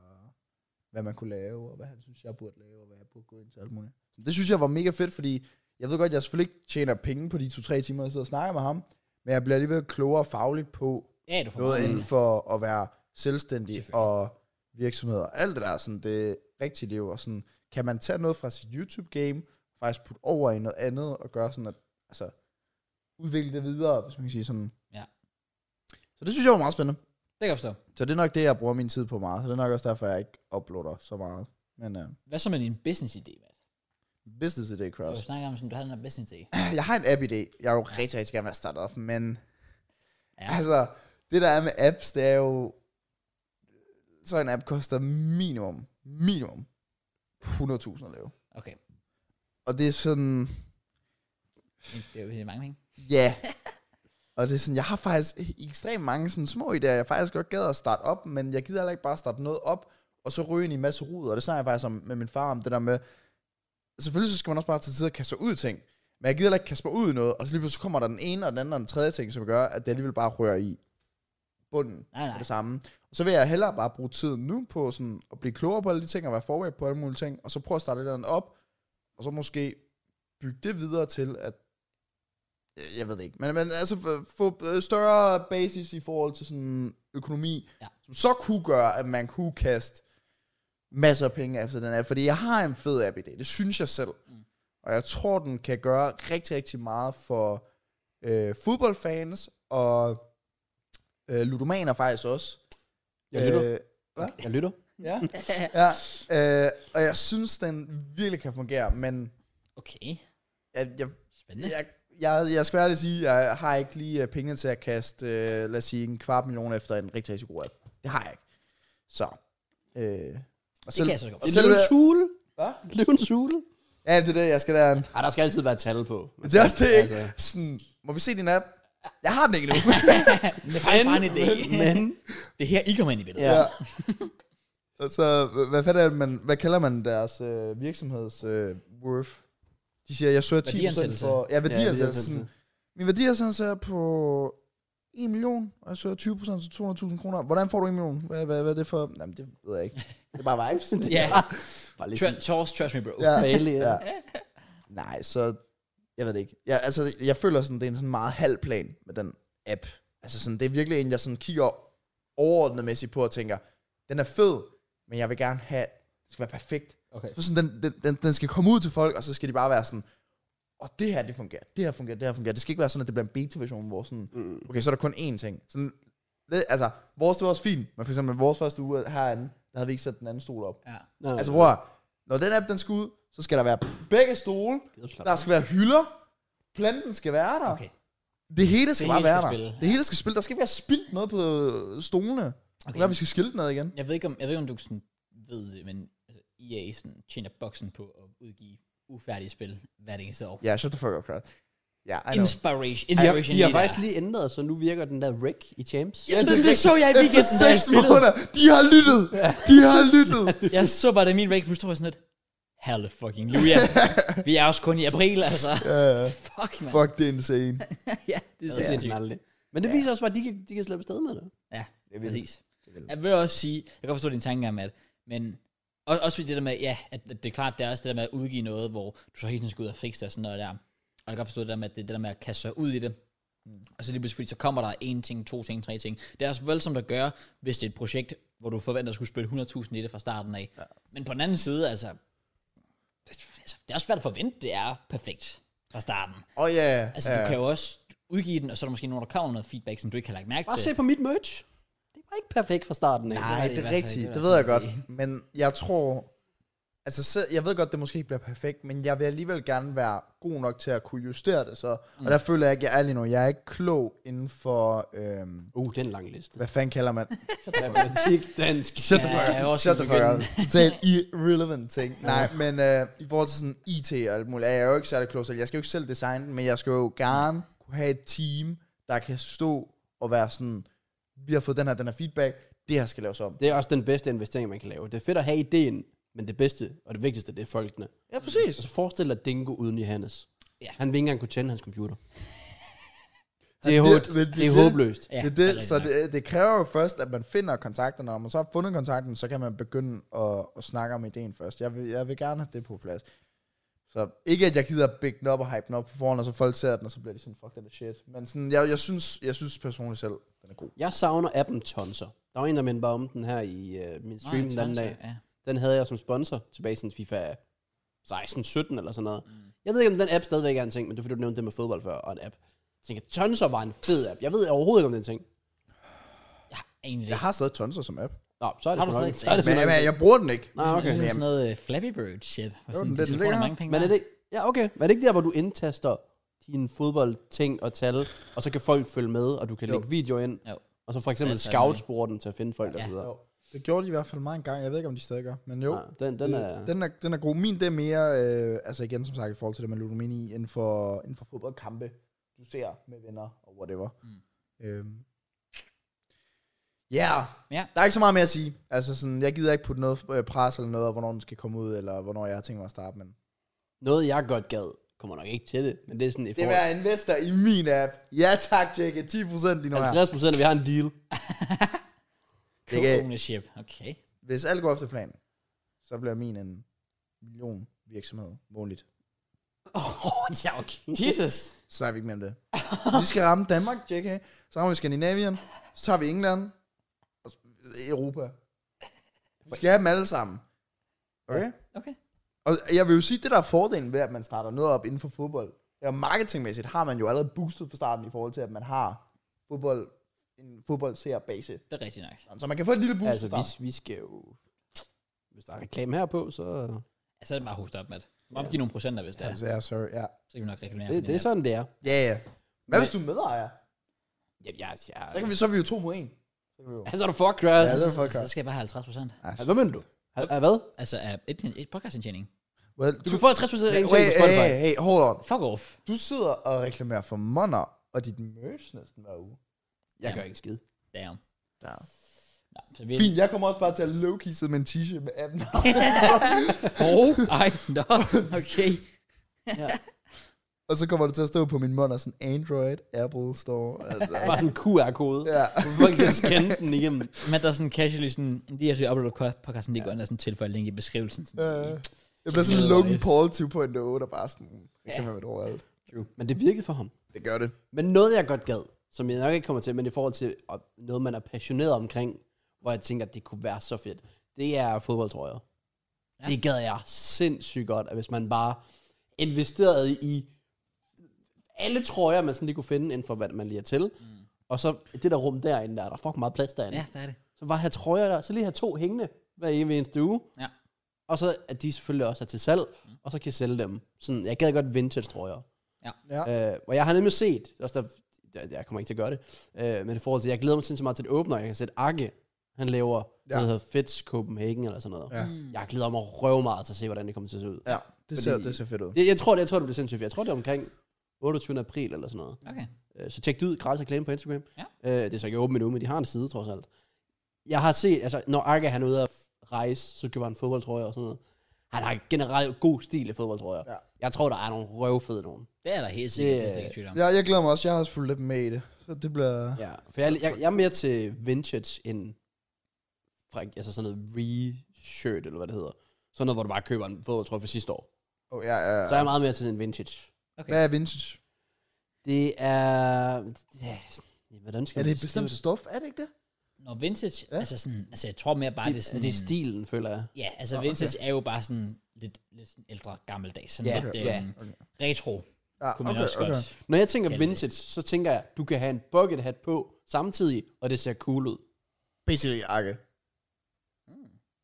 Speaker 3: hvad man kunne lave, og hvad han synes, jeg burde lave, og hvad jeg burde gå ind til, alt muligt. Så det synes jeg var mega fedt, fordi jeg ved godt, jeg selvfølgelig ikke tjener penge på de to-tre timer, jeg sidder og snakker med ham, men jeg bliver alligevel klogere fagligt på,
Speaker 1: ja, du får
Speaker 3: noget
Speaker 1: meget-
Speaker 3: inden for at være selvstændig
Speaker 1: Mm. Selvfølgelig.
Speaker 3: og virksomhed og alt det der, sådan det rigtige liv, og sådan, kan man tage noget fra sit YouTube-game, faktisk putte over i noget andet, og gøre sådan, at, altså, udvikle det videre, hvis man kan sige sådan.
Speaker 1: Ja.
Speaker 3: Så det synes jeg var meget spændende.
Speaker 1: Det kan jeg forstå.
Speaker 3: Så det er nok det, jeg bruger min tid på meget, så det er nok også derfor, jeg ikke uploader så meget. Men uh,
Speaker 1: Hvad så med din business-idé, Matt?
Speaker 3: business idé,
Speaker 1: Du har jo
Speaker 3: Kraus.
Speaker 1: snakket om, sådan, du havde den her business-idé.
Speaker 3: Jeg har en app-idé, jeg er jo rigtig, rigtig gerne vil starte op, men
Speaker 1: Ja.
Speaker 3: Ja. Altså, det der er med apps, det er jo... Så en app koster minimum, minimum 100.000 at lave.
Speaker 1: Okay,
Speaker 3: Og det er sådan,
Speaker 1: Men det er jo helt mange penge.
Speaker 3: ja. og det er sådan, jeg har faktisk ekstremt mange sådan små idéer, jeg faktisk godt gad at starte op, men jeg gider heller ikke bare starte noget op, og så ryge ind i en masse rod, og det snakker jeg faktisk om med min far om, det der med, selvfølgelig så skal man også bare til tider kaste sig ud i ting, men jeg gider heller ikke kaste mig ud i noget, og så lige pludselig kommer der den ene og den anden og den tredje ting, som gør, at det alligevel bare rører i bunden.
Speaker 1: Nej,
Speaker 3: på
Speaker 1: nej.
Speaker 3: det samme. Og så vil jeg hellere bare bruge tiden nu på sådan at blive klogere på alle de ting, og være forberedt på alle mulige ting, og så prøve at starte et eller andet op, og så måske bygge det videre til, at Øh, jeg ved det ikke, men, men altså f- få øh, større basis i forhold til sådan økonomi,
Speaker 1: Ja.
Speaker 3: som så kunne gøre, at man kunne kaste masser af penge efter den app, fordi jeg har en fed app i det, det synes jeg selv. Mm. Og jeg tror, den kan gøre rigtig, rigtig meget for øh, fodboldfans, og øh, ludomaner faktisk også.
Speaker 2: Jeg lytter.
Speaker 3: Øh, hvad?
Speaker 2: Jeg lytter.
Speaker 3: Ja. ja. Øh, og jeg synes, den virkelig kan fungere, men
Speaker 1: Okay,
Speaker 3: jeg, jeg,
Speaker 1: spændende.
Speaker 3: jeg, jeg, jeg skal være ærlig at sige, jeg har ikke lige øh, pengene til at kaste, øh, lad os sige, en kvart million efter en rigtig, rigtig god app. Det har jeg ikke. Så. Øh, og
Speaker 1: Det kan jeg så godt
Speaker 3: og
Speaker 1: forstå.
Speaker 3: selve,
Speaker 2: Løvens hule.
Speaker 3: Hvad?
Speaker 2: Løvens hule.
Speaker 3: ja, det er det, jeg skal lære en.
Speaker 2: Ej, der skal altid være tal på.
Speaker 3: Det er også det, ikke?
Speaker 2: Altså.
Speaker 3: Sådan, må vi se din app? Jeg har den ikke nu.
Speaker 1: Det er faktisk bare en idé.
Speaker 2: Men, men,
Speaker 1: Det er her, I kommer ind i billedet.
Speaker 2: ja.
Speaker 3: Og så, h- hvad fanden er det, man, hvad kalder man deres øh, virksomheds øh, worth? De siger, jeg søger 10%
Speaker 1: Værdiansættelse.
Speaker 3: for... Ja,
Speaker 2: værdiansættelse.
Speaker 3: værdiansættelse. Ja, Min værdiansættelse er på 1 million, og så 20 procent, så 200.000 kroner. Hvordan får du 1 million? Hvad, hvad, hvad er det for? Jamen, det ved jeg ikke. Det er bare vibes.
Speaker 2: Det
Speaker 1: Ja.
Speaker 2: er bare- Bare lidt
Speaker 1: Tr- trust, trust me, bro.
Speaker 3: Ja.
Speaker 2: Bali, ja.
Speaker 3: ja. Nej, så... Jeg ved det ikke. Jeg, altså, jeg føler sådan, det er en sådan meget halv plan med den app. Altså sådan, det er virkelig en, jeg sådan kigger overordnet mæssigt på og tænker, den er fed, men jeg vil gerne have, det skal være perfekt.
Speaker 1: Okay.
Speaker 3: Så sådan, den, den, den, den skal komme ud til folk, og så skal de bare være sådan, og det her, det fungerer, det her fungerer, det her fungerer. Det skal ikke være sådan, at det bliver en beta-version, hvor sådan,
Speaker 2: Mm.
Speaker 3: okay, så er der kun én ting. Sådan, det, altså, vores, det var også fint, men for eksempel vores første uge herinde, der havde vi ikke sat den anden stol op.
Speaker 1: Ja.
Speaker 2: Nå,
Speaker 3: Altså bror, når den app den skal ud, så skal der være begge stole, der skal være hylder, planten skal være der.
Speaker 1: Okay.
Speaker 3: Det hele skal
Speaker 1: Det
Speaker 3: det
Speaker 1: hele
Speaker 3: bare være
Speaker 1: skal
Speaker 3: der.
Speaker 1: spille.
Speaker 3: Det hele skal spille. Der skal ikke være spildt noget på øh, stolene. Okay. Det
Speaker 1: Okay.
Speaker 3: er, vi skal skille den ad igen.
Speaker 1: Jeg ved ikke, om, jeg ved, ikke, om du sådan ved det, men altså, EA sådan, tjener boksen på at udgive ufærdige spil hvert eneste år.
Speaker 3: Ja, yeah, shut the fuck up, Kraft. Ja, yeah, I know.
Speaker 1: Inspiration.
Speaker 2: De har,
Speaker 1: Inspiration
Speaker 2: de har
Speaker 1: lige der.
Speaker 2: faktisk lige ændret, så nu virker den der Rick i James.
Speaker 1: Ja, det, det, så jeg i
Speaker 3: Efter
Speaker 1: weekenden, da jeg
Speaker 3: 6
Speaker 1: spillede.
Speaker 3: måneder, de har lyttet. De har lyttet.
Speaker 1: Jeg så bare, det min rank, nu står jeg sådan lidt, Halle fucking Luja. Vi er også kun i april, altså.
Speaker 3: uh,
Speaker 1: Fuck, man.
Speaker 3: fuck, det er insane.
Speaker 1: ja, det er
Speaker 2: Det er
Speaker 1: sindssygt.
Speaker 2: sådan aldrig. Men det viser også bare, at de kan, de kan slippe afsted med det.
Speaker 1: Ja,
Speaker 3: Det er vildt.
Speaker 1: præcis.
Speaker 3: Det er vildt.
Speaker 1: Jeg vil også sige, jeg kan godt forstå dine tanker om, at, men også, også fordi det der med, ja, at, at det er klart, det er også det der med at udgive noget, hvor du så hele tiden skal ud og fikse det og sådan noget der. Og jeg kan godt forstå det der med, at det, det der med at kaste sig ud i det. Mm. Og så lige pludselig, fordi så kommer der en ting, to ting, tre ting. Det er også voldsomt at gøre, hvis det er et projekt, hvor du forventer at skulle spille 100.000 i det fra starten af. Ja. Men på den anden side, altså, det, altså, det er også svært at forvente, det er perfekt fra starten.
Speaker 3: Åh ja,
Speaker 1: Altså,
Speaker 3: ja.
Speaker 1: du kan jo også udgive den, og så er der måske nogen, der kommer med noget feedback, som du ikke har lagt mærke
Speaker 2: Bare
Speaker 1: til.
Speaker 2: se på mit merch. Det var ikke perfekt fra starten af.
Speaker 1: var
Speaker 3: Nej,
Speaker 1: det
Speaker 3: det,
Speaker 1: i
Speaker 3: det er
Speaker 1: hvert fald
Speaker 3: rigtigt.
Speaker 1: ikke.
Speaker 3: Det
Speaker 1: Det var
Speaker 3: ved jeg
Speaker 1: det,
Speaker 3: godt.
Speaker 1: jeg
Speaker 3: Men jeg tror... Altså, selv- jeg ved godt, det måske ikke bliver perfekt, men jeg vil alligevel gerne være god nok til at kunne justere det. Så. Mm. Og der føler jeg ikke, jeg er lige nu. Jeg er ikke klog inden for... Øhm,
Speaker 2: Uh, det er en lang liste.
Speaker 3: hvad fanden kalder man?
Speaker 2: Matematik, dansk.
Speaker 3: Shut the
Speaker 1: Ja,
Speaker 3: fuck
Speaker 1: jeg er
Speaker 3: up.
Speaker 1: også
Speaker 3: Shut the
Speaker 1: i
Speaker 3: fuck up. Totalt irrelevant ting. Nej, men øh, i forhold til sådan IT og alt muligt, er jeg jo ikke særlig klog selv. Jeg skal jo ikke selv designe den, men jeg skal jo gerne kunne have et team, der kan stå og være sådan, vi har fået den her, den her feedback, det her skal laves om.
Speaker 2: Det er også den bedste investering, man kan lave. Det er fedt at have ideen, men det bedste og det vigtigste, det er folkene.
Speaker 3: Ja, præcis.
Speaker 2: Så Altså, forestil dig Dingo uden Johannes.
Speaker 1: Ja.
Speaker 2: Han vil ikke engang kunne tænde hans computer. Det
Speaker 3: det-
Speaker 2: er, håb-
Speaker 3: men det-
Speaker 2: det er håbløst.
Speaker 1: Ja,
Speaker 3: Ja, det
Speaker 1: det er
Speaker 3: er det,
Speaker 1: rigtig
Speaker 3: så
Speaker 1: nok.
Speaker 3: det, det kræver jo først, at man finder kontakten, og når man så har fundet kontakten, så kan man begynde at, at snakke om ideen først. Jeg vil, jeg vil gerne have det på plads. Så ikke, at jeg gider at bække den op og hype den op på forhånd, og så folk ser den, og så bliver de sådan, fuck, den er shit. Men sådan, jeg, jeg, synes, jeg synes personligt selv, den er god.
Speaker 2: Jeg savner appen Tonser. Der var en, der mindte mig om den her i øh, min stream
Speaker 1: Nej,
Speaker 2: den anden
Speaker 1: sponsor,
Speaker 2: dag.
Speaker 1: Ja.
Speaker 2: Den havde jeg som sponsor tilbage siden FIFA 16-17 eller sådan noget. Mm. Jeg ved ikke, om den app stadigvæk er en ting, men det er fordi, du nævnte det med fodbold før, og en app. Jeg tænker, Tonser var en fed app. Jeg ved overhovedet ikke, om det er en ting.
Speaker 1: Jeg har egentlig
Speaker 3: Jeg
Speaker 1: ikke.
Speaker 3: har stadig tonser som app.
Speaker 2: Nå, så er det
Speaker 1: Har du
Speaker 2: sgu nok-
Speaker 1: stadig-
Speaker 2: så er det sgu
Speaker 3: Men,
Speaker 2: nok-
Speaker 3: men jeg bruger den ikke.
Speaker 2: Nej,
Speaker 1: Sådan-
Speaker 2: okay.
Speaker 1: Sådan,
Speaker 3: Jamen.
Speaker 1: sådan noget øh, Flappy Bird shit. Og sådan,
Speaker 3: den-
Speaker 1: de
Speaker 3: den
Speaker 1: telefoner
Speaker 3: ligger
Speaker 1: har
Speaker 3: her.
Speaker 1: mange penge
Speaker 2: Men er
Speaker 1: værd.
Speaker 2: det, ja, okay. Men er det ikke der, hvor du indtaster dine fodboldting og tal, og så kan folk følge med, og du kan
Speaker 3: Jo.
Speaker 2: lægge videoer ind,
Speaker 1: Jo.
Speaker 2: og så for eksempel
Speaker 1: Det er fandme
Speaker 2: scoutspore den til at finde folk ja. og
Speaker 1: Ja.
Speaker 2: så videre.
Speaker 3: Det gjorde de i hvert fald meget en gang. Jeg ved ikke, om de stadig gør, men jo.
Speaker 2: Ja, den, den er...
Speaker 3: Øh, den, er, den er god. Min, det er mere, øh, altså igen som sagt, i forhold til det med ludomani, inden for, inden for fodboldkampe, du ser med venner og whatever. Mm. Øhm. Yeah.
Speaker 1: Ja.
Speaker 3: der er ikke så meget mere at sige. Altså sådan, jeg gider ikke putte noget øh, pres eller noget, og hvornår den skal komme ud, eller hvornår jeg har tænkt mig at starte, men...
Speaker 2: Noget, jeg godt gad, kommer nok ikke til det, men det er sådan i
Speaker 3: Det
Speaker 2: forhold
Speaker 3: vil være investor i min app. Ja tak, Jekke. 10% lige nu her.
Speaker 2: 50 procent, vi har en deal.
Speaker 3: Det kan-
Speaker 1: Co-ownership. Okay.
Speaker 3: Hvis alt går efter planen, så bliver min en million virksomhed månedligt.
Speaker 1: Oh, ja, okay. Jesus.
Speaker 3: Så snakker vi ikke mere om det. vi skal ramme Danmark, JK. Så rammer vi Skandinavien. Så tager vi England. Og s- Europa. Vi skal have dem alle sammen. Okay?
Speaker 1: Okay.
Speaker 3: Og jeg vil jo sige, det der er fordelen ved, at man starter noget op inden for fodbold. Ja, marketingmæssigt har man jo allerede boostet fra starten i forhold til, at man har fodbold, en fodboldseerbase.
Speaker 1: Det er rigtigt nok.
Speaker 3: Så man kan få et lille boost
Speaker 2: Altså,
Speaker 3: altså, fra starten.
Speaker 2: vi, vi skal jo... Hvis der er reklame her på, så...
Speaker 1: Altså, så er det bare host op, Matt. Må opgive nogle procenter, hvis det er.
Speaker 3: Altså, ja, sorry. Ja,
Speaker 1: Så kan vi nok reklamere. for
Speaker 2: Det, det er
Speaker 1: den her.
Speaker 2: sådan, det er.
Speaker 3: ja. ja. Hvad hvis du er medejer?
Speaker 2: Ja, ja, ja.
Speaker 3: Så, kan vi, så er vi jo to mod en. Så kan vi jo. Altså.
Speaker 2: Altså, er du fuck, Chris.
Speaker 3: Ja,
Speaker 2: Ja,
Speaker 3: det er
Speaker 1: Så
Speaker 3: fucker.
Speaker 1: skal jeg bare have 50 procent.
Speaker 2: Hvad mener du? Ha- ah, Hvad?
Speaker 1: Altså, af et, et podcastindtjening.
Speaker 3: Well,
Speaker 2: Du
Speaker 3: du,
Speaker 2: kan få 50 procent af en ting
Speaker 3: hey,
Speaker 2: på
Speaker 3: hey,
Speaker 2: Spotify.
Speaker 3: hey, hey, hold on.
Speaker 1: Fuck off.
Speaker 3: Du sidder og reklamerer for Monner og dit merch næsten hver uge.
Speaker 2: Jeg
Speaker 1: Ja.
Speaker 2: gør ikke skid.
Speaker 1: Damn.
Speaker 3: Ja.
Speaker 1: Nå, så vi...
Speaker 3: Fint, jeg kommer også bare til at low-key sidde med en t-shirt med appen.
Speaker 1: oh, ej, nå. Okay.
Speaker 2: Ja.
Speaker 3: Og så kommer det til at stå på min monitor sådan Android, Apple Store. Altså,
Speaker 2: Bare sådan en QR-kode.
Speaker 3: ja.
Speaker 2: Folk kan scanne den igennem.
Speaker 1: Men der er sådan casually sådan, lige efter vi uploader podcasten, lige går ind og sådan tilføjer link i beskrivelsen. Sådan,
Speaker 3: Øh, jeg bliver sådan en
Speaker 1: Little
Speaker 3: Logan
Speaker 1: Eyes.
Speaker 3: Paul 2.8 og bare sådan, det kan man vel overalt.
Speaker 2: Men det virkede for ham.
Speaker 3: Det gør det.
Speaker 2: Men noget, jeg godt gad, som jeg nok ikke kommer til, men i forhold til og noget, man er passioneret omkring, hvor jeg tænker, at det kunne være så fedt, det er fodboldtrøjer. Ja. Det gad jeg sindssygt godt, at hvis man bare investerede i alle trøjer, man sådan lige kunne finde inden for, hvad man lige er til. Mm. Og så det der rum derinde, der er der fucking meget plads derinde.
Speaker 1: Ja,
Speaker 2: Ja.
Speaker 1: der er det.
Speaker 2: Så bare have trøjer der, så lige have to hængende hver evig eneste uge.
Speaker 1: Ja.
Speaker 2: Og så at de selvfølgelig også er til salg, mm. og så kan jeg sælge dem. Sådan, jeg gad godt vintage trøjer. Øh, og jeg har nemlig set, det er også der, jeg, jeg kommer ikke til at gøre det, øh, men i forhold til, jeg glæder mig sindssygt meget til det åbner, jeg kan sætte Akke, han laver ja.
Speaker 3: Ja.
Speaker 2: noget, der hedder Fitz Copenhagen eller sådan noget.
Speaker 3: Ja.
Speaker 2: Jeg glæder mig røv meget til at se, hvordan det kommer til at se ud.
Speaker 3: Ja, det ser, det ser fedt ud.
Speaker 2: Det, jeg, tror, det, jeg tror, det bliver sindssygt. fedt. Jeg tror, det er omkring 28. april eller sådan noget.
Speaker 1: Okay.
Speaker 2: Øh, Så tjek det ud, gratis reklame på Instagram.
Speaker 1: Ja.
Speaker 2: Øh, det er så ikke åbent endnu, men de har en side trods alt. Jeg har set, altså når Arke han er ude at rejse, så køber han fodboldtrøjer og sådan noget. Han har generelt god stil i fodboldtrøjer.
Speaker 3: Ja.
Speaker 2: Jeg tror, der er nogle røvfede nogen.
Speaker 1: Det er der helt sikkert,
Speaker 2: Det-
Speaker 1: det er jeg ikke i tvivl om.
Speaker 3: Ja, jeg glæder mig også. Jeg har også fulgt lidt med i det. Så det bliver...
Speaker 2: Ja, for jeg, jeg, jeg er mere til vintage end fra, altså sådan noget re-shirt, eller hvad det hedder. Sådan noget, hvor du bare køber en fodboldtrøje fra sidste år.
Speaker 3: Oh, ja, ja, ja.
Speaker 2: Så er jeg meget mere til sådan en vintage.
Speaker 3: Hvad er vintage?
Speaker 2: Det er... Ja, hvordan skal
Speaker 3: Er det
Speaker 2: man
Speaker 3: et
Speaker 2: beskrive
Speaker 3: bestemt stof? Er det ikke det? Når
Speaker 1: Når vintage,
Speaker 3: Ja.
Speaker 1: ja. altså sådan, altså jeg tror mere bare, det er
Speaker 2: Det,
Speaker 1: sådan...
Speaker 2: det er stilen, føler jeg.
Speaker 1: Ja, altså
Speaker 3: Nå, okay.
Speaker 1: vintage er jo bare sådan lidt, lidt sådan ældre, gammeldags. Sådan
Speaker 2: Ja,
Speaker 1: lidt
Speaker 2: okay,
Speaker 1: øhm,
Speaker 2: ja.
Speaker 3: Okay.
Speaker 1: retro,
Speaker 3: Ja,
Speaker 1: kunne man også godt.
Speaker 2: Når jeg tænker
Speaker 1: Kalde det.
Speaker 2: vintage, så tænker jeg, du kan have en bucket hat på samtidig, og det ser cool ud.
Speaker 3: Basically Akke.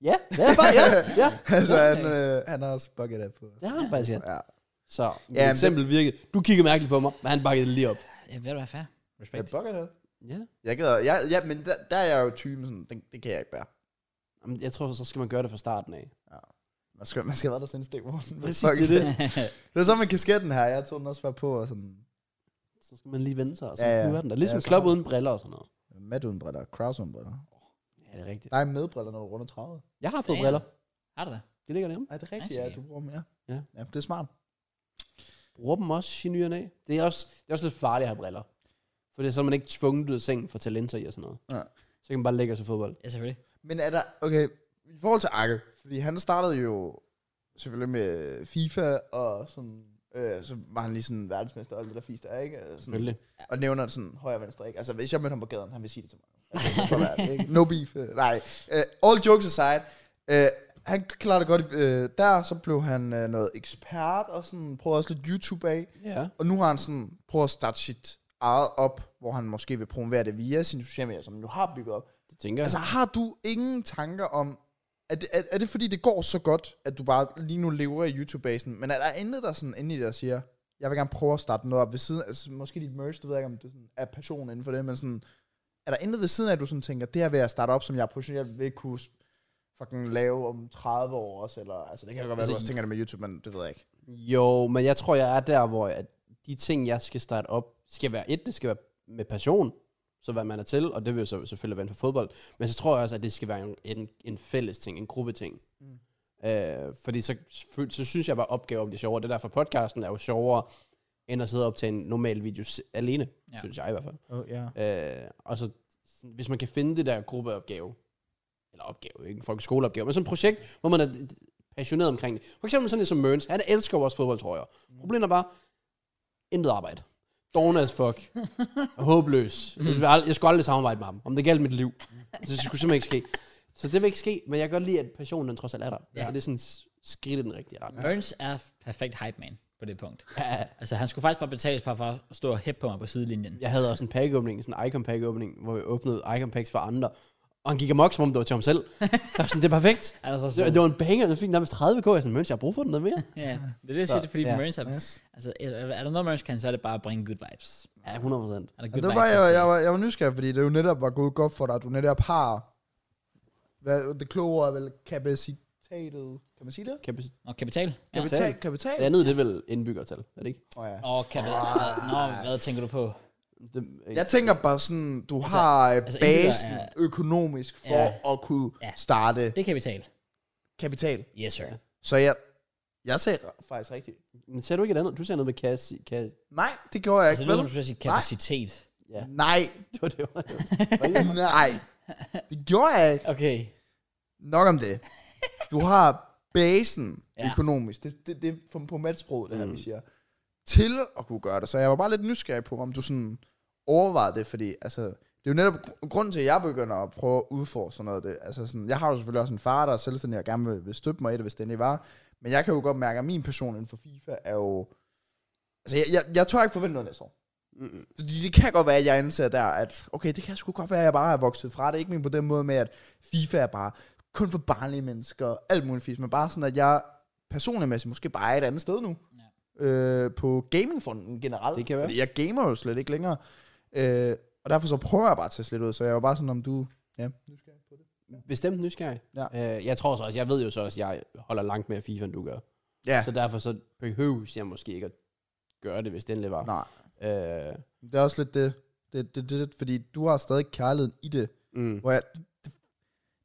Speaker 2: Ja, det er bare, ja, ja.
Speaker 3: altså,
Speaker 1: Okay.
Speaker 3: han, øh, han har også bucket af på.
Speaker 2: Det har han faktisk, ja.
Speaker 3: Ja,
Speaker 2: Så,
Speaker 3: Ja,
Speaker 2: ja,
Speaker 3: men
Speaker 2: eksempel virkede. Du kigger mærkeligt på mig, men han bakkede det lige op.
Speaker 1: Ja, ved du hvad, fair?
Speaker 3: ja
Speaker 1: Respekt.
Speaker 3: bucket af.
Speaker 2: Ja.
Speaker 3: Jeg gider, jeg, ja, men der, der er jeg jo typen sådan, den, det kan jeg ikke bære.
Speaker 2: Jamen, jeg tror, så skal man gøre det fra starten af.
Speaker 3: Man skal, man skal være der sådan en stik, hvor den
Speaker 2: Præcis, det er det.
Speaker 3: Det er så med kasketten her, jeg tog den også bare på, og sådan,
Speaker 2: Så skal man lige vende sig, og så
Speaker 3: Ja,
Speaker 2: ja,
Speaker 3: ja.
Speaker 2: ja. hører den der. Ligesom
Speaker 3: Ja,
Speaker 2: ja,
Speaker 3: så
Speaker 2: klop
Speaker 3: har-
Speaker 2: uden briller og sådan noget.
Speaker 3: Matt uden briller, Kraus uden briller.
Speaker 2: Ja, det er rigtigt.
Speaker 3: Nej, med briller, når du runder 30.
Speaker 2: Jeg har fået
Speaker 1: Damn.
Speaker 2: briller.
Speaker 1: Har du det?
Speaker 2: Det ligger nemme.
Speaker 3: Nej, det er rigtigt, ja,
Speaker 1: Okay.
Speaker 3: du bruger mere.
Speaker 2: Ja.
Speaker 3: ja det er smart.
Speaker 2: Bruger dem også i nyerne af. Det er også, det er også lidt farligt at have briller. For det er så er man ikke tvunget ud af sengen for talenter i og sådan noget.
Speaker 3: Ja.
Speaker 2: Så kan man bare lægge sig fodbold.
Speaker 1: Ja, selvfølgelig.
Speaker 3: Men er der, okay, i forhold til Akke, fordi han startede jo selvfølgelig med FIFA, og sådan, øh, så var han lige sådan verdensmester og alt det der fisk der, ikke? Øh, Sådan,
Speaker 2: Selvfølgelig.
Speaker 3: Og nævner det sådan højre og venstre, ikke? Altså, hvis jeg mødte ham på gaden, han vil sige det til mig. Altså, det er bare, ikke? no beef. øh, Nej. Uh, all jokes aside. Uh, han klarede det godt uh, der, så blev han uh, noget ekspert, og sådan prøvede også lidt YouTube af.
Speaker 2: Mm. Ja.
Speaker 3: Og nu har han sådan prøvet at starte sit eget op, hvor han måske vil promovere det via sine sociale medier, som han nu har bygget op.
Speaker 2: Det tænker jeg.
Speaker 3: Altså,
Speaker 2: Altså,
Speaker 3: har du ingen tanker om... Er det, er, er det fordi, det går så godt, at du bare lige nu lever i YouTube-basen, men er der intet, der sådan inde i dig der siger, jeg vil gerne prøve at starte noget op ved siden, altså måske dit merch, du ved jeg ikke, om det sådan er passion inden for det, men sådan, er der intet ved siden af, at du sådan tænker, det her vil jeg starte op, som jeg potentielt vil kunne s- fucking lave om 30 år også, eller, altså det kan godt være, altså,
Speaker 2: Altså,
Speaker 3: du også tænker det med YouTube, men det ved jeg ikke.
Speaker 2: jo, men jeg tror, jeg er der, hvor at de ting, jeg skal starte op, skal være et, det skal være med passion, så hvad man er til, og det vil jo så selvfølgelig være inden for fodbold. Men så tror jeg også, at det skal være en, en, en fælles ting, en gruppeting.
Speaker 3: Mm.
Speaker 2: Mm. Øh, fordi så, fø- så synes jeg bare, at opgaver bliver sjovere. Det er derfor, podcasten er jo sjovere, end at sidde og optage en normal video se- alene,
Speaker 1: Ja.
Speaker 2: ja. synes jeg i hvert fald.
Speaker 3: Oh, ja.
Speaker 2: Øh, og så, sådan, hvis man kan finde det der gruppeopgave, eller opgave, ikke en folkeskoleopgave, men sådan et projekt, hvor man er d- d- passioneret omkring det. For eksempel sådan en som Mørns, han elsker jo også fodboldtrøjer. Problemet er bare, intet arbejde. Doven as fuck. Håbløs. Jeg, vil ald- jeg skulle aldrig samarbejde med ham, om det galt mit liv. Så det skulle simpelthen ikke ske. Så det vil ikke ske, men jeg kan godt lide, at passionen den trods alt er der.
Speaker 1: Ja.
Speaker 2: Ja. Og det er sådan s- skridt i den rigtige retning.
Speaker 1: Burns er perfekt hype man på det punkt.
Speaker 2: Ja.
Speaker 1: Altså, han skulle faktisk bare betales bare for at stå og hæppe på mig på sidelinjen.
Speaker 2: Jeg havde også en pack-åbning, sådan en icon pack-åbning, hvor vi åbnede icon packs for andre. Og han gik amok, som om det var til ham selv. Jeg var sådan, det er perfekt.
Speaker 1: Er der så
Speaker 2: Det,
Speaker 1: sådan,
Speaker 2: det var en banger, den fik nærmest 30k. Jeg er sådan, Møns, jeg har brug for den noget mere.
Speaker 1: ja, det er det, jeg siger,
Speaker 2: Så,
Speaker 1: det er, fordi
Speaker 2: ja.
Speaker 1: Burns er,
Speaker 3: Yes.
Speaker 1: altså, er, er- er der noget, Burns kan, så er det bare at bringe good vibes.
Speaker 2: Ja, 100%.
Speaker 1: Er der
Speaker 3: Ja,
Speaker 1: good
Speaker 3: det var,
Speaker 1: vibes? til
Speaker 3: jeg,
Speaker 1: at
Speaker 3: jeg,
Speaker 1: sige?
Speaker 3: var, jeg var nysgerrig, fordi det jo netop var gået godt for dig, at du netop har, hvad, det kloge ord er vel kapacitetet, kan man sige det?
Speaker 2: Kapacitet.
Speaker 1: Nå, kapital? Ja.
Speaker 2: Kapital.
Speaker 3: Kapital, kapital.
Speaker 2: Det andet, det er vel indbyggertal, er det ikke?
Speaker 3: Oh, ja.
Speaker 1: Og kapital. Nå, hvad tænker du på?
Speaker 2: Det,
Speaker 3: Jeg tænker bare sådan, du altså, har altså,
Speaker 1: altså, indbygger
Speaker 3: basen er,
Speaker 1: er-
Speaker 3: økonomisk for ja, at kunne ja,
Speaker 1: Ja.
Speaker 3: starte
Speaker 1: Det er kapital.
Speaker 3: kapital.
Speaker 1: Altså, Yes, sir.
Speaker 3: Så jeg, Jeg sagde ra- faktisk rigtigt.
Speaker 2: Men sagde du ikke et andet? Du sagde noget med Cassie. Cassie.
Speaker 3: Nej, det gjorde jeg
Speaker 1: Altså,
Speaker 3: ikke,
Speaker 1: det er som
Speaker 3: vel?
Speaker 1: du skal sige kapacitet.
Speaker 2: Ja.
Speaker 3: Nej,
Speaker 2: Det var det. Var det.
Speaker 3: nej. Det gjorde jeg ikke.
Speaker 1: Okay.
Speaker 3: Nok om det. Du har basen
Speaker 1: Ja.
Speaker 3: ja. økonomisk. Det, det, det er på, på matsproget, det her, mm. vi siger. Til at kunne gøre det. Så jeg var bare lidt nysgerrig på, om du sådan overvejede det, fordi altså, det er jo netop gr- grunden til, at jeg begynder at prøve at udfordre sådan noget. af Det. Altså sådan, jeg har jo selvfølgelig også en far, der er selvstændig og gerne vil, vil støtte mig i det, hvis det endelig var. Men jeg kan jo godt mærke, at min passion inden for FIFA er jo... Altså, jeg, jeg, jeg tør ikke forvente noget næste år.
Speaker 2: Mm.
Speaker 3: Fordi det kan godt være, at jeg indser der, at okay, det kan sgu godt være, at jeg bare er vokset fra det. Ikke men på den måde med, at FIFA er bare kun for barnlige mennesker og alt muligt fisk, men bare sådan, at jeg personligt måske bare er et andet sted nu. Ja. Øh, på gamingfronten generelt.
Speaker 2: Det kan være.
Speaker 3: Fordi jeg gamer jo slet ikke længere. Øh, og derfor så prøver jeg bare at teste lidt ud, så jeg var bare sådan, om du... Ja, nysgerrig på det.
Speaker 2: Bestemt nysgerrig.
Speaker 3: Ja.
Speaker 2: Øh, jeg tror så også, jeg ved jo så også, at jeg holder langt mere FIFA, end du gør.
Speaker 3: Ja,
Speaker 2: Så derfor så behøves jeg måske ikke at gøre det, hvis det endelig var.
Speaker 3: nej.
Speaker 2: Øh,
Speaker 3: Det er også lidt det, det, det, det, det fordi du har stadig kærligheden i det.
Speaker 2: mm.
Speaker 3: Hvor jeg, det,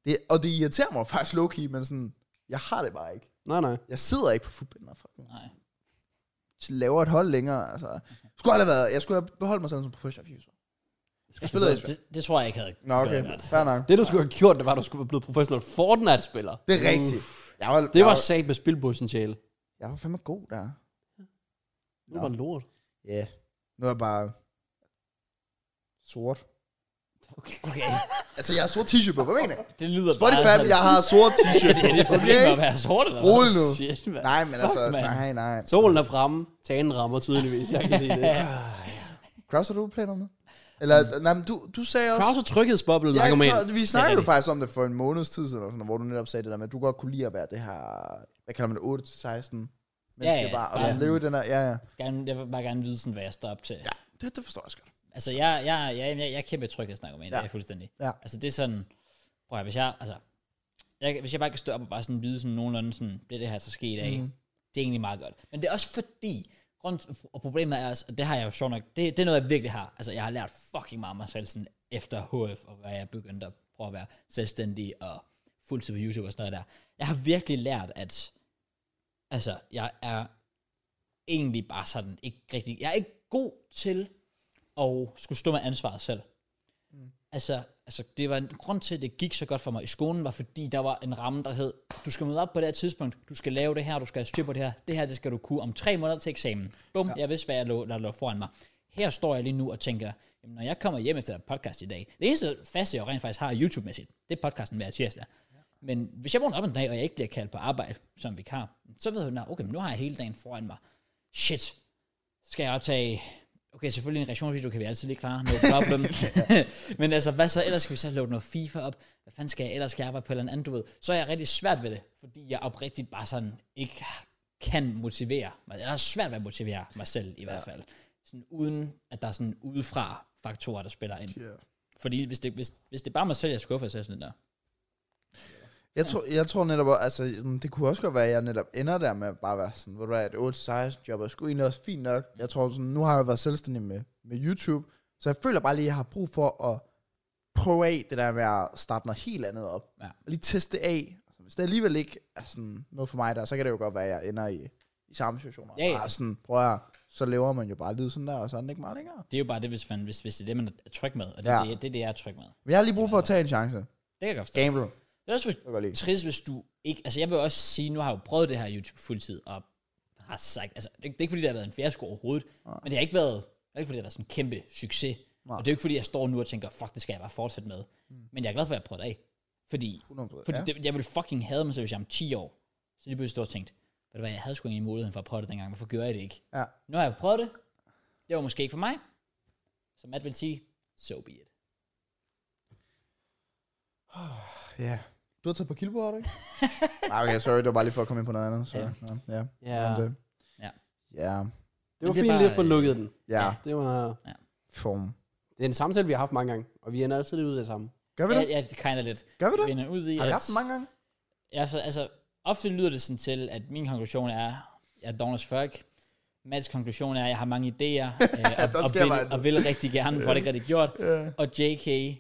Speaker 3: det, og det irriterer mig faktisk low-key, men sådan, jeg har det bare ikke.
Speaker 2: Nej, nej.
Speaker 3: Jeg sidder ikke på fodbold, fuck nu.
Speaker 1: Nej.
Speaker 3: Jeg laver et hold længere, altså. Jeg skulle aldrig have været, jeg skulle have beholdt mig selv som professionel FIFA.
Speaker 1: Altså,
Speaker 3: spiller ikke.
Speaker 1: det, det, tror jeg ikke havde
Speaker 3: Nå, okay,
Speaker 1: gjort ret.
Speaker 3: fair nok.
Speaker 2: Det, du skulle have gjort, det var, at du skulle være blevet professionel Fortnite-spiller.
Speaker 3: Det er rigtigt. Jeg var,
Speaker 2: Det
Speaker 3: jeg
Speaker 2: var sat med spilpotentiale.
Speaker 3: jeg var fandme god der.
Speaker 2: Det var lort.
Speaker 3: Ja. Yeah. Nu er jeg bare sort.
Speaker 1: Okay. okay.
Speaker 3: Altså, jeg har sort t-shirt på, hvad mener jeg?
Speaker 1: Det lyder
Speaker 3: Spotify, jeg har sort t-shirt på,
Speaker 1: Er det problemet
Speaker 3: okay?
Speaker 1: med at være sort eller
Speaker 3: Rolig nu.
Speaker 1: Shit, man.
Speaker 3: Nej, men altså,
Speaker 1: Fuck, mand.
Speaker 3: nej, nej.
Speaker 2: Solen er fremme, tagen rammer tydeligvis. Jeg kan lide det.
Speaker 3: Kraus, har du planer om det? Eller, nej, men du, du sagde også...
Speaker 2: Kraus er tryghedsbobbel,
Speaker 3: Ja,
Speaker 2: narkoman.
Speaker 3: Kraus- vi
Speaker 2: Det er
Speaker 3: snakkede jo
Speaker 2: rigtigt.
Speaker 3: faktisk om det for en måneds tid siden, eller sådan, noget, hvor du netop sagde det der med, at du godt kunne lide at være det her, hvad kalder man det, 8-16 menneske
Speaker 1: ja,
Speaker 3: bare, og
Speaker 1: bare
Speaker 3: så leve i den her, ja, ja.
Speaker 1: Gerne, jeg vil bare gerne vide, sådan, hvad jeg står op til. Ja.
Speaker 3: Det, det forstår jeg også godt.
Speaker 1: Altså, jeg, jeg, jeg, jeg, jeg er kæmpe tryg at snakke om, det er jeg fuldstændig.
Speaker 3: Ja.
Speaker 1: Altså, det er sådan, prøv at, høre, hvis jeg, altså, jeg, hvis jeg bare kan stå op og bare sådan vide sådan nogenlunde sådan, det er det her, så sker i dag, mm. det er egentlig meget godt. Men det er også fordi, grund, og problemet er også, og det har jeg jo sjovt nok, det, det er noget, jeg virkelig har. Altså, jeg har lært fucking meget om mig selv sådan efter HF, og hvad jeg begyndte at prøve at være selvstændig og fuldtid på YouTube og sådan noget der. Jeg har virkelig lært, at altså, jeg er egentlig bare sådan ikke rigtig, jeg er ikke god til at skulle stå med ansvaret selv. Altså, altså, det var en grund til, at det gik så godt for mig i skolen, var fordi der var en ramme, der hed, du skal møde op på det her tidspunkt, du skal lave det her, du skal have styr på det her, det her, det skal du kunne om tre måneder til eksamen. Bum, ja. jeg vidste, hvad jeg lå, der lå foran mig. Her står jeg lige nu og tænker, jamen, når jeg kommer hjem efter et podcast i dag, det eneste faste, jeg rent faktisk har YouTube-mæssigt, det er podcasten hver tirsdag. Men hvis jeg vågner op en dag, og jeg ikke bliver kaldt på arbejde som vikar, så ved hun, at okay, men nu har jeg hele dagen foran mig. Shit, skal jeg optage... Okay, selvfølgelig en reaktionsvideo kan vi altid lige klare. No problem. Men altså, hvad så ellers? Skal vi så lave noget FIFA op? Hvad fanden skal jeg ellers? Skal jeg arbejde på et eller andet, du ved? Så er jeg rigtig svært ved det, fordi jeg oprigtigt bare sådan ikke kan motivere mig. Jeg har svært ved at motivere mig selv i hvert fald. Sådan uden, at der er sådan udefra faktorer, der spiller ind.
Speaker 3: Yeah.
Speaker 1: Fordi hvis det, hvis, hvis det er bare mig selv, jeg skuffer, så er jeg sådan der.
Speaker 3: Jeg, tror, jeg tror netop, at- altså, sådan, det kunne også godt være, at jeg netop ender der med at bare være sådan, hvor du er et 8-16 job, og sgu egentlig også fint nok. Jeg tror sådan, nu har jeg været selvstændig med, med YouTube, så jeg føler bare lige, at jeg har brug for at prøve af det der med at starte noget helt andet op.
Speaker 1: Ja.
Speaker 3: Og lige teste det af. Altså, hvis det alligevel ikke er sådan noget for mig der, så kan det jo godt være, at jeg ender i, i samme situation. og
Speaker 1: Ja, ja.
Speaker 3: bare sådan, prøv at, så lever man jo bare livet sådan der, og så er den ikke meget længere.
Speaker 1: Det er jo bare det, hvis, man, hvis, hvis det er det, man er tryg med. Og det, ja.
Speaker 3: Ja.
Speaker 1: det, er- det er det, jeg er tryg med.
Speaker 3: Men jeg har lige brug for at tage en chance.
Speaker 1: Det kan jeg godt forstå.
Speaker 3: Gamble. Det
Speaker 1: Det er også
Speaker 3: kan jeg godt lide.
Speaker 1: trist, hvis du ikke... Altså, jeg vil også sige, nu har jeg jo prøvet det her YouTube fuldtid, og har sagt... Altså, det er ikke- det er ikke, fordi det har været en fiasko overhovedet, Nej. men det har ikke været... Det er ikke, fordi det har været sådan en kæmpe succes. Nej.
Speaker 3: Nej.
Speaker 1: Og det er jo ikke, fordi jeg står nu og tænker, fuck, det skal jeg bare fortsætte med. Mm. Men jeg er glad for, at jeg prøvede det af. Fordi,
Speaker 3: 100%,
Speaker 1: fordi
Speaker 3: ja.
Speaker 1: det, jeg ville fucking have mig selv, hvis jeg om 10 år, så lige pludselig stod og tænkte, ved du hvad, jeg havde sgu egentlig muligheden for at prøve det dengang, hvorfor gjorde jeg det ikke?
Speaker 3: Ja.
Speaker 1: Nu har jeg prøvet det, det var måske ikke for mig. Som Matt vil sige, so be it.
Speaker 3: Ja. Du har taget på kilo på, har du ikke? Nej, okay, sorry. Det var bare lige for at komme ind på noget andet. Så,
Speaker 1: Ja.
Speaker 3: ja. Ja.
Speaker 2: Ja.
Speaker 3: Det.
Speaker 1: Ja.
Speaker 3: Ja.
Speaker 2: Det var
Speaker 1: Men det er
Speaker 2: fint lige at få
Speaker 1: bare, øh,
Speaker 2: lukket den.
Speaker 3: Ja.
Speaker 2: Det var...
Speaker 3: Form.
Speaker 2: Det er en samtale, vi har haft mange gange, og vi ender altid lidt ud af det samme.
Speaker 3: Gør vi
Speaker 1: Ja,
Speaker 3: det?
Speaker 1: ja, det kinder lidt.
Speaker 3: Gør vi det?
Speaker 1: Vinder ud i,
Speaker 3: Har vi
Speaker 1: at-
Speaker 3: haft den mange gange?
Speaker 1: Ja, for, altså, ofte lyder det sådan til, at min konklusion er, jeg er dogners fuck. Mads konklusion er, at jeg har mange idéer, øh, og,
Speaker 3: Der
Speaker 1: og,
Speaker 3: sker
Speaker 1: vil,
Speaker 3: bare-
Speaker 1: og vil rigtig gerne, for det ikke rigtig gjort.
Speaker 3: Ja.
Speaker 1: Og JK,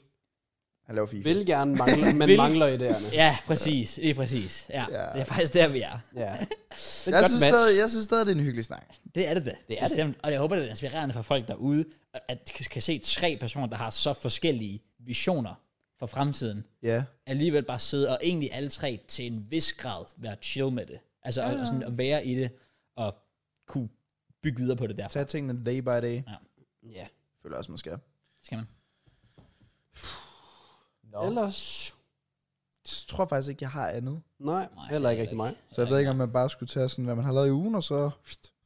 Speaker 3: Han laver FIFA.
Speaker 2: Vil gerne mangle, men
Speaker 1: Vil-
Speaker 2: mangler idéerne.
Speaker 1: Ja, præcis. Lige præcis. Ja,
Speaker 3: Ja.
Speaker 1: det er faktisk der, vi er.
Speaker 2: Ja. Det er
Speaker 3: Jeg
Speaker 2: et godt
Speaker 3: synes,
Speaker 2: match.
Speaker 3: stadig, jeg synes stadig, det er en hyggelig snak.
Speaker 1: Det er det da.
Speaker 2: Det er
Speaker 1: Bestemt. Og jeg håber, det er inspirerende for folk derude, at kan- kan se tre personer, der har så forskellige visioner for fremtiden,
Speaker 3: Ja.
Speaker 1: alligevel bare sidde og egentlig alle tre til en vis grad være chill med det. Altså ja. og sådan at være i det og kunne bygge videre på det derfor.
Speaker 3: Tag tingene day by day.
Speaker 2: Ja.
Speaker 3: Føler jeg også, man skal.
Speaker 1: Skal man?
Speaker 2: Ellers...
Speaker 3: Jeg tror faktisk ikke, jeg har andet.
Speaker 2: Nej,
Speaker 1: Nej,
Speaker 2: heller ikke
Speaker 1: det er
Speaker 2: rigtig mig.
Speaker 3: Så jeg ved ikke, om man bare skulle tage sådan, hvad man har lavet i ugen, og så...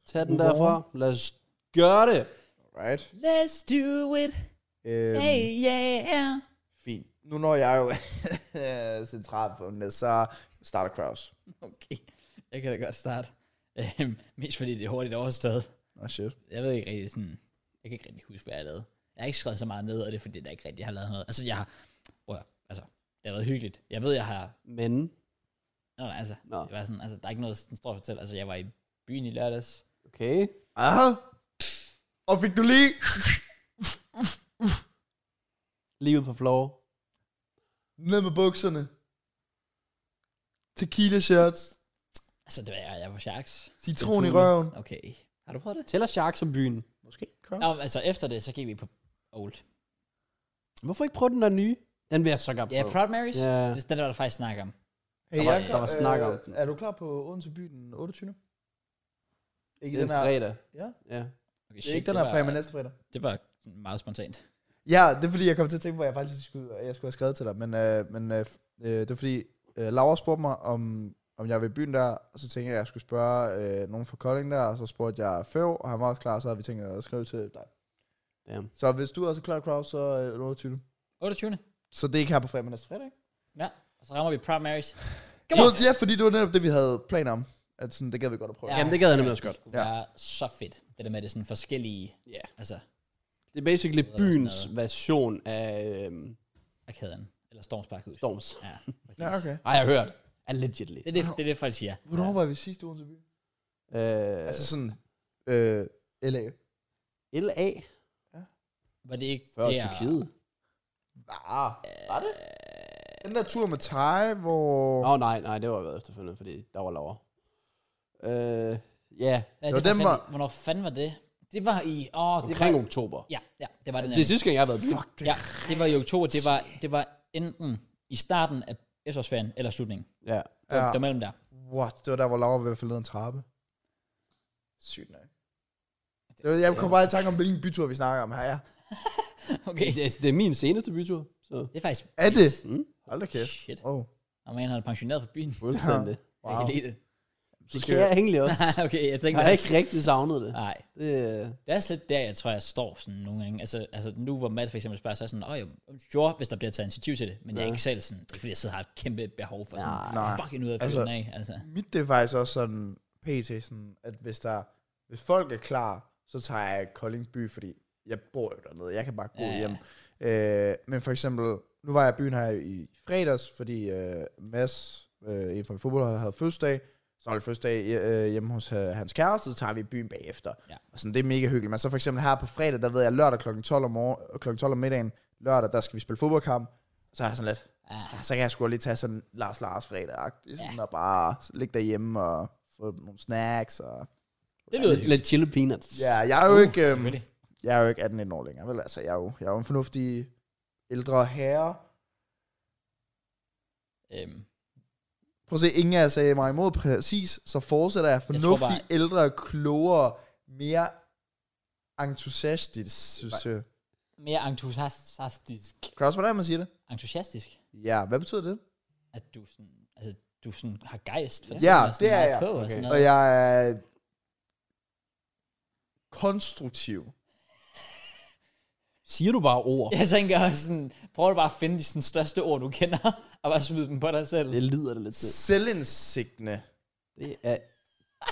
Speaker 2: Tag den
Speaker 3: Udover.
Speaker 2: derfra. Lad os gøre det.
Speaker 3: Right.
Speaker 1: Let's do it.
Speaker 3: Øhm,
Speaker 1: Hey, yeah.
Speaker 3: Fint. Nu når jeg jo centralfundet, så starter Kraus.
Speaker 1: Okay. Jeg kan da godt starte. Øhm, Mest fordi det er hurtigt overstået.
Speaker 3: Nå, oh, shit.
Speaker 1: jeg ved ikke rigtig sådan, jeg kan ikke rigtig huske, hvad jeg lavede. Jeg har ikke skrevet så meget ned, og det er fordi, jeg ikke rigtig har lavet noget. Altså, jeg har, prøv at, høre, altså, det har været hyggeligt. Jeg ved, jeg har,
Speaker 2: Men...
Speaker 1: nå, nej, altså,
Speaker 2: Nå.
Speaker 1: det var sådan, altså, der er ikke noget sådan stort at fortælle. Altså, jeg var i byen i lørdags.
Speaker 2: Okay.
Speaker 3: Ah. Og fik du lige...
Speaker 2: Livet på floor.
Speaker 3: Ned med bukserne. Tequila shots.
Speaker 1: Altså, det var jeg, jeg var sharks.
Speaker 3: Citron i
Speaker 2: Tequila.
Speaker 3: røven.
Speaker 1: Okay. Har du prøvet det?
Speaker 2: Tæller Shark som byen.
Speaker 3: Måske Kraus.
Speaker 1: Nå, men altså, efter det, så gik vi på Old.
Speaker 2: Hvorfor ikke prøve den der nye? Den vil jeg så godt
Speaker 1: Ja,
Speaker 2: prøve.
Speaker 1: Proud Marys.
Speaker 2: Ja.
Speaker 1: Det er den, der var der faktisk snak om.
Speaker 3: Hey,
Speaker 2: Der var-
Speaker 3: Jakob,
Speaker 2: der var snak om
Speaker 3: øh,
Speaker 2: den.
Speaker 3: Er du klar på Odense by den 28.
Speaker 2: Det
Speaker 3: Ikke
Speaker 2: er
Speaker 3: den
Speaker 2: en
Speaker 3: her,
Speaker 2: fredag.
Speaker 3: ja.
Speaker 2: Ja.
Speaker 1: Okay,
Speaker 3: Det er ikke den her
Speaker 1: var,
Speaker 3: fredag, men næste fredag.
Speaker 1: Det var sådan meget spontant.
Speaker 3: Ja, det er fordi, jeg kom til at tænke på, at jeg faktisk skulle, at jeg skulle have skrevet til dig, men, øh, men øh, øh, det er fordi, øh, Laura spurgte mig, om, om jeg var i byen der, og så tænkte jeg, at jeg skulle spørge øh, nogen fra Kolding der, og så spurgte jeg Føv, og han var også klar, og så havde vi tænkt at skrive til dig.
Speaker 2: Damn.
Speaker 3: Så hvis du også er klar, Kraus, så øh, 28.
Speaker 1: 28.
Speaker 3: Så det er ikke her på fredag, men næste fredag, ikke?
Speaker 1: Ja, og så rammer vi Proud Marys. Come on!
Speaker 3: Jo, Ja, fordi det var netop det, vi havde planer om, at sådan, det gad vi godt at prøve.
Speaker 2: Jamen, det gad jeg nemlig også godt.
Speaker 1: Det skulle
Speaker 3: Ja.
Speaker 1: være så fedt, det der med, at det er sådan forskellige,
Speaker 2: Ja.
Speaker 1: altså,
Speaker 2: Det er basically
Speaker 1: Eller sådan
Speaker 2: byens
Speaker 1: noget.
Speaker 2: version af øhm,
Speaker 1: arkaden, eller Stormsparkhus.
Speaker 2: Storms.
Speaker 1: Ja, præcis.
Speaker 3: Ja, okay.
Speaker 2: Har jeg hørt. Allegedly.
Speaker 1: Det er det, det, er det folk siger.
Speaker 3: Hvornår var vi sidste uge til byen?
Speaker 2: Øh,
Speaker 3: Altså sådan, øh, LA.
Speaker 2: LA
Speaker 1: Var det ikke
Speaker 2: før
Speaker 1: der- Øh,
Speaker 2: Tyrkiet.
Speaker 3: Ah, var det? Den der tur med Thai, hvor...
Speaker 2: Åh oh, nej, nej, det var været efterfølgende, fordi der var Laura. Øh, ja,
Speaker 1: Ja,
Speaker 3: Jo,
Speaker 1: det
Speaker 3: den
Speaker 1: den var...
Speaker 3: var-
Speaker 1: Hvornår fanden var det? Det var i... Åh, oh, det
Speaker 2: omkring
Speaker 1: var...
Speaker 2: oktober.
Speaker 1: Ja, ja, det var det.
Speaker 2: Det er
Speaker 1: Det,
Speaker 2: sidste gang, jeg har været i byen.
Speaker 1: ja, det var i oktober. Det var, det var enten i starten af efterårsferien, eller slutningen. Det
Speaker 2: Ja.
Speaker 1: var, ja. det var mellem der.
Speaker 3: What? Det var der, hvor Laura var ved at falde ned ad en trappe. Sygt nok. Det var, jeg kom bare i tanke om, hvilken bytur vi snakker om her, ja.
Speaker 1: Okay.
Speaker 2: Det, er- det er min seneste bytur, så
Speaker 1: Det er faktisk...
Speaker 3: Er det?
Speaker 2: Mm.
Speaker 3: Hold da kæft.
Speaker 1: Shit.
Speaker 3: Oh,
Speaker 1: Og man har pensioneret fra byen.
Speaker 2: fuldstændig.
Speaker 1: Wow. Jeg kan lide det.
Speaker 2: Det
Speaker 3: skal
Speaker 2: kan jeg egentlig også.
Speaker 1: okay, jeg
Speaker 2: Jeg
Speaker 1: tænker...
Speaker 2: har ikke rigtig savnet det.
Speaker 1: Nej,
Speaker 2: det øh,
Speaker 1: Det er også lidt der, jeg tror, jeg står sådan nogle gange. Altså, altså nu, hvor Mads for eksempel spørger, så er jeg sådan, åh jo, sure, hvis der bliver taget initiativ til det, men ja. jeg er
Speaker 2: Ja.
Speaker 1: ikke selv sådan, det er fordi, jeg sidder og har et kæmpe behov for sådan,
Speaker 3: Nej.
Speaker 1: fucking ud af
Speaker 3: Altså-
Speaker 1: altså, af, altså.
Speaker 3: Mit det er faktisk også sådan, pt. Sådan, at hvis, der, hvis folk er klar, så tager jeg Kolding by, fordi jeg bor jo dernede. Jeg kan bare gå
Speaker 1: Ja, ja.
Speaker 3: ja. hjem. Øh, men for eksempel, nu var jeg i byen her i fredags, fordi øh, Mads, øh, en fra min fodboldhold, havde fødselsdag. Så holdt fødselsdag øh, hjemme hos øh, hans kæreste, så tager vi i byen bagefter.
Speaker 1: Ja.
Speaker 3: Og sådan, det er mega hyggeligt. Men så for eksempel her på fredag, der ved jeg, lørdag kl. 12 om, morgen, kl. 12 om middagen, lørdag, der skal vi spille fodboldkamp. Så er jeg sådan lidt,
Speaker 1: Ah,
Speaker 3: Ah, så kan jeg sgu lige tage sådan Lars Lars fredag sådan
Speaker 1: Ja.
Speaker 3: ja. og bare ligge derhjemme og få nogle snacks. Og...
Speaker 1: det lyder Uh,
Speaker 2: lidt, lidt chili peanuts.
Speaker 3: Ja, jeg er jo ikke, øhm,
Speaker 1: selvfølgelig.
Speaker 3: jeg er jo ikke 18 år længere, vel? Altså, jeg er jo, jeg er jo en fornuftig ældre herre.
Speaker 1: Øhm,
Speaker 3: Prøv at se, ingen af jer sagde mig imod præcis, så fortsætter jeg fornuftig,
Speaker 1: bare-
Speaker 3: jeg bare... ældre, klogere, mere entusiastisk, synes jeg.
Speaker 1: mere entusiastisk.
Speaker 3: Kraus, hvordan man siger det?
Speaker 1: Entusiastisk?
Speaker 3: Ja, hvad betyder det?
Speaker 1: At du sådan, altså, du sådan har gejst for
Speaker 3: Ja,
Speaker 1: tingene, og sådan
Speaker 3: det er
Speaker 1: meget
Speaker 3: jeg.
Speaker 1: På, og
Speaker 2: Okay.
Speaker 1: sådan
Speaker 3: Og
Speaker 1: noget.
Speaker 3: jeg er konstruktiv.
Speaker 2: Siger du bare ord?
Speaker 1: Jeg tænker også sådan, prøv bare at finde de sådan, største ord, du kender, og bare smide dem på dig selv.
Speaker 2: Det lyder det lidt til.
Speaker 3: Selvindsigtende.
Speaker 2: Det er,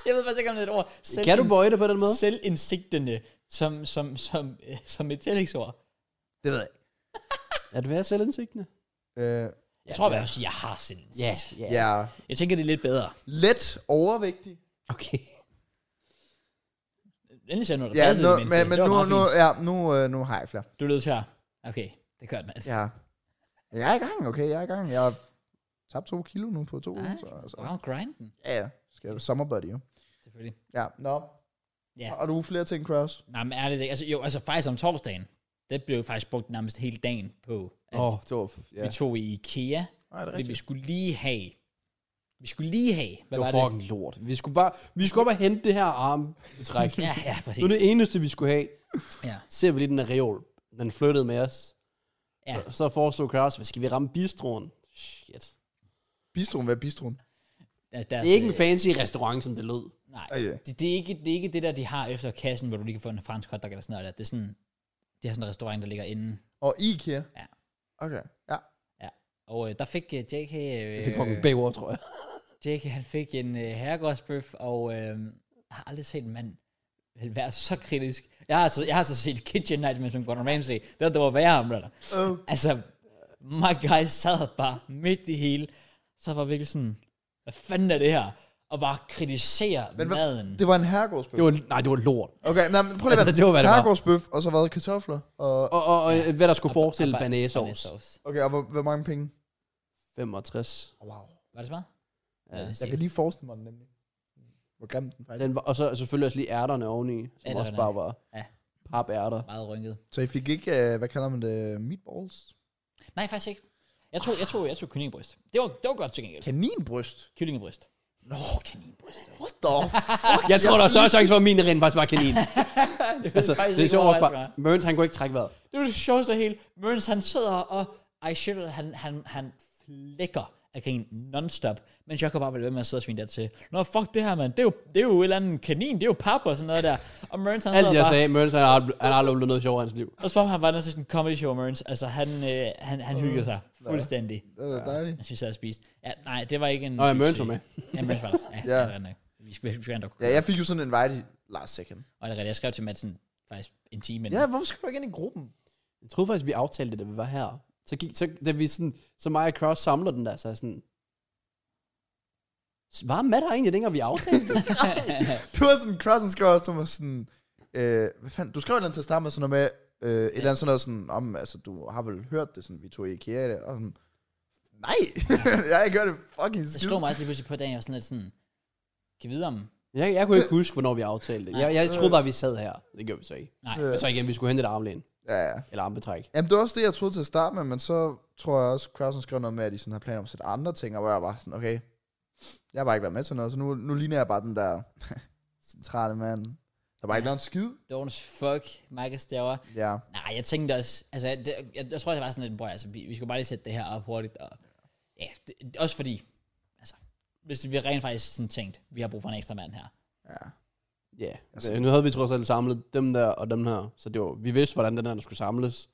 Speaker 1: Jeg ved faktisk ikke, om det er et ord.
Speaker 2: kan du
Speaker 1: Selvinds-
Speaker 2: bøje det på den måde?
Speaker 1: Selvindsigtende, som, som, som, øh, som et tillægsord.
Speaker 3: Det ved jeg ikke.
Speaker 2: At være selvindsigtende?
Speaker 3: Øh,
Speaker 1: Jeg tror i hvert fald, at jeg har selvindsigt.
Speaker 3: ja. ja.
Speaker 1: Jeg tænker, det er lidt bedre.
Speaker 3: Let overvægtig.
Speaker 2: Okay.
Speaker 1: Endelig ser jeg noget, der
Speaker 3: Ja,
Speaker 1: passede
Speaker 3: nu,
Speaker 1: i det mindste.
Speaker 3: men, men
Speaker 1: Det var
Speaker 3: nu,
Speaker 1: meget
Speaker 3: nu,
Speaker 1: fint.
Speaker 3: ja, nu, øh, nu har jeg flere.
Speaker 1: altså. Du lød til her. Okay, det kørte, Mads. Ja.
Speaker 3: Ja. Jeg er i gang, okay? Jeg er i gang. Jeg har tabt to kilo nu på to uger.
Speaker 1: Ej,
Speaker 3: Så, altså,
Speaker 1: Wow, grinden.
Speaker 3: ja, ja. Skal jeg summerbody, jo.
Speaker 1: Selvfølgelig.
Speaker 3: Ja, nå.
Speaker 1: Ja.
Speaker 3: Ja. Har du flere ting, Cross?
Speaker 1: Nej, men ærligt ikke. Altså, jo, altså faktisk om torsdagen, det blev jo faktisk brugt nærmest hele dagen på, at
Speaker 2: Åh, oh, det var, ja.
Speaker 1: vi tog i IKEA,
Speaker 3: Nej, det er
Speaker 1: fordi vi
Speaker 3: rigtigt.
Speaker 1: skulle lige have, vi skulle lige have, hvad
Speaker 2: det var
Speaker 1: var,
Speaker 2: fucking lort. Vi skulle bare, vi skulle op og hente det her armtræk.
Speaker 1: det? Ja, ja,
Speaker 2: Det
Speaker 1: præcis.
Speaker 2: var det eneste, vi skulle have.
Speaker 1: Ja.
Speaker 2: Ser vi lige den her reol. Den flyttede med os.
Speaker 1: Ja.
Speaker 2: Så, så foreslog Kraus, hvad skal vi ramme bistroen? Shit.
Speaker 3: Bistroen, hvad er bistroen?
Speaker 1: Ja, deres,
Speaker 2: Det er ikke en
Speaker 1: øh,
Speaker 2: fancy restaurant, som det lød.
Speaker 1: Nej,
Speaker 3: Ah, ja.
Speaker 1: det, det, er ikke, det er ikke det der, de har efter kassen, hvor du lige kan få en fransk hotdog eller sådan noget. Der. Det er sådan, det er sådan en restaurant, der ligger inde.
Speaker 3: Og Ikea?
Speaker 1: Ja.
Speaker 3: Okay, ja.
Speaker 1: Og øh, der fik øh, JK, øh,
Speaker 2: Jeg fik fucking bagord, tror jeg.
Speaker 1: JK, han fik en øh, herregårdsbøf, og øh, jeg har aldrig set en mand være så kritisk. Jeg har, altså, jeg har så set Kitchen Night med som Gordon Ramsay. Det var, det var værre om der.
Speaker 3: Uh,
Speaker 1: Altså, my guy sad bare midt i hele, så var virkelig sådan, hvad fanden er det her? Og bare kritisere
Speaker 3: Men hvad-
Speaker 1: maden.
Speaker 3: det var en herregårdsbøf.
Speaker 2: Det var, nej, det var lort.
Speaker 3: Okay, nej, men prøv lige
Speaker 2: Altså, det var, hvad det var.
Speaker 3: Herregårdsbøf, og så hvad? Kartofler? Og,
Speaker 2: Og, og, og hvad der skulle forestille
Speaker 1: Og bare-
Speaker 2: banæsovs.
Speaker 1: banæssauce.
Speaker 3: okay, og hvor, hvor mange penge?
Speaker 2: 65.
Speaker 3: Wow.
Speaker 1: Var det så meget?
Speaker 2: Ja.
Speaker 1: Lad os
Speaker 3: Jeg
Speaker 1: se.
Speaker 3: kan lige forestille mig den nemlig. Hvor grim den faktisk
Speaker 2: Den var, og så selvfølgelig også lige ærterne oveni, som
Speaker 1: Ærterne.
Speaker 2: også bare var
Speaker 1: Ja.
Speaker 2: ja. papærter.
Speaker 1: Meget rynket.
Speaker 3: Så I fik ikke, uh, hvad kalder man det, meatballs?
Speaker 1: Nej, faktisk ikke. Jeg tog, jeg tog, jeg tog kyllingebryst. Det var, det var godt til gengæld.
Speaker 3: Kaninbryst?
Speaker 1: Kyllingebryst.
Speaker 3: Nå, kaninbryst. What the fuck?
Speaker 2: Jeg tror, der er større chance for, at min rent faktisk var kanin. altså, det er sjovt også bare. Mørns, han kunne ikke trække vejret.
Speaker 1: Det var det sjoveste af hele. Mørns, han sidder og I shit, it, han, han, han flækker af grin non-stop, mens jeg kan bare blive ved med at sidde og svine der til. Nå, fuck det her, mand. Det er jo, det er jo et eller andet kanin. Det er jo pap og sådan noget der. Og Mørns, han
Speaker 2: Alt
Speaker 1: sidder
Speaker 2: jeg
Speaker 1: bare...
Speaker 2: sagde, Mørns, han har ald- han har aldrig oplevet noget sjovt i hans liv.
Speaker 1: Og så var han bare næsten sådan en comedy show, Mørns. Altså, han, øh, han, han hyggede sig fuldstændig.
Speaker 3: Det er da dejligt.
Speaker 1: Jeg synes, jeg havde spist. Ja, nej, det var ikke en...
Speaker 2: Nå, ja, Mørns var med.
Speaker 1: Ja, Mørns var der. Ja,
Speaker 3: Ja.
Speaker 1: ja. det var nok. Vi skal, vi skal have en
Speaker 3: Ja, jeg fik jo sådan en invite i last second.
Speaker 1: Og det er rigtigt, jeg skrev til Madsen faktisk en time inden.
Speaker 3: Ja, hvorfor skal du ikke ind i gruppen?
Speaker 2: Jeg troede faktisk, vi aftalte det, da vi var her. Så, gik, så, da vi sådan, så mig og Kraus samler den der, så er jeg sådan... "S- Var Matt her egentlig, dengang vi aftalte det?
Speaker 3: Det var sådan, Crossen skrev også, der var sådan, øh, hvad fanden, du skrev et eller andet til at starte med, sådan noget med, øh, et eller andet sådan noget sådan, om, altså, du har vel hørt det, sådan, vi tog i IKEA, i dag," og sådan, nej, jeg har ikke hørt det fucking
Speaker 1: Det
Speaker 3: skid.
Speaker 1: slog mig også lige pludselig på dagen, jeg var sådan lidt sådan, kan vide om...
Speaker 2: jeg, jeg kunne ikke huske, hvornår vi aftalte det. Jeg, jeg troede bare, vi sad her. Det gjorde vi så ikke.
Speaker 1: Nej,
Speaker 3: Ja.
Speaker 2: Jeg tror igen, vi skulle hente et armlæn.
Speaker 3: Ja, ja.
Speaker 2: Eller armbetræk.
Speaker 3: Jamen, det var også det, jeg troede til at starte med, men så tror jeg også, Crowson skrev noget med, at de sådan har planer om at sætte andre ting, og hvor jeg var sådan, okay, jeg har bare ikke været med til noget, så nu, nu ligner jeg bare den der centrale mand. Der var ikke
Speaker 1: Ja.
Speaker 3: nogen skid.
Speaker 1: don't fuck, Michael Stauer.
Speaker 3: Ja.
Speaker 1: Nej, jeg tænkte også, altså, det, jeg, jeg, tror, det var sådan lidt, bror, altså, vi, vi skulle bare lige sætte det her op hurtigt, og ja, det, det- også fordi, altså, hvis vi rent faktisk sådan tænkt, vi har brug for en ekstra mand her.
Speaker 3: ja.
Speaker 2: Ja,
Speaker 3: Altså-
Speaker 2: altså, nu havde vi trods alt samlet dem der og dem her, så det var, vi vidste, hvordan den der der skulle samles.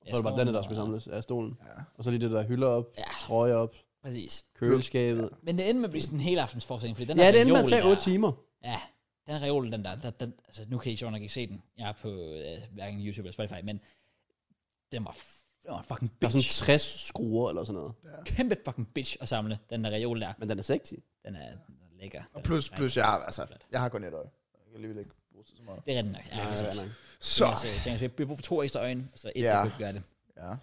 Speaker 2: Og så var det bare den der, der skulle samles af stolen.
Speaker 3: Ja.
Speaker 2: Og så lige det der hylder op,
Speaker 1: Ja.
Speaker 2: trøje op,
Speaker 1: Præcis.
Speaker 2: køleskabet.
Speaker 1: Men det endte med at blive sådan en hel aftens forestilling, fordi den
Speaker 2: Ja,
Speaker 1: her
Speaker 2: det endte med at
Speaker 1: reol
Speaker 2: tage
Speaker 1: der-
Speaker 2: 8 timer.
Speaker 1: Ja, den reol, den der, der den, altså, nu kan I sjovt nok ikke se den. Jeg er på øh, hverken YouTube eller Spotify, men den var, f- den var en fucking
Speaker 2: Der er
Speaker 1: bitch.
Speaker 2: sådan 60 skruer eller sådan noget.
Speaker 1: kæmpe fucking bitch at samle, den der reol der.
Speaker 2: Men den er sexy.
Speaker 1: Den er, den er lækker. Den
Speaker 3: Og plus,
Speaker 1: er,
Speaker 3: plus, jeg har, altså, jeg har kun et øje. Jeg kan alligevel ikke bruge det så meget.
Speaker 1: Det er rigtigt nok. Ja,
Speaker 2: Ja,
Speaker 1: præcis.
Speaker 2: ja, nej.
Speaker 3: Så,
Speaker 1: Jeg tænker, jeg tænker, vi har brug for to ekstra øjne, så et,
Speaker 3: Ja.
Speaker 1: ja. der kunne gøre det.
Speaker 3: ja.
Speaker 1: Nej,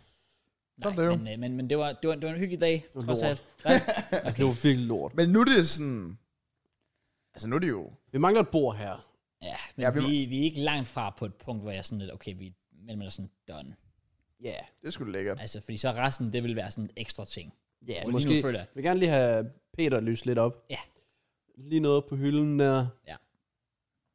Speaker 3: Sådan er det jo.
Speaker 1: men, øh, men, men det, var, det, var, det var en hyggelig dag.
Speaker 2: var
Speaker 1: trods
Speaker 2: lort.
Speaker 1: alt. Nej,
Speaker 2: Altså, det var virkelig lort.
Speaker 3: Men nu er det sådan, altså nu er det jo,
Speaker 2: Vi mangler et bord her.
Speaker 1: ja, men
Speaker 3: Ja,
Speaker 1: ja,
Speaker 3: vi
Speaker 1: vi,
Speaker 3: må-
Speaker 1: vi, er ikke langt fra på et punkt, hvor jeg er sådan lidt, okay, vi men man er sådan done.
Speaker 2: Ja,
Speaker 3: det skulle lækkert.
Speaker 1: Altså, fordi så resten, det vil være sådan en ekstra ting.
Speaker 2: ja
Speaker 1: Og
Speaker 2: måske.
Speaker 1: Lige nu føler jeg,
Speaker 2: Vi vil gerne lige have Peter lyst lidt op.
Speaker 1: Ja.
Speaker 2: Lige noget på hylden der.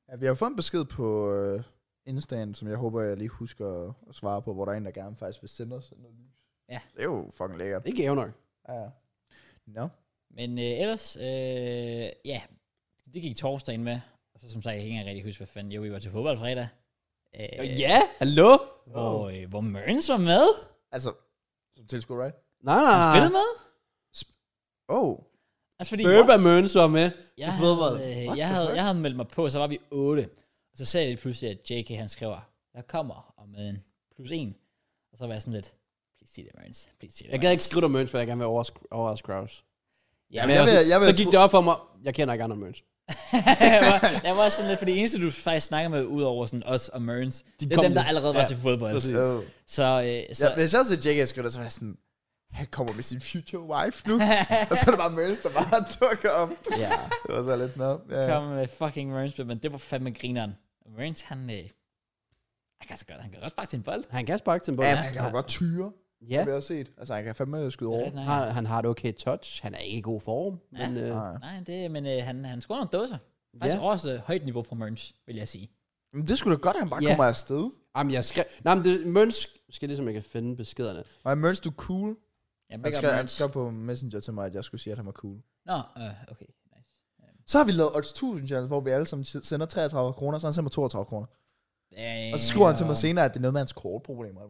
Speaker 3: Ja, vi har fået en besked på øh, Insta'en, som jeg håber, jeg lige husker at- at svare på, hvor der er en, der gerne faktisk vil sende os noget lys.
Speaker 1: Ja.
Speaker 3: Det er jo fucking lækkert.
Speaker 2: Det er gave nok.
Speaker 3: Ja, ja. Nå.
Speaker 1: Men øh, ellers, øh, ja, det gik torsdagen med. Og så som sagt, jeg kan ikke engang rigtig huske, hvad fanden. Jo, vi var til fodbold fredag. Øh,
Speaker 2: Ja, hallo?
Speaker 1: Hvor, øh, hvor Mørens var med.
Speaker 3: Altså, som tilskuer, right?
Speaker 2: Nej,
Speaker 1: Han
Speaker 2: nej.
Speaker 1: spillede med.
Speaker 3: Oh,
Speaker 1: Altså, fordi,
Speaker 2: Burba Møns var med.
Speaker 1: Jeg
Speaker 2: I fodbold.
Speaker 1: havde,
Speaker 2: What
Speaker 1: øh, jeg,
Speaker 2: the
Speaker 1: havde,
Speaker 2: fuck?
Speaker 1: jeg havde meldt mig på, så var vi otte. Og så sagde jeg lige pludselig, at JK han skriver, jeg kommer om øh, en plus en. Og så var jeg sådan lidt, please sig det, Marines. Please sig det,
Speaker 2: Jeg gad ikke skrive dig Møns, for jeg gerne vil overraske overraske Kraus.
Speaker 1: Ja,
Speaker 2: Ja,
Speaker 1: men
Speaker 2: men
Speaker 3: jeg
Speaker 2: jeg
Speaker 3: vil-
Speaker 2: vil,
Speaker 3: jeg vil
Speaker 2: så
Speaker 3: tro-
Speaker 2: gik det op for mig, jeg kender ikke andre Møns.
Speaker 1: jeg, var, jeg var sådan lidt, for det eneste, du faktisk snakker med, udover sådan os og Marines, det er
Speaker 2: kom
Speaker 1: dem, der
Speaker 2: jo.
Speaker 1: allerede var
Speaker 2: Ja,
Speaker 1: til fodbold.
Speaker 2: præcis.
Speaker 3: oh.
Speaker 1: Så, øh, så
Speaker 3: Ja, hvis jeg havde set Jackass, skulle det så være sådan, han kommer med sin future wife nu. og så er det bare Merns, der bare dukker op.
Speaker 2: Ja.
Speaker 3: Det var så lidt noget. Ja.
Speaker 1: Kom med fucking Merns, men det var fandme grineren. Merns, han, øh, han kan så godt, han kan godt sparke til en bold.
Speaker 2: Han kan sparke til en bold.
Speaker 3: ja, men han kan jo godt tyre,
Speaker 2: Ja.
Speaker 3: ja. vi har set. Altså, han kan fandme skyde
Speaker 1: Det er
Speaker 3: over.
Speaker 1: rigtig nok.
Speaker 2: Han, han har et okay touch. Han er ikke i god form.
Speaker 1: Ja.
Speaker 2: Men, øh,
Speaker 3: Nej.
Speaker 1: Nej, det, men øh, han, han scorer nogle dåser. Faktisk
Speaker 2: Ja.
Speaker 1: ja. også øh, højt niveau fra Merns, vil jeg sige.
Speaker 3: Men det skulle da godt, at han bare
Speaker 2: Ja.
Speaker 3: yeah. kommer afsted.
Speaker 2: jamen, jeg skrev... Nej, men det, Møns... Skal ligesom, jeg kan finde beskederne.
Speaker 3: Nej, Merns, du er cool.
Speaker 1: Ja,
Speaker 3: Han
Speaker 1: big up
Speaker 3: skrev, han
Speaker 1: Merns.
Speaker 3: skrev på Messenger til mig, at jeg skulle sige, at han var cool.
Speaker 1: Nå, øh, okay. Nice.
Speaker 3: Så har vi lavet odds 1000 challenge, hvor vi alle sammen si- sender 33 kroner, så han sender mig 32 kroner.
Speaker 1: Damn.
Speaker 3: Og så skriver han til mig senere, at det er noget med hans kortproblemer.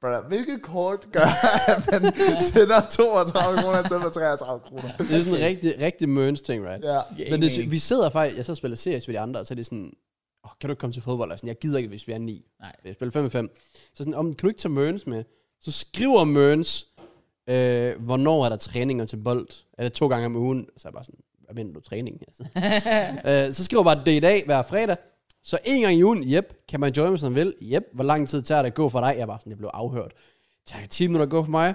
Speaker 3: Brother, hvilket kort gør, at man sender 32 kroner i stedet for 33 kroner?
Speaker 2: Det er sådan en rigtig, rigtig Møns ting, right?
Speaker 3: Ja.
Speaker 1: Gaming.
Speaker 2: Men det, vi sidder faktisk, jeg så spiller CS med de andre, og så er det sådan, oh, kan du ikke komme til fodbold? Og sådan, jeg gider ikke, hvis vi er 9.
Speaker 1: Nej.
Speaker 2: Jeg spiller 5 5. Så sådan, om, kan du ikke tage Mørens med? Så skriver Mørens, øh, hvornår er der træninger til bold? Er det to gange om ugen? Så er jeg bare sådan, hvad mener du træning? Altså. øh, så skriver jeg bare, det er i dag, hver fredag. Så en gang i ugen, yep, kan man joine, hvis man vil. Yep, hvor lang tid tager det at gå for dig? Jeg er bare sådan, jeg blev afhørt. Tager det 10 minutter at gå for mig?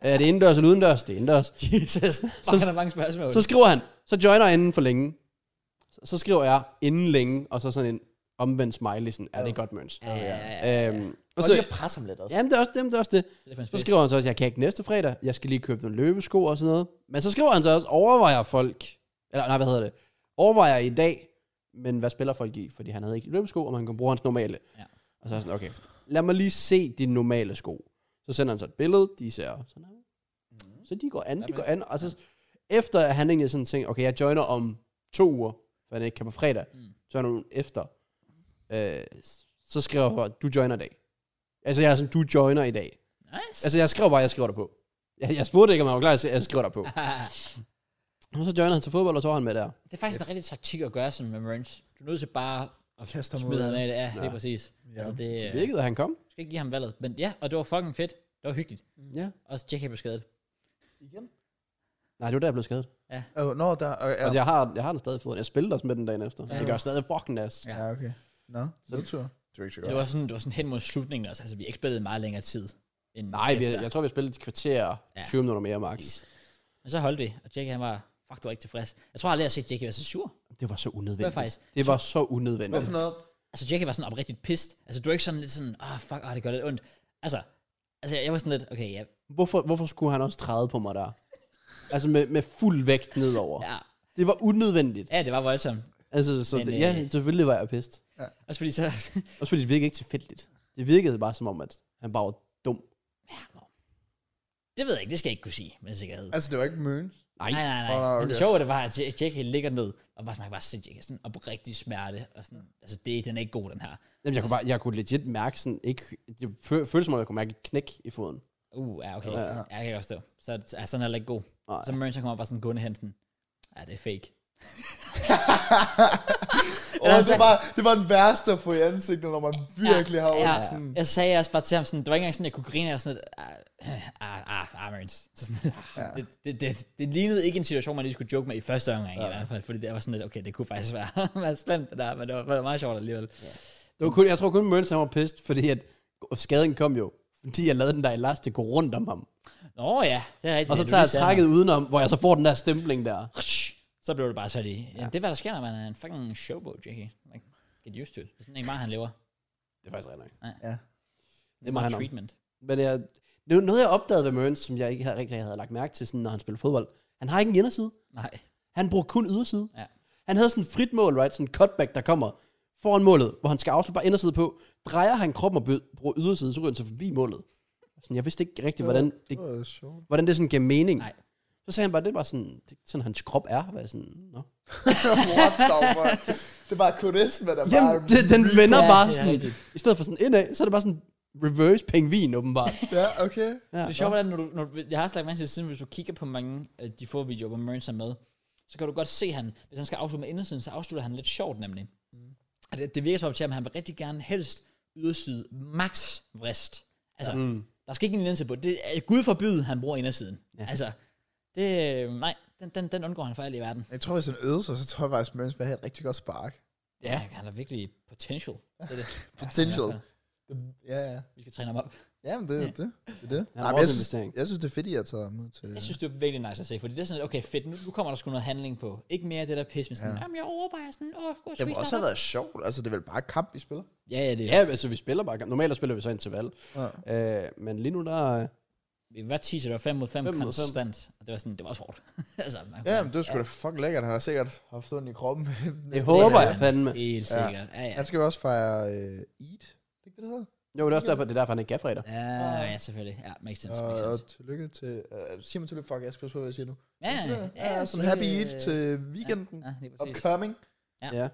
Speaker 2: er det indendørs eller udendørs? Det er indendørs.
Speaker 1: Jesus, så er der mange spørgsmål.
Speaker 2: Så skriver han, så joiner jeg inden for længe. Så, så skriver jeg inden længe, og så sådan en omvendt smiley, sådan, er det er godt, Møns?
Speaker 1: ja, ja, ja.
Speaker 2: Øhm, og
Speaker 3: Og
Speaker 2: så,
Speaker 3: lige at presse ham lidt også.
Speaker 2: jamen, det er også, jamen, det er også det.
Speaker 1: Det er for en
Speaker 2: Så
Speaker 1: spids.
Speaker 2: skriver han så også, jeg kan ikke næste fredag, jeg skal lige købe nogle løbesko og sådan noget. Men så skriver han så også, overvejer folk, eller nej, hvad hedder det, overvejer i dag, men hvad spiller folk i? Fordi han havde ikke løbesko, og man kan bruge hans normale.
Speaker 1: Ja.
Speaker 2: Og så er jeg sådan, okay, lad mig lige se de normale sko. Så sender han så et billede, de ser sådan her.
Speaker 1: Mhm.
Speaker 2: Så de går an, de
Speaker 1: Hvad
Speaker 2: går an, og så efter at han egentlig sådan tænker, okay, jeg joiner om to uger, for han ikke kan på fredag,
Speaker 1: Mm.
Speaker 2: så er nogen efter, øh, så skriver jeg, bare, du joiner i dag. Altså jeg er sådan, du joiner i dag.
Speaker 1: Nice.
Speaker 2: Altså, jeg skrev bare, jeg skriver dig på. Jeg, jeg spurgte ikke, om jeg var klar, jeg sagde, jeg skriver dig på. Og så joiner han til fodbold, og så var han med der.
Speaker 1: det er faktisk en rigtig taktik at gøre sådan med Merns. Du er nødt til bare at
Speaker 3: Kaste ham ud.
Speaker 1: smide ham af det. Ja, lige præcis.
Speaker 3: Ja.
Speaker 1: Altså, det,
Speaker 2: Det
Speaker 1: øh,
Speaker 2: virkede, at han kom.
Speaker 1: du skal ikke give ham valget. Men ja, og det var fucking fedt. Det var hyggeligt.
Speaker 2: Ja.
Speaker 1: Også JK blev skadet.
Speaker 3: Igen?
Speaker 2: Nej, det var der, jeg blev skadet.
Speaker 3: Oh, nå, der... Uh,
Speaker 2: Ja.
Speaker 3: ja.
Speaker 2: Og jeg har, jeg har den stadig fået. Jeg spillede også med den dagen efter. Ja.
Speaker 1: Ja.
Speaker 2: Det gør stadig fucking nas.
Speaker 1: Ja.
Speaker 3: ja, okay. Nå, nedtur. Det er ikke så
Speaker 1: Det var, sådan, det var sådan hen mod slutningen også. Altså, vi ikke spillede meget længere tid. End
Speaker 2: Nej, vi,
Speaker 1: efter.
Speaker 2: jeg tror, vi har spillet et kvarter,
Speaker 1: Ja.
Speaker 2: 20 minutter mere max.
Speaker 1: Præcis. Men så holdt vi, og Jackie han var, fuck, du var ikke tilfreds. Jeg tror aldrig, jeg har set Jackie være så sur.
Speaker 2: Det var så
Speaker 1: Det var
Speaker 2: unødvendigt.
Speaker 1: faktisk.
Speaker 2: Det var så unødvendigt.
Speaker 3: Hvorfor noget?
Speaker 1: Altså, Jackie var sådan oprigtigt pissed. Altså, du var ikke sådan lidt sådan, ah, oh, fuck, ah, det gør lidt ondt. Altså, altså, jeg var sådan lidt, okay, ja,
Speaker 2: Hvorfor, hvorfor skulle han også træde på mig der? Altså med, med fuld vægt nedover.
Speaker 1: ja,
Speaker 2: Det var unødvendigt.
Speaker 1: ja det var voldsomt.
Speaker 2: Altså, så
Speaker 1: Men,
Speaker 2: det,
Speaker 1: øh,
Speaker 2: ja, selvfølgelig var jeg pissed.
Speaker 1: Også fordi så,
Speaker 2: Også fordi det virkede ikke tilfældigt. Det virkede bare som om, at han bare var dum.
Speaker 1: ja, nå. det ved jeg ikke, det skal jeg ikke kunne sige med sikkerhed.
Speaker 3: Altså, det var ikke Møn.
Speaker 1: Nej, nej, nej.
Speaker 3: Åh,
Speaker 1: nej.
Speaker 3: nej,
Speaker 1: Men det
Speaker 3: okay.
Speaker 1: sjove det var, at Ja- Jackie ligger ned, og bare, man kan bare se Jackie sådan oprigtig smerte. Og sådan, altså, det, den er ikke god, den her.
Speaker 2: Jamen, jeg, kunne bare, jeg kunne legit mærke sådan, ikke, det fø- føltes som om, jeg kunne mærke et knæk i foden.
Speaker 1: Uh, ja, okay.
Speaker 2: Ja,
Speaker 1: Ja,
Speaker 2: ja.
Speaker 1: ja. det kan jeg godt stå. Så er sådan heller ikke god.
Speaker 2: Nej.
Speaker 1: Så Mørn, så kommer bare sådan gående hen, sådan, ja, det er fake.
Speaker 3: Oh, det, var, det var den værste at få i ansigtet, når man virkelig har ondt.
Speaker 1: ja,
Speaker 3: Sådan.
Speaker 1: Jeg sagde også bare til ham sådan, det var ikke engang sådan, jeg kunne grine, jeg var sådan lidt, ah, ah, ah, ah, Mørns. Så sådan,
Speaker 3: Ja.
Speaker 1: det, det, det, det, lignede ikke en situation, man lige skulle joke med i første omgang ja. i hvert fald, fordi det var sådan lidt, okay, det kunne faktisk være meget slemt det der, men det var, det var meget sjovt alligevel.
Speaker 2: Det var kun, jeg tror kun, Møns han var pissed, fordi at skaden kom jo, fordi jeg lavede den der elastik gå rundt om ham.
Speaker 1: Nå ja, det er rigtigt.
Speaker 2: Og så
Speaker 1: ja, du
Speaker 2: tager jeg
Speaker 1: lige sagde
Speaker 2: trækket udenom, hvor jeg så får den der stempling der.
Speaker 1: noget. Så blev det bare sat i. Ja. Det er, hvad der sker, når man er en fucking showboat, Jackie. Like, get used to it. Det er sådan en meget, han lever.
Speaker 2: Det er faktisk rigtig nok.
Speaker 3: Ja.
Speaker 1: Det er
Speaker 2: må
Speaker 1: meget
Speaker 2: han om.
Speaker 1: treatment.
Speaker 2: Men jeg, det var noget, jeg opdagede ved Møns, som jeg ikke havde, rigtig havde lagt mærke til, sådan, når han spillede fodbold. Han har ikke en inderside.
Speaker 1: Nej.
Speaker 2: Han bruger kun yderside.
Speaker 1: Ja.
Speaker 2: Han havde sådan et frit mål, right? Sådan en cutback, der kommer foran målet, hvor han skal afslutte bare inderside på. Drejer han kroppen og bød- bruger yderside, så ryger han så forbi målet. Sådan, jeg vidste ikke rigtigt, hvordan det,
Speaker 3: Det var sjovt.
Speaker 2: hvordan det sådan gav mening.
Speaker 1: Nej.
Speaker 2: Så sagde han bare, det er bare sådan, det, er sådan hans krop er. Hvad sådan, Nå.
Speaker 3: What the fuck? Det var kurisme, der bare...
Speaker 2: Jamen, det, den vender
Speaker 1: Ja,
Speaker 2: bare
Speaker 1: det er
Speaker 2: sådan,
Speaker 1: rigtigt.
Speaker 2: i stedet for sådan indad, så er det bare sådan reverse pingvin åbenbart.
Speaker 3: Ja, okay.
Speaker 1: Det er sjovt, hvordan når du, når, du- jeg har også lagt mærke til siden, hvis du kigger på mange af de få videoer, hvor Merns er med, så kan du godt se, han, hvis han skal afslutte med indersiden, så afslutter han lidt sjovt nemlig. Mm. Og det, det virker som om til, at han vil rigtig gerne helst yderside max vrist. Altså, mm. der skal ikke en inderside på. Det er Gud forbyde, han bruger indersiden. Ja. Altså, det, øh, nej, den, den, den undgår han for alt i verden.
Speaker 3: Jeg tror, hvis han øvede sig, så tror jeg faktisk, Møns vil have et rigtig godt spark.
Speaker 1: Ja. Han, han er virkelig potential. Det er det.
Speaker 3: Potential.
Speaker 1: Ja, i hvert
Speaker 3: Det Ja, ja.
Speaker 1: Vi skal træne ham op.
Speaker 3: Ja, men det, det, det er det.
Speaker 2: er også
Speaker 3: Nej, men jeg,
Speaker 2: en
Speaker 3: synes,
Speaker 2: investering.
Speaker 3: jeg synes, det er fedt, I har taget ham ud til.
Speaker 1: Jeg synes, det er virkelig nice at se, fordi det er sådan, lidt, okay, fedt, nu, nu kommer der sgu noget handling på. Ikke mere af det der pis med sådan,
Speaker 3: Ja.
Speaker 1: jamen jeg overvejer sådan, åh, skal
Speaker 3: det
Speaker 1: vi
Speaker 3: må også
Speaker 1: starte
Speaker 3: have
Speaker 1: op?"
Speaker 3: været sjovt. Altså, det er vel bare kamp, vi spiller.
Speaker 1: Ja, ja, det er.
Speaker 2: Ja, altså vi spiller bare. Normalt spiller vi så interval.
Speaker 3: Ja.
Speaker 2: Øh, men lige nu der... øh,
Speaker 1: Vi var 10, så det var 5 mod 5,
Speaker 2: Fem mod fem.
Speaker 1: konstant. Og det var sådan, det var også hårdt. altså, man
Speaker 3: Ja, men det er sgu da fucking lækkert. Han har sikkert haft ondt i kroppen.
Speaker 2: Jeg
Speaker 3: Næste-
Speaker 2: håber
Speaker 1: ja.
Speaker 2: jeg fandme.
Speaker 1: Helt
Speaker 3: Ja.
Speaker 1: sikkert. Ja, ja.
Speaker 3: Han skal jo også fejre øh, Eid. Er det ikke det, det hedder?
Speaker 2: Jo, det er også derfor, det er derfor, han ikke gav fredag.
Speaker 1: Ja, ja, selvfølgelig. Ja, makes sense,
Speaker 3: Og,
Speaker 1: makes
Speaker 3: og
Speaker 1: sense.
Speaker 3: tillykke til... Uh, sig mig tillykke, fuck, jeg skal passe på, hvad jeg siger nu.
Speaker 1: Ja, ja,
Speaker 3: ja, ja, sådan
Speaker 1: så-
Speaker 3: happy Eid til weekenden.
Speaker 1: Ja, lige præcis.
Speaker 3: Upcoming.
Speaker 1: Ja.
Speaker 2: Ja.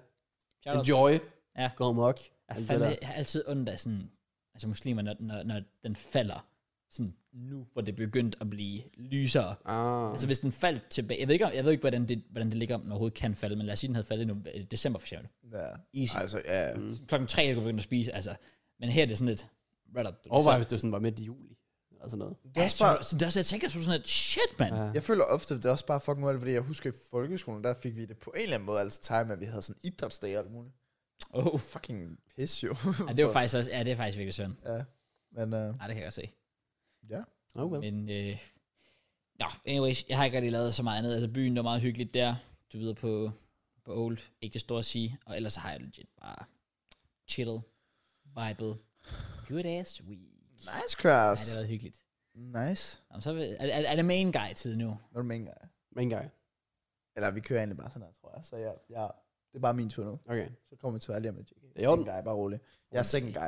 Speaker 1: Shout out.
Speaker 2: Enjoy.
Speaker 1: Ja.
Speaker 2: Gå amok.
Speaker 1: Jeg
Speaker 2: Alt
Speaker 1: er
Speaker 2: det
Speaker 1: fandme,
Speaker 2: der.
Speaker 1: jeg har altid ondt af sådan, altså muslimer, når, når, når den falder, sådan nu, hvor det er begyndt at blive lysere.
Speaker 2: Ah.
Speaker 1: Altså hvis den faldt tilbage, jeg ved ikke, om- jeg ved ikke hvordan, det, hvordan det ligger, om den overhovedet kan falde, men lad os sige, den havde faldet i nove- i december for eksempel.
Speaker 3: Ja.
Speaker 1: Easy.
Speaker 3: Altså, ja.
Speaker 2: Mm.
Speaker 1: Klokken tre, jeg kunne begynde at spise, altså. Men her er det sådan lidt, right up.
Speaker 2: Overvej, hvis det sådan var midt i juli. Eller sådan noget.
Speaker 3: Det
Speaker 1: Ja,
Speaker 3: er
Speaker 1: så,
Speaker 3: også bare,
Speaker 1: så, det er også, jeg tænker så sådan lidt, shit, mand.
Speaker 2: Ja.
Speaker 3: jeg føler ofte, det er også bare fucking uheldigt, fordi jeg husker i folkeskolen, der fik vi det på en eller anden måde, altså time, at vi havde sådan idrætsdage og alt muligt.
Speaker 1: Oh.
Speaker 3: Fucking pis jo.
Speaker 1: Ja, det var faktisk også, ja, det er faktisk virkelig synd.
Speaker 3: Ja, men øh,
Speaker 1: Nej, det kan jeg godt se.
Speaker 2: Oh well.
Speaker 1: Men, øh, nå, anyways, jeg har ikke rigtig lavet så meget andet. Altså, byen var meget hyggeligt der. Du videre på, på Old. Ikke det store at sige. Og ellers har jeg legit bare chillet, vibet. Good ass week.
Speaker 3: nice
Speaker 1: Ja,
Speaker 3: cross.
Speaker 1: det har været hyggeligt.
Speaker 3: Nice.
Speaker 1: Jamen, så er, vi- er, er, er det main guy tid nu?
Speaker 3: Hvad du mener?
Speaker 2: Men ikke engang.
Speaker 3: Eller vi kører egentlig bare sådan her, tror jeg. Så jeg, jeg, det er bare min tur nu.
Speaker 2: Okay.
Speaker 3: Så kommer vi til at lige om lidt.
Speaker 2: er i orden.
Speaker 3: Second guy, bare rolig. Jeg er second guy.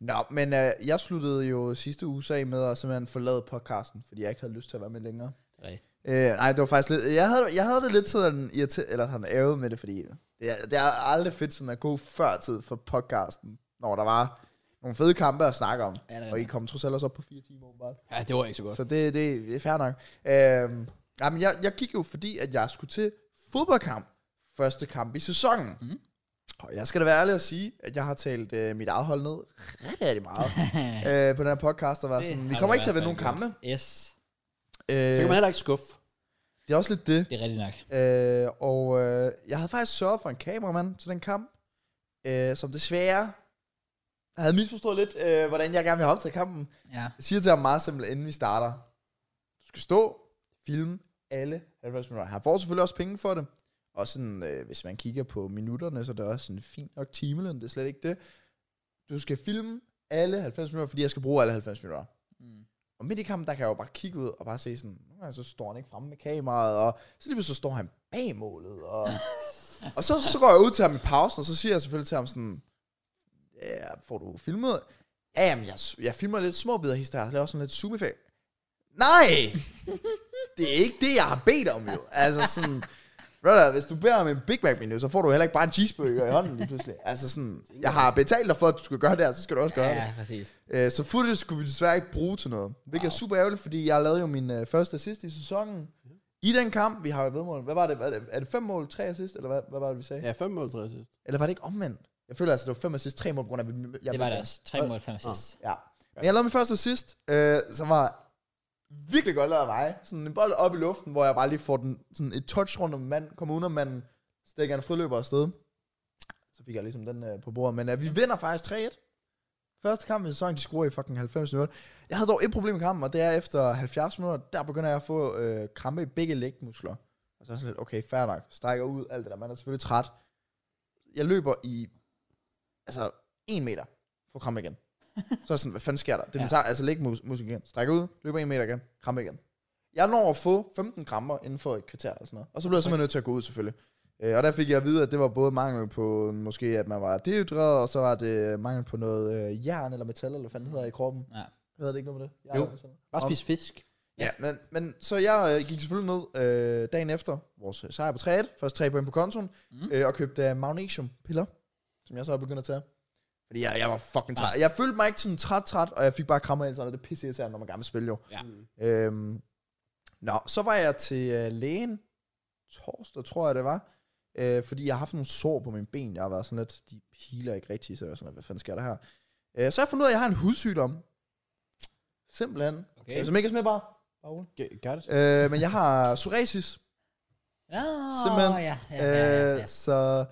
Speaker 3: Nå, men øh, jeg sluttede jo sidste uge af med at simpelthen forlade podcasten, fordi jeg ikke havde lyst til at være med længere.
Speaker 1: Rigtigt.
Speaker 3: Øh, nej, det var faktisk lidt... Jeg havde, jeg havde det lidt sådan irriterende, eller sådan ærget med det, fordi det er, det er aldrig fedt sådan at gå før tid for podcasten, når der var nogle fede kampe at snakke om.
Speaker 1: Ja, det er
Speaker 3: Og I
Speaker 1: rigtigt.
Speaker 3: kom trods alt også op på fire timer, åbenbart.
Speaker 2: Ja, det var ikke så godt.
Speaker 3: Så det, det, det er fair nok. Øhm, nej, men jeg, jeg gik jo, fordi at jeg skulle til fodboldkamp. Første kamp i sæsonen.
Speaker 1: Mhm.
Speaker 3: Mm. Og jeg skal da være ærlig at sige, at jeg har talt øh, mit eget hold ned ret rigtig meget øh, på den her podcast. Der var
Speaker 1: Det
Speaker 3: sådan,
Speaker 1: har
Speaker 3: vi
Speaker 1: du
Speaker 3: kommer
Speaker 1: i
Speaker 3: ikke til at
Speaker 1: hvert
Speaker 3: vinde nogen
Speaker 1: fald
Speaker 3: kampe.
Speaker 1: yes,
Speaker 3: Øh,
Speaker 2: Så kan man heller ikke skuffe.
Speaker 3: det er også lidt det.
Speaker 1: det er rigtigt nok.
Speaker 3: Øh, og øh, jeg havde faktisk sørget for en kameramand til den kamp, øh, som desværre havde misforstået lidt, øh, hvordan jeg gerne ville have optaget kampen.
Speaker 1: Ja.
Speaker 3: Jeg siger til ham meget simpelt, inden vi starter. Du skal stå, filme alle 90 minutter. Han får selvfølgelig også penge for det. Og sådan, øh, hvis man kigger på minutterne, så er det også en fin nok timeløn. Det er slet ikke det. Du skal filme alle 90 minutter, fordi jeg skal bruge alle 90 minutter.
Speaker 1: Mm.
Speaker 3: Og midt i kampen, der kan jeg jo bare kigge ud og bare se sådan, nogle gange så står han ikke fremme med kameraet, og så lige pludselig så står han bag målet. Og, og så, så går jeg ud til ham i pausen, og så siger jeg selvfølgelig til ham sådan, ja, får du filmet? Ja, jamen, jeg, jeg filmer lidt små bidder hister, jeg laver sådan lidt zoom effekt. Nej! Det er ikke det, jeg har bedt om jo. Altså sådan, brother, hvis du beder om en Big Mac menu, så får du heller ikke bare en cheeseburger i hånden lige pludselig. Altså sådan, jeg har betalt dig for, at du skulle gøre det her, så skal du også gøre det.
Speaker 1: Ja, præcis.
Speaker 3: Øh, Så footage skulle vi desværre ikke bruge til noget. Hvilket wow. er super ærgerligt, fordi jeg lavede jo min øh, første assist i sæsonen. I den kamp, vi har jo vedmål. Hvad var det? Var det er det fem mål, tre assist, eller hvad, hvad var det, vi sagde? Ja.
Speaker 2: Ja, 5 mål, tror jeg sidst.
Speaker 3: Eller var det ikke omvendt? Jeg føler altså, det var fem assist, tre mål, på grund af... at Jeg
Speaker 1: Det var det også. 3 mod 5 assists.
Speaker 3: Ja. Men jeg lavede min første assist, øh, som var virkelig godt lavet af mig. Sådan en bold op i luften, hvor jeg bare lige får den, sådan et touch rundt om manden, kommer under manden, stikker en friløber afsted. Så fik jeg ligesom den øh, på bordet. Men øh, vi vinder faktisk 3-1. Første kamp i sæsonen, de scorer i fucking 90 minutter. Jeg havde dog et problem i kampen, og det er efter 70 minutter, der begynder jeg at få øh, krampe i begge lægmuskler. Og så er jeg sådan lidt, okay, fair nok. Strækker ud, alt det der. Man er selvfølgelig træt. Jeg løber i, altså, en meter. Får krampe igen. så er jeg sådan, hvad fanden sker der? Det er ja.
Speaker 1: Ja.
Speaker 3: den samme, altså lægmuskler igen. Strækker ud, løber en meter igen, krampe igen. Jeg når at få 15 kramper inden for et kvarter eller sådan noget. Og så blev jeg simpelthen nødt til at gå ud selvfølgelig. Øh, og der fik jeg at vide, at det var både mangel på måske, at man var dehydreret, og så var det mangel på noget øh, jern eller metal, eller hvad fanden det hedder i kroppen.
Speaker 1: Ja.
Speaker 3: Hedder det ikke noget med det? Jern
Speaker 2: Jo.
Speaker 3: eller metal?
Speaker 2: Bare
Speaker 3: Nå.
Speaker 2: spise fisk.
Speaker 3: Ja, men, men så jeg øh, gik selvfølgelig ned øh, dagen efter vores øh, sejr på 3-1, først 3 point på kontoen,
Speaker 1: Mm.
Speaker 3: mm. øh, og købte øh, magnesiumpiller, som jeg så er begyndt at tage. Fordi jeg, jeg var fucking træt. Jeg følte mig ikke sådan træt-træt, og jeg fik bare krammer i halsen, og det pisse irriterende, når man gerne vil spille jo.
Speaker 1: Ja.
Speaker 3: Øhm, nå, så var jeg til øh, lægen torsdag, tror jeg det var, øh, fordi jeg har haft nogle sår på mine ben. Jeg har været sådan lidt, de piler ikke rigtigt, så jeg var sådan lidt, hvad fanden sker der her? Øh, så har jeg fundet ud af, at jeg har en hudsygdom. Simpelthen.
Speaker 1: Okay.
Speaker 3: Ah. Okay. Som ikke er smidt bare. bare rolig.
Speaker 2: Gør det.
Speaker 3: Øh, men jeg har psoriasis,
Speaker 1: Nå,
Speaker 3: Simpelthen.
Speaker 1: ja, ja,
Speaker 3: ja,
Speaker 1: ja, ja, ja.
Speaker 3: så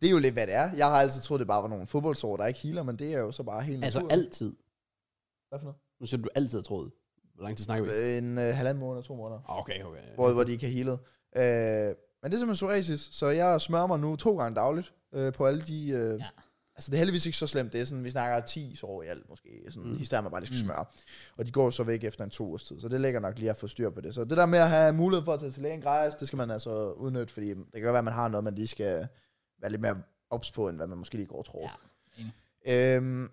Speaker 3: Det er jo lidt, hvad det er. Jeg har altid troet, det bare var nogle fodboldsår, der ikke healer, men det er jo så bare helt
Speaker 2: Altså
Speaker 3: naturligt.
Speaker 2: altid.
Speaker 3: Hvad for noget?
Speaker 2: Nu siger du, du altid har troet. Hvor lang tid snakker vi?
Speaker 3: En øh, halvanden måned, to måneder,
Speaker 2: Ah, Okay, okay.
Speaker 3: hvor, hvor de ikke har healet. Øh, men det er simpelthen psoriasis, så jeg smører mig nu to gange dagligt øh, på alle de... Øh,
Speaker 1: Ja.
Speaker 3: ja. Altså det er heldigvis ikke så slemt, det er sådan, vi snakker 10 sår i alt måske, sådan
Speaker 2: Mm.
Speaker 3: mm. historier, man bare lige skal
Speaker 1: Mm.
Speaker 3: smøre. Og de går så væk efter en to ugers tid, så det ligger nok lige at få styr på det. Så det der med at have mulighed for at tage til lægen gratis, det skal man altså udnytte, fordi det kan godt være, at man har noget, man lige skal være lidt mere ops på, end hvad man måske lige går og tror.
Speaker 1: Ja, enig.
Speaker 3: Øhm,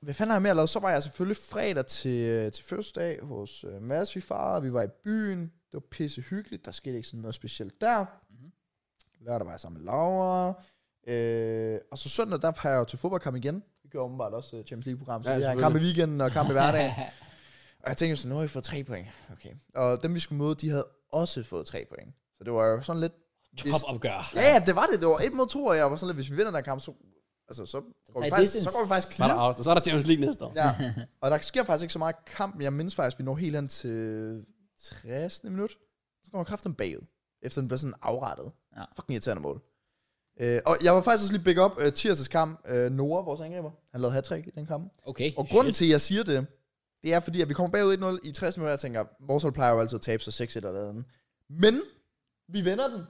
Speaker 3: hvad fanden har jeg mere lavet? Så var jeg selvfølgelig fredag til, øh, til fødselsdag hos øh, Mads, vi farede, vi var i byen, det var pisse hyggeligt, der skete ikke sådan noget specielt der.
Speaker 1: Mhm.
Speaker 3: Mm-hmm. Lørdag var jeg sammen med Laura, øh, og så søndag, der var jeg jo til fodboldkamp igen. Vi gjorde åbenbart også øh, Champions League-program, så
Speaker 2: Ja,
Speaker 3: ja, jeg har en kamp i
Speaker 2: selvfølgelig.
Speaker 3: weekenden og kamp i hverdagen. Og jeg tænkte sådan, nu har vi fået tre point. Okay. Og dem vi skulle møde, de havde også fået tre point. Så det var jo sådan lidt... Hvis,
Speaker 1: Topopgør.
Speaker 3: ja, ja, det var det. Det var et mod to, og jeg var sådan lidt, hvis vi vinder den her kamp, så, altså, så, går,
Speaker 1: tager
Speaker 3: vi faktisk,
Speaker 1: distance.
Speaker 3: så går vi faktisk
Speaker 2: Så er der
Speaker 3: clear.
Speaker 2: afsted. Så er der Champions League næste år.
Speaker 3: Ja. Og der sker faktisk ikke så meget kamp, men jeg mindes faktisk, at vi når helt hen til 60. minut. Så kommer kraften bagud, efter den bliver sådan afrettet.
Speaker 1: Ja.
Speaker 3: Fucking irriterende mål. Øh, og jeg var faktisk også lige big up øh, tirsdags kamp. Øh, Nora, vores angriber, han lavede hat i den kamp.
Speaker 1: Okay.
Speaker 3: Og grunden til, at jeg siger det, det er fordi, at vi kommer bagud 1-0 i 60 minutter, og jeg tænker, vores hold plejer jo altid at tabe sig 6-1 eller andet. Men vi vender den.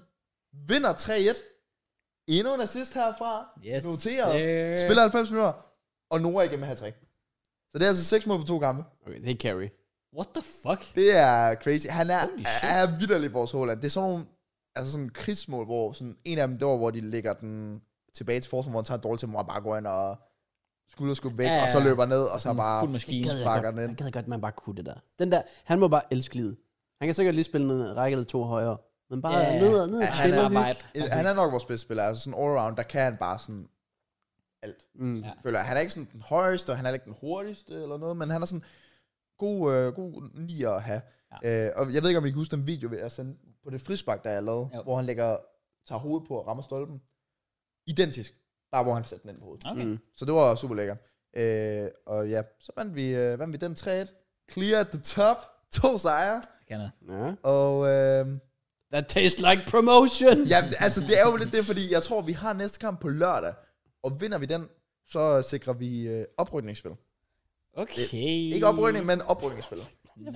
Speaker 3: Vinder 3-1. Endnu en assist herfra.
Speaker 1: yes,
Speaker 3: noteret.
Speaker 1: sir.
Speaker 3: Spiller 90 minutter, og Nora igen med hat Så det er altså 6 mål på to kampe.
Speaker 2: Okay, det er carry.
Speaker 1: What the fuck?
Speaker 3: Det er crazy. Han er,
Speaker 1: Holy shit.
Speaker 3: er vidderlig vores Håland. Det er sådan nogle altså sådan krigsmål, hvor sådan en af dem, der hvor de lægger den tilbage til forsvaret, hvor han tager en dårlig til, hvor han bare går ind og skulder skubbe væk,
Speaker 1: Ja, ja,
Speaker 3: ja, og så
Speaker 1: ja.
Speaker 3: løber ned, og så
Speaker 1: Sådan
Speaker 3: bare
Speaker 1: fuld maskine.
Speaker 2: gad jeg
Speaker 3: sparker
Speaker 2: godt-
Speaker 3: den ind.
Speaker 2: Jeg gad godt, at man bare kunne det der. Den der, han må bare elske livet. Han kan sikkert lige spille en række eller to højere. Men bare
Speaker 1: Ja.
Speaker 2: yeah. ned og ned og
Speaker 3: Ja, han
Speaker 2: chill
Speaker 3: er
Speaker 2: og hygge.
Speaker 1: vibe.
Speaker 3: Øh, Han er nok vores bedste spiller, altså sådan allround, der kan han bare sådan alt.
Speaker 2: Mm.
Speaker 1: Ja.
Speaker 2: Ja.
Speaker 3: Føler jeg. Han er ikke sådan den højeste, og han er ikke den hurtigste eller noget, men han er sådan god, øh, god nier at have. Ja. Øh, og jeg ved ikke, om I kan huske den video, jeg sendte på det frispark, der jeg lavede,
Speaker 1: Jo.
Speaker 3: jo. hvor han lægger, tager hovedet på og rammer stolpen. Identisk. Bare hvor han satte den ind på hovedet.
Speaker 1: Okay.
Speaker 2: Mm.
Speaker 3: Så det var super lækkert. Øh, og ja, så vandt vi, øh, vandt vi den 3-1. Clear at the top. To sejre.
Speaker 1: Kan noget.
Speaker 2: ja.
Speaker 3: Og øh,
Speaker 2: That tastes like promotion.
Speaker 3: Ja, altså det er jo lidt det, fordi jeg tror, vi har næste kamp på lørdag, og vinder vi den, så sikrer vi øh, oprykningsspil.
Speaker 1: Okay.
Speaker 3: Ikke oprykning, men oprykningsspil.
Speaker 1: Nice.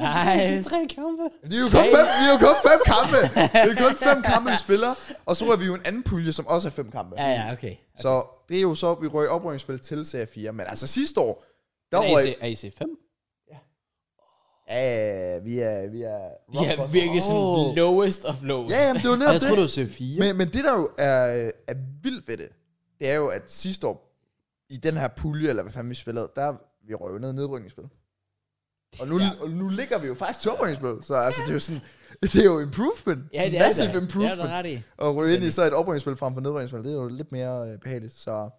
Speaker 2: Tre kampe.
Speaker 3: Det er jo kun fem, det er jo kun fem kampe. Det er kun fem kampe, vi spiller, og så er vi jo en anden pulje, som også er fem kampe.
Speaker 1: Ja, ja, okay.
Speaker 3: Så det er jo så, vi røg oprykningsspil til serie 4, men altså sidste år, der
Speaker 2: Der AC,
Speaker 3: røg...
Speaker 2: AC5.
Speaker 3: Ja, vi er... Vi er,
Speaker 1: De er virkelig sådan
Speaker 2: Åh.
Speaker 1: lowest of lowest.
Speaker 3: Ja, jamen, det er jo
Speaker 2: Og jeg
Speaker 3: netop
Speaker 2: tror,
Speaker 3: det.
Speaker 2: det var C4. Men,
Speaker 3: Men, men det, der jo er, er vildt ved det, det er jo, at sidste år, i den her pulje, eller hvad fanden vi spillede, der vi røvede ned i nedrykningsspil. Og nu,
Speaker 1: Ja.
Speaker 3: ja. og nu ligger vi jo faktisk til oprykningsspil, så altså, det er jo sådan, det er jo improvement.
Speaker 1: Ja, det er
Speaker 3: Massive
Speaker 1: det.
Speaker 3: improvement.
Speaker 1: Det er der ret i.
Speaker 3: Og ryge ind i så et oprykningsspil frem for nedrykningsspil, det er jo lidt mere øh, behageligt. Så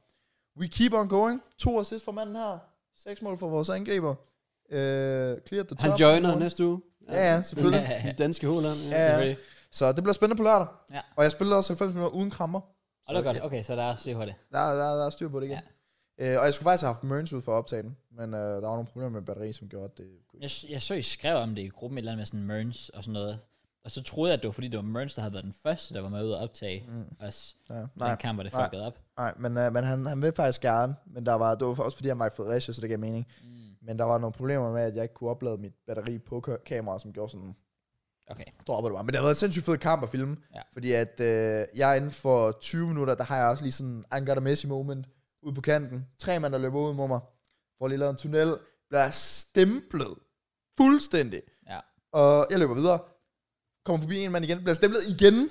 Speaker 3: we keep on going. To assist for manden her. Seks mål for vores angriber. Øh, clear the top.
Speaker 2: han joiner næste uge.
Speaker 3: Ja, ja, selvfølgelig.
Speaker 1: Ja, ja.
Speaker 2: Den danske Håland.
Speaker 3: Ja, ja. Så det bliver spændende på lørdag.
Speaker 1: Ja.
Speaker 3: Og jeg spillede også 90 minutter uden krammer.
Speaker 1: Og det er godt. Okay, så der er CH det.
Speaker 3: Der, der, der er styr på det igen. Ja. Øh, og jeg skulle faktisk have haft Merns ud for at optage den, men øh, der var nogle problemer med batteri, som gjorde, at det kunne
Speaker 1: Jeg, jeg så, I skrev om det i gruppen, et eller andet med sådan Merns og sådan noget. Og så troede jeg, at det var fordi, det var Merns, der havde været den første, der var med ud at optage mm. os.
Speaker 3: ja,
Speaker 1: Nej, den
Speaker 3: nej,
Speaker 1: kamp, hvor det
Speaker 3: nej.
Speaker 1: fuckede op.
Speaker 3: nej, men, øh, men han, han vil faktisk gerne, men der var, det var også fordi, han var i Fredericia, så det gav mening.
Speaker 1: Mm.
Speaker 3: Men der var nogle problemer med, at jeg ikke kunne oplade mit batteri på ka- kameraet, som gjorde sådan,
Speaker 1: Okay.
Speaker 3: dropper det bare. Men det har været en sindssygt fed kamp at filme,
Speaker 1: Ja.
Speaker 3: fordi at øh, jeg inden for 20 minutter, der har jeg også lige sådan Angara Messi moment ude på kanten. Tre mand, der løber ud mod mig, får lige lavet en tunnel, bliver stemplet fuldstændig.
Speaker 1: Ja.
Speaker 3: Og jeg løber videre, kommer forbi en mand igen, bliver stemplet igen.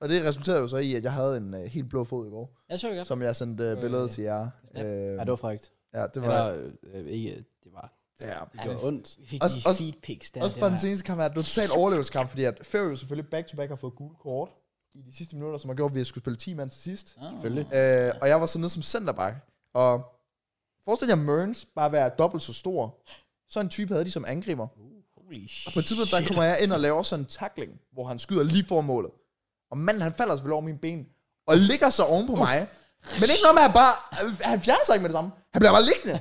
Speaker 3: og det resulterede jo så i, at jeg havde en øh, helt blå fod i går,
Speaker 1: Jeg så det godt.
Speaker 3: som jeg sendte øh, billede
Speaker 1: Øh,
Speaker 3: til jer.
Speaker 1: ja.
Speaker 3: Øh,
Speaker 2: Ja, det var frækt.
Speaker 3: ja, det
Speaker 2: Det
Speaker 3: var...
Speaker 2: var, øh, ikke, det var,
Speaker 3: ja.
Speaker 2: det gjorde
Speaker 1: men-
Speaker 2: ondt.
Speaker 1: Vi fik
Speaker 3: Også-
Speaker 1: de
Speaker 3: også-
Speaker 1: feed pics der.
Speaker 3: Ja, også
Speaker 1: det
Speaker 3: for den
Speaker 1: var-
Speaker 3: seneste kamp er det en total overlevelseskamp, fordi at Ferry jo selvfølgelig back-to-back har fået gule kort i de sidste minutter, som har gjort, at vi skulle spille 10 mand til sidst.
Speaker 1: Ah.
Speaker 2: Selvfølgelig.
Speaker 3: Øh, og jeg var så nede som centerback. Og forestil jer Mørns bare være dobbelt så stor. Sådan en type havde de som angriber.
Speaker 1: Holy shit.
Speaker 3: Og på et tidspunkt, der kommer jeg ind og laver sådan en tackling, hvor han skyder lige for målet. Og manden, han falder selvfølgelig over mine ben, og ligger sig oven på mig. Men ikke noget med, at han bare... Han fjerner sig ikke med det samme. Han bliver bare liggende.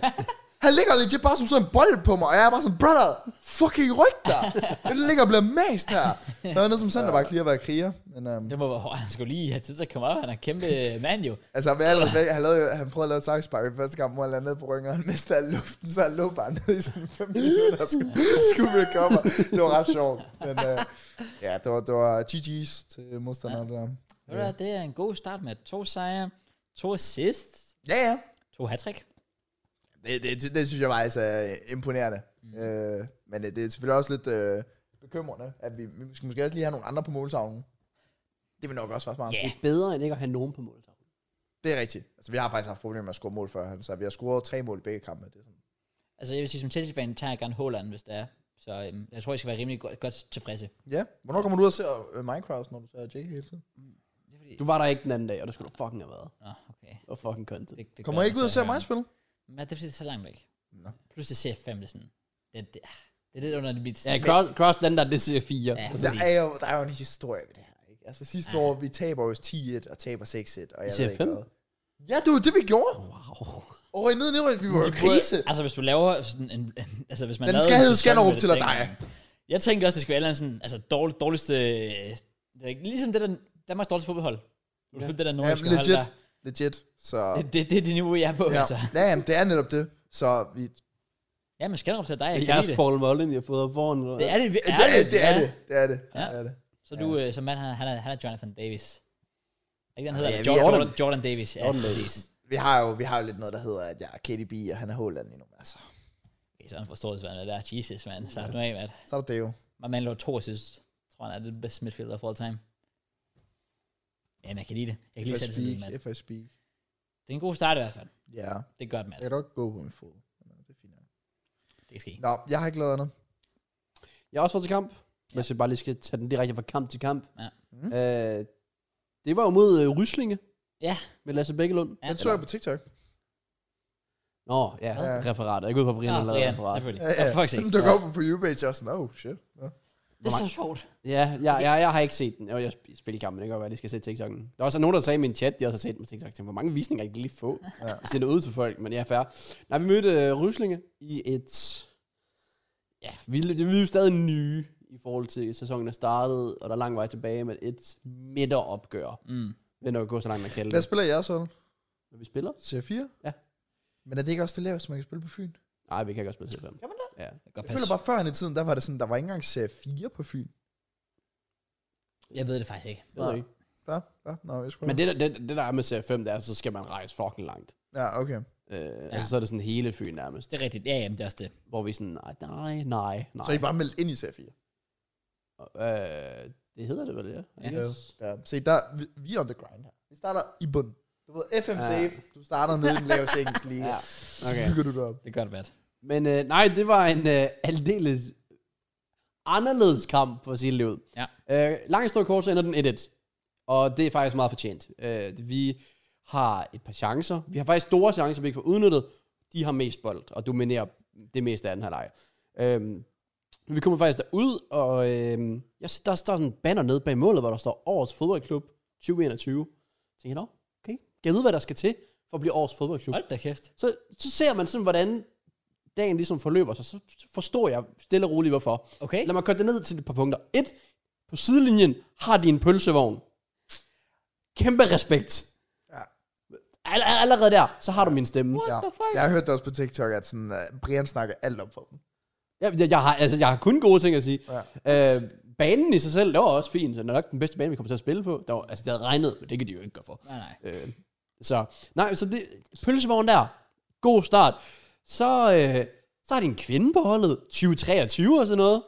Speaker 3: Han ligger legit bare som sådan en bold på mig, og jeg er bare sådan, brother, fucking ryg dig. Jeg ligger og bliver mast her. Der er noget som center, bare lige at være kriger. Men um,
Speaker 1: Det må være hårdt. Han skulle lige have tid til at komme op. Han er en kæmpe mand jo.
Speaker 3: altså, med alle, han, lavede, jo- han prøvede at lave et sakspark i første kamp, hvor han landede på ryggen, og han mistede al luften, så han lå bare nede i sådan 5 minutter og skulle, skulle recover. Det var ret sjovt. Men uh, ja, det var, det var GG's til modstanderne der.
Speaker 1: Ved du hvad, Det er en god start med to sejre, to assists,
Speaker 3: Ja, ja.
Speaker 1: to hattrick.
Speaker 3: Det, det, det, det synes jeg faktisk er imponerende. Mm. Øh, men det, det er selvfølgelig også lidt øh, bekymrende, at vi, vi skal måske også lige have nogle andre på måltavlen. Det vil nok også være smart.
Speaker 1: Ja.
Speaker 2: Det er bedre, end ikke at have nogen på målet.
Speaker 3: Det er rigtigt. Altså, vi har faktisk haft problemer med at score mål før, så vi har scoret tre mål i begge kampe. Det er sådan.
Speaker 1: Altså jeg vil sige, som Chelsea-fan tager jeg gerne Haaland, hvis det er. Så øhm, jeg tror, jeg skal være rimelig godt, godt tilfredse.
Speaker 3: Ja. Hvornår kommer du ud og ser øh, Minecraft, når du ser Jake hele tiden?
Speaker 1: Det er fordi...
Speaker 2: Du var der ikke den anden dag, og det skulle du fucking have været.
Speaker 1: Nå, okay.
Speaker 2: Og fucking content.
Speaker 1: Det, det
Speaker 3: Kommer
Speaker 1: gør
Speaker 3: jeg ikke
Speaker 1: man
Speaker 3: ud og
Speaker 1: så
Speaker 3: ser
Speaker 1: engang.
Speaker 3: mig spille?
Speaker 1: Men det er fordi, det er så langt væk.
Speaker 3: Nå.
Speaker 1: Plus det ser jeg fem, det er sådan. Det, det, ah, det er lidt under det mit.
Speaker 2: Ja, cross, cross den der, det siger 4.
Speaker 1: Ja.
Speaker 3: Der er, jo, der er jo en historie ved det her. Ikke? Altså sidste
Speaker 1: Ja.
Speaker 3: år, vi taber jo 10-1 og taber 6-1. Og jeg
Speaker 2: siger
Speaker 3: ved ikke
Speaker 2: fem?
Speaker 3: hvad. Ja, det var det, vi gjorde.
Speaker 2: Wow.
Speaker 3: Over i nede, nede, vi var i krise.
Speaker 1: Altså hvis du laver sådan en... altså hvis man
Speaker 3: Den
Speaker 1: lavede
Speaker 3: skal
Speaker 1: en
Speaker 3: hedde
Speaker 1: sæson
Speaker 3: Skanderup
Speaker 1: med
Speaker 3: til
Speaker 1: det
Speaker 3: at
Speaker 1: dengang.
Speaker 3: dig.
Speaker 1: Jeg tænkte også, det skulle være en eller anden sådan, altså dårlig, dårligste... øh, Det er ikke- ligesom det der Danmarks dårligste fodboldhold. Du ja. det der
Speaker 3: Ja,
Speaker 1: nordiske hold
Speaker 3: legit.
Speaker 1: der.
Speaker 3: Legit. Så...
Speaker 1: Det, det, det, er det niveau, jeg er på, ja.
Speaker 3: Ja,
Speaker 1: altså.
Speaker 3: ja jamen, det er netop det. Så vi...
Speaker 1: Ja, men Skanderup til dig, jeg
Speaker 2: Det er
Speaker 1: kan
Speaker 2: jeres
Speaker 1: lide det.
Speaker 2: Paul Mullen, jeg har fået op foran. eller hvad?
Speaker 1: Det er det, vi-
Speaker 3: Det er det, det er
Speaker 1: ja.
Speaker 3: det. Det er det.
Speaker 1: Ja.
Speaker 3: Det er det.
Speaker 1: Så du, øh, som mand, han, han, er, han er Jonathan Davis. Er Ikke den hedder
Speaker 3: Ja,
Speaker 1: ja,
Speaker 3: vi er
Speaker 1: Jordan, Jordan,
Speaker 3: Jordan.
Speaker 1: Jordan Davis. Ja,
Speaker 2: Jordan Davis.
Speaker 1: præcis.
Speaker 3: Vi har jo vi har jo lidt noget, der hedder, at jeg er KDB, og han er Håland lige nu. Altså,
Speaker 1: Okay, sådan forstår det, hvad der er. Jesus, mand. Så nu af, mand.
Speaker 3: så er der det jo.
Speaker 1: Man man lå to assist. Jeg tror, han er det bedste midfielder of all time. Ja, men jeg kan lide det. Jeg kan
Speaker 3: If
Speaker 1: lide
Speaker 3: I
Speaker 1: selvtilliden,
Speaker 3: speak,
Speaker 1: mand.
Speaker 3: if I speak.
Speaker 1: Det er en god start i hvert fald.
Speaker 3: Ja,
Speaker 1: Det er godt, mand.
Speaker 3: jeg kan godt gå på min fod. Men Det er fint. nok.
Speaker 1: Det kan ske.
Speaker 3: Nå, jeg har ikke lavet andet.
Speaker 2: Jeg har også været til kamp. Ja. Hvis jeg bare lige skal tage den direkte fra kamp til kamp.
Speaker 1: Ja.
Speaker 3: Mhm.
Speaker 2: Øh, det var jo mod øh, Ryslinge.
Speaker 1: Ja.
Speaker 2: Med Lasse Bækkelund.
Speaker 1: Ja.
Speaker 3: Den så jeg på TikTok.
Speaker 2: Nå, ja,
Speaker 3: Ja.
Speaker 2: ja. referat. Jeg går ud fra, Brian
Speaker 1: Nå,
Speaker 2: har lavet
Speaker 1: Brian,
Speaker 2: referat.
Speaker 1: selvfølgelig.
Speaker 3: Ja,
Speaker 1: Ja,
Speaker 3: ja.
Speaker 1: for fuck's sake.
Speaker 3: Den dukker op på YouPage, og jeg er sådan, oh shit. Ja.
Speaker 1: Det er så sjovt.
Speaker 2: Ja, jeg, jeg, jeg, har ikke set den. Jo, jeg sp- spiller kampen, det kan godt være, at de skal se TikTok'en. Der er også nogen, der sagde i min chat, de også har set den på TikTok. Jeg Tænkte, hvor mange visninger jeg kan lige få.
Speaker 3: Ja.
Speaker 2: Ja. Jeg sender ud til folk, men jeg er færre. Nej, vi mødte øh, Ryslinge i et... Ja, vi, det- vi er jo stadig nye i forhold til sæsonen er startet, og der er lang vej tilbage, men et midteropgør.
Speaker 1: Mm.
Speaker 2: Det er nok gå så langt, man kan
Speaker 3: Hvad
Speaker 2: det.
Speaker 3: spiller jeres hold?
Speaker 2: Når vi spiller?
Speaker 3: C4?
Speaker 2: Ja.
Speaker 3: Men er det ikke også det laveste, man kan spille på Fyn?
Speaker 2: Nej, vi kan godt spille C5.
Speaker 3: Kan man
Speaker 2: det? Ja.
Speaker 1: Det kan godt
Speaker 3: Jeg føler
Speaker 1: passe.
Speaker 3: bare, før i tiden, der var det sådan, der var ikke engang C4 på Fyn.
Speaker 1: Jeg ved det faktisk ikke.
Speaker 2: Det ved jeg ikke.
Speaker 3: Hvad? Hvad? Nå, jeg skulle...
Speaker 2: Men det, der- det, det, der er med C5, det er, så skal man rejse fucking langt.
Speaker 3: Ja, okay.
Speaker 2: Øh, ja. Altså, så er det sådan hele Fyn nærmest.
Speaker 1: Det er rigtigt. Ja, jamen, det er også det.
Speaker 2: Hvor vi er sådan, nej, nej, nej, nej.
Speaker 3: Så I er bare meldt ind i C4?
Speaker 2: Øh, det hedder det vel, ja.
Speaker 1: Ja.
Speaker 2: Yes.
Speaker 3: Ja, se, der, vi, vi er on the grind her. Vi starter i bunden. Du ved, FM
Speaker 2: Ja.
Speaker 3: safe, du starter nede i den laveste engelske liga.
Speaker 2: Ja,
Speaker 3: ja. Så
Speaker 2: okay.
Speaker 3: bygger du det op.
Speaker 1: Det er godt, Matt.
Speaker 2: Men øh, nej, det var en øh, aldeles anderledes kamp, for at sige det lige ud.
Speaker 1: Ja.
Speaker 2: Øh, langt stor kort, så ender den 1-1. Og det er faktisk meget fortjent. Øh, vi har et par chancer. Vi har faktisk store chancer, vi ikke får udnyttet. De har mest bold og dominerer det meste af den her leg. Øh, vi kommer faktisk derud, og øh, jeg, der står sådan en banner nede bag målet, hvor der står Årets Fodboldklub 2021. Jeg tænker, nå, okay. Kan jeg vide, hvad der skal til for at blive Årets Fodboldklub?
Speaker 1: Hold da kæft.
Speaker 2: Så, så ser man sådan, hvordan dagen ligesom forløber sig. Så forstår jeg stille og roligt, hvorfor.
Speaker 1: Okay.
Speaker 2: Lad mig køre det ned til et par punkter. Et, på sidelinjen har de en pølsevogn. Kæmpe respekt.
Speaker 3: Ja.
Speaker 2: All- all- allerede der, så har du min stemme.
Speaker 1: What
Speaker 3: Ja.
Speaker 1: the fuck?
Speaker 3: Jeg har hørt det også på TikTok, at sådan, uh, Brian snakker alt op for dem.
Speaker 2: Jeg, jeg, jeg, har, altså, jeg har kun gode ting at sige.
Speaker 3: Ja.
Speaker 2: Øh, banen i sig selv, det var også fint. Så det er nok den bedste bane, vi kommer til at spille på. Der var, altså, det havde regnet, men det kan de jo ikke gøre for.
Speaker 1: Nej, nej.
Speaker 2: Øh, så nej, så det, pølsevogn der, god start. Så, øh, så er det en kvinde på holdet, 2023 og sådan noget.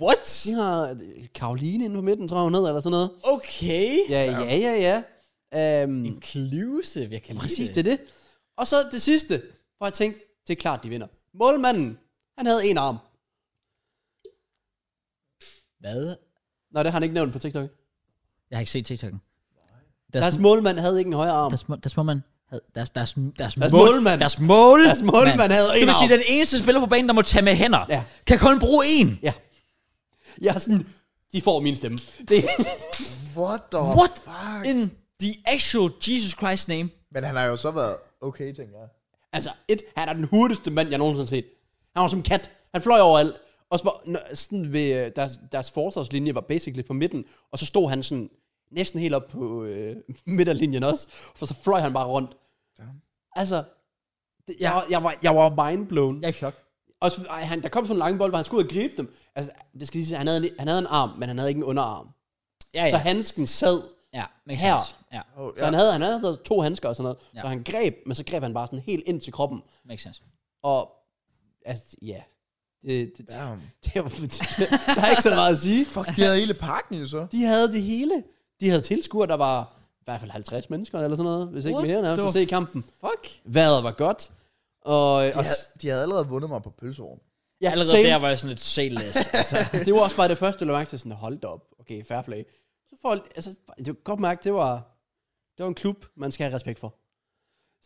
Speaker 1: What?
Speaker 2: De har øh, Karoline inde på midten, tror jeg, hun hedder, eller sådan noget.
Speaker 1: Okay.
Speaker 2: Ja, ja, ja, ja. Øhm,
Speaker 1: En kluse, jeg kan lide
Speaker 2: præcis, det er det. Og så det sidste, hvor jeg tænkte, det er klart, de vinder. Målmanden, han havde en arm.
Speaker 1: Hvad?
Speaker 2: Nå, det har han ikke nævnt på TikTok.
Speaker 1: Jeg har ikke set TikTok'en.
Speaker 2: Deres målmand havde ikke en højere arm.
Speaker 1: Deres, må- deres målmand havde, deres, deres, deres,
Speaker 2: Deres
Speaker 1: mål-
Speaker 2: målmand.
Speaker 1: Deres mål.
Speaker 2: Deres målmand havde en
Speaker 1: Det vil sige,
Speaker 2: arm.
Speaker 1: den eneste spiller på banen, der må tage med hænder,
Speaker 2: Ja.
Speaker 1: kan kun bruge en.
Speaker 2: Ja. Jeg er sådan, de får min stemme. Det,
Speaker 3: What the
Speaker 1: What
Speaker 3: fuck?
Speaker 1: in the actual Jesus Christ name?
Speaker 3: Men han har jo så været okay, tænker jeg.
Speaker 2: Altså, et, han er den hurtigste mand, jeg nogensinde har set. Han var som en kat. Han fløj overalt. Og så, var- når- sådan ved, øh, deres, deres forsvarslinje var basically på midten, og så stod han sådan næsten helt op på øh, midterlinjen også, for så fløj han bare rundt. Altså, det, jeg, var- jeg, var, jeg var mindblown.
Speaker 1: Jeg er i chok.
Speaker 2: Og så, ej, han, der kom sådan en lang bold, hvor han skulle ud og gribe dem. Altså, det skal lige sige, han havde, en, han havde en arm, men han havde ikke en underarm.
Speaker 1: Ja,
Speaker 2: Ja.
Speaker 1: ja.
Speaker 2: Så handsken sad.
Speaker 1: ja, makes
Speaker 2: Her.
Speaker 1: sense. Ja,
Speaker 3: Oh,
Speaker 2: Så ja. han, havde, han havde to handsker og sådan noget. Ja.
Speaker 1: Ja.
Speaker 2: Så han greb, men så greb han bare sådan helt ind til kroppen.
Speaker 1: makes sense.
Speaker 2: Og, altså, ja. Det, det, det,
Speaker 3: Damn.
Speaker 2: det, var, det, der er ikke så meget at sige.
Speaker 3: Fuck, de havde hele parken jo så.
Speaker 2: De havde det hele. De havde tilskuere, der var i hvert fald 50 mennesker eller sådan noget, hvis ikke
Speaker 1: What
Speaker 2: mere, nærmest
Speaker 1: the
Speaker 2: at se kampen.
Speaker 1: Fuck.
Speaker 2: Vejret var godt. Og,
Speaker 3: De
Speaker 2: og
Speaker 3: havde, de havde allerede vundet mig på pølseovnen.
Speaker 1: Ja,
Speaker 2: ja,
Speaker 1: Allerede
Speaker 2: same.
Speaker 1: der var jeg sådan lidt sales. altså,
Speaker 2: det var også bare det første, jeg lagde mærke til, sådan, hold da op, okay, fair play. Så får jeg- altså, det var godt mærke, det var, det var en klub, man skal have respekt for.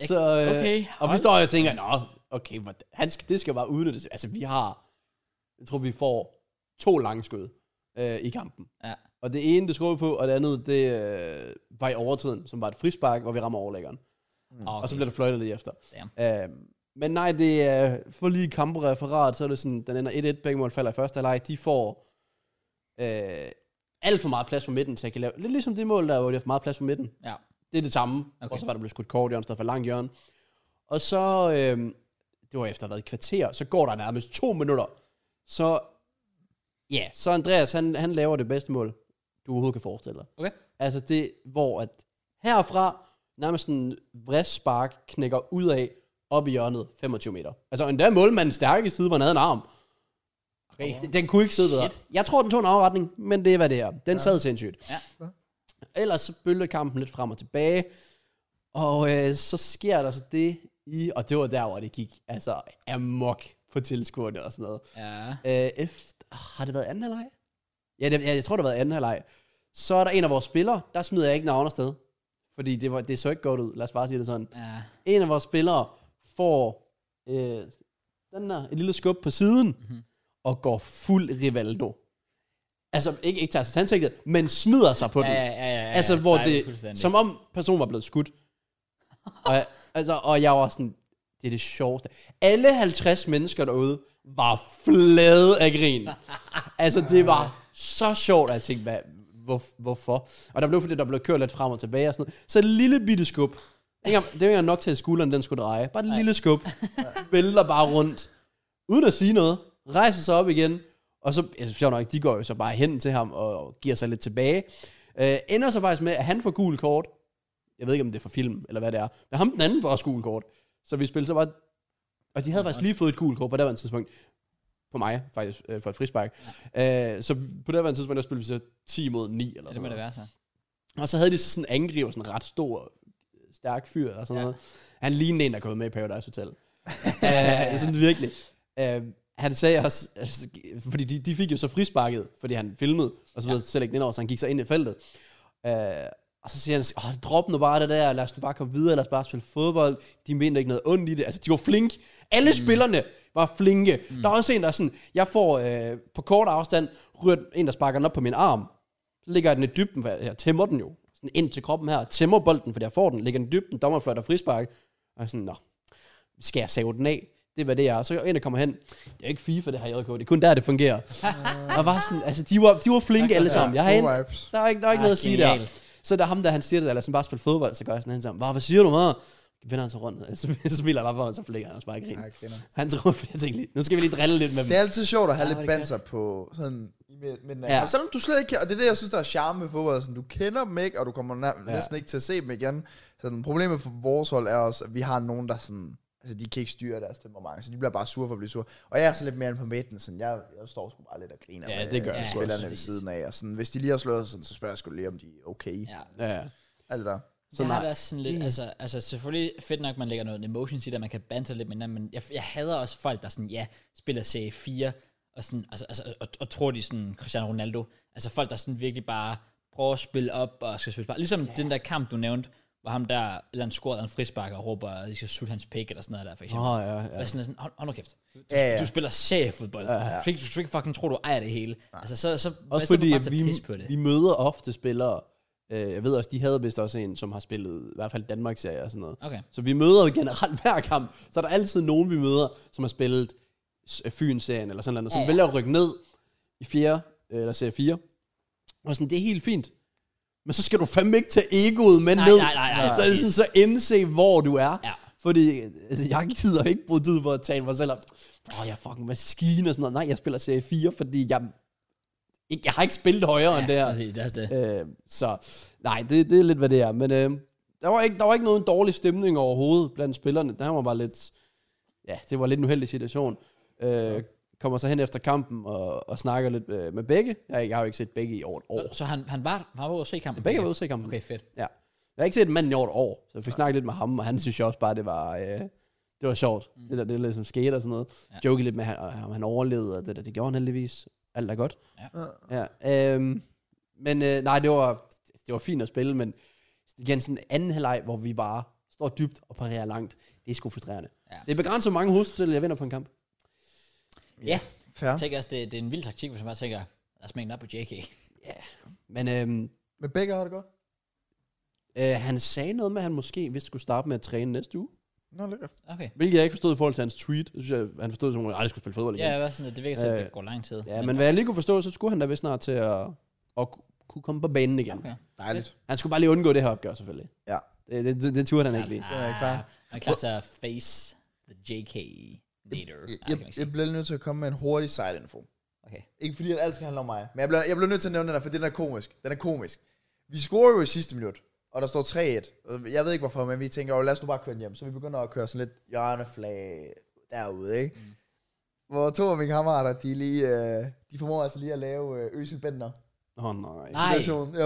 Speaker 2: Så, øh,
Speaker 1: okay,
Speaker 2: og vi
Speaker 1: hold.
Speaker 2: står og tænker, nå, okay, hvordan- han skal, det skal bare udnyttes. Altså, vi har, jeg tror, vi får to langskud øh, i kampen.
Speaker 1: Ja.
Speaker 2: Og det ene, det skruer vi på, og det andet, det øh, var i overtiden, som var et frispark, hvor vi rammer overlæggeren.
Speaker 1: Ah, okay.
Speaker 2: Mm. Og så bliver der fløjtet lige efter. Øh, men nej, det er for lige et kampreferat, så er det sådan, den ender 1-1, begge mål falder i første halvleg. De får øh, alt for meget plads på midten, så jeg kan lave, lidt ligesom det mål der, hvor de har for meget plads på midten.
Speaker 1: Ja.
Speaker 2: Det er det samme. Okay.
Speaker 1: Okay.
Speaker 2: Og så var der blevet skudt kort hjørne, i stedet for langt hjørne. Og så, øh, det var efter hvad, et kvarter, så går der nærmest to minutter. Så, ja, yeah, så Andreas, han, han laver det bedste mål, du overhovedet kan forestille dig.
Speaker 1: Okay.
Speaker 2: Altså det, hvor at herfra, nærmest en vredspark knækker ud af, op i hjørnet, 25 meter. Altså endda målmandens stærke side, hvor han havde en arm.
Speaker 1: Okay.
Speaker 2: Den- Den kunne ikke sidde bedre. Jeg tror, den tog en afretning, men det er, hvad det er. Den ja. sad sindssygt.
Speaker 1: Ja.
Speaker 2: Ellers så bølgede kampen lidt frem og tilbage, og øh, så sker der så det i, og det var der, hvor det gik altså amok på tilskuerne og sådan noget.
Speaker 1: Ja.
Speaker 2: Øh, efter, har det været anden halvleg? Ja, det, ja, jeg tror, det har været anden halvleg. Så er der en af vores spillere, der smider jeg ikke navn afsted. Fordi det, var, det så ikke godt ud, lad os bare sige det sådan.
Speaker 1: Ja.
Speaker 2: En af vores spillere får øh, den der, et lille skub på siden,
Speaker 1: Mhm.
Speaker 2: mm-hmm. og går fuld Rivaldo. Altså, ikke, ikke tager sig til ansigtet, men smider sig på
Speaker 1: Ja,
Speaker 2: den.
Speaker 1: ja, ja, ja, ja.
Speaker 2: Altså, hvor
Speaker 1: Nej,
Speaker 2: det,
Speaker 1: fuldstændig.
Speaker 2: som om personen var blevet skudt. Og jeg, altså, og jeg var sådan, det er det sjoveste. Alle 50 mennesker derude var flade af grin. altså, det var så sjovt, at jeg tænkte, hvad, hvor, hvorfor? Og der blev, fordi der blev kørt lidt frem og tilbage og sådan noget. Så et lille bitte skub. Ikke om- Det var ikke nok til, at skulderen den skulle dreje. Bare et lille skub. Vælter bare rundt. Uden at sige noget. Rejser sig op igen. Og så, altså, sjovt nok, de går jo så bare hen til ham og giver sig lidt tilbage. Øh, ender så faktisk med, at han får gul kort. Jeg ved ikke, om det er for film, eller hvad det er. Men ham den anden får også gul kort. Så vi spillede så bare... Og de havde faktisk lige fået et gul kort på det var tidspunkt. På mig, faktisk, øh, for et frispark. Øh, så på det var tidspunkt, der spillede vi så 10 mod 9, eller
Speaker 1: Det må
Speaker 2: sådan noget.
Speaker 1: det være så.
Speaker 2: Og så havde de så sådan en angriber, sådan en ret stor, stærk fyr og sådan ja.
Speaker 1: Ja.
Speaker 2: noget. Han lignede en, der kom med i Paradise Hotel. uh, sådan virkelig. Uh, han sagde også, altså, fordi de, de fik jo så frisparket, fordi han filmede, og så videre, ja. selv ikke den over, så han gik så ind i feltet. Uh, og så siger han, åh, drop nu bare det der, lad os nu bare komme videre, lad os bare spille fodbold. De mente ikke noget ondt i det. Altså, de var flink. Alle mm. spillerne var flinke. Mm. Der er også en, der er sådan, jeg får øh, på kort afstand, rørt en, der sparker den op på min arm. Så ligger jeg den i dybden, for jeg jeg tæmmer den jo. Sådan ind til kroppen her. Tæmmer bolden, fordi jeg får den. Ligger den i dybden, dommer fløjter frispark. Og jeg er sådan, nå, skal jeg save den af? Det var det, jeg er. Så en, der kommer hen. Det er ikke FIFA, det her JK. Det er kun der, det fungerer. og var sådan, altså, de var, de var flinke alle sammen. Jeg har en,
Speaker 3: gode vibes.
Speaker 2: der er ikke, der er ikke
Speaker 1: Ah,
Speaker 2: noget at sige der.
Speaker 1: genialt.
Speaker 2: Så der er ham, der han siger det, eller sådan bare spille fodbold, så gør jeg sådan hen sammen. "Hva, Hvad siger du meget? Vender han sig rundt, så smiler han bare, og så flækker han også bare grin.
Speaker 3: Ja, jeg kender.
Speaker 2: Han tror, jeg tænkte lige, nu skal vi lige drille lidt med dem.
Speaker 3: Det er altid sjovt at have
Speaker 1: Ja,
Speaker 3: lidt
Speaker 1: hvor er det
Speaker 3: banser på sådan i mid- midten af.
Speaker 2: Ja.
Speaker 3: Ja. Selvom du slet ikke kan, og det er det, jeg synes, der er charme ved fodbold, sådan, du kender dem ikke, og du kommer nær, ja. næsten ikke til at se dem igen. Sådan, problemet for vores hold er også, at vi har nogen, der sådan, altså de kan ikke styre deres temperament, så de bliver bare sure for at blive sure. Og jeg er så lidt mere end på midten, sådan, jeg, jeg står sgu bare lidt og griner
Speaker 2: Ja,
Speaker 3: med
Speaker 2: det gør
Speaker 3: øh,
Speaker 2: jeg sgu også.
Speaker 3: spillerne ved siden af, og sådan, hvis de lige har slået sådan, så spørger jeg sgu lige, om de er okay. Ja.
Speaker 1: Ja.
Speaker 2: Ja.
Speaker 3: Alt det der.
Speaker 1: Så jeg har
Speaker 2: nej.
Speaker 1: det også sådan lidt, altså, altså selvfølgelig fedt nok, man lægger noget emotions i det, og man kan banter lidt med hinanden, men jeg, jeg hader også folk, der sådan, ja, spiller serie 4, og, sådan, altså, altså, og, og tror de er sådan Cristiano Ronaldo. Altså folk, der sådan virkelig bare prøver at spille op, og skal spille bare. Ligesom yeah. den der kamp, du nævnte, hvor ham der, eller han scorede en frispark og råber, at de skal sutte hans pik, eller sådan noget der, for eksempel.
Speaker 2: Åh, ja,
Speaker 1: Ja.
Speaker 2: ja.
Speaker 1: Sådan, sådan, hold, hold nu kæft. Du,
Speaker 3: Ja, ja.
Speaker 1: du spiller seriefodbold. Ja, ja. Du, skal ikke- du skal ikke fucking tro, du ejer det hele. Altså, så, så,
Speaker 2: Også
Speaker 1: så må
Speaker 2: fordi,
Speaker 1: du bare
Speaker 2: at
Speaker 1: tage
Speaker 2: vi,
Speaker 1: pis på det.
Speaker 2: vi møder ofte spillere, Øh, jeg ved også, de havde vist også en, som har spillet i hvert fald Danmark-serier og sådan noget.
Speaker 1: Okay.
Speaker 2: Så vi møder jo generelt hver kamp. Så er der altid nogen, vi møder, som har spillet s- Fyn-serien eller sådan noget, som
Speaker 1: Ja,
Speaker 2: ja,
Speaker 1: ja.
Speaker 2: ja. vælger at rykke ned i fjerde, øh, eller serie 4. Og sådan, det er helt fint. Men så skal du fandme ikke tage egoet med
Speaker 1: Nej,
Speaker 2: ned.
Speaker 1: nej, nej, nej.
Speaker 2: Så, er det sådan, så indse, hvor du er.
Speaker 1: Ja.
Speaker 2: Fordi altså, jeg gider ikke bruge tid på at tale mig selv op. Åh, jeg er fucking maskine og sådan noget. Nej, jeg spiller serie 4, fordi jeg, ikke, jeg har ikke spillet højere ja, end det her.
Speaker 1: præcis, det er også det.
Speaker 2: Øh, så nej, det, det er lidt, hvad det er. Men øh, der, var ikke, der var ikke nogen dårlig stemning overhovedet blandt spillerne. Der var bare lidt... Ja, det var lidt en uheldig situation. Øh, kommer så hen efter kampen og, og snakker lidt øh, med begge. Jeg, jeg har jo ikke set begge i over et år.
Speaker 1: Så han, han var, han var ude at se kampen?
Speaker 2: Begge var ude til kampen.
Speaker 1: Okay, fedt.
Speaker 2: Ja. Jeg har ikke set manden i over et år, så jeg fik snakket lidt med ham, og han synes jo også bare, det var, øh, det var sjovt. Mm. Det der, det der ligesom skete og sådan noget.
Speaker 1: Ja.
Speaker 2: Ja. Joke lidt med, han- om han overlevede, og det der, det gjorde han heldigvis. Alt er godt.
Speaker 3: Ja.
Speaker 2: Ja, øhm, men øh, nej, det var, det var fint at spille, men igen, sådan en anden halvleg, hvor vi bare står dybt og parerer langt, det er sgu frustrerende.
Speaker 1: Ja.
Speaker 2: Ja. Det er begrænset, hvor mange hovedspil, jeg vinder på en kamp.
Speaker 3: Fair.
Speaker 1: Jeg tænker også, det, det er en vild taktik, hvis man bare tænker, lad os mængde op på JK.
Speaker 2: Men øhm,
Speaker 3: Men begge har det godt.
Speaker 2: øh, han sagde noget med, at han måske vidste skulle starte med at træne næste uge.
Speaker 3: Nå, lækkert.
Speaker 1: Okay.
Speaker 2: Hvilket jeg ikke forstod i forhold til hans tweet. Det synes jeg, han forstod som, at han aldrig skulle spille fodbold igen.
Speaker 1: Ja, jeg var sådan, at det virker sådan, at
Speaker 2: Øh,
Speaker 1: det går lang tid.
Speaker 2: ja men hvad jeg lige kunne forstå, så skulle han da vist snart til at, at ku- kunne komme på banen igen.
Speaker 1: Okay.
Speaker 2: Okay.
Speaker 3: Dejligt.
Speaker 2: Han skulle bare lige undgå det her opgør, selvfølgelig.
Speaker 3: Ja.
Speaker 2: Det, det, det, det turde han ikke lige.
Speaker 3: Det er jeg klar.
Speaker 1: Ah, Man er klar til at face the JK later.
Speaker 3: Jeg, jeg, jeg bliver nødt til at komme med en hurtig side-info.
Speaker 1: Okay.
Speaker 3: Ikke fordi, at alt skal handle om mig. Men jeg bliver, jeg bliver nødt til at nævne den her, for den er komisk. Den er komisk. Vi scorer jo i sidste minut, og der står 3-1. Og Jeg ved ikke hvorfor, men vi tænker jo, lad os nu bare køre den hjem. Så vi begynder at køre sådan lidt hjørneflag derude, ikke? Mm. Hvor to af mine kammerater, de, lige, øh, de formår altså lige at lave øh, Øsel Bender.
Speaker 2: Åh oh, nej.
Speaker 1: Nej.
Speaker 3: Jo.
Speaker 1: Nej.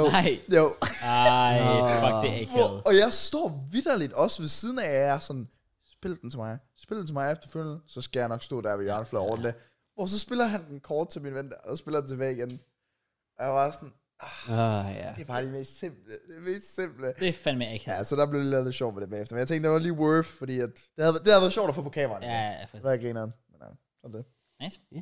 Speaker 3: Jo.
Speaker 1: Ej, fuck, det er
Speaker 3: Hvor,
Speaker 1: ikke
Speaker 3: og jeg står vidderligt også ved siden af, at jeg er sådan, spil den til mig. Spil den til mig efterfølgende, så skal jeg nok stå der ved hjørneflaget over det. Hvor så spiller han den kort til min ven, der, og spiller den tilbage igen. Og jeg var sådan,
Speaker 2: Ah, ja.
Speaker 3: det er bare det mest simple. Det mest simple.
Speaker 1: Det er fandme ikke
Speaker 3: Ja, så der blev det lavet lidt sjovt med det bagefter. Men jeg tænkte, det var lige worth, fordi at det, havde, det havde været sjovt at få på kameraet.
Speaker 1: Ja, ja, for-
Speaker 3: Så jeg griner. Men ja, sådan det.
Speaker 1: Nice.
Speaker 2: Ja.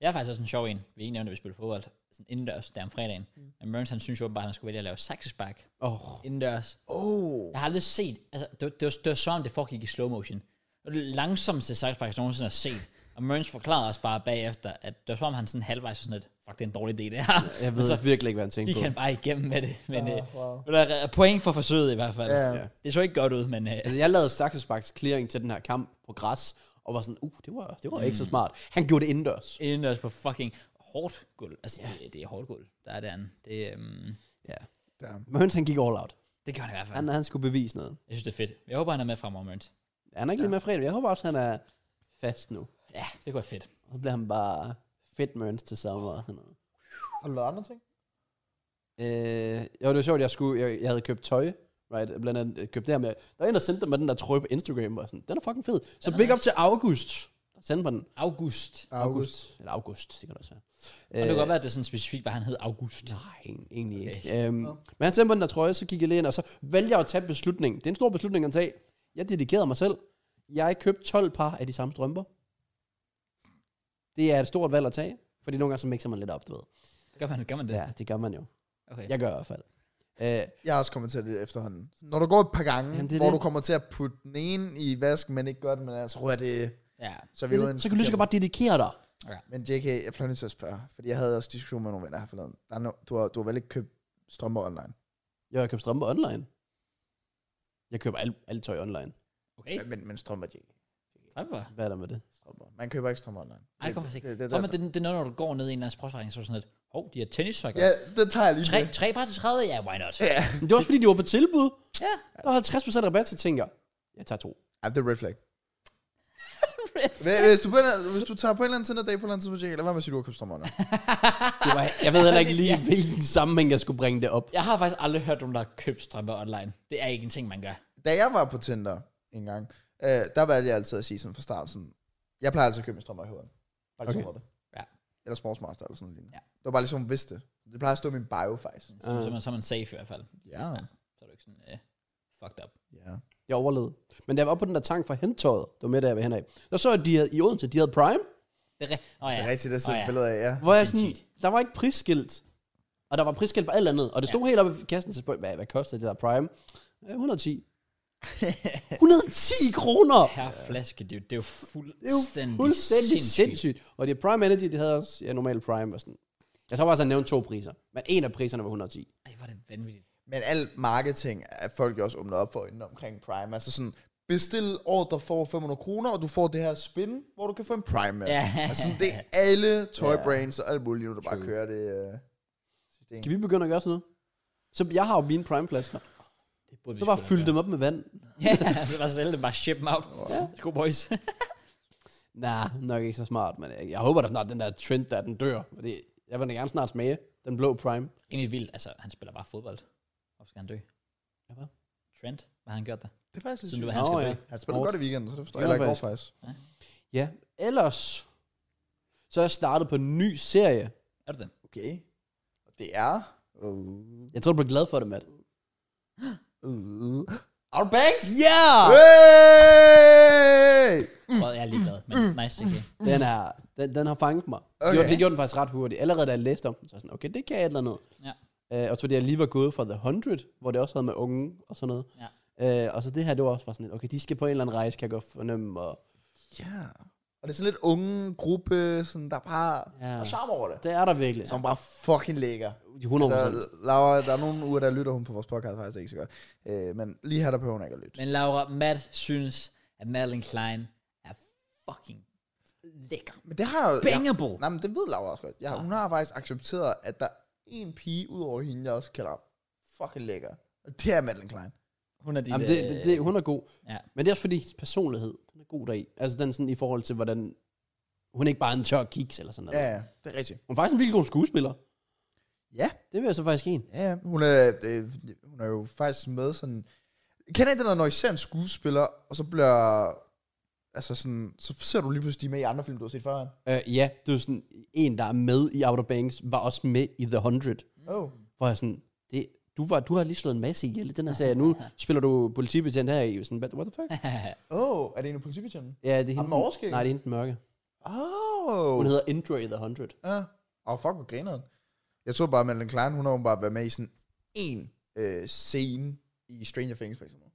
Speaker 1: Jeg har faktisk også en sjov en. Vi ikke nævnte, at vi spillede fodbold sådan indendørs der om fredagen. Mm. Men Mørens, han synes jo bare, at han skulle vælge at lave saxespark
Speaker 2: Oh.
Speaker 1: indendørs.
Speaker 3: Oh,
Speaker 1: Jeg har aldrig set, altså det, det, var, det var som om det foregik i slow motion. Det var det langsomste saxespark, jeg nogensinde har set. Og Mørens forklarede os bare bagefter, at det var som om han sådan halvvejs var sådan lidt, fuck, det er en dårlig idé det her.
Speaker 2: Jeg ved
Speaker 1: Og så
Speaker 2: altså, virkelig ikke, hvad han tænkte
Speaker 1: gik
Speaker 2: på.
Speaker 1: han bare igennem med det. Men
Speaker 3: Ah,
Speaker 1: øh,
Speaker 3: wow.
Speaker 1: der er point for forsøget i hvert fald.
Speaker 3: Ja.
Speaker 2: Ja.
Speaker 1: Det så ikke godt ud, men øh,
Speaker 2: Altså, jeg lavede Saxesparks clearing til den her kamp på græs, og var sådan, uh, det var, det var ikke
Speaker 1: Mm.
Speaker 2: så smart. Han gjorde det indendørs.
Speaker 1: indendørs på fucking hårdt gulv. Altså, det, det er hårdt gulv, der er derinde. Det, øhm,
Speaker 2: Ja.
Speaker 3: ja.
Speaker 2: Møns, han gik all out.
Speaker 1: det gør han i hvert fald.
Speaker 2: Han, han skulle bevise noget.
Speaker 1: Jeg synes, det er fedt. Jeg håber, han er med fremover, Mørens.
Speaker 2: Han er ikke ja. lige med fredag. Jeg håber også, han er fast nu.
Speaker 1: Ja, det kunne være fedt.
Speaker 2: Og så bliver han bare fedt Møns til sommer. og sådan noget.
Speaker 3: Har du lavet andre ting?
Speaker 2: Øh, jo, det var sjovt, jeg, skulle, jeg, jeg havde købt tøj. Right, blandt andet øh, købt det her med. Der var en, der sendte mig den der trøje på Instagram, og sådan, den er fucking fed. Så
Speaker 1: Den er
Speaker 2: big up
Speaker 1: nice.
Speaker 2: til August. Der sendte mig den.
Speaker 1: August.
Speaker 2: Eller August, det kan det også være.
Speaker 1: Og det
Speaker 2: Øh,
Speaker 1: kan godt være, at det er sådan specifikt, hvad han hed August.
Speaker 2: Nej, egen- egentlig
Speaker 1: Okay.
Speaker 2: okay. ikke. Øhm, Men han sendte mig den der trøje, så gik jeg lige ind, og så valgte jeg at tage beslutningen. Det er en stor beslutning at tage. Jeg dedikerede mig selv. Jeg købte 12 par af de samme strømper. Det er et stort valg at tage, fordi nogle gange så mixer man lidt op, du ved.
Speaker 1: Gør man, gør man det?
Speaker 2: Ja, det gør man jo.
Speaker 1: Okay.
Speaker 2: Jeg gør i hvert fald. Øh,
Speaker 3: Jeg har også kommet til det efterhånden. Når du går et par gange,
Speaker 2: Jamen,
Speaker 3: Jamen,
Speaker 2: det er
Speaker 3: hvor
Speaker 2: det.
Speaker 3: det. du kommer til at putte den ene i vasken, men ikke gør det, men altså, rører det,
Speaker 1: ja.
Speaker 3: så er vi ude i en
Speaker 2: det, så kan du lige så godt bare dedikere dig.
Speaker 3: Men JK, jeg bliver nødt til at spørge, fordi jeg havde også diskussion med nogle venner her forleden. Der er no, du, har, du har vel ikke købt strømper online?
Speaker 2: Jo, jeg køber strømper online. Jeg køber alt, alt tøj online.
Speaker 1: Okay.
Speaker 3: Men, men strømper, JK.
Speaker 1: Trapper.
Speaker 2: Hvad er der med det?
Speaker 3: Strømper. Man køber ikke strømper online.
Speaker 1: Ej, det kommer faktisk ikke.
Speaker 3: Det, det,
Speaker 1: Nå, men
Speaker 3: det,
Speaker 1: det, det er noget, når du går ned i en eller anden sportsforretning, så er du sådan lidt, hov, de har tennissokker.
Speaker 3: ja, det tager jeg lige
Speaker 1: Tre,
Speaker 3: med.
Speaker 1: tre par til 30? Ja, why not?
Speaker 3: Ja.
Speaker 2: Men det var også fordi, de var på tilbud.
Speaker 1: Ja.
Speaker 2: Der var 50% rabat, så tænker jeg, jeg tager to.
Speaker 3: Ej, det er red flag. Hvis- Hvis du, på en, eller anden- hvis du tager på en eller anden Tinder-date på en eller anden tidspunkt, JK, lad være med at sige, du har købt strømper online.
Speaker 2: Det var, jeg ved heller ikke lige,
Speaker 1: Ja.
Speaker 2: hvilken sammenhæng jeg skulle bringe det op.
Speaker 1: Jeg har faktisk aldrig hørt nogen, der har købt strømper online. Det er ikke en ting, man gør.
Speaker 3: da jeg var på Tinder en gang, øh, der valgte jeg altid at sige sådan fra start, sådan, jeg plejer altid at købe min strømmer i hovedet. Bare ligesom
Speaker 2: Okay.
Speaker 3: okay. det.
Speaker 1: Ja.
Speaker 3: Eller sportsmaster eller sådan noget.
Speaker 1: Ja.
Speaker 3: Ja. Det var bare ligesom, hun vidste det. Det plejer at stå i min bio, faktisk.
Speaker 1: Så,
Speaker 2: Øh.
Speaker 1: så, er man, så er man safe i hvert fald.
Speaker 3: Ja.
Speaker 1: Så er du ikke sådan, øh, fucked up.
Speaker 3: Ja.
Speaker 2: Jeg overlevede. Men da jeg var oppe på den der tank fra hentøjet, det var med, der jeg var henad, der så jeg, at de havde, i Odense, de havde Prime,
Speaker 1: Det er, re- oh, ja.
Speaker 3: Det er rigtigt, det er
Speaker 1: Åh,
Speaker 3: sådan
Speaker 1: ja.
Speaker 3: et billede af, ja.
Speaker 2: hvor jeg
Speaker 1: Sindssygt.
Speaker 2: sådan, der var ikke prisskilt. Og der var prisskilt på alt andet. Og det stod ja. helt oppe i kassen til spørgsmål, hvad, hvad kostede det der Prime? Øh, 110. 110 kroner!
Speaker 1: Per flaske, det er jo, det er jo fuldstændig,
Speaker 2: Det er jo fuldstændig
Speaker 1: sindssygt.
Speaker 2: sindssygt. Og det er Prime Energy, det havde også, ja, normal Prime og sådan. Jeg tror faktisk, han nævnte to priser. Men en af priserne var 110.
Speaker 1: Ej, hvor er det vanvittigt.
Speaker 3: Men alt marketing er folk jo også åbnet op for inden omkring Prime. Altså sådan, bestil ordre for 500 kroner, og du får det her spin, hvor du kan få en Prime med.
Speaker 1: Ja.
Speaker 3: Altså sådan, det er alle toy brands og alt muligt, nu der bare kører det. Øh, system.
Speaker 2: Skal vi begynde at gøre sådan noget? Så jeg har jo mine Prime-flasker.
Speaker 1: Det burde vi
Speaker 2: Så bare
Speaker 1: sgu da
Speaker 2: fylde
Speaker 1: gøre.
Speaker 2: dem op med vand.
Speaker 1: Ja, det var selv det bare ship dem out. Ja. Go boys.
Speaker 2: Nej, nok ikke så smart, men øh, jeg, jeg håber da snart, den der trend der, den dør. Fordi jeg vil da gerne snart smage den blå Prime.
Speaker 1: Egentlig vildt, altså han spiller bare fodbold. Hvorfor skal han dø?
Speaker 2: Ja, hvad?
Speaker 1: Trent, hvad har han gjort der?
Speaker 3: Det er faktisk lidt
Speaker 1: Siden du
Speaker 3: sygt.
Speaker 1: var han
Speaker 2: Nå,
Speaker 1: skal
Speaker 2: ja.
Speaker 1: dø.
Speaker 3: Han spiller
Speaker 2: Hårdt.
Speaker 3: godt i weekenden, så det forstår
Speaker 2: Det
Speaker 3: jeg ikke,
Speaker 2: var
Speaker 3: hvorfor faktisk.
Speaker 2: Ja, ellers så er jeg startet på en ny serie.
Speaker 1: Er du det?
Speaker 3: Okay. Og det er... Uh,
Speaker 2: Jeg tror, du bliver glad for det, Matt.
Speaker 3: uh, Out of Banks!
Speaker 2: Ja! Yeah!
Speaker 3: Hey!
Speaker 1: Mm. Jeg er ligeglad, men nice. Okay.
Speaker 2: Den, er, den, den har fanget mig.
Speaker 3: Øh. Okay.
Speaker 2: Okay. Det gjorde den faktisk ret hurtigt. Allerede da jeg læste om den, så var jeg sådan, okay, det kan jeg et eller andet.
Speaker 1: Ja.
Speaker 2: Øh, og så fordi jeg lige var gået fra The 100, hvor det også havde med unge og sådan noget. Ja. Øh, og så det her, det var også bare sådan lidt, okay, de skal på en eller anden rejse, kan jeg godt fornemme. Og,
Speaker 3: Ja. Og det er sådan lidt unge gruppe, sådan, der bare
Speaker 2: Ja.
Speaker 3: ja. har charme over det.
Speaker 2: det er der virkelig.
Speaker 3: Som bare fucking lækker.
Speaker 2: 100
Speaker 3: Så Laura, der er nogle uger, der lytter hun på vores podcast faktisk ikke så godt. Øh, men lige her, der behøver hun ikke at lytte.
Speaker 1: Men Laura, Matt synes, at Madeline Klein er fucking lækker.
Speaker 3: Men det har jo... Jeg,
Speaker 1: Bangerbo.
Speaker 3: nej, men det ved Laura også godt. Jeg, hun har faktisk accepteret, at der er en pige ud over hende, jeg også kalder fucking lækker. Og det er Madeline Klein.
Speaker 1: Hun er dit...
Speaker 2: Jamen, det, det, det, hun er god.
Speaker 1: Ja.
Speaker 2: Men det er også fordi, hendes personlighed, den er god deri. Altså den sådan i forhold til, hvordan... Hun er ikke bare en tør kiks eller sådan noget.
Speaker 3: Ja, ja, det er rigtigt.
Speaker 2: Hun er faktisk en vildt god skuespiller.
Speaker 3: Ja,
Speaker 2: Det vil jeg så faktisk en.
Speaker 3: ja, ja. hun er, det, hun er jo faktisk med sådan... Kender I det, der, når I ser en skuespiller, og så bliver... Altså sådan, så ser du lige pludselig de er med i andre film, du har set førhen.
Speaker 2: Øh, ja, det er jo sådan, en, der er med i Outer Banks, var også med i The 100.
Speaker 3: Oh.
Speaker 2: Hvor jeg sådan, det, du, var, du har lige slået en masse ihjel i den her serie. Nu spiller du politibetjent her i. Sådan, what the
Speaker 1: øh,
Speaker 2: fuck?
Speaker 3: Oh, er det en af politibetjenten?
Speaker 2: Ja, det er
Speaker 3: Ham
Speaker 2: hende.
Speaker 3: med overskæg?
Speaker 2: Nej, det er hende den mørke.
Speaker 3: Oh.
Speaker 2: Hun hedder Indra i The 100.
Speaker 3: Ja. Og fuck, hvor grineren. Jeg tror bare, at Madeleine Klein, hun har jo bare været med i sådan en øh, scene i Stranger Things, for eksempel.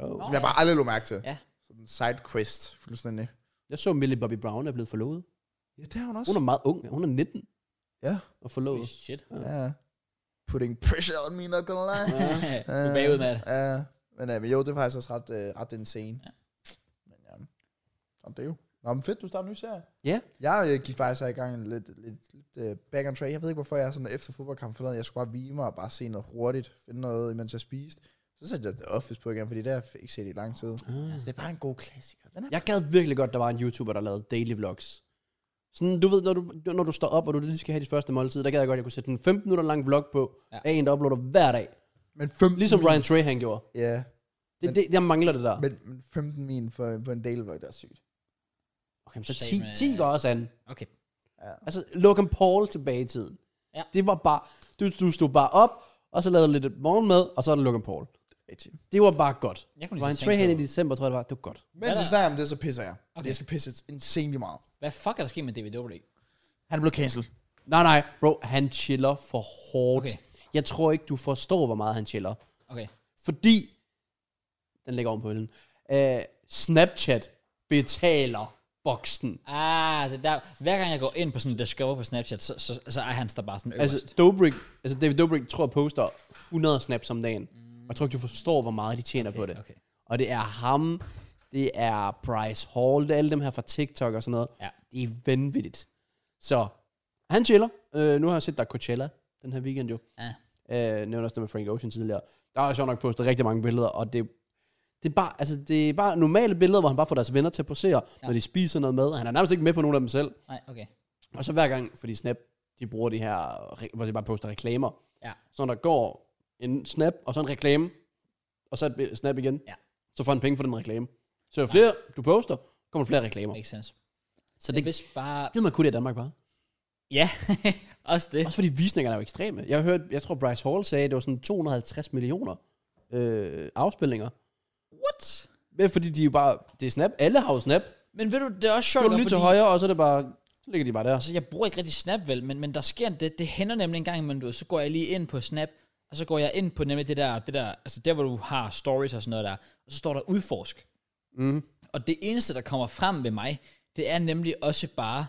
Speaker 2: Oh.
Speaker 3: Som jeg bare aldrig lå mærke til.
Speaker 1: Ja.
Speaker 3: Sådan en side quest, fuldstændig.
Speaker 2: Jeg så Millie Bobby Brown er blevet forlovet.
Speaker 3: Ja, det har hun også.
Speaker 2: Hun er meget ung. Hun er 19
Speaker 3: Ja.
Speaker 2: og forlovet.
Speaker 1: Shit.
Speaker 3: ja. Putting pressure on me, not gonna lie.
Speaker 1: Du er bagud, Matt.
Speaker 3: Øh, Ja. Men, øh, men jo, det er faktisk også ret, øh, ret en scene. Ja. Men ja. Nå, det er jo. Nå, men fedt, du starter en ny serie.
Speaker 2: Ja.
Speaker 3: Jeg øh, gik faktisk her i gang lidt, lidt, lidt øh, back on track. Jeg ved ikke, hvorfor jeg er sådan efter fodboldkamp forleden. Jeg skulle bare hvile mig og bare se noget hurtigt. Finde noget, imens jeg spiste. Så satte jeg The Office på igen, fordi det har jeg ikke set i lang tid.
Speaker 2: Ah.
Speaker 3: Altså, det er bare en god klassiker. Den er
Speaker 2: Jeg gad virkelig godt, der var en YouTuber, der lavede daily vlogs. Sådan, du ved, når du, når du står op, og du lige skal have dit første måltid, der gad jeg godt, at jeg kunne sætte en 15 minutter lang vlog på,
Speaker 1: Ja.
Speaker 2: ja. af en, der uploader hver dag.
Speaker 3: Men 15
Speaker 2: Ligesom
Speaker 3: min-
Speaker 2: Ryan Trey, han gjorde.
Speaker 3: Ja,
Speaker 2: Det,
Speaker 3: Men-
Speaker 2: det, jeg mangler det der.
Speaker 3: men, men 15 min for, på en daily vlog, det er sygt.
Speaker 2: Okay, men så
Speaker 1: Same,
Speaker 2: 10,
Speaker 1: øh,
Speaker 2: 10 går også an.
Speaker 1: Okay.
Speaker 3: Ja.
Speaker 2: Altså, Logan Paul tilbage i tiden.
Speaker 1: Ja.
Speaker 2: Det var bare, du, du stod bare op, og så lavede lidt morgenmad, og så er der Logan Paul.
Speaker 3: Rigtig.
Speaker 2: Det var bare godt.
Speaker 1: Jeg kunne lige
Speaker 2: Ryan
Speaker 1: så tænke
Speaker 2: Trahan i
Speaker 1: på-
Speaker 2: december, tror jeg det var. Det var godt.
Speaker 3: Mens jeg snakker om det, så pisser jeg. Okay.
Speaker 1: Okay.
Speaker 3: Jeg skal pisse insanely meget.
Speaker 1: Hvad fuck er der sket med David Dobrik?
Speaker 3: Han blev cancelled.
Speaker 2: Nej, nej, bro, han chiller for hårdt.
Speaker 1: Okay.
Speaker 2: Okay. Jeg tror ikke, du forstår, hvor meget han chiller.
Speaker 1: Okay.
Speaker 2: Fordi, den ligger oven på hylden, øh, Snapchat betaler boksen.
Speaker 1: Ah, det der, hver gang jeg går ind på sådan en Discover på Snapchat, så, så, så er han der bare sådan øverst.
Speaker 2: Altså, Dobrik, altså David Dobrik tror, jeg poster 100 snaps om dagen. Og jeg tror ikke, du forstår, hvor meget de tjener okay, på det.
Speaker 1: okay.
Speaker 2: Og det er ham, det er Bryce Hall, det er alle dem her fra TikTok og sådan noget.
Speaker 1: Ja.
Speaker 2: Det er vanvittigt. Så, han chiller. Øh, nu har jeg set, der er Coachella den her weekend jo.
Speaker 1: Ja.
Speaker 2: øh, nævnte også det med Frank Ocean tidligere. Der har jeg sjovt nok postet rigtig mange billeder, og det, det, er bare, altså, det er bare normale billeder, hvor han bare får deres venner til at posere, ja. når de spiser noget mad. Han er nærmest ikke med på nogen af dem selv.
Speaker 1: Nej, okay.
Speaker 2: Og så hver gang, fordi Snap, de bruger de her, re- hvor de bare poster reklamer.
Speaker 1: Ja.
Speaker 2: Så når der går en Snap, og så en reklame, og så et bi- Snap igen,
Speaker 1: Ja.
Speaker 2: så får han penge for den reklame. Så jo flere du poster, kommer der flere reklamer.
Speaker 1: Makes sense.
Speaker 2: Så
Speaker 1: Det
Speaker 2: det
Speaker 1: er vist bare...
Speaker 2: gider man kun det i Danmark bare.
Speaker 1: Ja, også det.
Speaker 2: Også fordi visningerne er jo ekstreme. Jeg hørte, jeg tror Bryce Hall sagde, at det var sådan 250 millioner øh, afspilninger.
Speaker 1: What?
Speaker 2: Men fordi de er jo bare, det er snap, alle har jo snap.
Speaker 1: Men ved du, det er også sjovt.
Speaker 2: Gå lige til højre, og så er det bare Så ligger de bare der.
Speaker 1: Altså, jeg bruger ikke rigtig Snap vel, men, men der sker det, det hænder nemlig en gang imellem, du ved, så går jeg lige ind på Snap, og så går jeg ind på nemlig det der, det der, altså der, hvor du har stories og sådan noget der, og så står der udforsk.
Speaker 2: Mm.
Speaker 1: Og det eneste, der kommer frem ved mig, det er nemlig også bare,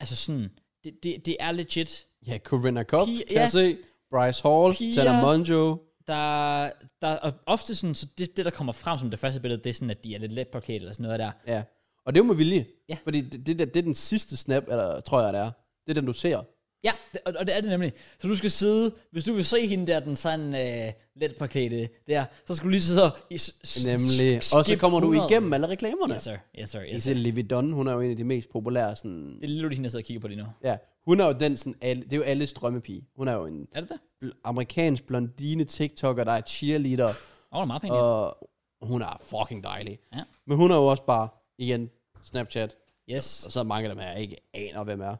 Speaker 1: altså sådan, det, det, det er legit,
Speaker 2: Ja, Corinna Kopp,
Speaker 1: Piger-
Speaker 2: kan
Speaker 1: ja.
Speaker 2: jeg se. Bryce Hall,
Speaker 1: Piger.
Speaker 2: Tanner Monjo.
Speaker 1: der, der er ofte sådan, så det, det, der kommer frem som det første billede, det er sådan, at de er lidt let parkeret eller sådan noget der.
Speaker 2: Ja. Og det er jo med vilje.
Speaker 1: Ja.
Speaker 2: Fordi det, det, der- det er den sidste snap, eller, tror jeg, det er. Det er den, du ser.
Speaker 1: Ja, det, og, og det er det nemlig. Så du skal sidde, hvis du vil se hende der, den sådan øh, let parkeret der, så skal du lige sidde og... I, s- s-
Speaker 2: Nemlig.
Speaker 1: s-
Speaker 2: Og så
Speaker 1: skip
Speaker 2: kommer du
Speaker 1: 100.
Speaker 2: igennem alle reklamerne.
Speaker 1: Yes, sir. Yes, sir. Yes,
Speaker 2: Især Livy Dunn, hun er jo en af de mest populære. Sådan,
Speaker 1: Det er lidt hende, jeg sidder og kigger på lige nu.
Speaker 2: ja. Hun er jo den, sådan, alle, det er jo alles drømmepige. Hun er jo en
Speaker 1: Er det det?
Speaker 2: bl- amerikansk blondine TikToker, der er cheerleader,
Speaker 1: Åh, oh, det er meget pænt. Uh,
Speaker 2: og hun er fucking dejlig.
Speaker 1: Ja.
Speaker 2: Men hun er jo også bare, igen, Snapchat,
Speaker 1: yes.
Speaker 2: og så er mange af dem her, jeg ikke aner, hvem er.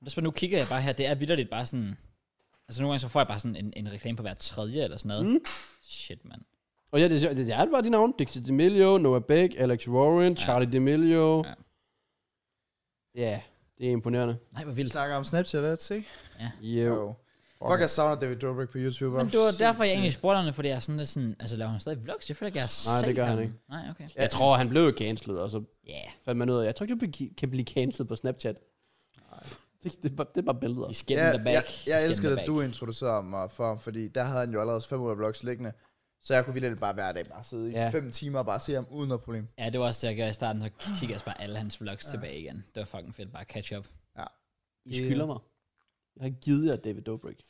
Speaker 1: Men så nu kigger jeg bare her, det er vidderligt bare sådan... Altså nogle gange så får jeg bare sådan en, en reklame på hver tredje eller sådan noget. Mm. Shit, mand.
Speaker 2: Og ja, det, er- det er bare de navne. Dixie D'Amelio, Noah Beck, Alex Warren, ja. Charlie D'Amelio.
Speaker 1: Ja.
Speaker 2: Ja. ja, det er imponerende.
Speaker 1: Nej, hvor
Speaker 3: Vi
Speaker 1: vildt.
Speaker 3: snakker om Snapchat, ads, ikke?
Speaker 2: Jo.
Speaker 3: Jo. Fuck, jeg savner David Dobrik på YouTube.
Speaker 1: Men
Speaker 3: I'm
Speaker 1: det var
Speaker 3: sindssygt.
Speaker 1: derfor, jeg egentlig spurgte ham, fordi jeg er sådan lidt sådan... Altså laver han stadig vlogs? Jeg føler ikke, jeg har
Speaker 2: Nej, det
Speaker 1: set
Speaker 2: gør han
Speaker 1: ham.
Speaker 2: ikke.
Speaker 1: Nej, okay.
Speaker 2: Jeg tror, han blev cancelled, og så
Speaker 1: Ja, yeah.
Speaker 2: fandt man ud af, jeg tror ikke, du bl- kan blive cancelled på Snapchat. Det, det, er bare, det er bare billeder.
Speaker 1: he's getting the back.
Speaker 3: Jeg, jeg,
Speaker 1: He's
Speaker 3: jeg elsker
Speaker 1: getting the
Speaker 3: at du introducerede mig for ham, fordi der havde han jo allerede 500 vlogs liggende. Så jeg kunne vildt bare hver dag bare sidde
Speaker 2: Ja.
Speaker 3: i 5 timer og bare se ham uden noget problem.
Speaker 1: Ja, det var også det, jeg gjorde i starten, så kiggede jeg også bare alle hans vlogs tilbage igen. Det var fucking fedt, bare catch up.
Speaker 2: I skylder mig. Jeg har givet jer David Dobrik.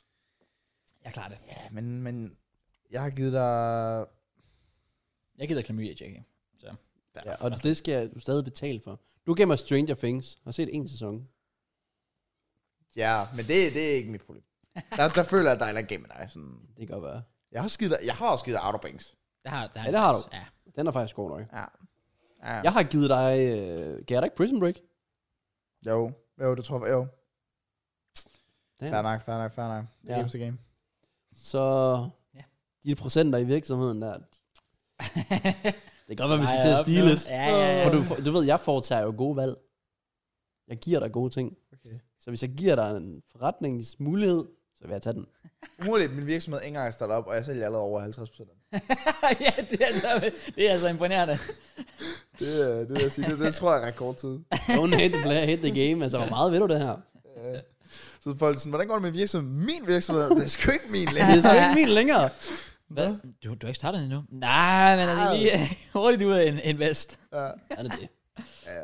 Speaker 1: Jeg klarer det.
Speaker 3: Ja, men, men jeg har givet dig...
Speaker 1: Jeg gider klamydia, Jackie.
Speaker 2: Ja, og det skal du stadig betale for. Du gav mig Stranger Things. Jeg har set en sæson.
Speaker 3: Ja, men det, det er ikke mit problem. Der, der føler jeg, at der er en eller anden game med dig. Sådan.
Speaker 2: Det kan godt være.
Speaker 3: Jeg har, skidt, jeg har også givet dig Outer Banks.
Speaker 1: Det har, det har,
Speaker 2: Ja, det har du.
Speaker 1: Ja.
Speaker 2: Den er faktisk god nok.
Speaker 3: Ja. ja.
Speaker 2: Jeg har givet dig... Øh, gav jeg dig ikke Prison Break?
Speaker 3: Jo, jo, det tror jeg. Jo.
Speaker 2: Damn.
Speaker 3: Fair nok, fair nok, fair nok. Det
Speaker 2: Ja.
Speaker 3: er ja. game.
Speaker 2: Så
Speaker 1: Ja.
Speaker 2: de procenter i virksomheden der, det kan godt være, vi skal
Speaker 1: Ej,
Speaker 2: til at
Speaker 1: op
Speaker 2: stige
Speaker 1: nu.
Speaker 2: lidt.
Speaker 1: Ja, ja, ja.
Speaker 2: For du, du ved, jeg foretager jo gode valg. Jeg giver dig gode ting.
Speaker 3: Okay.
Speaker 2: Så hvis jeg giver dig en forretningsmulighed, så vil jeg tage den.
Speaker 3: Umuligt, min virksomhed ikke engang er startet op, og jeg sælger allerede over 50 procent.
Speaker 1: ja, det er altså, det er altså imponerende.
Speaker 3: Det, øh, det vil jeg sige, det, det tror jeg er rekordtid.
Speaker 2: Don't hate the player, hate the game. Altså, hvor meget ved du det her?
Speaker 3: Øh, Så folk er sådan, hvordan går det med virksomheden? Min virksomhed, det er sgu ikke min
Speaker 2: Det
Speaker 3: længere.
Speaker 2: er så ikke min længere.
Speaker 1: Hvad? Du, du har ikke startet endnu? Nej, men altså
Speaker 3: Au.
Speaker 1: lige hurtigt ud af en, en vest.
Speaker 3: Ja,
Speaker 2: Er det det?
Speaker 3: ja.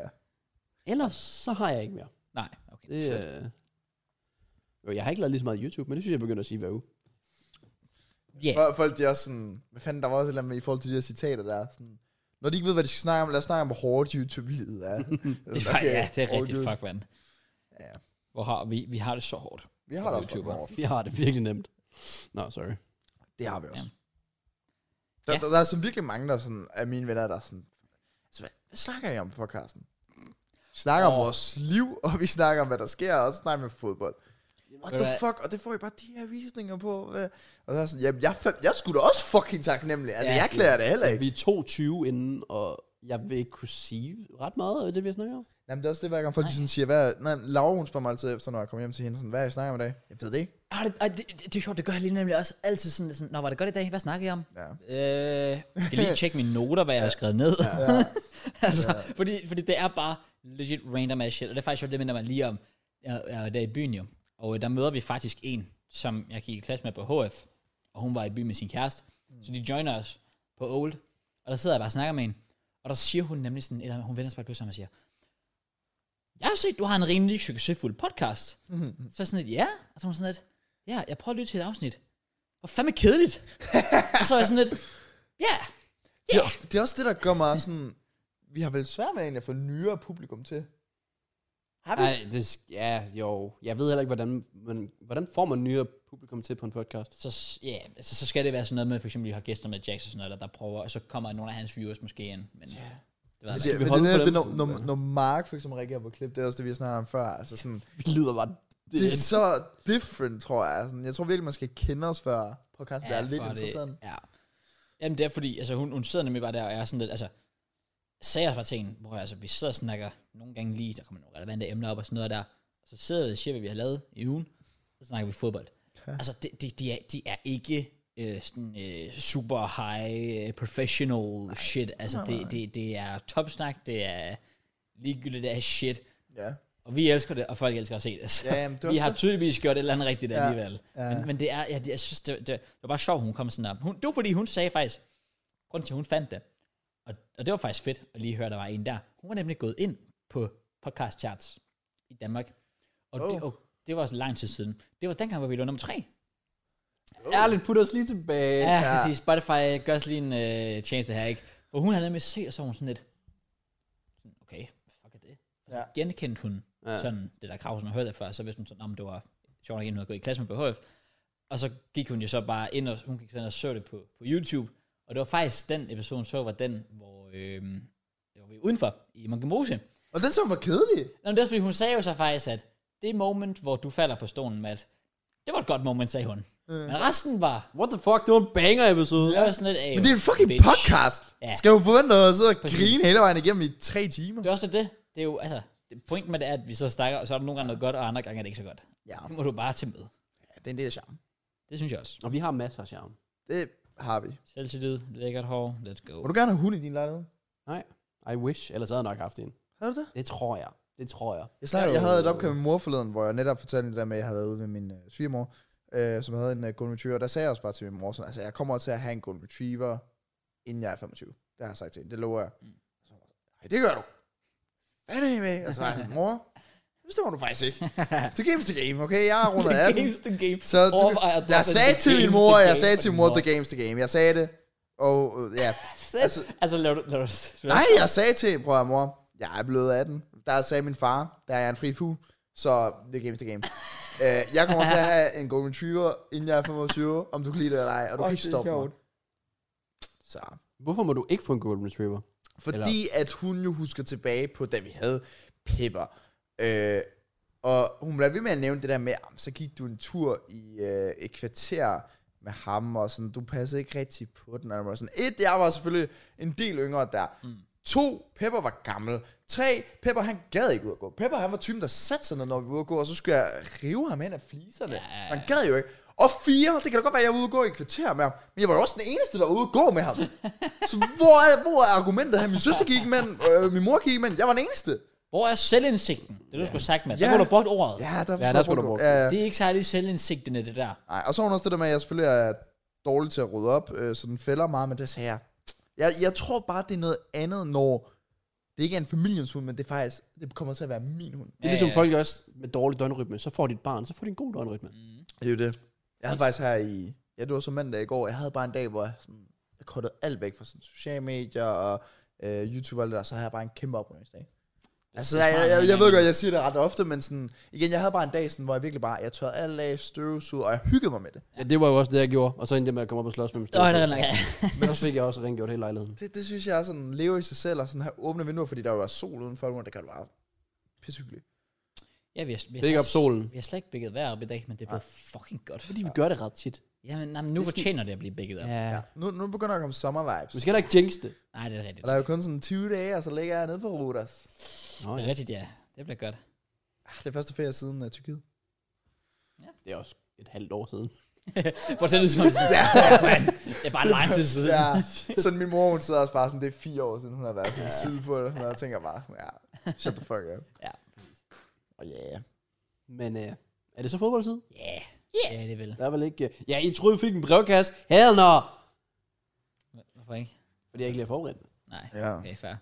Speaker 2: Ellers så har jeg ikke mere.
Speaker 1: Nej, okay.
Speaker 2: Det, øh... Jo, jeg har ikke lavet lige så meget YouTube, men det synes jeg, jeg begynder at sige hver uge.
Speaker 1: Ja,
Speaker 3: Folk- Folk de er også sådan, hvad fanden, der var også et eller andet med i forhold til de her citater der. Sådan, når de ikke ved, hvad de skal snakke om, lad os snakke om, hvor hårdt YouTube-livet er.
Speaker 1: det er, okay, ja, det er
Speaker 3: all
Speaker 1: rigtigt,
Speaker 3: good.
Speaker 1: fuck, mand.
Speaker 3: Ja.
Speaker 1: Hvor har vi, vi har det så hårdt.
Speaker 3: Vi har det også
Speaker 1: YouTuber.
Speaker 3: fucking hårdt.
Speaker 2: Jeg har det virkelig nemt. Nå, sorry.
Speaker 3: Det har vi også.
Speaker 1: Ja.
Speaker 3: Der,
Speaker 1: Ja.
Speaker 3: der, der, er sådan virkelig mange der sådan, af mine venner, der er sådan, altså, hvad, hvad snakker I om på podcasten? Vi snakker oh. om
Speaker 1: Åh.
Speaker 3: vores liv, og vi snakker om, hvad der sker, og så snakker vi om fodbold. What
Speaker 1: Ved du
Speaker 3: the
Speaker 1: hvad?
Speaker 3: fuck? Og det får I bare de her visninger på. Hvad? Og så er jeg sådan, jamen, jeg, fa- jeg skulle da også fucking taknemmelig. Altså,
Speaker 1: Ja.
Speaker 3: ja, jeg klager det heller ikke.
Speaker 2: Vi er 22 inden, og jeg vil ikke kunne sige ret meget af det, vi har snakket om.
Speaker 3: Jamen, det er også det, hver gang folk de sådan siger, hvad, nej, Laura, hun spørger mig altid efter, når jeg kommer hjem til hende, sådan, hvad er I snakker om i dag? Jeg ved det ikke.
Speaker 1: Ah, det, ah, det, det, det, er sjovt, det gør jeg lige nemlig også altid sådan, lidt sådan Nå, var det godt i dag? Hvad snakker I om?
Speaker 3: Ja.
Speaker 1: Øh, jeg kan lige tjekke mine noter, hvad jeg har skrevet ned. altså, fordi, fordi det er bare legit random ass shit, og det er faktisk sjovt, det minder mig lige om, jeg, jeg var der i byen jo, og øh, der møder vi faktisk en, som jeg gik i klasse med på HF, og hun var i byen med sin kæreste, så de joiner os på Old, og der sidder jeg bare og snakker med hende, og der siger hun nemlig sådan, eller andet, hun vender sig bare pludselig om og siger, jeg har set, du har en rimelig succesfuld podcast. Så var jeg sådan lidt, ja. Og så var hun sådan lidt, ja, jeg prøver at lytte til et afsnit. Hvor fandme kedeligt. og så var jeg sådan lidt, ja. Yeah.
Speaker 3: Det, er- det er også det, der gør mig sådan, vi har vel svært med egentlig at få nyere publikum til. Har vi?
Speaker 2: Ej, det, sk- ja, jo. Jeg ved heller ikke, hvordan, men, hvordan får man nyere publikum til på en podcast?
Speaker 1: Så, s- ja, altså, så skal det være sådan noget med, for eksempel, at vi har gæster med Jax og sådan noget, der, der prøver, og så kommer nogle af hans viewers måske ind. Men yeah. det ved jeg
Speaker 3: Men
Speaker 1: ikke.
Speaker 2: vi
Speaker 3: det, men det,
Speaker 2: holde
Speaker 3: er
Speaker 2: på
Speaker 3: netop det,
Speaker 2: dem?
Speaker 3: når, når, når Mark for eksempel reagerer på klip, det er også det, vi har snakket om før. Altså sådan,
Speaker 2: Vi lyder bare... Det,
Speaker 3: det er så different, tror jeg. Sådan, jeg tror virkelig, man skal kende os før podcasten ja, Altså, er lidt
Speaker 1: for
Speaker 3: interessant.
Speaker 1: Ja. Jamen det er fordi, altså hun, hun sidder nemlig bare der og er sådan lidt, altså, sagde også bare til hende, hvor jeg, altså, vi sidder og snakker nogle gange lige, der kommer nogle relevante emner op og sådan noget der, Så sidder vi og siger, hvad vi har lavet i ugen, så snakker vi fodbold.
Speaker 3: Ja.
Speaker 1: Altså, de, de, de, er, de er ikke øh, sådan, øh, super high øh, professional nej, shit. Altså,
Speaker 3: nej, nej.
Speaker 1: Det, det, det er topsnak, det er ligegyldigt, det er shit.
Speaker 3: Ja.
Speaker 1: Og vi elsker det, og folk elsker at se det. Så.
Speaker 3: Ja, jamen, det var
Speaker 1: vi har
Speaker 3: så-
Speaker 1: tydeligvis gjort et eller andet rigtigt
Speaker 3: Ja,
Speaker 1: alligevel.
Speaker 3: ja.
Speaker 1: Men, men det er, ja, det, jeg synes, det, det, det var bare sjovt, hun kom sådan op. Hun, det var fordi, hun sagde faktisk, grunden til, at hun fandt det, og, og det var faktisk fedt at lige høre, der var en der. Hun var nemlig gået ind på podcast charts i Danmark. Og, oh. det,
Speaker 3: Oh.
Speaker 1: og det var også lang tid siden. Det var dengang, hvor vi lå nummer tre.
Speaker 2: Ærligt, put os lige tilbage.
Speaker 1: Ja,
Speaker 3: Ja.
Speaker 1: ja. præcis. Spotify gør os lige en øh, tjeneste her, ikke? Og hun havde nemlig set, og så var hun sådan lidt, sådan, okay, hvad fuck er det? Og så
Speaker 3: Ja.
Speaker 1: genkendte hun
Speaker 2: Ja.
Speaker 1: ja. sådan det der krav, hun havde hørt det før, så vidste hun sådan, om det var sjovt nok, en, hun havde gået i klasse med på HF. Og så gik hun jo så bare ind, og hun gik så ind og så det på, på YouTube. Og det var faktisk den episode, hun så, var den, hvor, øh, hvor vi var udenfor i Monkemose.
Speaker 3: Og den som var kedelig.
Speaker 1: Nå, men det er også, fordi hun sagde jo så faktisk, at det moment, hvor du falder på stolen, Matt, det var et godt moment, sagde hun. Mm. Men resten var,
Speaker 2: What the fuck, det var en banger-episode.
Speaker 1: det var sådan lidt af.
Speaker 3: Men det er en fucking
Speaker 1: bitch.
Speaker 3: podcast.
Speaker 1: Ja.
Speaker 3: Skal hun forvente at sidde og
Speaker 1: Præcis.
Speaker 3: grine hele vejen igennem i tre timer?
Speaker 1: Det er også lidt det. Det er jo, altså, det- pointen med det er, at vi så snakker, og så er der nogle gange noget godt, og andre gange er det ikke så godt.
Speaker 3: Ja,
Speaker 1: Det må du bare tage med.
Speaker 3: det er en del af charmen.
Speaker 1: Det synes jeg også.
Speaker 2: Og vi har masser af charme.
Speaker 3: Det har vi.
Speaker 1: Selvtillid, lækkert hår, let's go.
Speaker 3: Må du gerne have hund i din lejlighed?
Speaker 2: I wish, ellers havde jeg nok haft en.
Speaker 3: Har du det?
Speaker 2: Det tror jeg. Det tror jeg.
Speaker 3: Jeg, snakker, jeg havde et opkald med mor forleden, hvor jeg netop fortalte det der med, at jeg havde været ude med min øh, svigermor, øh, som havde en øh, golden retriever. Der sagde jeg også bare til min mor, sådan, altså jeg kommer til at have en golden retriever, inden jeg er 25. Det har jeg sagt til hende, det lover jeg. Mm. Så var hun sådan, Nej, det gør du. Hvad er det med? Og så var jeg sådan, mor, det bestemmer du faktisk ikke. Det games the game, okay? Jeg er rundt af 18.
Speaker 1: games, the game.
Speaker 3: Så du,
Speaker 1: Overvej at
Speaker 3: jeg
Speaker 1: droppe
Speaker 3: sagde
Speaker 1: the
Speaker 3: til min
Speaker 1: games,
Speaker 3: mor,
Speaker 1: the
Speaker 3: jeg
Speaker 1: game
Speaker 3: sagde
Speaker 1: for
Speaker 3: til
Speaker 1: din
Speaker 3: mor,
Speaker 1: mor.
Speaker 3: the games the game. Jeg sagde det, og øh, ja.
Speaker 1: altså, altså laver du... Laver du
Speaker 3: Nej, jeg sagde til hende, prøv at høre, mor, jeg er blevet 18. Der sagde min far, der er jeg en fri fugl, så det er games the game. Øh, jeg kommer til at have en golden retriever, inden jeg er 25, om du kan lide det eller ej, og du kan ikke stoppe mig. Så.
Speaker 2: Hvorfor må du ikke få en golden retriever?
Speaker 3: Fordi eller... at hun jo husker tilbage på, da vi havde Pepper. Øh, og hun blev ved med at nævne det der med, "Jamen, så gik du en tur i øh, et kvarter med ham, og sådan, du passede ikke rigtig på den. Og jeg var sådan, et, jeg var selvfølgelig en del yngre der. Mm. To, Pepper var gammel. Tre, Pepper han gad ikke ud at gå. Pepper han var typen, der satte sig ned, når vi var ude at gå, og så skulle jeg rive ham hen af fliserne. Ja. Han gad jo ikke. Og fire, det kan da godt være, at jeg var ude at gå i et kvarter med ham, men jeg var jo også den eneste, der var ude at gå med ham. Så hvor er, hvor er argumentet her? Min søster gik med den, øh, min mor gik med den, jeg var den eneste.
Speaker 1: Hvor er selvindsigten? Det er du sgu sagt, Mads. Så
Speaker 3: Ja.
Speaker 1: kunne du have brugt ordet.
Speaker 3: Ja, der,
Speaker 2: der skulle du bruge
Speaker 3: Ja, ja.
Speaker 1: Det er ikke særlig selvindsigten i det der.
Speaker 3: Nej, og så var hun også det der med, at jeg selvfølgelig er dårlig til at rydde op, øh, så den fælder meget, men det sagde jeg. jeg. Jeg tror bare, det er noget andet, når det ikke er en familiens hund, men det er faktisk, det kommer til at være min hund.
Speaker 2: Det er ligesom folk også med dårlig døgnrytme. Så får de et barn, så får de en god døgnrytme.
Speaker 3: Det er jo det. Jeg havde faktisk her i, ja det var så mandag i går, jeg havde bare en dag, hvor jeg, sådan, jeg kottede alt væk fra sådan, sociale medier og øh, YouTube og alt det der, så havde jeg bare en kæmpe oprydningsdag. Altså,
Speaker 1: det er
Speaker 3: jeg,
Speaker 1: smart,
Speaker 3: jeg, jeg,
Speaker 1: men-
Speaker 3: jeg ved godt, jeg siger det ret ofte, men sådan, igen, jeg havde bare en dag, sådan, hvor jeg virkelig bare, jeg tørrede alt af, støvsugede, og jeg hyggede mig med det.
Speaker 2: Ja, det var jo også det, jeg gjorde. Og så endte jeg med at komme op og slås med min
Speaker 1: Nå,
Speaker 2: støvsug.
Speaker 1: det er nok.
Speaker 2: Men så fik jeg også rengjort hele lejligheden.
Speaker 3: Det, det synes jeg er sådan, leve i sig selv, og sådan have åbne vinduer, fordi der jo er sol udenfor, og det kan du bare pissehyggeligt.
Speaker 1: Ja, vi har, vi har,
Speaker 2: Det er ikke op solen.
Speaker 1: Vi har slet ikke bækket vejr op i dag, men det er blevet fucking godt.
Speaker 2: Fordi vi gør det ret tit.
Speaker 1: Jamen, nej, men nu fortjener det at blive bækket op.
Speaker 2: Ja.
Speaker 3: Nu, nu begynder der at komme sommervibes,
Speaker 2: Vi skal heller ikke jinx det.
Speaker 1: Nej, det er rigtigt.
Speaker 3: og der er jo kun sådan 20 dage, og så ligger jeg nede på Ruders.
Speaker 2: Nå,
Speaker 1: Det
Speaker 2: ja.
Speaker 1: er rigtigt, ja. Det bliver godt.
Speaker 3: Ah, Det er første ferie siden uh, Tyrkiet.
Speaker 2: Det er også et halvt år siden.
Speaker 1: Fortæl det som om sådan, ligesom ja, man, det er bare lang tid siden. Ja.
Speaker 3: Ja, sådan min mor, hun sidder også bare sådan, det er fire år siden, hun har været sådan syd på det, og jeg tænker bare sådan, ja, shut the fuck up.
Speaker 1: Ja.
Speaker 3: Og ja,
Speaker 2: Men øh, er det så fodboldtid?
Speaker 1: Yeah. Yeah. Ja, det vil.
Speaker 2: Der er vel ikke... øh, Ja, I troede, I fik en brevkasse. Hell no!
Speaker 1: Hvorfor ikke?
Speaker 2: Fordi jeg ikke lige er forberedt.
Speaker 1: Nej,
Speaker 3: ja.
Speaker 1: okay, fair.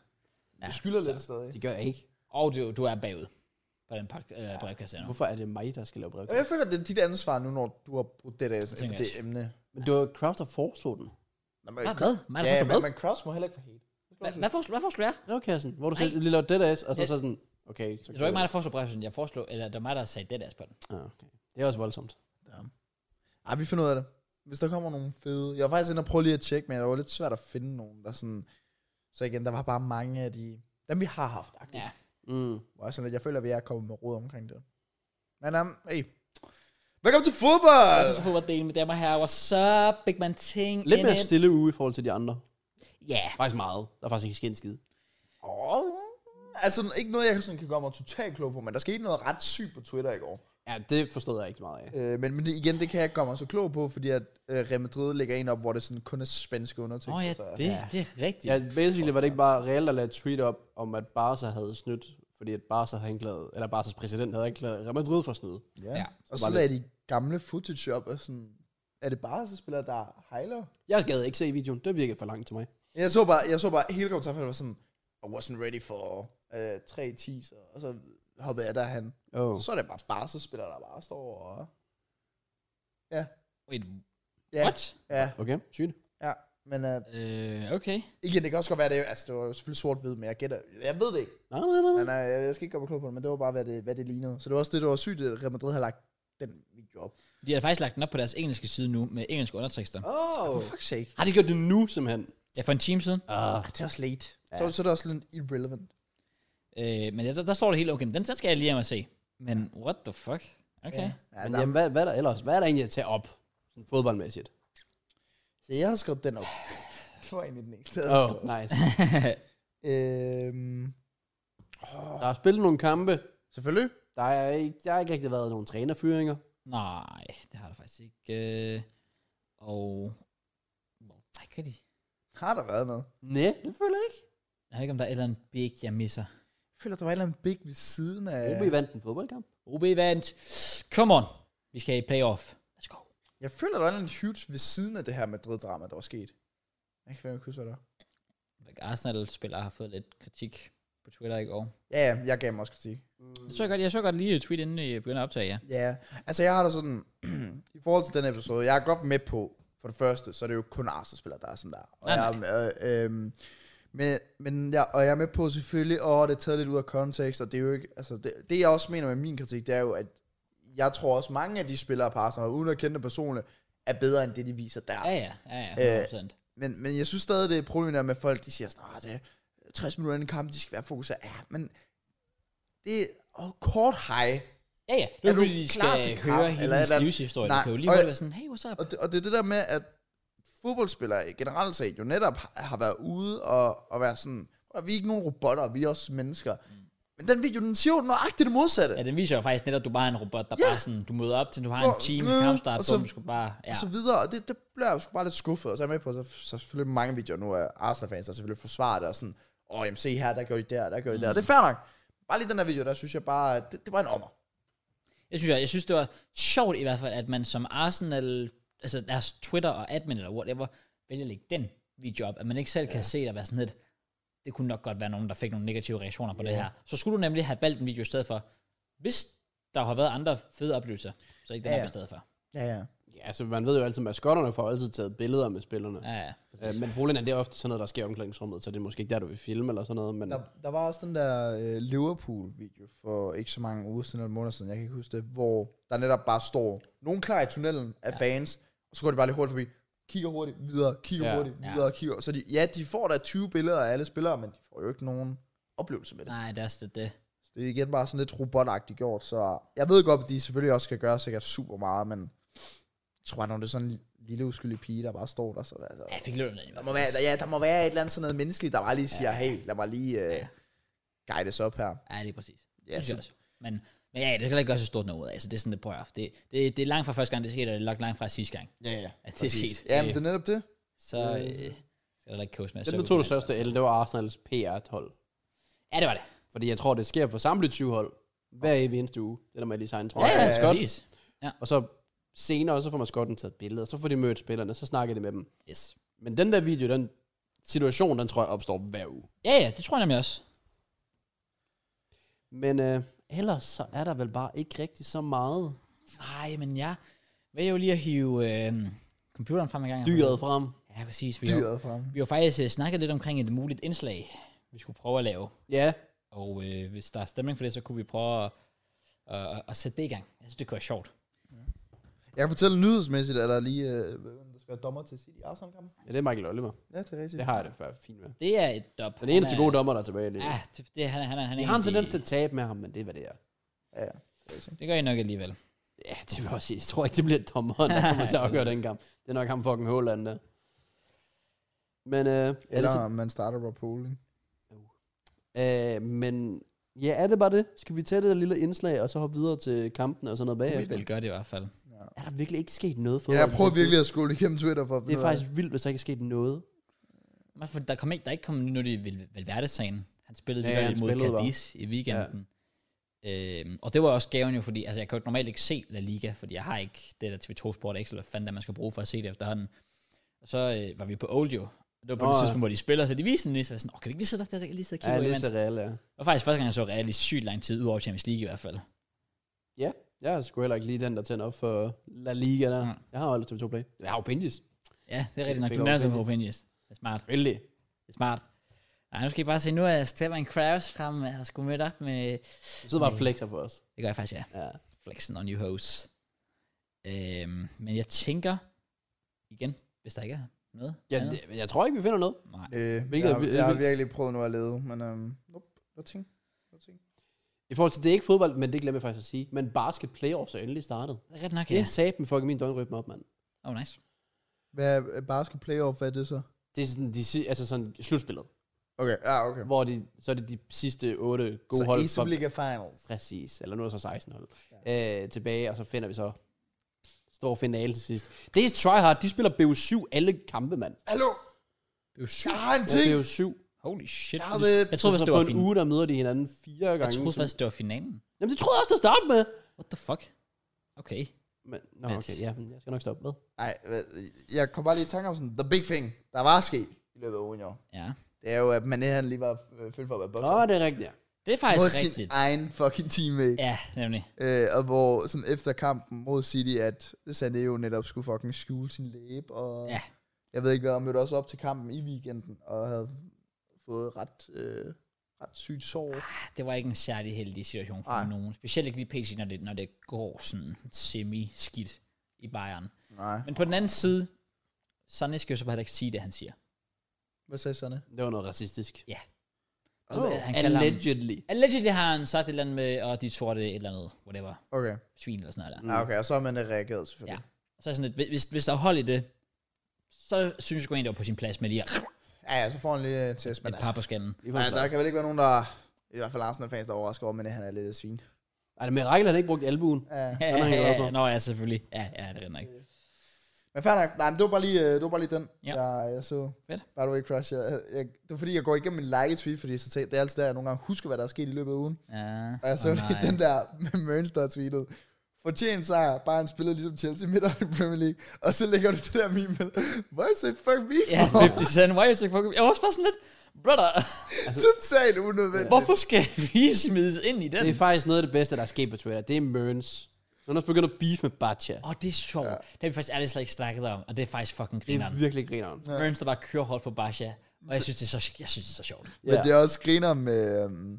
Speaker 3: Du skylder lidt stadig.
Speaker 2: Det gør jeg ikke.
Speaker 1: Og du, du er bagud på den podcast, øh, brevkasse nu.
Speaker 2: Hvorfor er det mig, der skal lave
Speaker 3: Og
Speaker 2: brevkasse?
Speaker 3: jeg føler, det er dit ansvar nu, når du har brugt det der for
Speaker 1: tænker
Speaker 3: det
Speaker 1: jeg.
Speaker 3: emne.
Speaker 2: Men det var Kraft, der foreslog den.
Speaker 3: Nå, men,
Speaker 1: Hvad? Hvad? Mig, der
Speaker 3: ja,
Speaker 1: foreslår
Speaker 3: men,
Speaker 1: hvad?
Speaker 3: men Kraus må heller ikke få hate.
Speaker 1: Hva- Hvad foreslår hvad foreslår jeg?
Speaker 2: Brevkassen, hvor du
Speaker 1: Nej.
Speaker 2: sagde, lige lavede det der, og så,
Speaker 1: Ja.
Speaker 2: så sådan, okay. Så
Speaker 1: Det var ikke mig, der foreslår brevkassen. Jeg foreslog, eller det var mig, der sagde det der på den.
Speaker 2: Ah, okay. Det er også voldsomt.
Speaker 3: Ej, vi finder ud af det. Hvis der kommer nogle fede... Jeg var faktisk inde og prøve lige at tjekke, men det var lidt svært at finde nogen, der sådan... Så igen, der var bare mange af de... Dem vi har haft, ja.
Speaker 1: Ja.
Speaker 2: Mm.
Speaker 3: Hvor jeg, sådan lidt, jeg føler, at vi er kommet med råd omkring det. Men um, hey. Velkommen til fodbold!
Speaker 1: Så får delen med damer her. What's up, big man ting?
Speaker 2: Øh. Lidt
Speaker 1: in
Speaker 2: mere
Speaker 1: it.
Speaker 2: stille uge i forhold til de andre.
Speaker 1: Ja.
Speaker 2: Faktisk meget. Der er faktisk ikke sket en skid.
Speaker 3: Åh, Oh. altså ikke noget, jeg sådan kan gøre mig totalt klog på, men der skete noget ret sygt på Twitter i går.
Speaker 2: Ja, det forstod jeg ikke meget af.
Speaker 3: Øh, men, men det, igen, det kan jeg ikke gøre mig så klog på, fordi at øh, Real Madrid lægger en op, hvor det sådan kun er spanske undertekster.
Speaker 1: Nå ja,
Speaker 3: så-
Speaker 1: det, det er rigtigt.
Speaker 2: Ja, basically var det ikke bare reelt at lade et tweet op, om at Barca havde snydt, fordi at Barca havde anklaget, eller Barcas præsident havde anklaget Real Madrid for at snyde.
Speaker 3: Ja.
Speaker 1: Ja,
Speaker 3: ja.
Speaker 2: så
Speaker 3: Og så
Speaker 2: bare
Speaker 3: lagde de gamle footage op, og sådan, er det bare så spillere, der hejler?
Speaker 2: Jeg gad ikke se videoen, det virkede for langt til mig.
Speaker 3: Jeg så bare, jeg så bare hele kommentarfeltet var sådan, I wasn't ready for øh, 3 teaser, og så hoppede jeg derhen.
Speaker 2: Oh.
Speaker 3: Så er det bare bare så spillere, der bare står og...
Speaker 1: Wait,
Speaker 3: Ja,
Speaker 1: what?
Speaker 3: ja,
Speaker 2: Okay, sygt.
Speaker 3: ja. Men øh,
Speaker 1: Øh, okay.
Speaker 3: igen, det kan også godt være, det, altså, det var jo selvfølgelig sort-hvid, men jeg gætter, jeg ved det ikke.
Speaker 2: Nej, nej, nej,
Speaker 3: Men,
Speaker 2: nej.
Speaker 3: øh, jeg, jeg skal ikke gøre mig klog på det, men det var bare, hvad det, hvad det lignede. Så det var også det, der var sygt, at Real Madrid har lagt den video op.
Speaker 1: De har faktisk lagt den op på deres engelske side nu, med engelske undertekster.
Speaker 2: Oh.
Speaker 3: For fuck's sake.
Speaker 2: Har de gjort det nu, simpelthen?
Speaker 1: Ja, for en time siden.
Speaker 2: Uh.
Speaker 3: Det er også late. Ja. Så, så er det også lidt irrelevant.
Speaker 1: Øh, men der, der står det helt okay. Men den, den skal jeg lige hjem og se. Men what the fuck? Okay.
Speaker 3: Ja.
Speaker 1: Ja.
Speaker 3: Ja,
Speaker 2: Men
Speaker 3: der,
Speaker 2: jamen, hvad, hvad er der ellers? Hvad er der egentlig at tage op, sådan fodboldmæssigt?
Speaker 3: så jeg har skrevet den op. Det var egentlig den eneste, jeg havde
Speaker 2: Oh,
Speaker 3: skrevet.
Speaker 2: nice.
Speaker 3: Øhm,
Speaker 2: Der er spillet nogle kampe.
Speaker 3: selvfølgelig.
Speaker 2: Der er ikke, der har ikke rigtig været nogen trænerfyringer.
Speaker 1: Nej, det har der faktisk ikke. Øh, og... Well, nej, kan de?
Speaker 3: Har der været noget?
Speaker 2: Nej, det føler jeg ikke.
Speaker 1: Jeg ved ikke, om der er et eller andet big, jeg misser.
Speaker 3: Jeg føler, der var et eller andet big ved siden af...
Speaker 2: OB vandt en fodboldkamp.
Speaker 1: OB vandt. Come on. Vi skal i playoff. Let's go.
Speaker 3: Jeg føler, der var et eller andet huge ved siden af det her Madrid-drama, der var sket. Jeg kan ikke huske, hvad der var.
Speaker 1: Arsenal-spillere har fået lidt kritik på Twitter i går.
Speaker 3: Ja, ja, jeg gav mig også kritik.
Speaker 1: Jeg så godt, jeg så godt lige et tweet, inden I begynder at optage, ja.
Speaker 3: Ja, altså jeg har da sådan... I forhold til den episode, jeg er godt med på, for det første, så er det jo kun Arsenal-spillere, der er sådan der. Og
Speaker 1: Nej,
Speaker 3: jeg, er, øh, øh, men, men jeg, og jeg er med på selvfølgelig, og det er taget lidt ud af kontekst, og det er jo ikke... Altså, det, det jeg også mener med min kritik, det er jo, at jeg tror også, mange af de spillere på Arsenal, uden at kende dem personligt, er bedre end det, de viser der.
Speaker 1: Ja, ja, ja, ja, 100%. Øh,
Speaker 3: Men, men jeg synes stadig, det er problemet der med folk, de siger sådan, "Ah, det er 60 minutter inden kamp, de skal være fokuseret. Ja, men det er oh, kort hej.
Speaker 1: ja, ja. Det er,
Speaker 3: er du
Speaker 1: fordi, de
Speaker 3: klar
Speaker 1: skal
Speaker 3: til kamp,
Speaker 1: høre hele
Speaker 3: eller et
Speaker 1: hendes
Speaker 3: eller andet?
Speaker 1: livshistorie. Nej,
Speaker 3: Nej,
Speaker 1: du kan jo lige
Speaker 3: og-
Speaker 1: godt være sådan, hey, what's up?
Speaker 3: Og det, og det er det der med, at fodboldspillere generelt set jo netop har- har været ude og, og være sådan, og vi er ikke nogen robotter, vi er også mennesker. Men den video, den siger jo nøjagtigt det modsatte.
Speaker 1: Ja, den viser jo faktisk netop, at du bare er en robot, der
Speaker 3: Ja.
Speaker 1: bare sådan, du møder op til, du har en
Speaker 3: Hvor- altså-
Speaker 1: team,
Speaker 3: øh,
Speaker 1: kampstart,
Speaker 3: og
Speaker 1: så
Speaker 3: så-
Speaker 1: du skal bare, ja.
Speaker 3: og så videre, og det, det bliver jeg jo sgu bare lidt skuffet, og så er jeg med på, så, så selvfølgelig mange videoer nu af Arsenal-fans, der selvfølgelig forsvarer det, og sådan, åh, jamen se her, der gør de der, der gør de der, og det er fair nok. Bare lige den der video, der synes jeg bare, at det, det var en ommer.
Speaker 1: Jeg synes, jeg, jeg synes, det var sjovt i hvert fald, at man som Arsenal, altså deres Twitter og admin eller whatever, vælger at lægge den video op, at man ikke selv kan se der være sådan lidt, det kunne nok godt være nogen, der fik nogle negative reaktioner på det her. Så skulle du nemlig have valgt en video i stedet for, hvis der har været andre fede oplevelser, så ikke den
Speaker 3: Ja,
Speaker 1: her
Speaker 3: ja.
Speaker 1: i stedet for.
Speaker 3: Ja, ja.
Speaker 2: Ja, så man ved jo altid, at maskotterne får altid taget billeder med spillerne.
Speaker 1: Ja, ja.
Speaker 2: Øh, men problemet er, at det er ofte sådan noget, der sker i omklædningsrummet, så det er måske ikke der, du vil filme eller sådan noget. Men
Speaker 3: Der, der var også den der øh, Liverpool-video for ikke så mange uger siden, eller måneder siden, jeg kan ikke huske det, hvor der netop bare står nogen klar i tunnelen af ja. fans, og så går de bare lidt hurtigt forbi, kigger hurtigt videre, kigger
Speaker 2: Ja.
Speaker 3: ja. hurtigt
Speaker 1: Ja.
Speaker 3: videre, ja. kigger, så de, ja, de får da 20 billeder af alle spillere, men de får jo ikke nogen oplevelse med det.
Speaker 1: Nej, det er også det. det.
Speaker 3: Så det er igen bare sådan lidt robotagtigt gjort, så jeg ved godt, at de selvfølgelig også skal gøre sikkert super meget, men jeg tror bare, når det er sådan en lille uskyldig pige, der bare står der, så er det altså...
Speaker 1: Ja, jeg fik løbet den. i
Speaker 3: Der
Speaker 1: hvert
Speaker 3: må
Speaker 1: fald.
Speaker 3: være, der, ja, der må være et eller andet sådan noget menneskeligt, der bare lige siger, hey, lad mig lige øh, guide os op her.
Speaker 1: Ja, lige præcis.
Speaker 3: Ja,
Speaker 1: Ja, det synes
Speaker 3: så-
Speaker 1: jeg også. Men, men ja, det skal ikke gøre så stort noget ud af. Altså, det er sådan, det prøver jeg. Det, det, det er langt fra første gang, det skete, og det er nok langt fra sidste gang,
Speaker 2: ja, ja.
Speaker 1: at det
Speaker 2: Præcis.
Speaker 1: skete.
Speaker 3: Ja, men det er netop det.
Speaker 1: Så øh, skal der da ikke kose med. at
Speaker 2: Den,
Speaker 1: sukke
Speaker 2: der tog
Speaker 1: på
Speaker 2: det største L, det var Arsenals PR-hold.
Speaker 1: Ja, det var det.
Speaker 2: Fordi jeg tror, det sker for samtlige 20 hold hver evig eneste uge. Det der med at designe
Speaker 1: Ja,
Speaker 2: trøjer.
Speaker 1: ja,
Speaker 2: og skot.
Speaker 1: præcis.
Speaker 2: Og så senere, så får man skotten taget billeder, så får de mødt spillerne, så snakker de med dem.
Speaker 1: Yes.
Speaker 2: Men den der video, den situation, den tror jeg opstår hver uge.
Speaker 1: Ja, ja, det tror jeg nemlig også.
Speaker 2: Men øh, ellers så er der vel bare ikke rigtig så meget
Speaker 1: Nej, men jeg vil jo lige at hive øh, computeren frem en gang.
Speaker 2: dyret frem.
Speaker 1: Ja, præcis. Vi har,
Speaker 3: Dyret for ham.
Speaker 1: vi har faktisk øh, snakket lidt omkring et muligt indslag, vi skulle prøve at lave.
Speaker 2: Ja,
Speaker 1: Og øh, hvis der er stemning for det, så kunne vi prøve at, at, at sætte det i gang. Jeg synes, det kunne være sjovt.
Speaker 3: Jeg kan fortælle nyhedsmæssigt, at der lige øh, hvem der skal være dommer til City arsenal kampen
Speaker 2: ja det er Michael Oliver.
Speaker 3: Ja, det er rigtigt.
Speaker 2: Det har jeg det for fint med.
Speaker 1: Det er et øh, dop.
Speaker 2: Den eneste
Speaker 1: Han er-
Speaker 2: gode dommer, der er tilbage lige.
Speaker 1: Ja, det, det, han, er- han, er- han er
Speaker 2: Jeg har en
Speaker 1: en af de-
Speaker 2: tendens til at tabe med ham, men det er, hvad det er.
Speaker 3: Ja, ja. Det er rigtigt.
Speaker 1: Det gør jeg nok alligevel.
Speaker 2: Ja, det vil jeg også sige. Jeg tror ikke, det bliver dommeren, der kommer til at afgøre den kamp. Det er nok ham fucking Håland, der. Men altså, øh,
Speaker 3: Eller
Speaker 2: ellers,
Speaker 3: om man starter Rob Holding.
Speaker 2: Øh, men ja, er det bare det? Skal vi tage det der lille indslag, og så hoppe videre til kampen og sådan noget
Speaker 1: Ja,
Speaker 2: bagefter?
Speaker 1: vil gøre det i hvert fald.
Speaker 3: Ja.
Speaker 2: Er der virkelig ikke sket noget for
Speaker 3: ja, jeg prøver virkelig at skole igennem Twitter for at
Speaker 2: Det
Speaker 3: finde
Speaker 2: er
Speaker 3: ud af
Speaker 2: faktisk vildt, hvis der ikke er sket noget.
Speaker 1: Men For der, kom ikke, der er ikke kommet noget i Vel- Valverde-sagen. Han spillede
Speaker 2: Ja,
Speaker 1: ja,
Speaker 2: han
Speaker 1: mod
Speaker 2: spillede bare.
Speaker 1: Cadiz i weekenden. Ja. Øhm, og det var også gaven jo, fordi altså, jeg kan jo normalt ikke se La Liga, fordi jeg har ikke det der TV2 Sport X, eller hvad fanden der man skal bruge for at se det efterhånden. Og så øh, var vi på Old jo. Det var på
Speaker 2: Nå,
Speaker 1: oh, det
Speaker 2: ja.
Speaker 1: tidspunkt, hvor de spiller, så de viste den lige, så jeg var sådan, åh, kan vi ikke lige sidde der, så jeg kan lige sidde og kigge
Speaker 2: Ja,
Speaker 1: ja,
Speaker 2: lidt
Speaker 1: imens.
Speaker 2: så reelt, ja.
Speaker 1: Det var faktisk første gang, jeg så Real i sygt lang tid, udover Champions League i hvert fald.
Speaker 2: Ja, jeg er sgu heller ikke lige den, der tænder op for La Liga der.
Speaker 1: Mm.
Speaker 2: Jeg har jo aldrig TV2 Play. Jeg har jo Bindis.
Speaker 1: Ja, det er rigtigt nok.
Speaker 2: Big
Speaker 1: Du nærmer sig på
Speaker 2: opinion.
Speaker 1: Opinions. Det er smart.
Speaker 2: Selvfølgelig.
Speaker 1: Det er smart. Nej, nu skal I bare se, nu er Stefan Kraus frem, han har sgu mødt op med...
Speaker 2: Du sidder bare og flexer på os.
Speaker 1: Det gør jeg faktisk, ja.
Speaker 2: Ja.
Speaker 1: flexen on your hose. Øhm, men jeg tænker, igen, hvis der ikke er noget.
Speaker 2: Ja,
Speaker 1: andet.
Speaker 2: det, jeg tror ikke, vi finder noget.
Speaker 1: Nej.
Speaker 3: Øh,
Speaker 2: Hvilket
Speaker 3: jeg,
Speaker 2: er vi-
Speaker 3: har- jeg har
Speaker 2: hvilket-
Speaker 3: virkelig prøvet nu at lede, men øhm, nope, nothing. nothing.
Speaker 2: I forhold til, det er ikke fodbold, men det glemmer jeg faktisk at sige. Men basket playoffs er endelig startet.
Speaker 1: Det er ret nok,
Speaker 2: Okay.
Speaker 1: ja.
Speaker 2: Det sagde dem fucking min døgnrytme op, mand.
Speaker 1: Åh, oh, nice.
Speaker 3: Hvad er basket playoff, hvad er det så?
Speaker 2: Det er sådan, de, si- altså sådan slutspillet,
Speaker 3: Okay, ja, ah, okay.
Speaker 2: hvor de, så er det de sidste otte gode
Speaker 3: så
Speaker 2: hold.
Speaker 3: Eastern League er finals.
Speaker 2: præcis, eller nu er der så 16 hold. Ja. Øh, tilbage, og så finder vi så stor finale til sidst. Det er tryhard, de spiller BO7 alle kampe, mand.
Speaker 3: Hallo,
Speaker 1: Det er jo
Speaker 3: jeg
Speaker 1: sygt.
Speaker 3: har en
Speaker 2: Ja,
Speaker 3: ting!
Speaker 2: BO7.
Speaker 1: Holy shit.
Speaker 3: Jeg har været...
Speaker 1: Jeg troede
Speaker 2: øh, så
Speaker 1: faktisk, det
Speaker 2: på
Speaker 1: var
Speaker 2: en
Speaker 1: fin-
Speaker 2: uge, der møder de hinanden fire gange.
Speaker 1: jeg troede faktisk, det var finalen.
Speaker 2: Jamen, det troede jeg også, der starte med.
Speaker 1: What the fuck? Okay.
Speaker 2: Men, nå,
Speaker 1: Men-
Speaker 2: okay, ja, men jeg skal nok stoppe med.
Speaker 3: Nej, jeg kom bare lige i tanke om sådan, the big thing, der var sket i løbet af ugen i år.
Speaker 1: Ja.
Speaker 3: Det er jo, at man han lige var øh, fyldt for at være
Speaker 2: Nå,
Speaker 3: bokser.
Speaker 2: det er rigtigt, ja.
Speaker 1: Det er faktisk
Speaker 3: Mod sin
Speaker 1: rigtigt.
Speaker 3: egen fucking teammate.
Speaker 1: Ja, nemlig.
Speaker 3: Øh, og hvor sådan efter kampen mod City, at San Diego netop skulle fucking skjule sin læbe, og
Speaker 1: Ja.
Speaker 3: jeg ved ikke hvad, og mødte også op til kampen i weekenden, og havde fået ret, øh, ret sygt sår.
Speaker 1: Ah, Det var ikke en særlig heldig situation for
Speaker 3: Nej.
Speaker 1: nogen. Specielt ikke lige PC, når det, når det går sådan semi-skidt i Bayern.
Speaker 3: Nej.
Speaker 1: Men på den anden side, Sonny skal jo så bare heller ikke sige det, han siger.
Speaker 3: Hvad sagde Sanne?
Speaker 2: Det var noget racistisk.
Speaker 3: Oh,
Speaker 1: Han kalder ham-
Speaker 2: Allegedly.
Speaker 1: Allegedly har han sagt et eller andet med, og de tror det er et eller andet, whatever,
Speaker 3: okay.
Speaker 1: svin eller sådan noget der.
Speaker 3: Ja, okay, og så har man øh, reageret selvfølgelig.
Speaker 1: Og så er jeg sådan lidt, hvis, hvis der er hold i det, så synes jeg sgu egentlig, det var på sin plads med lige at
Speaker 3: Ja, ja, så får han lige en test, men
Speaker 1: et
Speaker 3: altså,
Speaker 1: par på skallen.
Speaker 2: Lige for
Speaker 3: nej,
Speaker 2: en
Speaker 3: der
Speaker 2: flot.
Speaker 3: kan vel ikke være nogen, der... I hvert fald Arsenal-fans, der overrasker over, men han er lidt af svin.
Speaker 2: Ej, det er mirakel, han ikke brugt albuen.
Speaker 3: Ja.
Speaker 1: Ja,
Speaker 2: er han glad for.
Speaker 1: ja, Nå ja, selvfølgelig. Ja, ja, det er rigtig nok.
Speaker 3: Men fair nok. Nej, men det var bare lige, øh, det var bare lige den,
Speaker 1: Ja.
Speaker 3: ja. der jeg så.
Speaker 1: Fedt.
Speaker 3: By the way, Crush. Jeg, jeg, det var fordi, jeg går igennem min like-tweet, fordi så tænkte, det er altid der, jeg nogle gange husker, hvad der er sket i løbet af ugen.
Speaker 1: Ja,
Speaker 3: Og jeg så
Speaker 1: Åh,
Speaker 3: lige
Speaker 1: nej.
Speaker 3: den der med Mørns, der har tweetet. Fortjent sejr, bare han spiller ligesom Chelsea midt i Premier League. Og så lægger du det der meme med, why say fuck me
Speaker 1: Ja,
Speaker 3: for?
Speaker 1: 50 Cent, why you so fucking... Jeg var også bare sådan lidt, brother,
Speaker 3: Totalt unødvendigt.
Speaker 1: hvorfor skal vi smides ind i den?
Speaker 2: Det er faktisk noget af det bedste, der er sket på Twitter. Det er Mørns. Når han også begynder at beef med Batja.
Speaker 1: Åh, oh, det er sjovt. Ja. Det har vi faktisk ærligt slet ikke snakket om, og det er faktisk fucking
Speaker 2: Det er
Speaker 1: grineren.
Speaker 2: virkelig grineren.
Speaker 1: Ja. Burns, der bare kører hårdt på Basha, og jeg synes, det er så, jeg synes, det er så sjovt.
Speaker 3: Men det er også griner med, øhm,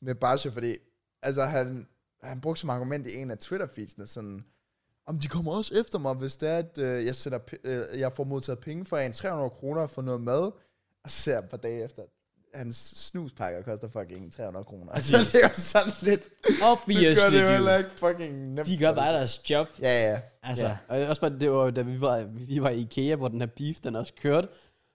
Speaker 3: med Basha, fordi altså, han, han brugte som argument i en af Twitter-feedsene, sådan, om de kommer også efter mig, hvis det er, at øh, jeg, sender, p- øh, jeg får modtaget penge fra en 300 kroner for noget mad, og så ser jeg et par dage efter, at hans snuspakker koster fucking 300 kroner. Altså, det er jo sådan lidt, det gør
Speaker 1: Obviously,
Speaker 3: det jo heller
Speaker 1: dude.
Speaker 3: ikke fucking nemt.
Speaker 1: De gør
Speaker 3: for
Speaker 1: bare
Speaker 3: det.
Speaker 1: deres job.
Speaker 3: Ja, ja.
Speaker 1: Altså,
Speaker 2: Ja. Og også bare, det var jo, da vi var, vi var i Ikea, hvor den her beef, den også kørte,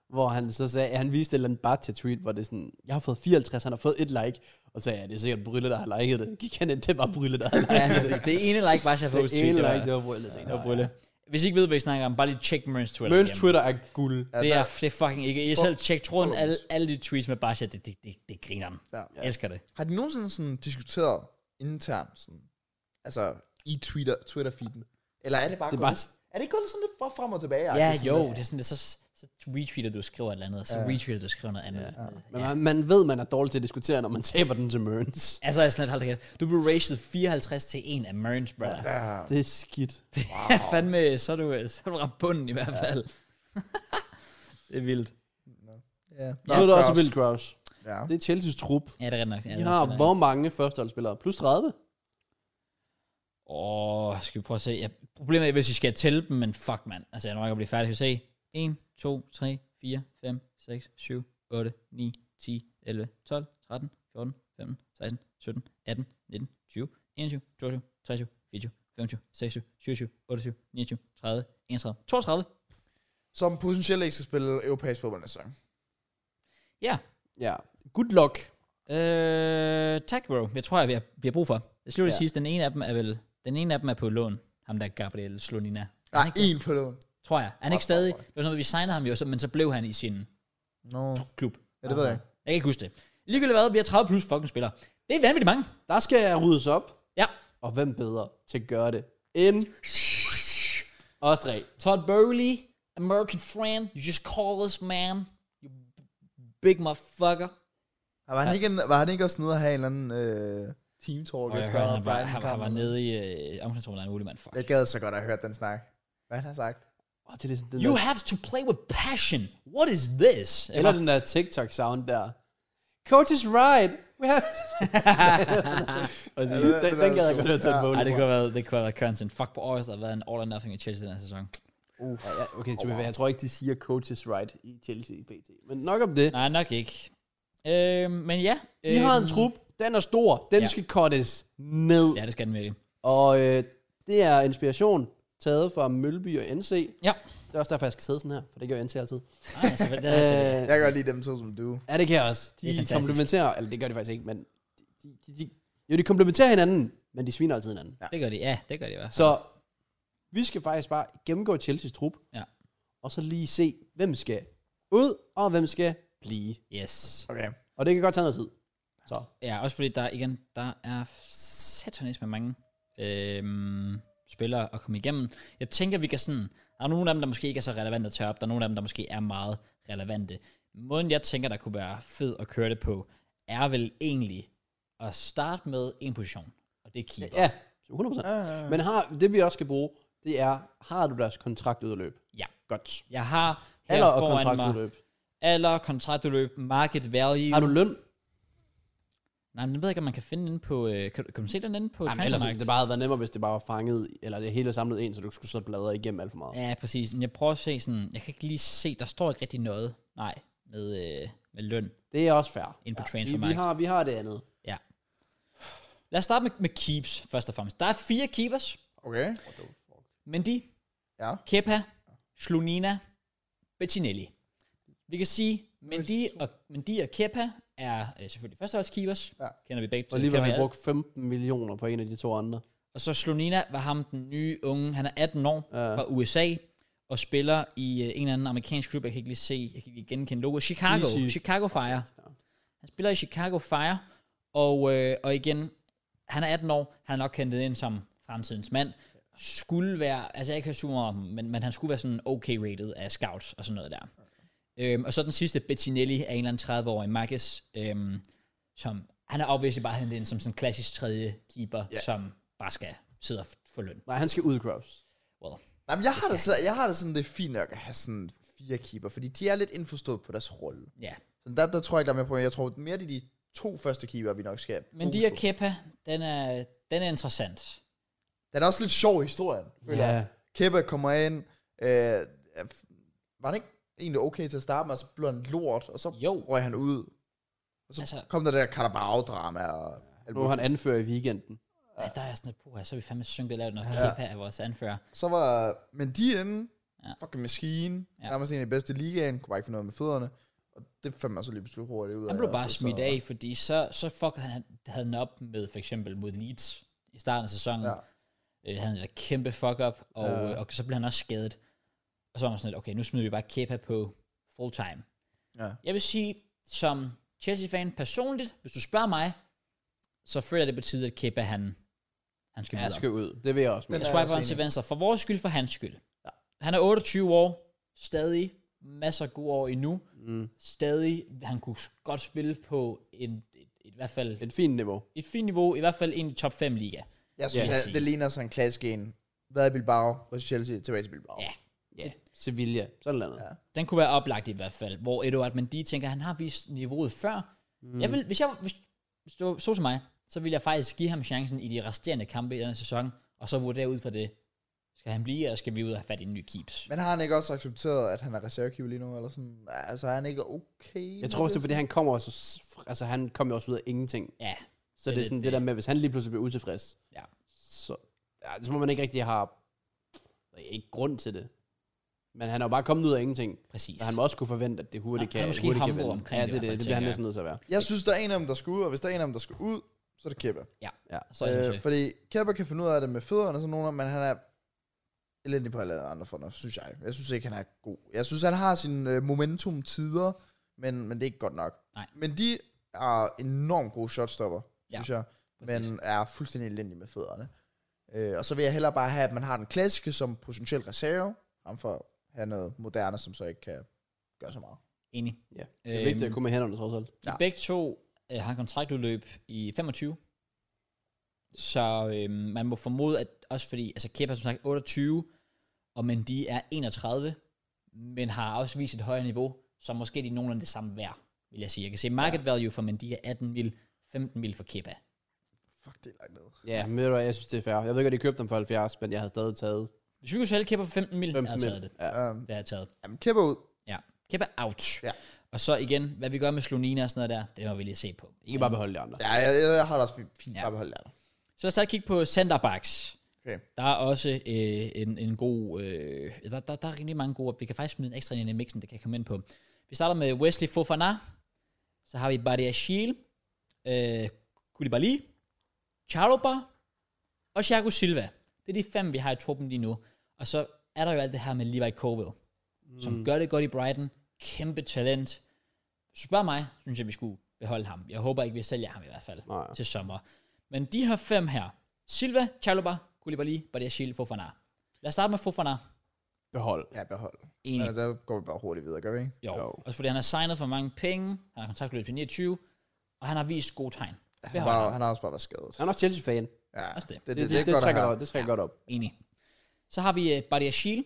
Speaker 2: hvor han så sagde, at han viste et eller andet bare til tweet, hvor det er sådan, jeg har fået 54, han har fået et like, og så sagde jeg, det er sikkert Brylle, der har liket det. Gik han ind, det var Brylle, der har liket
Speaker 1: ja, præcis. det ene like Basha har
Speaker 2: det.
Speaker 1: fået
Speaker 2: Det ene like, det var Brylle.
Speaker 1: Det var brille. Hvis I ikke ved, hvad I snakker om, bare lige tjek Mørns Twitter.
Speaker 2: Mørns
Speaker 1: igennem.
Speaker 2: Twitter er guld.
Speaker 3: ja
Speaker 1: Det
Speaker 3: der-
Speaker 1: er, det er fucking ikke. Jeg
Speaker 3: For-
Speaker 1: selv tjek tråden,
Speaker 3: for-
Speaker 1: alle, alle de tweets med Basha, det, det, det, det griner han.
Speaker 3: Ja.
Speaker 1: Jeg elsker det.
Speaker 3: Har de nogensinde sådan diskuteret internt, sådan, altså i Twitter, Twitter-feeden? Eller er det bare,
Speaker 2: Det er
Speaker 3: gået-
Speaker 2: bare s-
Speaker 3: Er det ikke gået sådan lidt bare frem og tilbage?
Speaker 1: Ja,
Speaker 3: sådan
Speaker 1: jo,
Speaker 3: lidt-
Speaker 1: det er sådan, det, så, så retweeter du og skriver et eller andet, og så
Speaker 3: Ja.
Speaker 1: retweeter du og skriver noget andet.
Speaker 2: Ja.
Speaker 1: Sådan noget.
Speaker 2: Men man, man ved, man er dårlig til at diskutere, når man taber den til Mørns.
Speaker 1: Altså, jeg er sådan lidt, hold da kæft. Du blev rated 54 til 1 af Mørns, brother. Ja,
Speaker 3: Ja.
Speaker 2: Det er skidt.
Speaker 1: wow. fandme, så er, du, så er du ramt bunden i hvert fald. det er vildt.
Speaker 3: Ja.
Speaker 2: Ja, det er også vildt, Kraus.
Speaker 3: Ja.
Speaker 2: Det er Chelseas trup.
Speaker 1: Ja, det er ret nok. Ja,
Speaker 2: De har
Speaker 1: det er-
Speaker 2: hvor mange førsteholdsspillere? Plus 30?
Speaker 1: Åh, oh, skal vi prøve at se. Ja, problemet er, hvis I skal tælle dem, men fuck mand. Altså, jeg når ikke at blive færdig. Skal vi se? 1, 2, 3, 4, 5, 6, 7, 8, 9, 10, 11, 12, 13, 14, 15, 16, 17, 18, 19, 20, 21, 22, 23, 24, 25, 26, 27, 28, 29, 30, 31, 32.
Speaker 3: Som potentielt ikke skal spille europæisk fodbold næste sæson.
Speaker 1: Ja,
Speaker 2: Ja. Good luck.
Speaker 1: Øh, tak, bro. Jeg tror, jeg vi har, vi har brug for. Jeg skal lige
Speaker 2: Ja.
Speaker 1: ja. sige, den ene af dem er vel... Den ene af dem er på lån. Ham der Gabriel Slonina.
Speaker 3: Der er en på lån.
Speaker 1: Tror jeg. Er han ikke
Speaker 3: Fuck,
Speaker 1: stadig...
Speaker 3: fuck,
Speaker 1: Det var sådan, at vi signede ham jo, så- men så blev han i sin
Speaker 3: Nå, no.
Speaker 1: klub.
Speaker 3: ja, det ved jeg ikke.
Speaker 1: Jeg kan ikke huske det. Ligegyldigt hvad, vi har 30 plus fucking spillere. Det er vanvittigt mange.
Speaker 2: Der skal jeg ryddes op.
Speaker 1: Ja.
Speaker 2: Og hvem bedre til at gøre det end os tre.
Speaker 1: Todd Burley, American friend, you just call us man. You big motherfucker.
Speaker 3: Var han, ikke, en- var han ikke også nede at have en eller anden øh, team talk
Speaker 1: Og jeg
Speaker 3: efter
Speaker 1: hørte, han var,
Speaker 3: Brighton
Speaker 1: han, var- han
Speaker 3: kampen?
Speaker 1: var nede i øh, omklædningsrummet, af en mulig mand. Fuck.
Speaker 3: Jeg gad så godt at have hørt den snak. Hvad han har sagt.
Speaker 2: Oh, det er sådan, den
Speaker 1: You
Speaker 2: der,
Speaker 1: have to play with passion. What is this?
Speaker 2: eller den der TikTok-sound der. Coach is right. We have Præcis.
Speaker 3: det-
Speaker 2: den,
Speaker 3: det
Speaker 2: den
Speaker 3: er
Speaker 2: gad jeg
Speaker 3: så-
Speaker 2: godt at tage
Speaker 3: ja.
Speaker 2: et
Speaker 1: Ej, det
Speaker 2: bowling
Speaker 1: kunne have været, det kunne have været content. Fuck på året, der har været en all or nothing i Chelsea den her sæson.
Speaker 2: Uff. Ja, ja, okay, to, jeg tror ikke, de siger coach is right i Chelsea i PT. Men nok om det.
Speaker 1: Nej, nok ikke. Øhm, men ja.
Speaker 2: I
Speaker 1: øhm,
Speaker 2: har en trup. Den er stor.
Speaker 1: Ja.
Speaker 2: Den ja. skal cuttes ned.
Speaker 1: Ja,
Speaker 2: Ja.
Speaker 1: det skal den virkelig.
Speaker 2: Og øh, det er inspiration taget fra Mølby og NC.
Speaker 1: Ja.
Speaker 2: Det er også derfor, jeg skal sidde sådan her, for det gør NC altid.
Speaker 1: Ej, altså, det er altså,
Speaker 2: Øh,
Speaker 3: Jeg kan godt lide dem to som du.
Speaker 2: ja, det kan jeg også.
Speaker 1: Det er
Speaker 2: De
Speaker 1: fantastisk.
Speaker 2: komplementerer, eller det gør de faktisk ikke, men de, de, de, jo, de komplementerer hinanden, men de sviner altid hinanden.
Speaker 1: det gør de. Ja, det gør de i hvert fald.
Speaker 2: Så vi skal faktisk bare gennemgå Chelsea's trup,
Speaker 1: Ja.
Speaker 2: og så lige se, hvem skal ud, og hvem skal blive.
Speaker 1: Yes.
Speaker 3: Okay.
Speaker 2: Og det kan godt tage noget tid. Så
Speaker 1: Ja, også fordi der igen, der er satanisk med mange øhm, spillere at komme igennem. Jeg tænker, vi kan sådan... Der er nogle af dem, der måske ikke er så relevante at tage op. Der er nogle af dem, der måske er meget relevante. Måden, jeg tænker, der kunne være fed at køre det på, er vel egentlig at starte med en position. Og det er keeper.
Speaker 2: ja, 100%.
Speaker 3: Uh,
Speaker 2: Men har, det vi også skal bruge, det er, har du deres kontraktudløb?
Speaker 1: Ja.
Speaker 2: Godt.
Speaker 1: Jeg har her
Speaker 2: Eller og
Speaker 1: foran mig
Speaker 2: kontraktudløb.
Speaker 1: alder, kontraktudløb, market value.
Speaker 2: Har du løn?
Speaker 1: Nej, men den ved jeg ikke, om man kan finde den på... Øh, kan, du- kan, du se den inde på
Speaker 2: Jamen, ellers ville
Speaker 1: transfermarkt?
Speaker 2: det bare havde været nemmere, hvis det bare var fanget, eller det hele samlet ind, så du ikke skulle så bladre igennem alt for meget.
Speaker 1: Ja, præcis. Men jeg prøver at se sådan... Jeg kan ikke lige se, der står ikke rigtig noget. Nej, med, øh, med løn
Speaker 2: Det er også fair.
Speaker 1: inde på ja,
Speaker 2: Vi, vi,
Speaker 1: transfermarkt.
Speaker 2: har, vi har det andet.
Speaker 1: Ja. Lad os starte med, med keeps, først og fremmest. Der er fire keepers.
Speaker 3: okay.
Speaker 1: Mendy,
Speaker 3: Ja.
Speaker 1: Kepa, Slonina, Bettinelli. Vi kan sige, Mendy og, Mendy og Kepa er øh, selvfølgelig førsteholdskeepers.
Speaker 3: Ja.
Speaker 1: Kender vi begge
Speaker 2: Og alligevel
Speaker 1: kender
Speaker 2: har
Speaker 1: vi
Speaker 2: han
Speaker 1: alle.
Speaker 2: brugt 15 millioner på en af de to andre.
Speaker 1: Og så Slonina var ham, den nye unge. Han er 18 år
Speaker 2: Ja.
Speaker 1: fra USA og spiller i øh, en eller anden amerikansk klub. Jeg kan ikke lige se, jeg kan ikke lige genkende logo. Chicago,
Speaker 2: Easy.
Speaker 1: Chicago Fire. Han spiller i Chicago Fire, og, øh, og igen, han er 18 år. Han er nok kendt ind som fremtidens mand. Skulle være, altså jeg kan ikke om, men, men han skulle være sådan okay rated af scouts og sådan noget der. Øhm, og så den sidste, Bettinelli, er en eller anden 30-årig Marcus, øhm, som han er obviously bare hentet ind som sådan en klassisk tredje keeper, yeah. som bare skal sidde og f- få løn.
Speaker 2: Nej, han skal ud i Grubs.
Speaker 1: Well,
Speaker 3: Jamen, jeg har, det, så, jeg har det sådan, det er fint nok at have sådan fire keeper, fordi de er lidt indforstået på deres rolle.
Speaker 1: ja.
Speaker 3: Så der, der tror jeg ikke, der er med på. Jeg tror mere, det er de to første keeper, vi nok skal
Speaker 1: Men de her Kepa, den er, den er interessant.
Speaker 3: Den er også lidt sjov i historien, føler
Speaker 2: Ja.
Speaker 3: jeg. Kepa kommer ind. Øh, er f- var han ikke egentlig okay til at starte med, og så blev han lort, og så
Speaker 1: Jo.
Speaker 3: røg han ud. Og så
Speaker 1: Altså-
Speaker 3: altså, kom der det der Carabao-drama. Og alt
Speaker 2: Nu er han
Speaker 3: muligt.
Speaker 2: anfører i weekenden.
Speaker 1: Ja. Der er sådan et, puha, så er vi fandme synket lavt, når ja. Kepa er vores anfører.
Speaker 3: Så var Mendy inde.
Speaker 1: Ja.
Speaker 3: Ja. Fucking maskine.
Speaker 1: Ja.
Speaker 3: Ja. Nærmest en af de bedste i ligaen. Kunne bare ikke finde noget med fødderne. Og det fandt man så lige pludselig hurtigt ud af.
Speaker 1: Han blev bare
Speaker 3: altså,
Speaker 1: smidt
Speaker 3: så,
Speaker 1: af, fordi så, så fuckede han, havde den op med for eksempel mod Leeds i starten af sæsonen. Ja.
Speaker 3: Ja.
Speaker 1: Øh, havde han et kæmpe fuck up, og,
Speaker 2: Ja.
Speaker 1: ja. og, så blev han også skadet. Og så var man sådan lidt, okay, nu smider vi bare Kepa på full time.
Speaker 3: Ja.
Speaker 1: Jeg vil sige, som Chelsea-fan personligt, hvis du spørger mig, så føler jeg det på tide, at Kepa han, han skal
Speaker 2: Ja,
Speaker 1: videre.
Speaker 2: han skal ud. Det vil jeg også.
Speaker 3: Den
Speaker 2: mene.
Speaker 1: Jeg
Speaker 3: er
Speaker 1: swiper
Speaker 3: også
Speaker 1: han til
Speaker 3: enig.
Speaker 1: venstre. For vores skyld, for hans skyld. Ja. Han er 28 år, stadig masser af gode år endnu. Mm. Stadig, han kunne s- godt spille på en, et, et, i hvert fald et,
Speaker 2: Et fint niveau.
Speaker 1: et fint niveau, i hvert fald en i top 5 liga.
Speaker 3: Jeg synes,
Speaker 1: Ja.
Speaker 3: ja. det ligner sådan en klassisk en. Hvad er Bilbao? Hvad Chelsea? Tilbage til Bilbao.
Speaker 1: Ja.
Speaker 2: Ja. Sevilla. Sådan noget. Ja.
Speaker 3: Ja.
Speaker 1: Den kunne være oplagt i hvert fald, hvor Eduard Mendy tænker, han har vist niveauet før. Mm. Jeg vil, hvis jeg hvis, hvis det var så som mig, så ville jeg faktisk give ham chancen i de resterende kampe i denne sæson, og så vurdere ud fra det, skal han blive, eller skal vi ud og have fat i en ny keeps?
Speaker 3: Men har han ikke også accepteret, at han er reservekeeper lige nu? Eller sådan? Altså, er han ikke okay?
Speaker 2: Jeg tror også, det er, fordi han kommer også, altså han kommer jo også ud af ingenting.
Speaker 1: Ja,
Speaker 2: Så det, det er sådan det, det der med, hvis han lige pludselig bliver utilfreds,
Speaker 1: Ja.
Speaker 2: så, ja, så må man ikke rigtig have ikke grund til det. Men han er jo bare kommet ud af ingenting.
Speaker 1: Præcis.
Speaker 2: Så han må også kunne forvente, at det hurtigt
Speaker 1: Han-
Speaker 2: kan,
Speaker 1: han er måske
Speaker 2: hurtigt kan
Speaker 1: humble
Speaker 2: vende.
Speaker 1: omkring
Speaker 2: ja,
Speaker 1: det
Speaker 2: det,
Speaker 1: i hvert
Speaker 2: det,
Speaker 1: fald,
Speaker 2: det bliver han
Speaker 1: tænker
Speaker 2: næsten nødt til at være.
Speaker 3: Jeg synes, der er en af dem, der skal ud, og hvis der er en af dem, der skal ud, så er det Kæppe.
Speaker 1: Så er jeg
Speaker 3: Øh, fordi Kæppe kan finde ud af det med fødderne og sådan noget, men han er elendig på alle andre fronter, synes jeg. Jeg synes ikke, han er god. Jeg synes, han har sin øh, momentum tider, men, men det er ikke godt nok.
Speaker 1: Nej.
Speaker 3: Men de er enormt gode shotstopper,
Speaker 1: Ja,
Speaker 3: ja. synes jeg,
Speaker 1: præcis.
Speaker 3: men er fuldstændig elendig med fødderne. Øh, og så vil jeg hellere bare have, at man har den klassiske som potentiel reserve, frem for at have noget moderne, som så ikke kan gøre så meget.
Speaker 1: Enig.
Speaker 2: Ja. Det er vigtigt at kunne med hænderne, trods alt.
Speaker 1: Øhm. Ja.
Speaker 3: Ja.
Speaker 1: Begge to øh, har kontraktudløb i 25. Så øh, man må formode, at også fordi, altså Kepa er som sagt 28, og Mendy er 31, men har også vist et højere niveau, så måske de er nogenlunde det samme værd, vil jeg sige. Jeg kan se market value for Mendy er 18 mil, 15 mil for Kepa.
Speaker 3: Fuck, det er langt ned.
Speaker 2: Ja, men ved du hvad, jeg synes, det er fair. Jeg ved godt, de købte dem for 70, men jeg havde stadig taget
Speaker 1: Hvis vi kunne sælge Kepa for 15 mil, 15
Speaker 2: 15
Speaker 1: jeg havde taget det.
Speaker 2: mil. Ja.
Speaker 3: Ja. Um,
Speaker 1: Det har jeg taget.
Speaker 3: jamen, Kæppe ud.
Speaker 1: Ja. Kepa out.
Speaker 3: Ja.
Speaker 1: Og så igen, hvad vi gør med Slonina og sådan noget der, det må vi lige se på.
Speaker 2: Ikke bare beholde de andre.
Speaker 3: Ja, jeg, jeg har det også fint, fint
Speaker 1: Ja.
Speaker 3: ja. bare beholdt der.
Speaker 1: Så lad os tage kigge på centerbacks.
Speaker 3: Okay.
Speaker 1: Der er også øh, en, en god... Øh, der, der, der er rigtig mange gode... Vi kan faktisk smide en ekstra ind i mixen, det kan jeg komme ind på. Vi starter med Wesley Fofana. Så har vi Badia Shiel. Øh, Koulibaly. Chaluba. Og Thiago Silva. Det er de fem, vi har i truppen lige nu. Og så er der jo alt det her med Levi Colville, mm. som gør det godt i Brighton. Kæmpe talent. Spørg mig, synes jeg, vi skulle beholde ham. Jeg håber ikke, vi sælger ham i hvert fald
Speaker 2: Nej.
Speaker 1: til sommer. Men de her fem her, Silva, Chaluba, Koulibaly, Badiashil, Fofana. Lad os starte med Fofana.
Speaker 2: Behold.
Speaker 3: Ja, behold.
Speaker 1: Enig.
Speaker 3: Ja, der går vi bare hurtigt videre, gør vi ikke?
Speaker 1: Jo.
Speaker 2: Jo.
Speaker 1: Også fordi han har signet for mange penge, han har kontaktløb til 29, og han har vist gode tegn.
Speaker 3: Han,
Speaker 1: Behold
Speaker 3: bare,
Speaker 1: ham.
Speaker 3: han har også bare været skadet.
Speaker 2: Han er også Chelsea-fan. Det,
Speaker 3: Ja,
Speaker 1: Også det.
Speaker 3: det,
Speaker 2: det, det, det,
Speaker 3: godt at
Speaker 2: trækker,
Speaker 3: have.
Speaker 2: godt, det trækker godt op.
Speaker 1: Enig. Så har vi uh, Badiashil.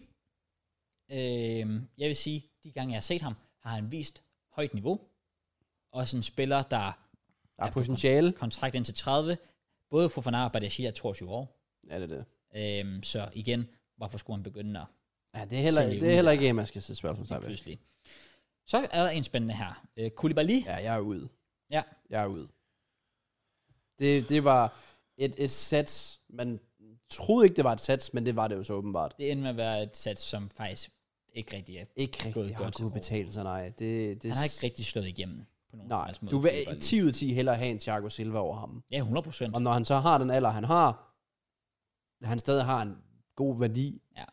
Speaker 1: Øhm, jeg vil sige, de gange jeg har set ham, har han vist højt niveau. Også en spiller, der
Speaker 2: Der er
Speaker 1: Ja,
Speaker 2: potentiale.
Speaker 1: kontrakt ind til 30. Både Fofana og Badiashil er 22 år.
Speaker 2: Ja, det er det.
Speaker 1: Øhm, så igen, hvorfor skulle han begynde at
Speaker 2: Ja, det er heller,
Speaker 1: Se
Speaker 2: det
Speaker 1: ud.
Speaker 2: er heller ikke en, man skal se spørgsmålstegn
Speaker 1: lige
Speaker 2: ved.
Speaker 1: pludselig. Så er der en spændende her. Øh, Koulibaly. Ja.
Speaker 2: Ja, jeg er ude.
Speaker 1: ja.
Speaker 2: Jeg er ude. Det, det var et, et sats. Man troede ikke, det var et sats, men det var det jo så åbenbart.
Speaker 1: Det endte med at være et sats, som faktisk ikke rigtig er.
Speaker 2: Ikke rigtig har
Speaker 1: godt
Speaker 2: kunne
Speaker 1: til
Speaker 2: betale sig, nej. Det, det,
Speaker 1: Han har ikke rigtig slået igennem på nogen som
Speaker 2: Nej,
Speaker 1: helst måde,
Speaker 2: du vil
Speaker 1: Koulibaly.
Speaker 2: 10 ud af 10 hellere have en Thiago Silva over ham.
Speaker 1: Ja, 100 procent.
Speaker 2: Og når han så har den alder, han har, han stadig har en god værdi,
Speaker 1: Ja.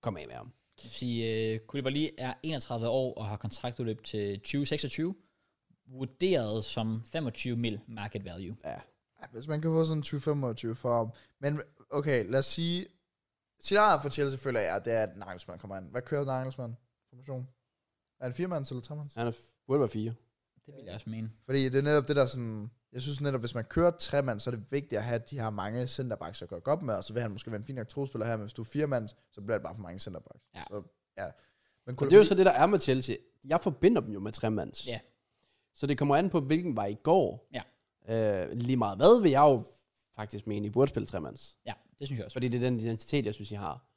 Speaker 2: kom af med ham.
Speaker 1: Det vil sige, uh, Koulibaly er 31 år og har kontraktudløb til 2026, vurderet som 25 mil market value.
Speaker 3: Ja, Hvis man kan få sådan 20-25 for ham. Men okay, lad os sige... Scenariet for Chelsea føler jeg, det er, at Nagelsmann kommer ind. Hvad kører Nagelsmann? Formation? Er det firemands eller tremands?
Speaker 2: Han er f- burde være 4.
Speaker 1: Det vil jeg også mene.
Speaker 3: Fordi det er netop det der sådan... Jeg synes netop, hvis man kører tremands, så er det vigtigt at have, at de har mange centerbacks at gøre godt med, og så vil han måske være en fin nok trospiller her, men hvis du er firemands, så bliver det bare for mange centerbacks.
Speaker 1: Ja.
Speaker 3: Så, ja. Men
Speaker 2: Og det er jo så det, der er med Chelsea. Jeg forbinder dem jo med tremands.
Speaker 1: Ja.
Speaker 2: Så det kommer an på, hvilken vej I går.
Speaker 1: Ja.
Speaker 2: Øh, lige meget hvad vil jeg jo faktisk mene, I burde spille tremands.
Speaker 1: Ja, det synes jeg også.
Speaker 2: Fordi det er den identitet, jeg synes, I har.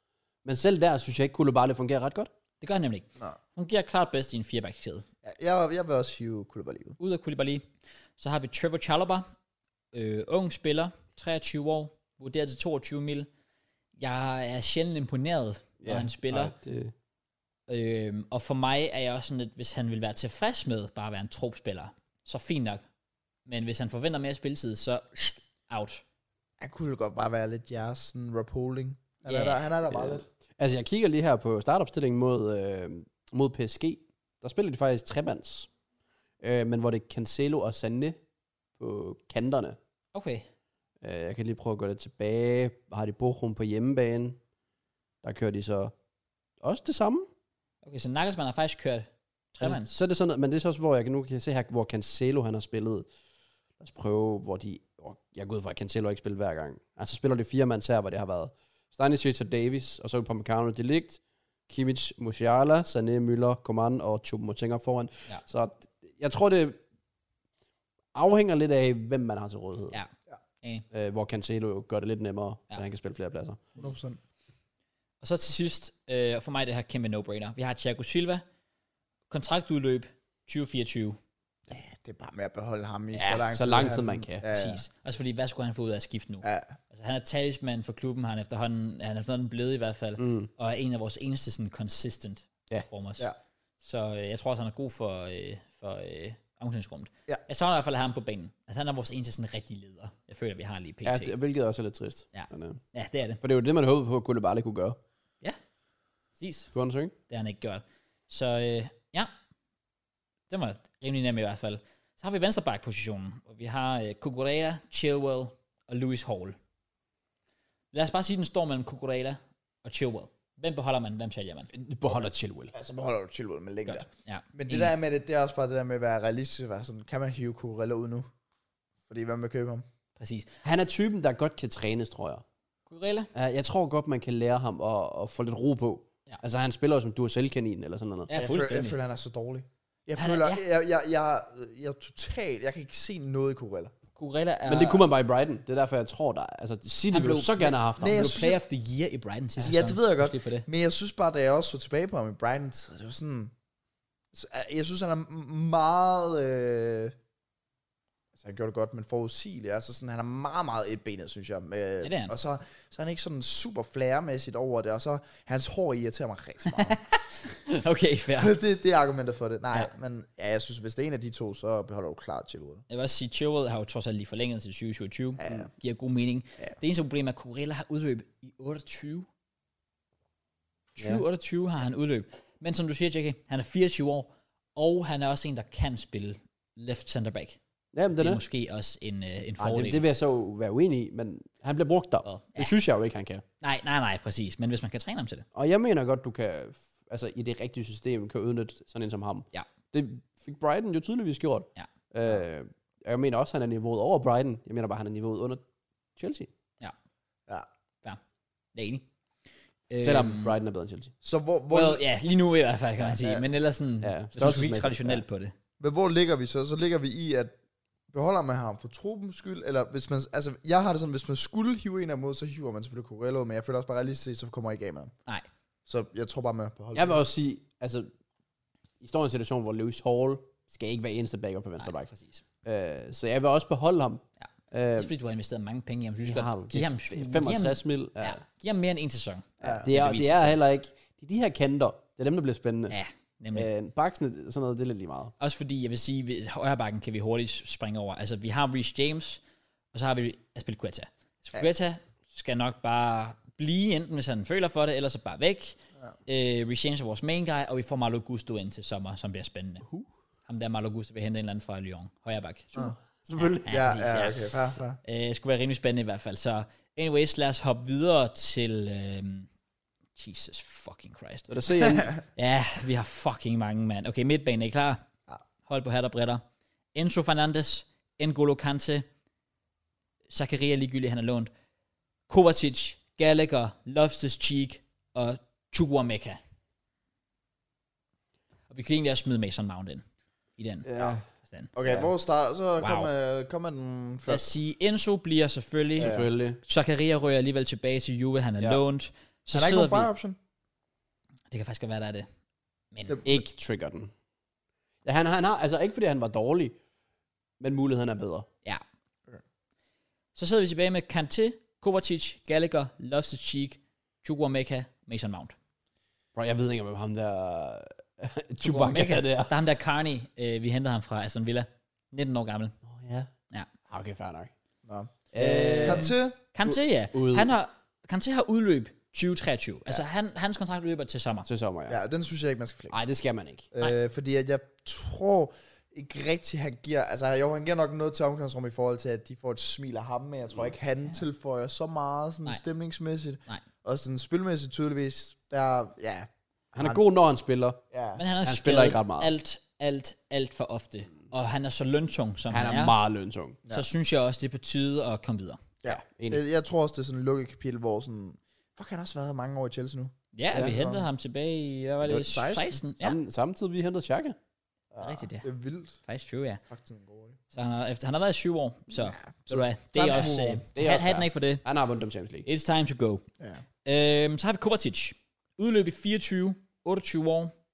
Speaker 2: Men selv der synes jeg ikke, Koulibaly fungerer ret godt.
Speaker 1: Det gør han nemlig ikke.
Speaker 3: Nå.
Speaker 1: Hun giver klart bedst i en firebackkæde.
Speaker 3: jeg, jeg vil også hive Kulubali ud.
Speaker 1: ud af Koulibaly. Så har vi Trevor Chalobah, øh, ung spiller, 23 år, vurderet til 22 mil. Jeg er sjældent imponeret, når ja, han spiller.
Speaker 2: Og det,
Speaker 1: Øhm, og for mig er jeg også sådan lidt, hvis han vil være tilfreds med bare at være en tropspiller, så fint nok. Men hvis han forventer mere spilletid, så out.
Speaker 3: Han kunne jo godt bare være lidt jeres sådan rap holding. Han,
Speaker 1: Ja.
Speaker 3: er der, han er der bare
Speaker 2: Ja.
Speaker 3: lidt.
Speaker 2: altså, jeg kigger lige her på startopstillingen mod, øh, mod PSG. Der spiller de faktisk tremands. Øh, men hvor det er Cancelo og Sané på kanterne.
Speaker 1: Okay,
Speaker 2: Øh, jeg kan lige prøve at gå lidt tilbage. Har de Bochum på hjemmebane? Der kører de så også det samme.
Speaker 1: okay så Nagelsmann har faktisk kørt tremands.
Speaker 3: Altså-
Speaker 2: så er det sådan noget, men det er så også, hvor jeg nu kan se her, hvor Cancelo han har spillet. Lad os prøve, hvor de... Hvor jeg går ud fra, at Cancelo ikke spiller hver gang. Altså spiller det fire mands her, hvor det har været Stanisic og Davis, og så Pomecano de Ligt, Kimmich, Musiala, Sané, Müller, Coman og Choupo-Moting foran.
Speaker 1: Ja.
Speaker 2: Så jeg tror, det afhænger lidt af, hvem man har til rådighed.
Speaker 1: Ja. Enig.
Speaker 2: Øh, hvor Cancelo jo gør det lidt nemmere,
Speaker 1: Ja.
Speaker 2: ja. at han kan spille flere pladser.
Speaker 3: 100%.
Speaker 1: Og så til sidst, øh, og for mig det her kæmpe no-brainer. Vi har Thiago Silva, kontraktudløb 2024.
Speaker 3: det er bare med at beholde ham i
Speaker 2: Ja,
Speaker 3: så lang
Speaker 2: så
Speaker 3: tid.
Speaker 2: lang
Speaker 3: han-
Speaker 2: tid, man kan.
Speaker 3: Ja, ja.
Speaker 1: Tease. Også fordi, hvad skulle han få ud af at skifte nu?
Speaker 3: ja.
Speaker 1: Altså, han er talsmand for klubben, han er efterhånden, han er efterhånden blevet i hvert fald, mm. og er en af vores eneste sådan consistent
Speaker 2: Ja.
Speaker 1: performers.
Speaker 3: Ja.
Speaker 1: Så øh, jeg tror også, han er god for, øh, for øh, omklædningsrummet.
Speaker 3: Ja.
Speaker 1: Jeg tror i hvert fald, at have ham på banen. Altså, han er vores eneste sådan rigtig leder. Jeg føler, vi har lige pt.
Speaker 2: Ja, det, hvilket også er lidt trist.
Speaker 1: Ja.
Speaker 2: Men, øh,
Speaker 1: ja, det er det.
Speaker 2: for det er jo det, man håbede på, at Koulibaly kunne gøre.
Speaker 1: Præcis.
Speaker 2: Kunne han synge?
Speaker 1: Det har han ikke gjort. Så øh, ja, det var rimelig nemt i hvert fald. Så har vi venstreback-positionen, hvor vi har øh, Kukurela, Chilwell og Lewis Hall. Lad os bare sige, at den står mellem Kukurela og Chilwell. Hvem beholder man, hvem sælger man?
Speaker 2: Beholder Chilwell.
Speaker 3: Altså, så beholder du Chilwell med længe der.
Speaker 1: Godt. Ja.
Speaker 3: Men det der med det, det er også bare det der med at være realistisk. at Være sådan, kan man hive Kurella ud nu? Fordi hvad med at købe ham?
Speaker 1: Præcis.
Speaker 2: Han er typen, der godt kan trænes, tror jeg.
Speaker 1: Kukurela?
Speaker 2: Ja, Jeg tror godt, man kan lære ham at, at få lidt ro på.
Speaker 1: Ja.
Speaker 2: Ja. Altså, han spiller jo som du er selvkanin, eller sådan noget.
Speaker 1: Ja,
Speaker 3: jeg, føler, jeg
Speaker 1: fuldstændig.
Speaker 3: føler, han er så dårlig. Jeg
Speaker 1: Han er-
Speaker 3: føler,
Speaker 1: ja.
Speaker 3: jeg, jeg, jeg, jeg, er totalt, jeg kan ikke se noget i Kurella.
Speaker 1: Kukurela er...
Speaker 2: Men det kunne man bare i Brighton. Det er derfor, jeg tror, der altså, City
Speaker 1: Han
Speaker 2: ville jo
Speaker 1: blev-
Speaker 2: så gerne have haft ham.
Speaker 1: Han
Speaker 3: Nej, jeg
Speaker 1: blev
Speaker 3: synes,
Speaker 1: player of the year i Brighton sidste
Speaker 3: Altså, Ja, det ved jeg godt.
Speaker 1: Husk lige På det.
Speaker 3: Men jeg synes bare, da jeg også så tilbage på ham i Brighton, så det var sådan... så, øh, Jeg synes, han er m- meget... Øh, altså, han gjorde det godt, men forudsigelig. Altså, sådan, han er meget, meget etbenet, synes jeg. Med,
Speaker 1: det er han.
Speaker 3: Og så, så er han ikke sådan super flæremæssigt over det, og så hans hår irriterer mig rigtig meget.
Speaker 1: Okay, fair.
Speaker 3: det, det er argumentet for det. Nej,
Speaker 1: Ja.
Speaker 3: ja. men ja, jeg synes, hvis det er en af de to, så beholder du klart Chilwell.
Speaker 1: Jeg vil også sige, Chilwell har jo trods alt lige forlænget til 2027. Ja. Giver god mening. Ja. Det eneste problem er, at Corella har udløb i 28. 2028 ja. har han udløb. Men som du siger, JK, han er 24 år, og han er også en, der kan spille left center back. Det
Speaker 2: Jamen, det
Speaker 1: er
Speaker 2: er det.
Speaker 1: måske også en, øh, en
Speaker 2: Ej,
Speaker 1: fordel.
Speaker 2: det, det vil jeg så være uenig i, men han bliver brugt der.
Speaker 1: Ja.
Speaker 2: Ja. Det synes jeg jo ikke, han kan.
Speaker 1: Nej, nej, nej, præcis. Men hvis man kan træne ham til det.
Speaker 2: Og jeg mener godt, du kan, altså i det rigtige system, kan udnytte sådan en som ham.
Speaker 1: Ja.
Speaker 2: Det fik Brighton jo tydeligvis gjort.
Speaker 1: Ja.
Speaker 2: Øh, og jeg mener også, han er niveauet over Brighton. Jeg mener bare, han er niveauet under Chelsea.
Speaker 3: Ja.
Speaker 1: Jeg er enig.
Speaker 2: Selvom
Speaker 1: Øhm,
Speaker 2: Brighton er bedre end Chelsea.
Speaker 3: Så hvor, hvor,
Speaker 1: Well, ja, lige nu i hvert fald, kan man sige.
Speaker 3: Ja.
Speaker 1: Men ellers sådan, ja,
Speaker 2: Ja,
Speaker 1: hvis man skulle
Speaker 2: størrelsesmæssigt,
Speaker 1: kigge traditionelt på det.
Speaker 3: Men hvor ligger vi så? Så ligger vi i, at beholder man ham for truppens skyld, eller hvis man, altså jeg har det sådan, hvis man skulle hive en af mod, så hiver man selvfølgelig Corello, men jeg føler også bare realistisk, så kommer jeg ikke af med ham.
Speaker 1: Nej.
Speaker 3: Så jeg tror bare, man beholder
Speaker 2: Jeg
Speaker 3: ham.
Speaker 2: vil også sige, altså, I står i en situation, hvor Lewis Hall skal ikke være eneste backer på venstre
Speaker 1: Nej,
Speaker 2: back.
Speaker 1: præcis.
Speaker 2: Øh, så jeg vil også beholde ham.
Speaker 1: Ja.
Speaker 2: Øh,
Speaker 1: Også fordi du har investeret mange penge i ham. så Du
Speaker 2: det
Speaker 1: skal
Speaker 2: har du.
Speaker 1: give ham,
Speaker 2: Det er
Speaker 1: giv ham-
Speaker 2: 65 mil. Ja.
Speaker 1: Ja. Giv ham mere end en sæson.
Speaker 2: Ja. Det, er,
Speaker 1: det viser
Speaker 2: det er
Speaker 1: sig.
Speaker 2: heller ikke... Det er de her kanter. Det er dem, der bliver spændende.
Speaker 1: Ja, nemlig.
Speaker 2: Ja. Øh, baksene, sådan noget, det er lidt lige meget.
Speaker 1: Også fordi, jeg vil sige, at højrebakken kan vi hurtigt springe over. Altså, vi har Reece James, og så har vi Aspilicueta. Aspilicueta ja. skal nok bare blive, enten hvis han føler for det, eller så bare væk. Ja. Øh, Reece James er vores main guy, og vi får Marlo Gusto ind til sommer, som bliver spændende. Uh. Ham der Marlo Gusto vil hente en eller anden fra Lyon. Højrebak. Uh.
Speaker 2: Selvfølgelig.
Speaker 3: Ja,
Speaker 1: præcis,
Speaker 3: ja,
Speaker 1: ja.
Speaker 3: okay, fair, fair.
Speaker 1: Øh, skulle være rimelig spændende i hvert fald. Så anyways, lad os hoppe videre til... Øh, Jesus fucking Christ.
Speaker 2: Så der ser jeg
Speaker 1: Ja, vi har fucking mange, mand. Okay, midtbanen er I klar. Hold på hat og bretter. Enzo Fernandes, N'Golo Kante, Zakaria ligegyldigt, han er lånt. Kovacic, Gallagher, Loftus Cheek og Chukwameka. Og vi kan egentlig også smide Mason Mount ind i den.
Speaker 2: ja.
Speaker 1: forstand.
Speaker 3: Okay,
Speaker 2: Ja.
Speaker 3: hvor starter, så
Speaker 1: Wow.
Speaker 3: kommer, kommer den
Speaker 1: Lad os
Speaker 3: først.
Speaker 1: sige, Enzo bliver selvfølgelig. Ja.
Speaker 2: Selvfølgelig.
Speaker 1: Zakaria rører alligevel tilbage til Juve, han er ja.
Speaker 2: Ja.
Speaker 1: lånt. Så
Speaker 3: Han er ikke
Speaker 1: sidder
Speaker 3: nogen buy
Speaker 1: vi...
Speaker 3: option.
Speaker 1: Det kan faktisk godt være, der er det. Men
Speaker 3: Yep.
Speaker 2: Ikke trigger den. Ja, han, har- han har, altså ikke fordi han var dårlig, men muligheden er bedre.
Speaker 1: Ja. Så sidder vi tilbage med Kanté, Kovacic, Gallagher, Loftus Cheek, Chukwameka, Mason Mount.
Speaker 2: Bro, jeg ved ikke, om ham der... Chewbacca der.
Speaker 1: Der er ham der Carney, øh, vi hentede ham fra Aston Villa. 19 år gammel.
Speaker 2: Oh, ja.
Speaker 1: Ja.
Speaker 2: Ah, Okay, fair nok.
Speaker 3: Nå.
Speaker 2: Øh,
Speaker 3: Kom til.
Speaker 1: Kanté, ja.
Speaker 2: ude.
Speaker 1: Han har, Kanté har udløb 2023. Altså, han, hans kontrakt løber til sommer.
Speaker 2: til sommer, ja.
Speaker 3: Ja, den synes jeg ikke, man skal flække.
Speaker 2: Nej, det skal man ikke.
Speaker 3: Øh, fordi at jeg tror ikke rigtigt, han giver... Altså, jo, han giver nok noget til omklædningsrummet i forhold til, at de får et smil af ham, men jeg tror ikke, han tilføjer så meget sådan
Speaker 1: Nej.
Speaker 3: stemningsmæssigt.
Speaker 1: Nej.
Speaker 3: Og sådan spilmæssigt tydeligvis, der... Ja,
Speaker 2: Han er god, når han spiller.
Speaker 3: ja.
Speaker 1: Men han, er
Speaker 2: Han
Speaker 1: skadet
Speaker 2: spiller ikke ret meget.
Speaker 1: Alt, alt, alt for ofte. Og han er så løntung, som
Speaker 2: Han
Speaker 1: han,
Speaker 2: er meget løntung.
Speaker 1: Så synes jeg også, det er på tide at komme videre.
Speaker 3: ja.
Speaker 2: enig.
Speaker 3: Jeg, jeg tror også, det er sådan et lukket kapitel, hvor sådan... Fuck, han har også været mange år i Chelsea nu.
Speaker 1: Ja, ja vi
Speaker 3: Ja.
Speaker 1: hentede ham tilbage i, hvad var
Speaker 3: Det var
Speaker 1: det,
Speaker 3: 16.
Speaker 1: 16? Ja,
Speaker 2: Samme, Samtidig vi hentede Chaka.
Speaker 3: Ja,
Speaker 1: Rigtigt, ja.
Speaker 3: Det er vildt.
Speaker 1: faktisk 20, ja.
Speaker 3: Fuck, sådan en god år.
Speaker 1: Så han har, efter, han har været i syv år, så Så
Speaker 3: Så-
Speaker 1: det, det er
Speaker 3: Frem til
Speaker 1: også...
Speaker 3: nu.
Speaker 1: Øh,
Speaker 2: Det er
Speaker 1: hat,
Speaker 2: også
Speaker 1: hatten
Speaker 2: fair.
Speaker 1: af for det.
Speaker 2: Han har vundet dem Champions League.
Speaker 1: It's time to go.
Speaker 3: Ja.
Speaker 1: Øhm, så har vi Kovacic. Udløb i 24, 28 år.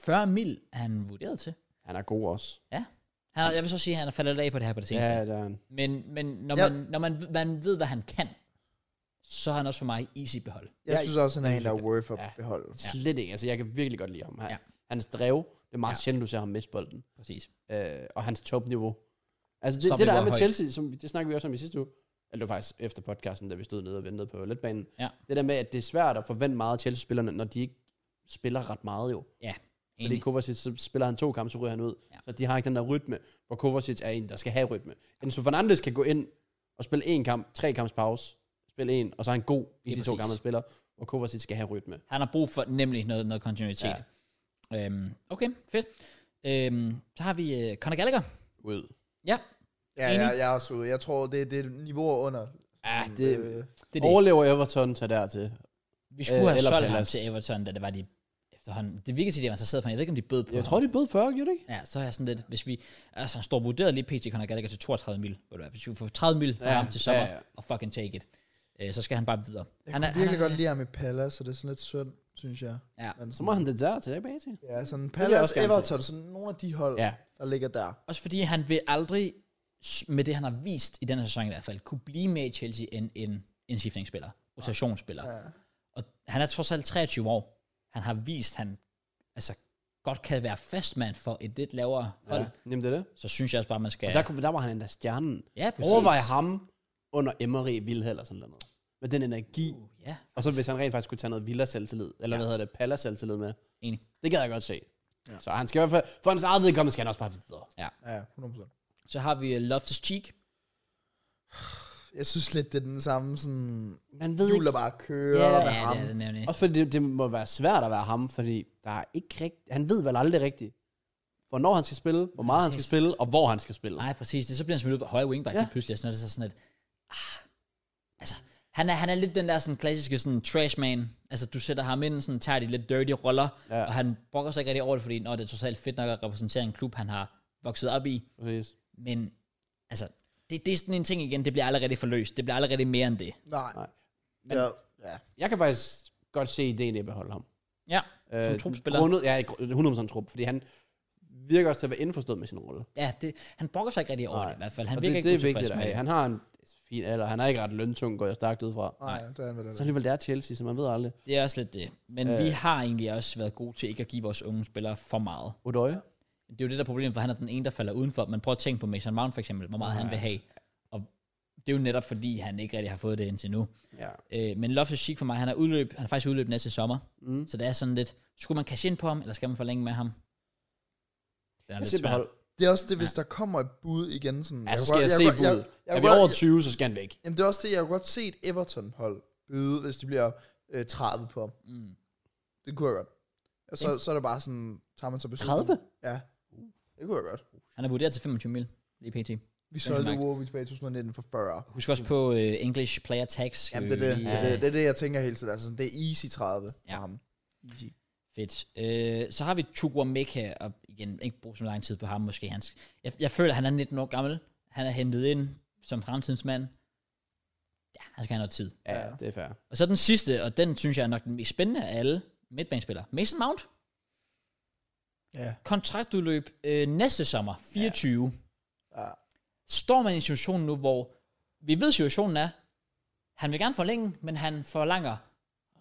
Speaker 1: 40 mil er han vurderet til.
Speaker 2: Han er god også.
Speaker 1: Ja. Han er, jeg vil så sige, at han er faldet lidt af på det her på det seneste.
Speaker 2: Ja,
Speaker 1: Ja.
Speaker 2: der er en.
Speaker 1: Men, men når,
Speaker 3: Ja.
Speaker 1: man, når man, man ved, hvad han kan, så er han også for mig easy behold.
Speaker 3: Jeg
Speaker 2: Ja,
Speaker 3: synes også, han er en, der er worth at
Speaker 2: Ja.
Speaker 3: beholde.
Speaker 2: Slet ikke. Altså, jeg kan virkelig godt lide ham. Han,
Speaker 1: Ja.
Speaker 2: ja. Hans drev, det er meget
Speaker 1: Ja.
Speaker 2: ja. sjældent, du ser ham miste bolden.
Speaker 1: Præcis.
Speaker 2: øh, og hans topniveau. Altså det, det
Speaker 1: Topniveau
Speaker 2: der
Speaker 1: er
Speaker 2: er med
Speaker 1: højt.
Speaker 2: Chelsea, som, det snakkede vi også om i sidste uge, eller det var faktisk efter podcasten, da vi stod nede og ventede på letbanen,
Speaker 1: Ja.
Speaker 2: det der med, at det er svært at forvente meget af Chelsea-spillerne, når de ikke spiller ret meget jo.
Speaker 1: Enig.
Speaker 2: Fordi Kovacic, så spiller han to kampe, så ryger han ud.
Speaker 1: Ja.
Speaker 2: Ja. Så de har ikke den der rytme, hvor Kovacic er en, der skal have rytme. Enzo Fernandes kan gå ind og spille en kamp, tre kamps pause, spille en, og så er han god i
Speaker 1: Det er
Speaker 2: de
Speaker 1: præcis.
Speaker 2: to kampe, han spiller, og Kovacic skal have rytme.
Speaker 1: Han har brug for nemlig noget, noget kontinuitet. Ja. Øhm, okay, fedt. Øhm, så har vi øh, Conor Gallagher.
Speaker 2: Ud.
Speaker 1: Ja,
Speaker 3: Ja,
Speaker 1: Enig.
Speaker 3: jeg, jeg er også ude. Jeg tror, det, det er niveauer under.
Speaker 2: Ja,
Speaker 3: Sådan,
Speaker 2: det-
Speaker 3: øh,
Speaker 1: det er det.
Speaker 2: Overlever Everton, tager dertil.
Speaker 1: Vi skulle øh,
Speaker 2: øh,
Speaker 1: have
Speaker 2: eller
Speaker 1: solgt ham
Speaker 2: Palace.
Speaker 1: til Everton, da det var de efterhånden. Det virkede til, at de var interesseret på ham. Jeg ved ikke, om de bød på
Speaker 2: Jeg
Speaker 1: ham.
Speaker 2: tror, de bød 40, gjorde de ikke?
Speaker 1: Ja, så er jeg sådan lidt, hvis vi... Altså, han står vurderet lige pt. Conor Gallagher til 32 mil. Ved du hvad, Hvis vi får 30 mil fra ja,
Speaker 2: Ja,
Speaker 1: ham til sommer, ja,
Speaker 2: ja,
Speaker 1: ja.
Speaker 2: ja.
Speaker 1: og fucking take it, øh, så skal han bare videre.
Speaker 3: Jeg
Speaker 1: han
Speaker 3: kunne virkelig
Speaker 1: han
Speaker 3: godt lide ham i Palace, så det er sådan lidt synd, synes jeg.
Speaker 1: Ja.
Speaker 3: Men
Speaker 2: Så må han det der tilbage til.
Speaker 3: Ja, sådan
Speaker 2: vil jeg også
Speaker 3: Palace,
Speaker 2: gerne se.
Speaker 3: Everton, sådan nogle af de hold,
Speaker 2: Ja.
Speaker 3: der ligger der.
Speaker 1: Også fordi han vil aldrig, s- med det han har vist i denne sæson i hvert fald, kunne blive med i Chelsea end en indskiftningsspiller, rotationsspiller.
Speaker 3: Ja.
Speaker 1: Og han er trods alt 23 år. Han har vist, han altså, godt kan være fastmand for et lidt lavere hold. Ja.
Speaker 2: Jamen det er det.
Speaker 1: Så synes jeg også bare, man skal...
Speaker 2: Og der, kunne, der var han endda stjernen.
Speaker 1: ja, præcis.
Speaker 2: Overvej ham under Emery Vilhelm eller sådan noget. Med den energi.
Speaker 1: Uh, ja,
Speaker 2: Og så hvis han rent faktisk kunne tage noget Villa-selvtillid, eller hvad hedder det, Palace-selvtillid med.
Speaker 1: enig.
Speaker 2: Det gad jeg godt se. Ja. Så han skal i hvert fald, for hans eget vedkommende skal han også bare videre.
Speaker 3: ja, 100%.
Speaker 1: Så har vi øh, Loftus Cheek.
Speaker 3: Jeg synes lidt, det er den samme sådan...
Speaker 2: Man ved
Speaker 3: Hjul, der
Speaker 2: ikke.
Speaker 3: bare kører
Speaker 2: Ja,
Speaker 3: med
Speaker 1: ja,
Speaker 3: ham.
Speaker 1: det er det nemlig.
Speaker 2: Også fordi det, det, må være svært at være ham, fordi der er ikke rigt, han ved vel aldrig rigtigt, hvornår han skal spille, hvor meget han skal
Speaker 1: Præcis.
Speaker 2: spille, og hvor han skal spille.
Speaker 1: Nej, præcis. Det, så bliver han smidt ud på højre wingback ja.
Speaker 2: Ja.
Speaker 1: lige pludselig. og Sådan, og det er så sådan et, ah, altså, han er, han er lidt den der sådan, klassiske sådan, trash man. Altså, du sætter ham ind, sådan, tager de lidt dirty roller, ja.
Speaker 2: Ja.
Speaker 1: og han brokker sig ikke rigtig over det, fordi Nå, det er totalt fedt nok at repræsentere en klub, han har vokset op i.
Speaker 2: Præcis.
Speaker 1: Men altså, det, det er sådan en ting igen, det bliver aldrig rigtig forløst. Det bliver aldrig rigtig mere end det.
Speaker 3: Nej.
Speaker 2: Nej.
Speaker 3: Men, ja, ja.
Speaker 2: Jeg kan faktisk godt se ideen i at beholde ham.
Speaker 1: Ja, som
Speaker 2: Øh,
Speaker 1: trupspiller.
Speaker 2: Grundet, ja, gr- 100% trup, fordi han virker også til at være indforstået med sin rolle.
Speaker 1: ja det, han brokker sig ikke rigtig over
Speaker 2: Nej.
Speaker 1: det i hvert fald. Han
Speaker 2: og
Speaker 1: virker
Speaker 2: det,
Speaker 1: ikke
Speaker 2: det er
Speaker 1: utilfreds
Speaker 2: vigtigt at
Speaker 1: med
Speaker 2: have.
Speaker 1: det.
Speaker 2: Han har en fin alder, han er ikke ret løntung, går jeg stærkt ud fra.
Speaker 3: Nej, det
Speaker 2: Så
Speaker 3: er han vel heller ikke.
Speaker 2: alligevel, det er Chelsea, så man ved aldrig.
Speaker 1: Det er også lidt det. Men øh. vi har egentlig også været gode til ikke at give vores unge spillere for meget.
Speaker 2: Odøje?
Speaker 1: Det er jo det der problem, for han er den ene, der falder udenfor. Man prøver at tænke på Mason Mount for eksempel, hvor meget han vil have. Og det er jo netop fordi, han ikke rigtig har fået det indtil nu.
Speaker 2: Ja.
Speaker 1: Øh, men Loftus Cheek for mig, han er, udløb, han er faktisk udløb næste sommer. Mm. Så det er sådan lidt, skulle man cash ind på ham, eller skal man forlænge med ham? Det er
Speaker 2: Jeg
Speaker 1: lidt
Speaker 2: siger
Speaker 1: svært.
Speaker 2: behold.
Speaker 3: Det er også det, hvis der kommer et bud igen. Sådan,
Speaker 2: Ja, så
Speaker 3: kunne
Speaker 2: skal jeg,
Speaker 3: godt-
Speaker 2: se
Speaker 3: kunne-
Speaker 2: budet.
Speaker 3: jeg
Speaker 2: Er
Speaker 3: kunne
Speaker 2: vi
Speaker 3: godt-
Speaker 2: over 20, så skal han væk.
Speaker 3: Jamen det er også det, jeg kunne godt se et Everton-hold byde, hvis de bliver øh, 30 på ham.
Speaker 1: Mm.
Speaker 3: Det kunne jeg godt. Og så, så er det bare sådan, tager man så beslutningen.
Speaker 2: 30?
Speaker 3: Ja, det kunne jeg godt.
Speaker 1: Han er vurderet til 25 mil lige pt.
Speaker 3: Vi
Speaker 1: Benjamin
Speaker 3: solgte
Speaker 1: Mark.
Speaker 3: Wolves tilbage i 2019 for 40.
Speaker 1: Husk også på øh, English player tax. øh,
Speaker 3: Jamen det er det, det, er
Speaker 1: Ja.
Speaker 3: det, det, er det jeg tænker hele tiden. Altså, sådan, det er easy 30
Speaker 1: Ja.
Speaker 3: ja. ham. Easy.
Speaker 1: Fedt. Øh, så har vi Chukwameka, og igen, ikke bruge så lang tid på ham måske. Han, jeg, jeg føler, at han er 19 år gammel. Han er hentet ind som fremtidens mand. Ja, han skal have noget tid.
Speaker 2: Ja, det er fair.
Speaker 1: Og så den sidste, og den synes jeg er nok den mest spændende af alle midtbanespillere. Mason Mount.
Speaker 3: Ja.
Speaker 1: Kontraktudløb øh, næste sommer, 24.
Speaker 3: Ja. Ja.
Speaker 1: Står man i en situation nu, hvor vi ved, situationen er, han vil gerne forlænge, men han forlanger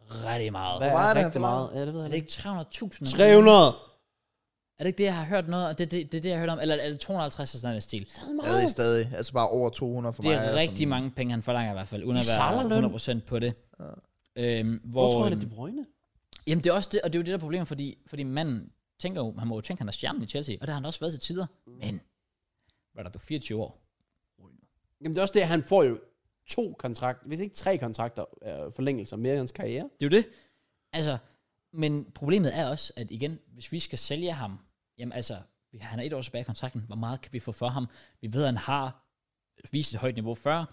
Speaker 1: rigtig meget.
Speaker 2: Hvad
Speaker 1: Er
Speaker 2: er,
Speaker 3: meget er det, han
Speaker 2: rigtig
Speaker 3: får?
Speaker 2: meget? Ja, det ved jeg
Speaker 1: det
Speaker 2: ikke.
Speaker 1: ikke 300.000?
Speaker 2: 300!
Speaker 1: Er det ikke det, jeg har hørt noget? og Det, det, det er det, jeg har hørt om. Eller er det 250 og sådan noget i den stil?
Speaker 3: Stadig, stadig. Altså bare over 200 for
Speaker 1: Det
Speaker 3: mig. altså.
Speaker 1: er
Speaker 3: sådan-
Speaker 1: rigtig mange penge, han forlanger i hvert fald, uden at
Speaker 2: De sejler løn.
Speaker 1: være 100% på det. Ja. Øhm, hvor,
Speaker 2: Hvor tror jeg, det
Speaker 1: øhm,
Speaker 2: er De Bruyne?
Speaker 1: Jamen det er også det, og det er jo det der problem, fordi, fordi manden tænker jo, han må jo tænke, han er stjernen i Chelsea, og det har han også været til tider. Men, hvad er der, du er 24 år?
Speaker 2: Jamen det er også det, han får jo to kontrakter, hvis ikke tre kontrakter, øh, forlængelser mere i hans karriere.
Speaker 1: Det er jo det. Altså, men problemet er også, at igen, hvis vi skal sælge ham, jamen altså, vi- han er et år tilbage i kontrakten, hvor meget kan vi få for ham? Vi ved, at han har vist et højt niveau før.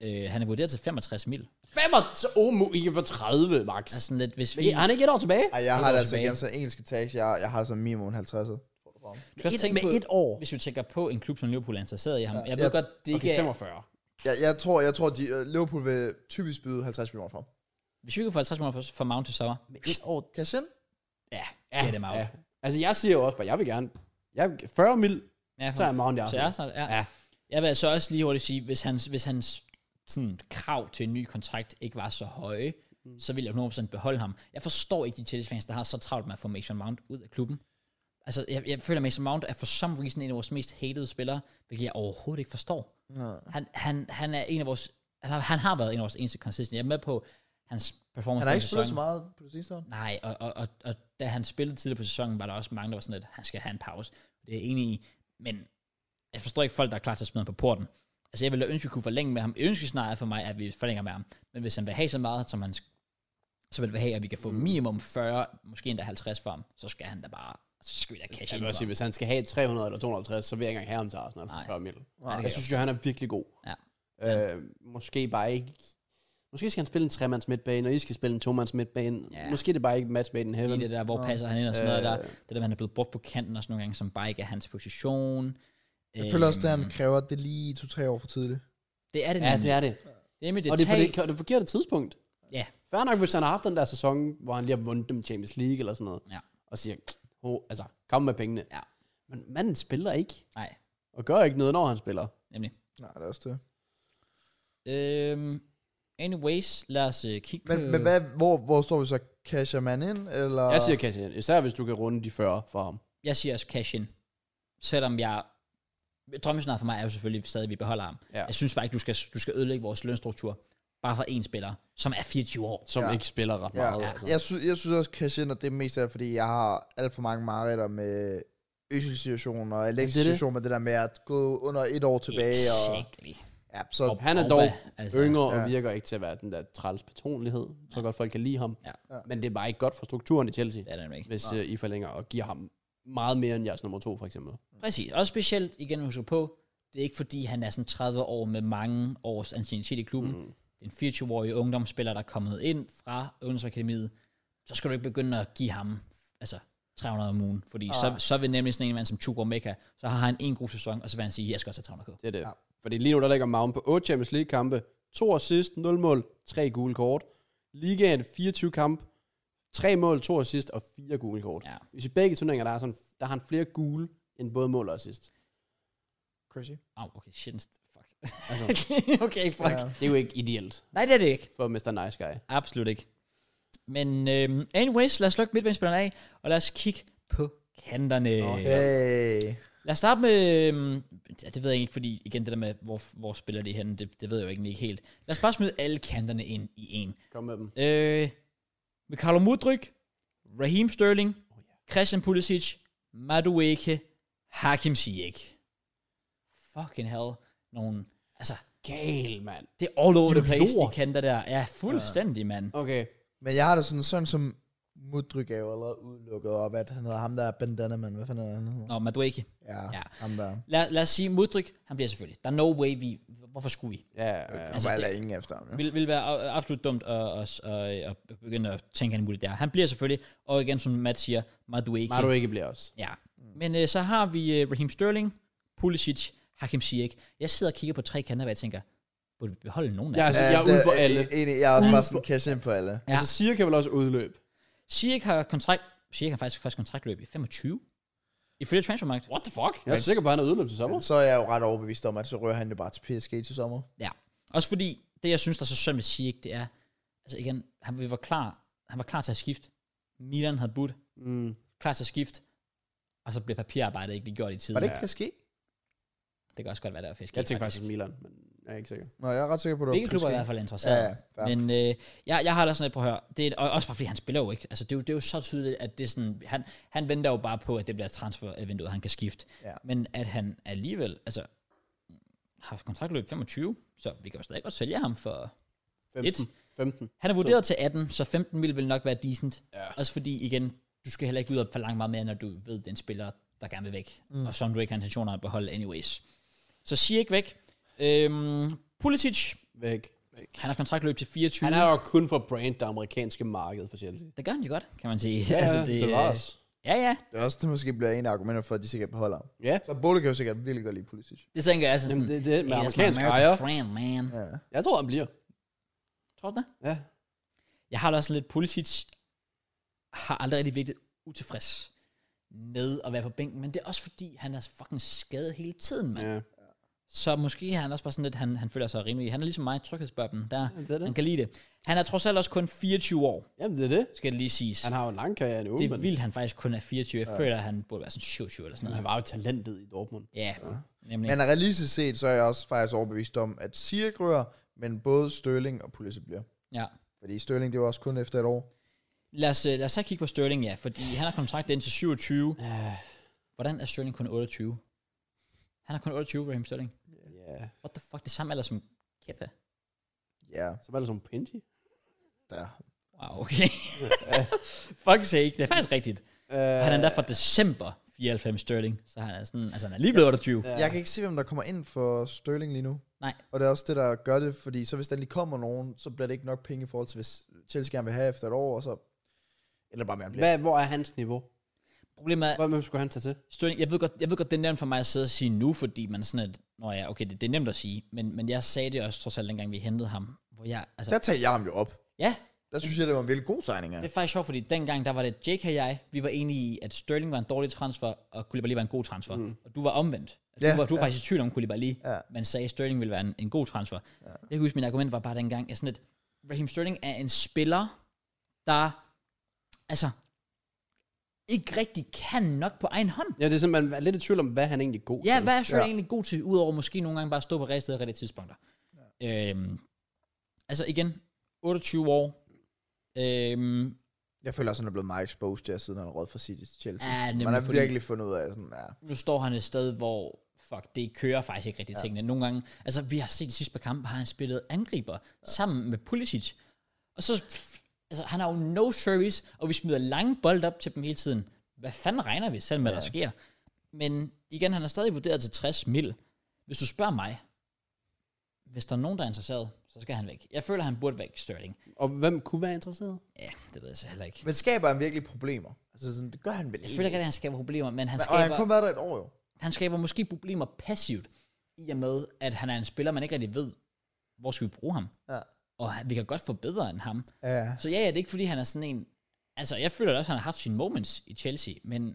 Speaker 1: Øh, han er vurderet til 65 mil.
Speaker 2: 65! Oh, mu- I kan få 30, max.
Speaker 1: Altså sådan lidt, hvis vi...
Speaker 2: Men har han ikke et år tilbage?
Speaker 3: Ej, jeg
Speaker 1: Et
Speaker 3: har
Speaker 1: år
Speaker 3: det altså
Speaker 1: tilbage.
Speaker 3: igen sådan en engelsk etage. Jeg, jeg har det sådan minimum 50.
Speaker 1: Du skal også
Speaker 2: Et-
Speaker 1: tænke
Speaker 2: med
Speaker 1: på,
Speaker 2: et år.
Speaker 1: Hvis vi tænker på en klub som Liverpool er interesseret i ham. jeg ved
Speaker 3: jeg-
Speaker 1: godt, det ikke
Speaker 2: Okay,
Speaker 1: er...
Speaker 2: 45.
Speaker 3: Jeg, jeg tror, jeg tror de, øh, Liverpool vil typisk byde 50 millioner for ham.
Speaker 1: Hvis vi kan få 50 måneder for, for Mount til sommer.
Speaker 2: Med et år
Speaker 3: Cash in?
Speaker 1: Ja, ja det er meget.
Speaker 2: Altså, jeg siger jo også bare, jeg vil gerne... Jeg, 40 mil,
Speaker 1: Ja,
Speaker 2: Så er jeg Mount i
Speaker 1: så
Speaker 2: Arsenal.
Speaker 1: er snart, ja.
Speaker 2: Ja.
Speaker 1: ja. Jeg vil altså også lige hurtigt sige, hvis hans, hvis hans sådan, krav til en ny kontrakt ikke var så høje, mm. så ville jeg 100% beholde ham. Jeg forstår ikke de Chelsea-fans, der har så travlt med at få Mason Mount ud af klubben. Altså, jeg, jeg føler, at Mason Mount er for some reason en af vores mest hated spillere, hvilket jeg overhovedet ikke forstår.
Speaker 3: Nå.
Speaker 1: Han, han, han er en af vores... Han har, han har været en af vores eneste consistent. Jeg er med på hans performance
Speaker 3: Han har
Speaker 1: den
Speaker 3: ikke spillet så
Speaker 1: sæson.
Speaker 3: meget på det sidste år.
Speaker 1: Nej, og, og, og, og da han spillede tidligere på sæsonen, var der også mange, der var sådan, at han skal have en pause. Det er jeg enig i, men jeg forstår ikke folk, der er klar til at smide ham på porten. Altså jeg ville da ønske, at vi kunne forlænge med ham. Ønskescenariet for mig er, at vi forlænger med ham. Men hvis han vil have så meget, som han, sk- så vil vi have, at vi kan få minimum 40, måske endda 50 for ham, så skal han da bare, så skal vi da cash
Speaker 2: Jeg
Speaker 1: ind
Speaker 2: vil
Speaker 1: på
Speaker 2: også sige,
Speaker 1: ham.
Speaker 2: hvis han skal have 300 eller 250, så vil jeg ikke engang have ham til Arsenal for
Speaker 1: Nej.
Speaker 2: 40 mil.
Speaker 3: Nej.
Speaker 2: Jeg synes jo, han er virkelig god.
Speaker 1: Ja.
Speaker 2: Øh, måske bare ikke... Måske skal han spille en tremands midtbane, og I skal spille en tomands midtbane.
Speaker 1: Ja.
Speaker 2: Måske er det bare ikke match made in heaven.
Speaker 1: Lige det der, hvor
Speaker 3: Nå.
Speaker 1: passer han ind og sådan noget. Der,
Speaker 2: Øh.
Speaker 1: det der, han er blevet brugt på kanten og sådan nogle gange, som bare ikke er hans position. Øhm.
Speaker 3: Jeg føler også, at han kræver, at det er lige to-tre år for tidligt.
Speaker 1: Det er det,
Speaker 2: Ja, det
Speaker 1: er
Speaker 2: er det.
Speaker 1: det. Er nemlig det,
Speaker 2: Og det er på
Speaker 1: tag-
Speaker 2: det, det forkerte tidspunkt.
Speaker 1: Ja.
Speaker 2: Færre nok, hvis han har haft den der sæson, hvor han lige har vundet dem Champions League eller sådan noget.
Speaker 1: Ja.
Speaker 2: Og siger, oh, altså, kom med pengene.
Speaker 1: Ja.
Speaker 2: Men manden spiller ikke.
Speaker 1: Nej,
Speaker 2: Og gør ikke noget, når han spiller.
Speaker 1: nemlig.
Speaker 3: Nej, det er også det.
Speaker 1: Øhm, anyways, lad os øh, kigge
Speaker 3: Men,
Speaker 1: på...
Speaker 3: men hvad, hvor, hvor står vi så? Casher man ind, eller?
Speaker 2: Jeg siger Cassian, især hvis du kan runde de 40 for ham.
Speaker 1: Jeg siger også cash in. Selvom jeg... Drømmescenariet for mig er jo selvfølgelig stadig, at vi beholder ham.
Speaker 2: Ja.
Speaker 1: Jeg synes bare ikke, du skal, du skal ødelægge vores lønstruktur. Bare for én spiller, som er 24 år.
Speaker 2: Som
Speaker 3: Ja.
Speaker 2: ja. ikke spiller ret
Speaker 3: Ja,
Speaker 2: meget.
Speaker 3: ja.
Speaker 2: Altså.
Speaker 3: Jeg, synes, jeg synes også, cash in, og det er mest af, fordi jeg har alt for mange mareritter med Øssel-situationer og Alexis-situationer med det der med at gå under et år tilbage. Og,
Speaker 1: Exactly.
Speaker 3: ja, så
Speaker 1: Og
Speaker 2: Han er
Speaker 1: Pogba,
Speaker 2: dog
Speaker 1: altså,
Speaker 2: Yngre
Speaker 3: Ja.
Speaker 2: og virker ikke til at være den der træls personlighed. Jeg tror godt, folk kan lide ham.
Speaker 1: Ja.
Speaker 3: Ja.
Speaker 2: Men det er bare ikke godt for strukturen i Chelsea,
Speaker 1: Det er det nemlig ikke.
Speaker 2: hvis uh, I forlænger og giver ham meget mere end jeres nummer to, for eksempel.
Speaker 1: Præcis. Og specielt, igen husker på, det er ikke fordi, han er sådan 30 år med mange års anciennitet i klubben. Mm. Det er en 24-årig ungdomsspiller, der er kommet ind fra ungdomsakademiet. Så skal du ikke begynde at give ham altså, 300 om ugen, fordi så, så vil nemlig sådan en mand som Chukwur Mekka, så har han en god sæson, og så vil han sige, jeg skal også have 300k.
Speaker 2: Det er det. Ja. Fordi lige nu, der ligger Magen på 8 Champions League-kampe, to assist, 0 mål, tre gule kort. Ligaen 24 kamp, tre mål, to assist og fire gule kort.
Speaker 1: Ja.
Speaker 2: Hvis i begge turneringer, der, er sådan, der har han flere gule end både mål og assist.
Speaker 3: Crazy.
Speaker 1: Au, okay, shit, en st- fuck.
Speaker 2: Altså.
Speaker 1: okay, fuck.
Speaker 3: Ja.
Speaker 1: Ja.
Speaker 2: Det er jo ikke ideelt
Speaker 1: Nej, det er det ikke.
Speaker 2: for Mr. Nice Guy.
Speaker 1: Absolut ikke. Men øhm, anyways, lad os lukke midtbanespilleren af, og lad os kigge på kanterne.
Speaker 2: Okay.
Speaker 3: Hey.
Speaker 1: Lad os starte med, øhm, ja, det ved jeg ikke, fordi igen det der med, hvor, hvor spiller de henne, det, det ved jeg jo egentlig ikke helt. Lad os bare smide alle kanterne ind i en.
Speaker 2: Kom med dem.
Speaker 1: Øh, Mikalo Mudryk, Raheem Sterling,
Speaker 2: Oh,
Speaker 1: Christian Pulisic, Madueke, Hakim Ziyech. Fucking hell. Nogle, altså,
Speaker 2: Gal, mand.
Speaker 1: det er all over
Speaker 2: De er
Speaker 1: the place,
Speaker 2: lort.
Speaker 1: de kanter der. Ja, fuldstændig, mand.
Speaker 2: Okay.
Speaker 3: Men jeg har det sådan, sådan som Mudryk er jo allerede udelukket op, at han hedder ham der bandana, man. Hvad fanden er han? hedder?
Speaker 1: Nå, Madueke.
Speaker 3: Ja, ja,
Speaker 1: Ja.
Speaker 3: ham der.
Speaker 1: Lad, lad os sige, Mudryk, han bliver selvfølgelig. Der er no way, vi, hvorfor skulle vi?
Speaker 2: Ja, ja.
Speaker 3: Altså,
Speaker 1: Altså,
Speaker 3: der
Speaker 1: det-
Speaker 3: er ingen efter ham, jo.
Speaker 1: Vil, vil være a- absolut dumt at, at, at, at begynde at tænke alt muligt der. Han bliver selvfølgelig, og igen som Matt siger, Madueke.
Speaker 2: Maru ikke bliver også.
Speaker 1: Ja. Men øh, så har vi øh, Raheem Sterling, Pulisic, Hakim Ziyech. Jeg sidder og kigger på tre kanter, hvor jeg tænker, burde vi beholde nogen af
Speaker 2: Ja,
Speaker 1: dem?
Speaker 2: altså, jeg er
Speaker 3: det- e-
Speaker 2: ude på alle.
Speaker 3: Enig, jeg er også bare sådan cash in på alle.
Speaker 1: Ja.
Speaker 2: Ja. Altså, Sir kan vel også udløbe.
Speaker 1: Ziyech har kontrakt, Ziyech har faktisk først kontraktløb i 25. Ifølge Transfermarkt. What the fuck?
Speaker 2: Jeg er sikker på, at han er udløb til sommer.
Speaker 3: Så er jeg jo ret overbevist om, at så rører han det bare til PSG til sommer.
Speaker 1: Ja. Også fordi, det jeg synes, der er så synd ved Ziyech, det er, altså igen, han vi var klar, han var klar til at skifte. Milan havde budt,
Speaker 2: Mm.
Speaker 1: klar til at skifte, og så blev papirarbejdet ikke lige gjort i tiden.
Speaker 3: Var det ikke PSG?
Speaker 1: Det kan også godt være, der er fisk.
Speaker 2: Jeg tænker faktisk Milan, men jeg er ikke sikker.
Speaker 3: Nå, jeg er ret sikker på, at det var
Speaker 1: Begge klubber er i
Speaker 3: PSG.
Speaker 1: hvert fald interesseret.
Speaker 3: Ja,
Speaker 1: Ja,
Speaker 3: ja.
Speaker 1: ja.
Speaker 3: fair.
Speaker 1: Men øh, jeg, jeg har da sådan et, prøv at høre, det er, og også bare fordi han spiller jo ikke. Altså, det, er jo, det er jo så tydeligt, at det er sådan, han, han venter jo bare på, at det bliver transfervinduet, han kan skifte.
Speaker 3: Ja.
Speaker 1: Men at han alligevel, altså, har kontraktløb 25, så vi kan jo stadig godt sælge ham for...
Speaker 2: 15. 15.
Speaker 1: Han er vurderet til 18, så 15 vil vel nok være decent.
Speaker 2: Ja.
Speaker 1: Også fordi, igen, du skal heller ikke ud og forlange meget mere, når du ved, den spiller, der gerne vil væk. Mm. Og som du ikke har intentioner at beholde anyways. Så sig ikke væk. Øhm, Pulisic,
Speaker 2: Væk.
Speaker 1: han har kontraktløb til 24.
Speaker 2: Han er jo kun for brand det amerikanske marked for Chelsea.
Speaker 1: Det gør han jo godt, kan man sige.
Speaker 2: Ja, altså, det,
Speaker 1: det, øh,
Speaker 2: var også.
Speaker 1: ja, ja.
Speaker 3: Det er også det måske bliver en af argumenter for, at de sikkert beholder ham.
Speaker 2: Ja.
Speaker 3: Så Bolle kan jo sikkert virkelig godt lide Pulisic.
Speaker 1: Det tænker jeg altså sådan.
Speaker 2: Jamen, det, det med
Speaker 1: "Hey, that's my
Speaker 2: amerikansk
Speaker 1: American
Speaker 2: ejer.
Speaker 1: friend, man.
Speaker 3: Ja.
Speaker 2: Jeg tror, han bliver.
Speaker 1: Tror du det?
Speaker 2: Ja.
Speaker 1: Jeg har da også lidt Pulisic har aldrig rigtig virket utilfreds. med at være på bænken, men det er også fordi, han er fucking skadet hele tiden, mand.
Speaker 2: Ja.
Speaker 1: Så måske er han også bare sådan lidt, han, han føler sig rimelig. Han er ligesom mig i tryghedsboblen, der
Speaker 2: Ja, det er det.
Speaker 1: han kan lide det. Han er trods alt også kun 24 år,
Speaker 2: Jamen, det er det.
Speaker 1: skal det lige siges.
Speaker 2: Han har jo en lang karriere nu,
Speaker 1: det er
Speaker 2: men
Speaker 1: vildt, han faktisk kun er 24. Jeg ja. føler, at han burde være sådan 27 eller sådan noget.
Speaker 2: han var jo talentet i Dortmund.
Speaker 1: Ja, ja. nemlig.
Speaker 3: Men realistisk set, så er jeg også faktisk overbevist om, at Sirk rører, men både Støling og Pulisic bliver.
Speaker 1: ja.
Speaker 3: Fordi Støling, det var også kun efter et år.
Speaker 1: Lad os, øh, lad os så kigge på Sterling, ja, fordi han har kontrakt indtil 27.
Speaker 2: Ja.
Speaker 1: Hvordan er Sterling kun 28? Han er kun 28, Raheem Sterling.
Speaker 2: Ja.
Speaker 1: What the fuck, det er samme alder som Kepa.
Speaker 3: Ja,
Speaker 2: Så var det som Pinji.
Speaker 3: der.
Speaker 1: Wow, okay. Fuck sake, det er faktisk rigtigt.
Speaker 2: Uh,
Speaker 1: Han er endda fra december 94 Sterling, så han er sådan, altså han er lige blevet 28.
Speaker 2: Ja.
Speaker 3: Jeg kan ikke se, hvem der kommer ind for Sterling lige nu.
Speaker 1: Nej.
Speaker 3: Og det er også det, der gør det, fordi så hvis der lige kommer nogen, så bliver det ikke nok penge i forhold til, hvis Chelsea gerne vil have efter et år, og så... Eller bare mere bliver.
Speaker 2: Hvad, hvor er hans niveau?
Speaker 1: Problemet er,
Speaker 2: Hvad, hvem skulle han tage til?
Speaker 1: Sterling, jeg ved godt, jeg ved godt det er nemt for mig at sidde og sige nu, fordi man er sådan at, nå ja, okay, det, det er nemt at sige, men, men jeg sagde det også trods alt, dengang vi hentede ham, hvor jeg, altså,
Speaker 3: Der tager jeg ham jo op.
Speaker 1: ja,
Speaker 3: Der synes jeg, det var en virkelig god signing
Speaker 1: Det
Speaker 3: af.
Speaker 1: er faktisk sjovt, fordi dengang, der var det Jake og jeg, vi var enige i, at Sterling var en dårlig transfer, og Koulibaly var en god transfer. Mm. Og du var omvendt. Du
Speaker 3: Ja,
Speaker 1: var, du var
Speaker 3: ja.
Speaker 1: faktisk i tvivl om Koulibaly,
Speaker 3: Ja.
Speaker 1: men sagde, at Sterling ville være en, en god transfer. Ja. Jeg kan huske, min argument var bare dengang, at sådan et, Raheem Sterling er en spiller, der altså ikke rigtig kan nok på egen hånd.
Speaker 2: Ja, det er simpelthen man er lidt i tvivl om, hvad han egentlig er god
Speaker 1: Ja,
Speaker 2: til.
Speaker 1: hvad er Sterling
Speaker 3: Ja.
Speaker 1: ja. egentlig god til, udover måske nogle gange bare at stå på rigtige steder og rigtige tidspunkter? Ja. Øhm, altså igen, 28 år. Øhm,
Speaker 3: Jeg føler også, han er blevet meget exposed der, siden han råd fra City til Chelsea.
Speaker 1: Ja,
Speaker 3: Så
Speaker 1: nemlig,
Speaker 3: Man har
Speaker 1: fordi-
Speaker 3: virkelig fundet ud af sådan, ja.
Speaker 1: nu står han et sted, hvor fuck, det kører faktisk ikke rigtig ja. tingene. Nogle gange, altså vi har set de sidste par kampe, har han spillet angriber ja. sammen med Pulisic. Og så, pff, altså han har jo no service, og vi smider lange bold op til dem hele tiden. Hvad fanden regner vi selv med, ja. der sker? Men igen, han er stadig vurderet til 60 mil. Hvis du spørger mig, hvis der er nogen, der er interesseret, så skal han væk. Jeg føler, han burde væk, Sterling.
Speaker 2: Og hvem kunne være interesseret?
Speaker 1: Ja, det ved jeg så heller ikke.
Speaker 3: Men skaber han virkelig problemer? Altså sådan, det gør han vel
Speaker 1: Jeg føler ikke,
Speaker 3: ikke.
Speaker 1: at han skaber problemer, men han
Speaker 3: Men-
Speaker 1: skaber...
Speaker 3: Og han har kun været der et år jo.
Speaker 1: han skaber måske problemer passivt, i og med, at han er en spiller, man ikke rigtig ved, hvor skal vi bruge ham.
Speaker 3: Ja.
Speaker 1: Og han- vi kan godt få bedre end ham.
Speaker 3: Ja.
Speaker 1: Så ja, ja, det er ikke fordi, han er sådan en... Altså, jeg føler også, at han har haft sine moments i Chelsea, men der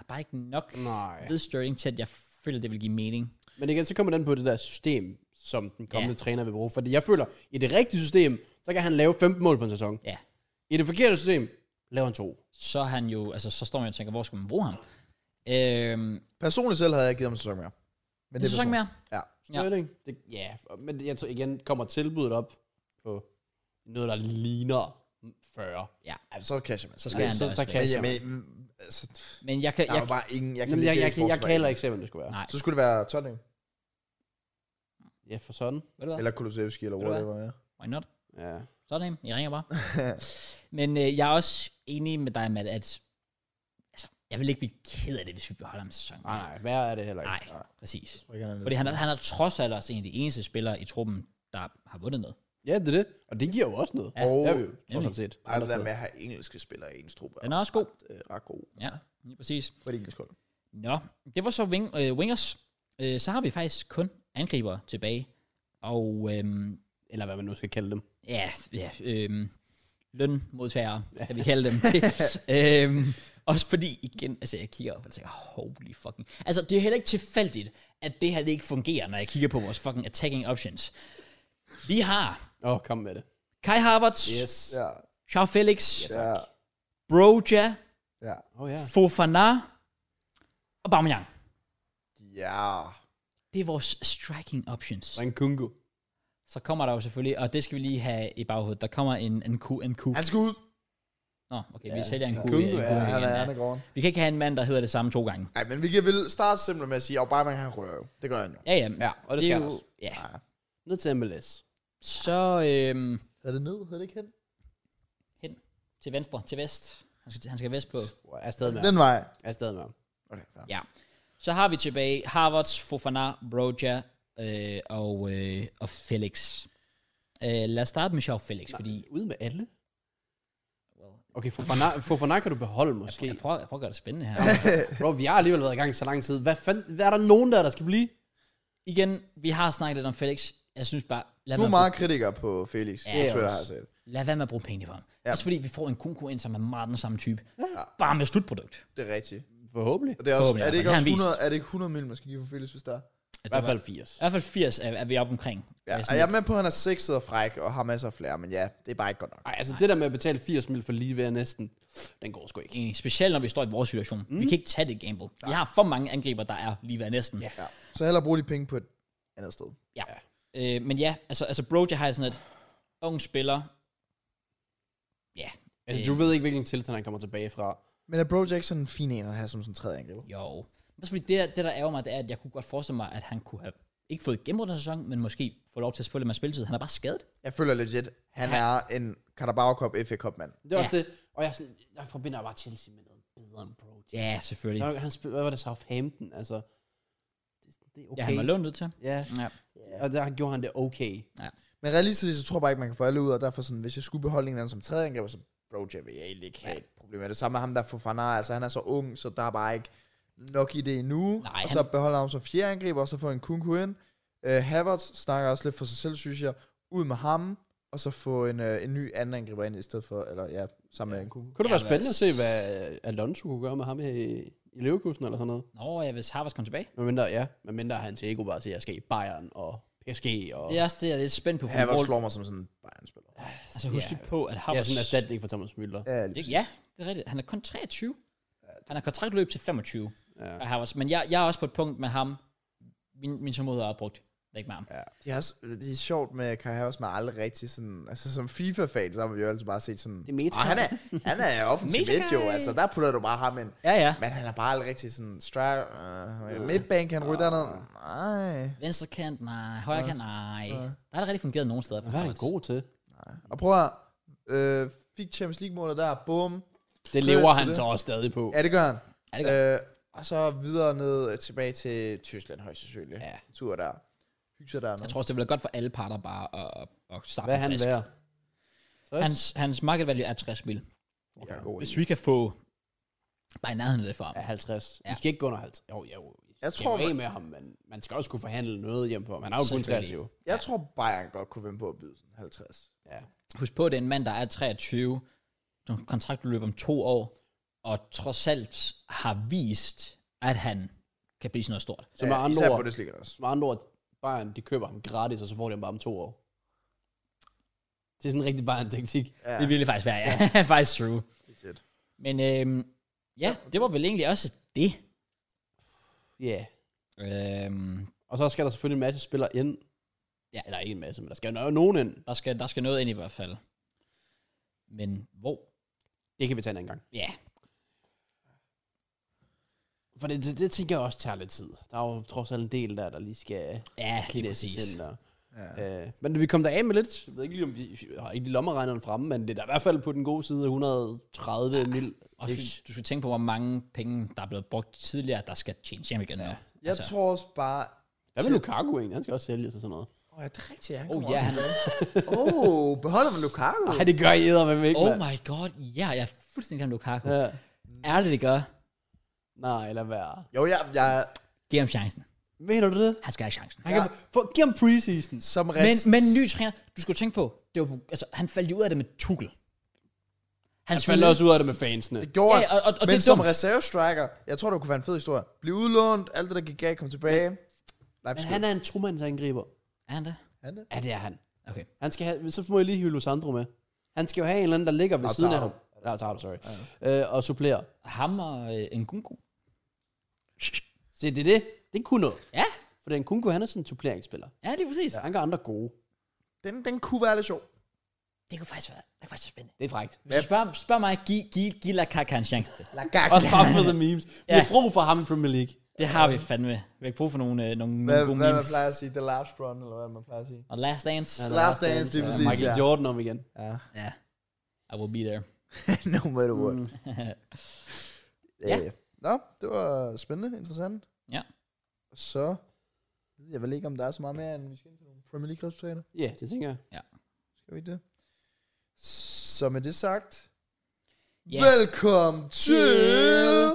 Speaker 1: er bare ikke nok
Speaker 2: Nej.
Speaker 1: ved Sterling til, at jeg føler, det vil give mening.
Speaker 2: Men igen, så kommer den på det der system, som den kommende
Speaker 1: Ja.
Speaker 2: ja. træner vil bruge. Fordi jeg føler, i det rigtige system, så kan han lave 15 mål på en sæson.
Speaker 1: Ja.
Speaker 2: I det forkerte system, laver han to.
Speaker 1: Så er han jo... Altså, så står man og tænker, hvor skal man bruge ham? Øhm,
Speaker 3: Personligt selv havde jeg givet ham en sæson mere. Men
Speaker 1: en sæson
Speaker 3: personligt.
Speaker 1: mere.
Speaker 3: Ja.
Speaker 1: Ja.
Speaker 2: Sterling. Ja. Det, ja, men jeg tror igen, kommer tilbuddet op på noget, der ligner 40.
Speaker 1: Ja.
Speaker 3: Jamen, så casher man.
Speaker 1: Så skal
Speaker 2: Ja,
Speaker 1: han
Speaker 2: så-
Speaker 1: da også
Speaker 2: så
Speaker 1: væk.
Speaker 2: kan-
Speaker 3: Men,
Speaker 2: casher
Speaker 3: jamen, mm, altså,
Speaker 1: Men jeg kan...
Speaker 3: der
Speaker 1: Jeg,
Speaker 3: er jo bare ingen... Jeg kan,
Speaker 2: Jamen, jeg,
Speaker 3: legit
Speaker 2: jeg,
Speaker 3: ikke
Speaker 2: jeg, jeg
Speaker 3: forestille
Speaker 2: kan
Speaker 3: mig
Speaker 2: heller
Speaker 3: en.
Speaker 2: ikke se, hvem det skulle være.
Speaker 1: Nej.
Speaker 3: Så skulle det være Tottenham,
Speaker 2: Ja, for sådan.
Speaker 1: ved du hvad?
Speaker 3: eller Kulusevski, eller
Speaker 1: Ved du hvad?
Speaker 3: whatever, ja.
Speaker 1: Why not?
Speaker 2: Ja.
Speaker 1: Sådan, I ringer bare. Men øh, jeg er også enig med dig, Matt, at altså, jeg vil ikke blive ked af det, hvis vi beholder ham sæson.
Speaker 2: Nej, nej, hvad er det heller ikke?
Speaker 1: Nej, præcis.
Speaker 3: Jeg tror ikke, han er
Speaker 1: Fordi han er, han er trods alt også en af de eneste spillere i truppen, der har vundet noget.
Speaker 2: Ja, det er det. Og det giver jo også noget.
Speaker 1: Ja.
Speaker 2: Det har vi
Speaker 3: Og
Speaker 2: jo trods alt set.
Speaker 3: bare det der med at have engelske spillere i ens trup.
Speaker 1: Den er også god.
Speaker 3: ret, øh, ret god
Speaker 1: Ja, lige præcis.
Speaker 3: for et engelsk hold.
Speaker 1: Nå, det var så wing, øh, wingers. Øh, så har vi faktisk kun angriber tilbage. Og øhm,
Speaker 2: Eller hvad man nu skal kalde dem.
Speaker 1: ja, ja øhm, lønmodtagere, kan vi kalde dem. øhm, også fordi, igen, altså jeg kigger op og tænker, holy fucking... Altså, det er heller ikke tilfældigt, at det her det ikke fungerer, når jeg kigger på vores fucking attacking options. Vi har
Speaker 2: Åh, oh, kom med det.
Speaker 1: Kai Havertz, yes.
Speaker 2: Yes.
Speaker 3: Ja,
Speaker 1: Charles Felix, yes.
Speaker 3: ja,
Speaker 1: Broja,
Speaker 3: ja.
Speaker 2: Oh, ja.
Speaker 1: Fofana og Aubameyang.
Speaker 3: Ja.
Speaker 1: Det er vores striking options.
Speaker 2: Og en kungo.
Speaker 1: Så kommer der jo selvfølgelig, og det skal vi lige have i baghovedet, der kommer en, en ku, en ku.
Speaker 3: Han skal ud.
Speaker 1: Nå, okay, vi sælger en ku.
Speaker 2: Kungu,
Speaker 1: i- en ku
Speaker 2: ja,
Speaker 1: igen,
Speaker 3: Ja, han er,
Speaker 1: ja.
Speaker 3: han er gården.
Speaker 1: Vi kan ikke have en mand, der hedder det samme to gange.
Speaker 3: Nej, men vi kan vel starte simpelthen med at sige, at Aubameyang han rører jo. Det gør han jo.
Speaker 1: Ja, ja.
Speaker 2: Ja, og det skal
Speaker 1: er
Speaker 2: han
Speaker 1: jo-
Speaker 2: også.
Speaker 1: Ja.
Speaker 2: Ned til MLS.
Speaker 1: Så øhm,
Speaker 3: Er det ned? Er det ikke hen?
Speaker 1: hen til venstre, til vest. Han skal, han skal vest på.
Speaker 2: Jeg er stadig med.
Speaker 3: Den vej.
Speaker 2: Jeg er stadig med.
Speaker 3: Okay, fair.
Speaker 1: Ja. Så har vi tilbage Harvards, Fofana, Broja øh, og, øh, og Felix. Øh, lad os starte med Sjov Felix, fordi...
Speaker 2: Ude med alle?
Speaker 1: Well,
Speaker 2: Okay, Fofana, Fofana kan du beholde måske.
Speaker 1: jeg, prøver, jeg prøver at gøre det spændende her.
Speaker 2: Bro, vi har alligevel været i gang i så lang tid. Hvad, fanden, hvad er der nogen der, der skal blive?
Speaker 1: Igen, vi har snakket lidt om Felix. Jeg synes bare, lad,
Speaker 3: Du
Speaker 1: være,
Speaker 3: er
Speaker 1: med, at
Speaker 3: meget kritiker på Felix. Ja, jeg tror, jeg har set.
Speaker 1: bruge, lad være med at bruge penge på ham. Ja. Også fordi vi får en konkurrent, som er meget den samme type. Ja. Bare med slutprodukt.
Speaker 3: Det er rigtigt.
Speaker 2: Forhåbentlig.
Speaker 3: Og det er, også,
Speaker 1: Forhåbentlig,
Speaker 3: er, det ikke
Speaker 1: det har
Speaker 3: også
Speaker 1: han vist.
Speaker 3: 100, er det ikke 100 mil, man skal give for Felix, hvis der er?
Speaker 2: I hvert fald 80.
Speaker 1: I hvert fald 80 er, er vi oppe omkring.
Speaker 3: Ja,
Speaker 1: Er
Speaker 3: og
Speaker 1: sådan-
Speaker 3: jeg er med på, at han er sexet og fræk og har masser af flere, men ja, det er bare ikke godt nok.
Speaker 2: Ej, altså det der med at betale 80 mil for lige ved er næsten, den går sgu ikke.
Speaker 1: Enig. Specielt når vi står i vores situation. Mm. Vi kan ikke tage det gamble. Vi har for mange angriber, der er lige ved næsten.
Speaker 2: Ja.
Speaker 3: Ja. Så hellere bruge de penge på et andet sted.
Speaker 1: ja. Øh, men ja, altså, altså Broja har jeg sådan et ung spiller. Ja.
Speaker 2: Altså du ved ikke, hvilken tilstand han kommer tilbage fra.
Speaker 3: Men er Bro Jackson en fin en at have som sådan en tredje angriber?
Speaker 1: Jo. Også fordi det, der- det, der ærger mig, det er, at jeg kunne godt forestille mig, at han kunne have ikke fået gennembrud den her sæson, men måske få lov til at få lidt mere spilletid. Han er bare skadet.
Speaker 3: Jeg føler legit, han
Speaker 1: Ja.
Speaker 3: er en Carabao Cup FA Cup mand.
Speaker 2: Det er
Speaker 1: Ja.
Speaker 2: også det. Og jeg, er sådan, jeg forbinder bare Chelsea med noget bedre end Bro.
Speaker 1: Ja, selvfølgelig.
Speaker 2: Nå, Han spil, hvad var det, Southampton? Altså, det, det er
Speaker 1: Ja,
Speaker 2: okay.
Speaker 1: han var lånt ud til.
Speaker 2: Ja,
Speaker 1: Ja.
Speaker 2: og der gjorde han det okay.
Speaker 3: Men realistisk, så tror jeg bare ikke, man kan få alle ud, og derfor sådan, hvis jeg skulle beholde en eller anden som tredje angriber, så Broja vil jeg egentlig ikke have et problem med det. Samme med ham der for Fofana, altså han er så ung, så der er bare ikke nok i det endnu.
Speaker 1: Nej,
Speaker 3: og så beholder ham som fjerde angriber, og så får en Kunku ind. Uh, Havertz snakker også lidt for sig selv, synes jeg. Ud med ham, og så få en, uh, en ny anden angriber ind i stedet for, eller ja, sammen med en Kunku.
Speaker 2: Kunne det
Speaker 1: Ja,
Speaker 2: være spændende at
Speaker 1: hvad-
Speaker 2: se, hvad øh, Alonso kunne gøre med ham her i, i Leverkusen eller sådan noget?
Speaker 1: Nå, ja, hvis Harvards kom tilbage.
Speaker 2: Med mindre, ja. Med mindre hans ego bare siger, jeg skal i Bayern og PSG og...
Speaker 1: Det er også det, jeg er lidt spændt på. for
Speaker 3: Havertz
Speaker 1: Wall-
Speaker 3: slår mig som sådan en Bayern-spiller.
Speaker 1: Altså husk
Speaker 2: Ja.
Speaker 1: lige på, at
Speaker 2: Ja,
Speaker 1: Havertz...
Speaker 2: sådan en erstatning for Thomas Müller.
Speaker 3: Ja, lige
Speaker 1: det,
Speaker 3: præcis.
Speaker 1: ja, det er rigtigt. Han er kun 23. Han har kontraktløb til 25
Speaker 2: Ja.
Speaker 1: af Havertz. Men jeg, jeg er også på et punkt med ham. Min, min tålmodighed er opbrugt. Væk med ham.
Speaker 2: ja.
Speaker 3: Det er, også, det er sjovt med Kai Havertz, man aldrig rigtig sådan... Altså som FIFA-fan, så har vi jo altid bare set sådan...
Speaker 2: Det er meta.
Speaker 3: "Åh, han er, han er offensiv
Speaker 1: Meta
Speaker 3: midt jo,
Speaker 1: guy."
Speaker 3: altså der putter du bare ham ind.
Speaker 1: Ja, ja.
Speaker 3: Men han er bare aldrig rigtig sådan... Stri- uh, midtbank, han rytter ned. Nej.
Speaker 1: Venstre kant, nej. Højre kant, nej. Der har det rigtig fungeret nogen steder. for
Speaker 2: Hvad er han
Speaker 1: Havertz.
Speaker 2: god til?
Speaker 3: Og prøv at... Øh, fik Champions League-målet der, bum.
Speaker 2: Det lever
Speaker 3: til
Speaker 2: han
Speaker 3: det.
Speaker 2: så også stadig på.
Speaker 3: Ja, det gør han.
Speaker 1: Ja, det
Speaker 3: Øh, og så videre ned øh, tilbage til Tyskland, højst sandsynligt.
Speaker 2: Ja.
Speaker 3: Tur der. Hygge sig dernede.
Speaker 1: Jeg tror også, det bliver godt for alle parter bare at, at starte
Speaker 2: Hvad er han
Speaker 1: frisk.
Speaker 2: værd? 60?
Speaker 1: Hans, hans market value er 60 mil.
Speaker 2: Okay, god idé.
Speaker 1: Hvis vi kan få bare i nærheden af det for ham.
Speaker 2: Ja,
Speaker 1: Ja.
Speaker 2: 50. Ja.
Speaker 1: Ja.
Speaker 2: I skal ikke gå under 50. Jo, jo. I
Speaker 3: Jeg
Speaker 2: skal
Speaker 3: tror,
Speaker 2: jo af
Speaker 3: man-
Speaker 2: med ham, men man skal også kunne forhandle noget hjem på ham. Han er jo kun
Speaker 1: Selvfølgelig.
Speaker 2: 23.
Speaker 3: Jeg tror, Bayern godt kunne vinde på at byde sådan 50.
Speaker 2: Ja.
Speaker 1: Husk på, at det er en mand, der er 23, som kontraktløb om to år, og trods alt har vist, at han kan blive sådan noget stort.
Speaker 2: Så med,
Speaker 3: Ja,
Speaker 2: andre
Speaker 3: Øh, Især
Speaker 2: ord,
Speaker 3: Bundesliga også.
Speaker 2: så med andre ord, Bayern, de køber ham gratis, og så får de ham bare om to år. Det er sådan en rigtig Bayern-taktik.
Speaker 1: Ja. Det ville faktisk være, ja. ja. faktisk true.
Speaker 3: Legit.
Speaker 1: Men øhm, ja, det var vel egentlig også det.
Speaker 2: Ja. Yeah.
Speaker 1: Øhm,
Speaker 2: Og så skal der selvfølgelig en masse spillere ind.
Speaker 1: Ja.
Speaker 2: Ja, eller ikke en masse, men der skal jo nogen ind.
Speaker 1: der, skal, der skal noget ind i hvert fald. Men hvor?
Speaker 2: Det kan vi tage en anden gang.
Speaker 1: Ja,
Speaker 2: For det, det, det tænker jeg også tager lidt tid. Der er jo trods alt en del der, der lige skal...
Speaker 1: ja lige
Speaker 2: læses
Speaker 1: præcis.
Speaker 2: ind, og, ja. øh, men vi kom der af med lidt. Jeg ved ikke lige, om vi jeg har ikke lige lommeregneren fremme, men det er da i hvert fald på den gode side 130 ja. mil.
Speaker 1: Og du, du skal tænke på, hvor mange penge, der er blevet brugt tidligere, der skal tjene hjem igen. Ja.
Speaker 3: Jeg altså. tror også bare...
Speaker 2: Hvad med Lukaku egentlig? Han skal også sælges og sådan noget.
Speaker 3: Åh, oh, er det rigtigt? Han
Speaker 1: Oh,
Speaker 3: kommer
Speaker 1: ja.
Speaker 3: også tilbage. Åh, oh, beholder man Lukaku?
Speaker 2: Nej, det gør I eddermame ikke,
Speaker 1: Oh
Speaker 2: mand.
Speaker 1: my god, ja, jeg er fuldstændig glemt Lukaku. Ja.
Speaker 2: Ja.
Speaker 1: Er det det gør?
Speaker 2: Nej, lad være.
Speaker 3: Jo, jeg, jeg,
Speaker 1: Giv ham chancen.
Speaker 2: Mener du det?
Speaker 1: Han skal have chancen.
Speaker 2: Han ja. kan, for, giv ham preseason.
Speaker 3: som
Speaker 1: Men,
Speaker 3: rest...
Speaker 1: men ny træner, du skal jo tænke på, det var, altså, han faldt jo ud af det med Tuchel.
Speaker 2: Han faldt også ud af det med fansene.
Speaker 3: det gjorde
Speaker 1: Ja,
Speaker 3: han.
Speaker 1: og- og- og
Speaker 3: men
Speaker 1: det er
Speaker 3: som
Speaker 1: dumt.
Speaker 3: reserve-striker, jeg tror, det kunne være en fed historie. Bliv udlånt, alt det, der gik galt, kom tilbage. Nej,
Speaker 2: Men han er en tomandsangriber.
Speaker 1: Er han det?
Speaker 3: han det?
Speaker 2: Ja, det er han.
Speaker 1: Okay.
Speaker 2: Han skal have, så må jeg lige hive Losandro med. Han skal jo have en eller anden, der ligger ved siden af ham. Ja, Lautaro, sorry. Ja. Øh, og supplerer.
Speaker 1: Ham og øh, Nkunku.
Speaker 2: Se, det er det. Det kunne noget.
Speaker 1: Ja,
Speaker 2: For den kunne han er sådan en suppleringsspiller.
Speaker 1: ja, det er præcis.
Speaker 2: Ja. Han gør andre gode.
Speaker 3: Den, den kunne være lidt sjov.
Speaker 1: Det kunne faktisk være, det kunne faktisk være spændende.
Speaker 2: Det er frækt.
Speaker 1: Hvis du spørger, spørger mig, giv, giv, giv Lukaku en chance.
Speaker 2: Også bare for the memes. Vi har brug for ham i Premier League.
Speaker 1: Det har vi fandme. Vi har ikke brug for nogle, øh, nogle,
Speaker 3: Hvad,
Speaker 1: nogle gode
Speaker 3: hvad man
Speaker 1: memes.
Speaker 3: plejer at sige? The last run, eller hvad man plejer at sige?
Speaker 1: Og Last Dance.
Speaker 2: Ja,
Speaker 1: Ja.
Speaker 2: The
Speaker 3: Last Dance, det er
Speaker 2: ja.
Speaker 3: præcis,
Speaker 2: Michael
Speaker 3: ja.
Speaker 2: Jordan om igen.
Speaker 3: Ja.
Speaker 1: I will be there.
Speaker 3: no matter what. Mm.
Speaker 1: Ja.
Speaker 3: Nå, det var spændende, interessant.
Speaker 1: Ja.
Speaker 3: Så ved jeg vel ikke, om der er så meget mere, end vi skal ind til nogle Premier League-resultater.
Speaker 2: Ja, det tænker jeg.
Speaker 3: Skal vi ikke det? Så med det sagt,
Speaker 1: Ja.
Speaker 3: yeah. velkommen til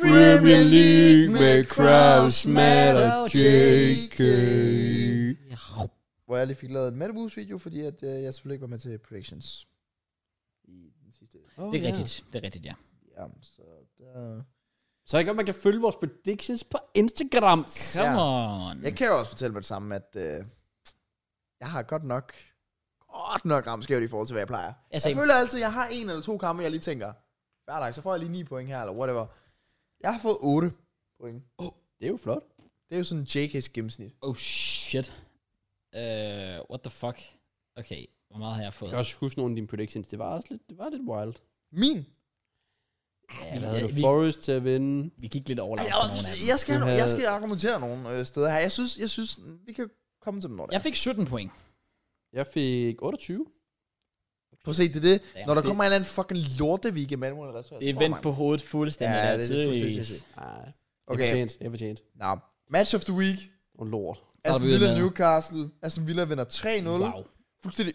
Speaker 2: Premier League med Kraus, Matt og JK.
Speaker 3: Hvor jeg lige fik lavet en Madboost video, fordi at, øh, jeg selvfølgelig ikke var med til predictions. I den sidste.
Speaker 2: Oh,
Speaker 1: Det er rigtigt. Det er rigtigt, ja.
Speaker 3: Ja, så der...
Speaker 2: Så er det godt, man kan følge vores predictions på Instagram.
Speaker 1: Come
Speaker 3: Ja.
Speaker 1: on.
Speaker 3: Jeg kan jo også fortælle mig det samme, at øh, jeg har godt nok, godt nok ramt skævt i forhold til, hvad jeg plejer.
Speaker 1: Jeg
Speaker 3: Jeg,
Speaker 1: sagde-
Speaker 3: jeg føler altid, at jeg har en eller to kampe, jeg lige tænker, hver dag, så får jeg lige 9 point her, eller whatever. Jeg har fået 8 point.
Speaker 2: Det er jo flot.
Speaker 3: Det er jo sådan JK's gennemsnit.
Speaker 1: Oh shit. Uh, what the fuck? Okay, hvor meget har jeg fået?
Speaker 2: Jeg kan også huske nogle af dine predictions. Det var også lidt, det var lidt wild.
Speaker 3: Min?
Speaker 2: Ja, hvad havde
Speaker 1: vi,
Speaker 2: du? Forest til at vinde.
Speaker 1: vi gik lidt over
Speaker 3: Jeg,
Speaker 1: på nogle af dem.
Speaker 3: jeg, skal,
Speaker 2: Du havde-
Speaker 3: jeg skal argumentere nogle øh, steder her. Jeg synes, jeg synes, vi kan komme til dem, når det
Speaker 1: Jeg
Speaker 3: er.
Speaker 1: fik 17 point.
Speaker 2: Jeg fik 28.
Speaker 3: Prøv at se, det er det.
Speaker 1: Damn,
Speaker 3: Når der
Speaker 1: det-
Speaker 3: kommer en eller anden fucking lorteweek i Malmø, eller så-
Speaker 1: Det er
Speaker 3: så-
Speaker 1: vendt på hovedet fuldstændig.
Speaker 3: Ja,
Speaker 1: der,
Speaker 3: det er fuldstændig
Speaker 1: jeez.
Speaker 3: sindssygt.
Speaker 2: Nej. Okay. Jeg
Speaker 3: Okay,
Speaker 2: fortjent. Jeg fortjent.
Speaker 3: nå. Match of the week.
Speaker 2: Og lort.
Speaker 3: Aston
Speaker 1: vi
Speaker 3: Villa
Speaker 1: med.
Speaker 3: Newcastle. Aston Villa vinder 3-0.
Speaker 1: Wow.
Speaker 3: Fuldstændig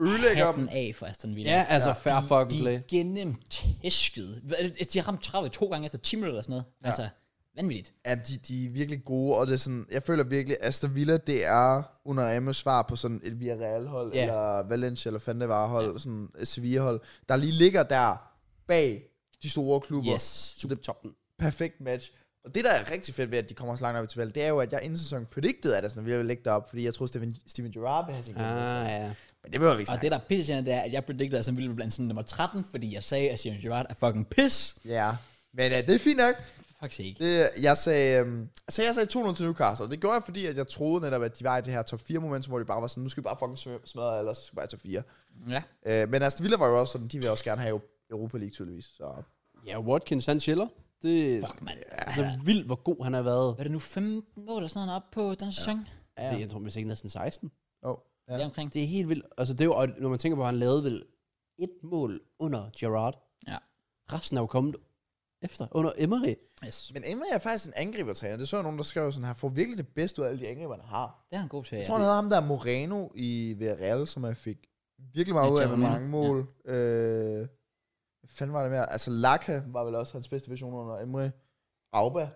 Speaker 3: ødelægger dem.
Speaker 1: Hatten af for Aston Villa.
Speaker 2: Ja, altså
Speaker 3: Ja.
Speaker 2: fair fucking play.
Speaker 1: De gennemtæskede. Hvad er det? De har ramt 30 to gange efter 10 minutter eller sådan noget. Ja. Altså, vanvittigt.
Speaker 3: Ja, de, de er virkelig gode, og det er sådan, jeg føler virkelig, Aston Villa, det er under Amos svar på sådan et Villarreal-hold,
Speaker 2: Ja.
Speaker 3: yeah. eller Valencia, eller Fandevar-hold, yeah. sådan et Sevilla-hold, der lige ligger der bag de store klubber.
Speaker 1: Yes.
Speaker 2: Super toppen.
Speaker 3: Perfekt match. Og det, der er rigtig fedt ved, at de kommer så langt op i tabellen, det er jo, at jeg inden sæsonen predicted, at Aston Villa ville ligge deroppe, fordi jeg troede, Steven, Steven Gerrard ville have sin ah.
Speaker 2: Ah, ja.
Speaker 3: Men det behøver vi ikke
Speaker 1: Og
Speaker 3: snakke.
Speaker 1: det, der er pisse det er, at jeg predicted, at han ville blive blandt sådan nummer 13, fordi jeg sagde, at Steven Gerrard er fucking piss.
Speaker 3: om. Ja, men ja, det er fint nok.
Speaker 1: For fuck's sake.
Speaker 3: Det, jeg sagde, øhm, altså jeg sagde 2-0 til Newcastle, og det gjorde jeg, fordi at jeg troede netop, at de var i det her top 4 moment, hvor de bare var sådan, nu skal vi bare fucking sm- smadre, ellers skal vi bare i top 4.
Speaker 1: Ja.
Speaker 3: Øh, men Aston Villa var jo også sådan, de vil også gerne have Europa League tydeligvis, så
Speaker 2: Ja, Watkins, han chiller. Det er
Speaker 1: Fuck, mand.
Speaker 2: altså vildt, hvor god han har været.
Speaker 1: Hvad er det nu, 15 mål eller sådan noget, han er oppe på den sæson?
Speaker 2: Ja. Det, jeg tror, man sikkert næsten 16.
Speaker 3: oh, ja.
Speaker 1: Ja. omkring.
Speaker 2: Det er helt vildt. Altså, det er jo, og når man tænker på, at han lavede vel et mål under Gerard.
Speaker 1: Ja.
Speaker 2: Resten er jo kommet efter, under Emery.
Speaker 1: Yes.
Speaker 3: Men Emma er faktisk en angribertræner, det så jeg nogen, der skrev sådan, han får virkelig det bedste ud af alle de angriber, han har.
Speaker 1: Det er han god til.
Speaker 3: Jeg
Speaker 1: Ja.
Speaker 3: tror, han havde ham der Moreno i Villarreal, som jeg fik virkelig meget
Speaker 1: Ja,
Speaker 3: ud af med
Speaker 1: Jeremy.
Speaker 3: mange mål. Ja. Øh, hvad fanden var det mere? Altså Laka var vel også hans bedste version under Emre. Auba.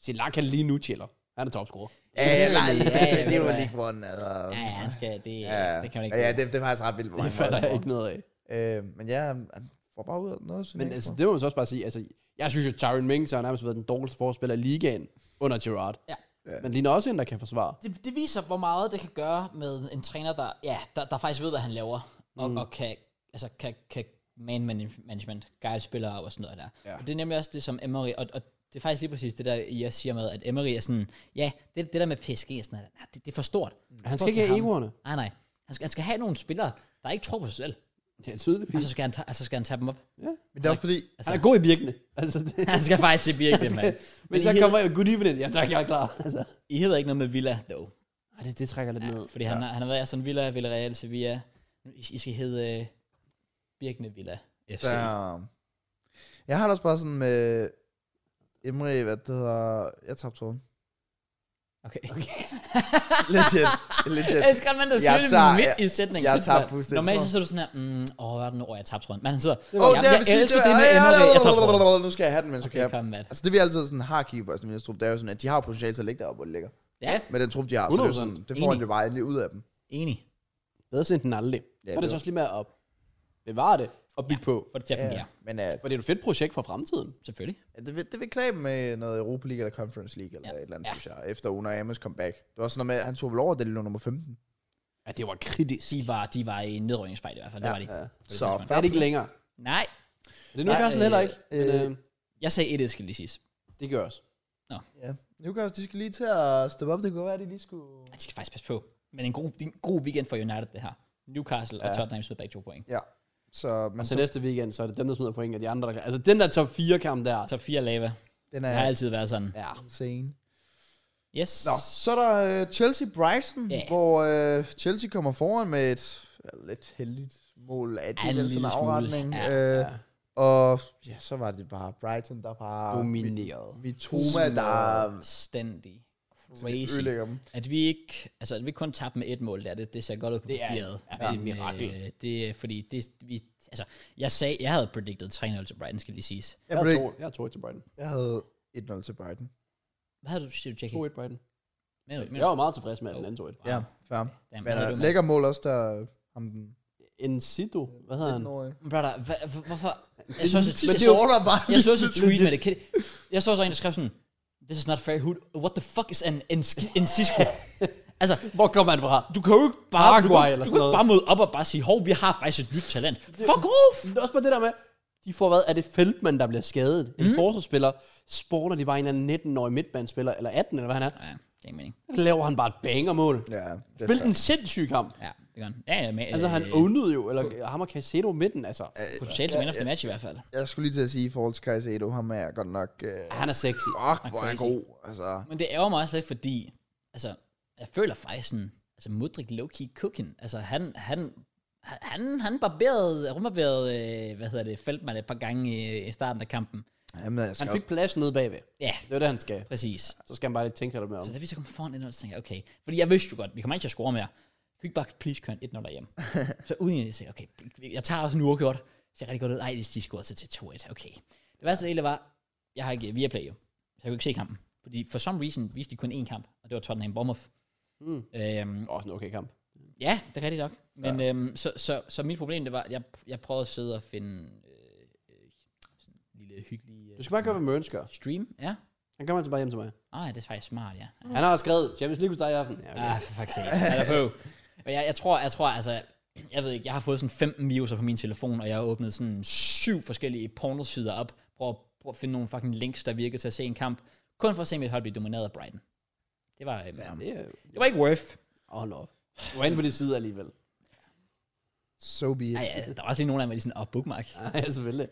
Speaker 2: Silaka lige nu chiller. Han er topscorer.
Speaker 3: Ja,
Speaker 1: Ja,
Speaker 3: ja,
Speaker 1: ja,
Speaker 3: nej,
Speaker 1: ja,
Speaker 3: ja, det er jo
Speaker 1: ja.
Speaker 3: League One, altså.
Speaker 1: Ja, ja, han skal, det,
Speaker 3: Ja,
Speaker 1: det kan man ikke.
Speaker 3: Ja, ja, det, det er faktisk altså ret vildt. hvor
Speaker 2: Det
Speaker 3: mange
Speaker 2: fatter jeg
Speaker 3: mål
Speaker 2: ikke noget af.
Speaker 3: han får. Øh, men ja, han han får bare ud af noget. Synes
Speaker 2: Men altså, det må man så også bare sige. Altså, jeg synes jo, Tyron Mings har nærmest været den dårligste forspiller i ligaen under Gerard.
Speaker 1: Ja.
Speaker 3: Ja.
Speaker 2: Men ligner også en, der kan forsvare.
Speaker 1: det, det viser, hvor meget det kan gøre med en træner, der, ja, der, der faktisk ved, hvad han laver, og, mm. og kan, altså, kan, kan man man- management, guide spillere op og sådan noget der. Ja. Og det er nemlig også det, som Emery, og, og det er faktisk lige præcis det der, jeg siger med, at Emery er sådan, ja, det, det der med PSG, er sådan, at, nej, det, det er for stort.
Speaker 2: Han
Speaker 1: For
Speaker 2: skal ikke
Speaker 1: til
Speaker 2: have
Speaker 1: ham.
Speaker 2: egoerne.
Speaker 1: Nej, nej. Han skal, han skal have nogle spillere, der ikke tror på sig selv,
Speaker 2: Det er tydeligt.
Speaker 1: og så skal han, ta- altså, skal han tage dem op.
Speaker 3: men det er også fordi,
Speaker 2: Han er god i virkende. Altså, det,
Speaker 1: Han skal faktisk til virkelig, mand.
Speaker 2: hvis
Speaker 1: I
Speaker 2: jeg
Speaker 1: hedder-
Speaker 2: kommer og good evening, ja tak, jeg er klar. Altså.
Speaker 1: I hedder ikke noget med Villa, dog.
Speaker 2: Ej, det, det trækker lidt ned.
Speaker 1: Fordi ja. han, har, han har været i sådan Villa, Villarreal, Sevilla. I, I skal hedde uh, Birkene Villa FC. Ja.
Speaker 3: der, jeg har det også bare sådan med Emre, hvad det hedder, jeg tabte tråden.
Speaker 1: Okay. okay.
Speaker 3: Legit, legit.
Speaker 1: Jeg elsker, at man der siger det
Speaker 3: tager-
Speaker 1: midt
Speaker 3: jeg-
Speaker 1: i sætningen.
Speaker 3: jeg
Speaker 1: Det er
Speaker 3: tager
Speaker 1: sådan,
Speaker 3: fuldstændig
Speaker 1: Normalt så
Speaker 3: tråden.
Speaker 1: sidder du sådan her, mm, åh, hvad er det nu, åh, jeg tabte tråden. Men han sidder,
Speaker 3: Åh, oh,
Speaker 1: jeg,
Speaker 3: det
Speaker 1: jeg,
Speaker 3: er vil
Speaker 1: jeg
Speaker 3: sige,
Speaker 1: elsker
Speaker 3: det
Speaker 1: det
Speaker 3: var-
Speaker 1: med Emery, jeg tabte tråden.
Speaker 3: Blablabla, Nu skal jeg have den, mens jeg
Speaker 1: Okay,
Speaker 3: kan.
Speaker 1: kom, Matt.
Speaker 3: Altså, det vi altid sådan har keeper, som min trup, det er jo sådan, at de har jo potentiale til at ligge deroppe, hvor det ligger.
Speaker 1: Ja,
Speaker 3: Med den trup, de har, så det, er jo
Speaker 2: 100%.
Speaker 3: sådan, det får han
Speaker 1: Enig.
Speaker 3: jo bare lige ud af dem.
Speaker 1: enig.
Speaker 2: Bedre sent end aldrig. Ja, så er
Speaker 3: det
Speaker 2: det
Speaker 3: er-
Speaker 2: så også lige med at bevare det og bygge ja. på.
Speaker 1: For det til at fungere,
Speaker 3: Men øh,
Speaker 2: For det er jo et fedt projekt for fremtiden.
Speaker 1: selvfølgelig.
Speaker 3: det, vil, det vil klæde dem med noget Europa League eller Conference League eller
Speaker 1: Ja.
Speaker 3: et eller andet, synes jeg, efter Una Amos comeback. Det var sådan noget med, at han tog vel over, det lå nummer 15.
Speaker 2: Ja, det var kritisk.
Speaker 1: De var, de var i nedrykningsfejl i hvert fald, det
Speaker 3: Ja,
Speaker 1: var de.
Speaker 2: ja.
Speaker 1: På det
Speaker 3: Så
Speaker 1: tidspunkt.
Speaker 2: Det er det ikke længere.
Speaker 1: Nej,
Speaker 2: Det er Newcastle
Speaker 3: øh,
Speaker 2: heller ikke, men
Speaker 3: øh,
Speaker 2: øh,
Speaker 1: jeg sagde 1 skal lige siges.
Speaker 2: det gør også.
Speaker 3: Ja. Newcastle, de skal lige til at steppe op. Det kunne være, at de lige skulle...
Speaker 1: Ej, De skal faktisk passe på. Men en god, en god weekend for United, det her. Newcastle ja. og Tottenham smed begge to point.
Speaker 3: Ja. Så, men
Speaker 2: Og så
Speaker 3: så,
Speaker 2: næste weekend, så er det dem, der smider point, og de andre, der Altså, den der top 4-kamp der,
Speaker 1: Top 4 lava.
Speaker 3: den
Speaker 1: Det har
Speaker 3: er
Speaker 1: altid været sådan.
Speaker 2: ja,
Speaker 3: insane.
Speaker 1: Yes.
Speaker 3: Nå, så er der øh, Chelsea-Brighton,
Speaker 1: Ja.
Speaker 3: yeah. hvor øh, Chelsea kommer foran med et ja, lidt heldigt mål af
Speaker 1: Ja, en
Speaker 3: det, en
Speaker 1: lille smule.
Speaker 3: afretning.
Speaker 1: Ja,
Speaker 3: øh,
Speaker 2: ja.
Speaker 3: Og ja, så var det bare Brighton, der bare...
Speaker 2: domineret.
Speaker 3: Mitoma, der
Speaker 1: Fuldstændig crazy.
Speaker 3: ødelægger dem.
Speaker 1: At vi ikke, altså at vi kun tabte med et mål der, det, det ser godt ud på
Speaker 2: Det er-
Speaker 1: papiret.
Speaker 2: ja, det er et
Speaker 1: Men,
Speaker 2: mirakel.
Speaker 1: øh, det er fordi, det, vi, altså, jeg sagde, jeg havde predicted 3-0 til Brighton, skal lige siges.
Speaker 3: Jeg,
Speaker 2: Jeg,
Speaker 3: blev
Speaker 2: jeg,
Speaker 3: ikke,
Speaker 2: jeg har to til Brighton.
Speaker 3: jeg havde 1-0 til Brighton.
Speaker 1: Hvad havde du, siger du, Jackie?
Speaker 2: 2-1 Brighton.
Speaker 1: Mener du- mener
Speaker 2: Jeg
Speaker 1: du-
Speaker 2: var meget tilfrieds med, at den anden 2-1.
Speaker 1: Wow.
Speaker 3: Ja, fair.
Speaker 1: Damn,
Speaker 3: Men
Speaker 1: hvad havde
Speaker 3: uh,
Speaker 1: du,
Speaker 3: lækker mål også, der ham den
Speaker 2: In situ, hvad hedder han?
Speaker 3: Nå, ja.
Speaker 1: Men brother, hva, hva- hvorfor? Jeg så også et,
Speaker 3: Men
Speaker 1: jeg
Speaker 3: det
Speaker 1: så,
Speaker 3: ordner bare
Speaker 1: jeg så også et tweet med det. Kan, jeg så også en, der skrev sådan, This is not fair. Who, what the fuck is an ins- incisco? altså,
Speaker 2: Hvor kommer han fra?
Speaker 1: du kan jo ikke bare, du,
Speaker 2: Paraguay
Speaker 1: kan,
Speaker 2: eller
Speaker 1: du
Speaker 2: sådan
Speaker 1: kan ikke bare møde op og bare sige, hov, vi har faktisk et nyt talent. Fuck off!
Speaker 2: Det er også bare det der med, de får hvad, er det Feldman, der bliver skadet? En forsvarsspiller, sporter de bare en eller anden 19-årig midtbandspiller, eller 18, eller hvad han er.
Speaker 1: Ja, det er ikke mening.
Speaker 2: Laver han bare et bangermål.
Speaker 3: Ja, det er
Speaker 2: Spil den sindssyge kamp.
Speaker 1: Ja, det gør han. Ja, ja, men, øh,
Speaker 2: Altså han ownede jo, eller ham og Casero midten, altså.
Speaker 1: Potentielt
Speaker 3: Ja,
Speaker 1: man of the
Speaker 3: ja.
Speaker 1: match i hvert fald.
Speaker 3: fair. Øh, Jeg skulle lige til at sige, i forhold til Caicedo, ham er jeg godt nok... Øh,
Speaker 2: Han er sexy.
Speaker 3: fuck, hvor er han
Speaker 1: crazy.
Speaker 3: god. Altså,
Speaker 1: Men det ærger mig også lidt, fordi altså, jeg føler faktisk sådan, altså Mudrik low-key cooking. Altså han, han, han- han, han barberede, rumbarberede, øh, hvad hedder det, Feldman et par gange i, i starten af kampen.
Speaker 3: jamen, jeg skal
Speaker 2: Han fik plads nede bagved.
Speaker 1: Ja,
Speaker 2: Det var det, han skal.
Speaker 1: præcis.
Speaker 2: Så skal han bare lige tænke sig lidt mere om.
Speaker 1: Så da vi så kom foran 1-0, så tænkte jeg, okay. Fordi jeg vidste jo godt, vi kommer ikke til at score mere. Kan vi ikke bare please køre en 1-0 derhjemme? så uden jeg sagde, okay, jeg tager også en uafgjort. Så jeg rigtig godt ud. Ej, de- de scorede så til 2-1. Okay. Det værste af det hele var, jeg har ikke Viaplay jo. Så jeg kunne ikke se kampen. Fordi for some reason viste de kun én kamp, og det var Tottenham Bournemouth.
Speaker 2: Mm.
Speaker 1: Øhm,
Speaker 2: Også en okay kamp.
Speaker 1: Ja, det er rigtigt nok. Men ja. øhm, så, så, så mit problem, det var, at jeg, jeg prøvede at sidde og finde øh, øh, sådan en lille hyggelig øh,
Speaker 2: Du skal bare gøre, hvad Mørens gør.
Speaker 1: stream. Ja.
Speaker 2: Han kommer altså bare hjem til mig.
Speaker 1: Åh, oh, det er faktisk smart, ja. ja.
Speaker 2: Han har også skrevet, Champions League hos dig i aften. Ja, okay.
Speaker 1: Ah, for fuck's sake. Han er på. Og jeg, jeg tror, jeg tror, altså, jeg ved ikke, jeg har fået sådan 15 viruser på min telefon, og jeg har åbnet sådan syv forskellige pornosider op, for at, for at finde nogle fucking links, der virker til at se en kamp, kun for at se mit hold blive domineret af Brighton. Det var, øhm,
Speaker 3: Ja.
Speaker 2: Det er...
Speaker 1: det var ikke worth.
Speaker 2: Åh, oh, lov. Du er inde på din side alligevel.
Speaker 3: So be it.
Speaker 1: Ej, ja, der var også lige nogen af dem, der lige sådan, åh, oh, bookmark.
Speaker 2: Ja, selvfølgelig.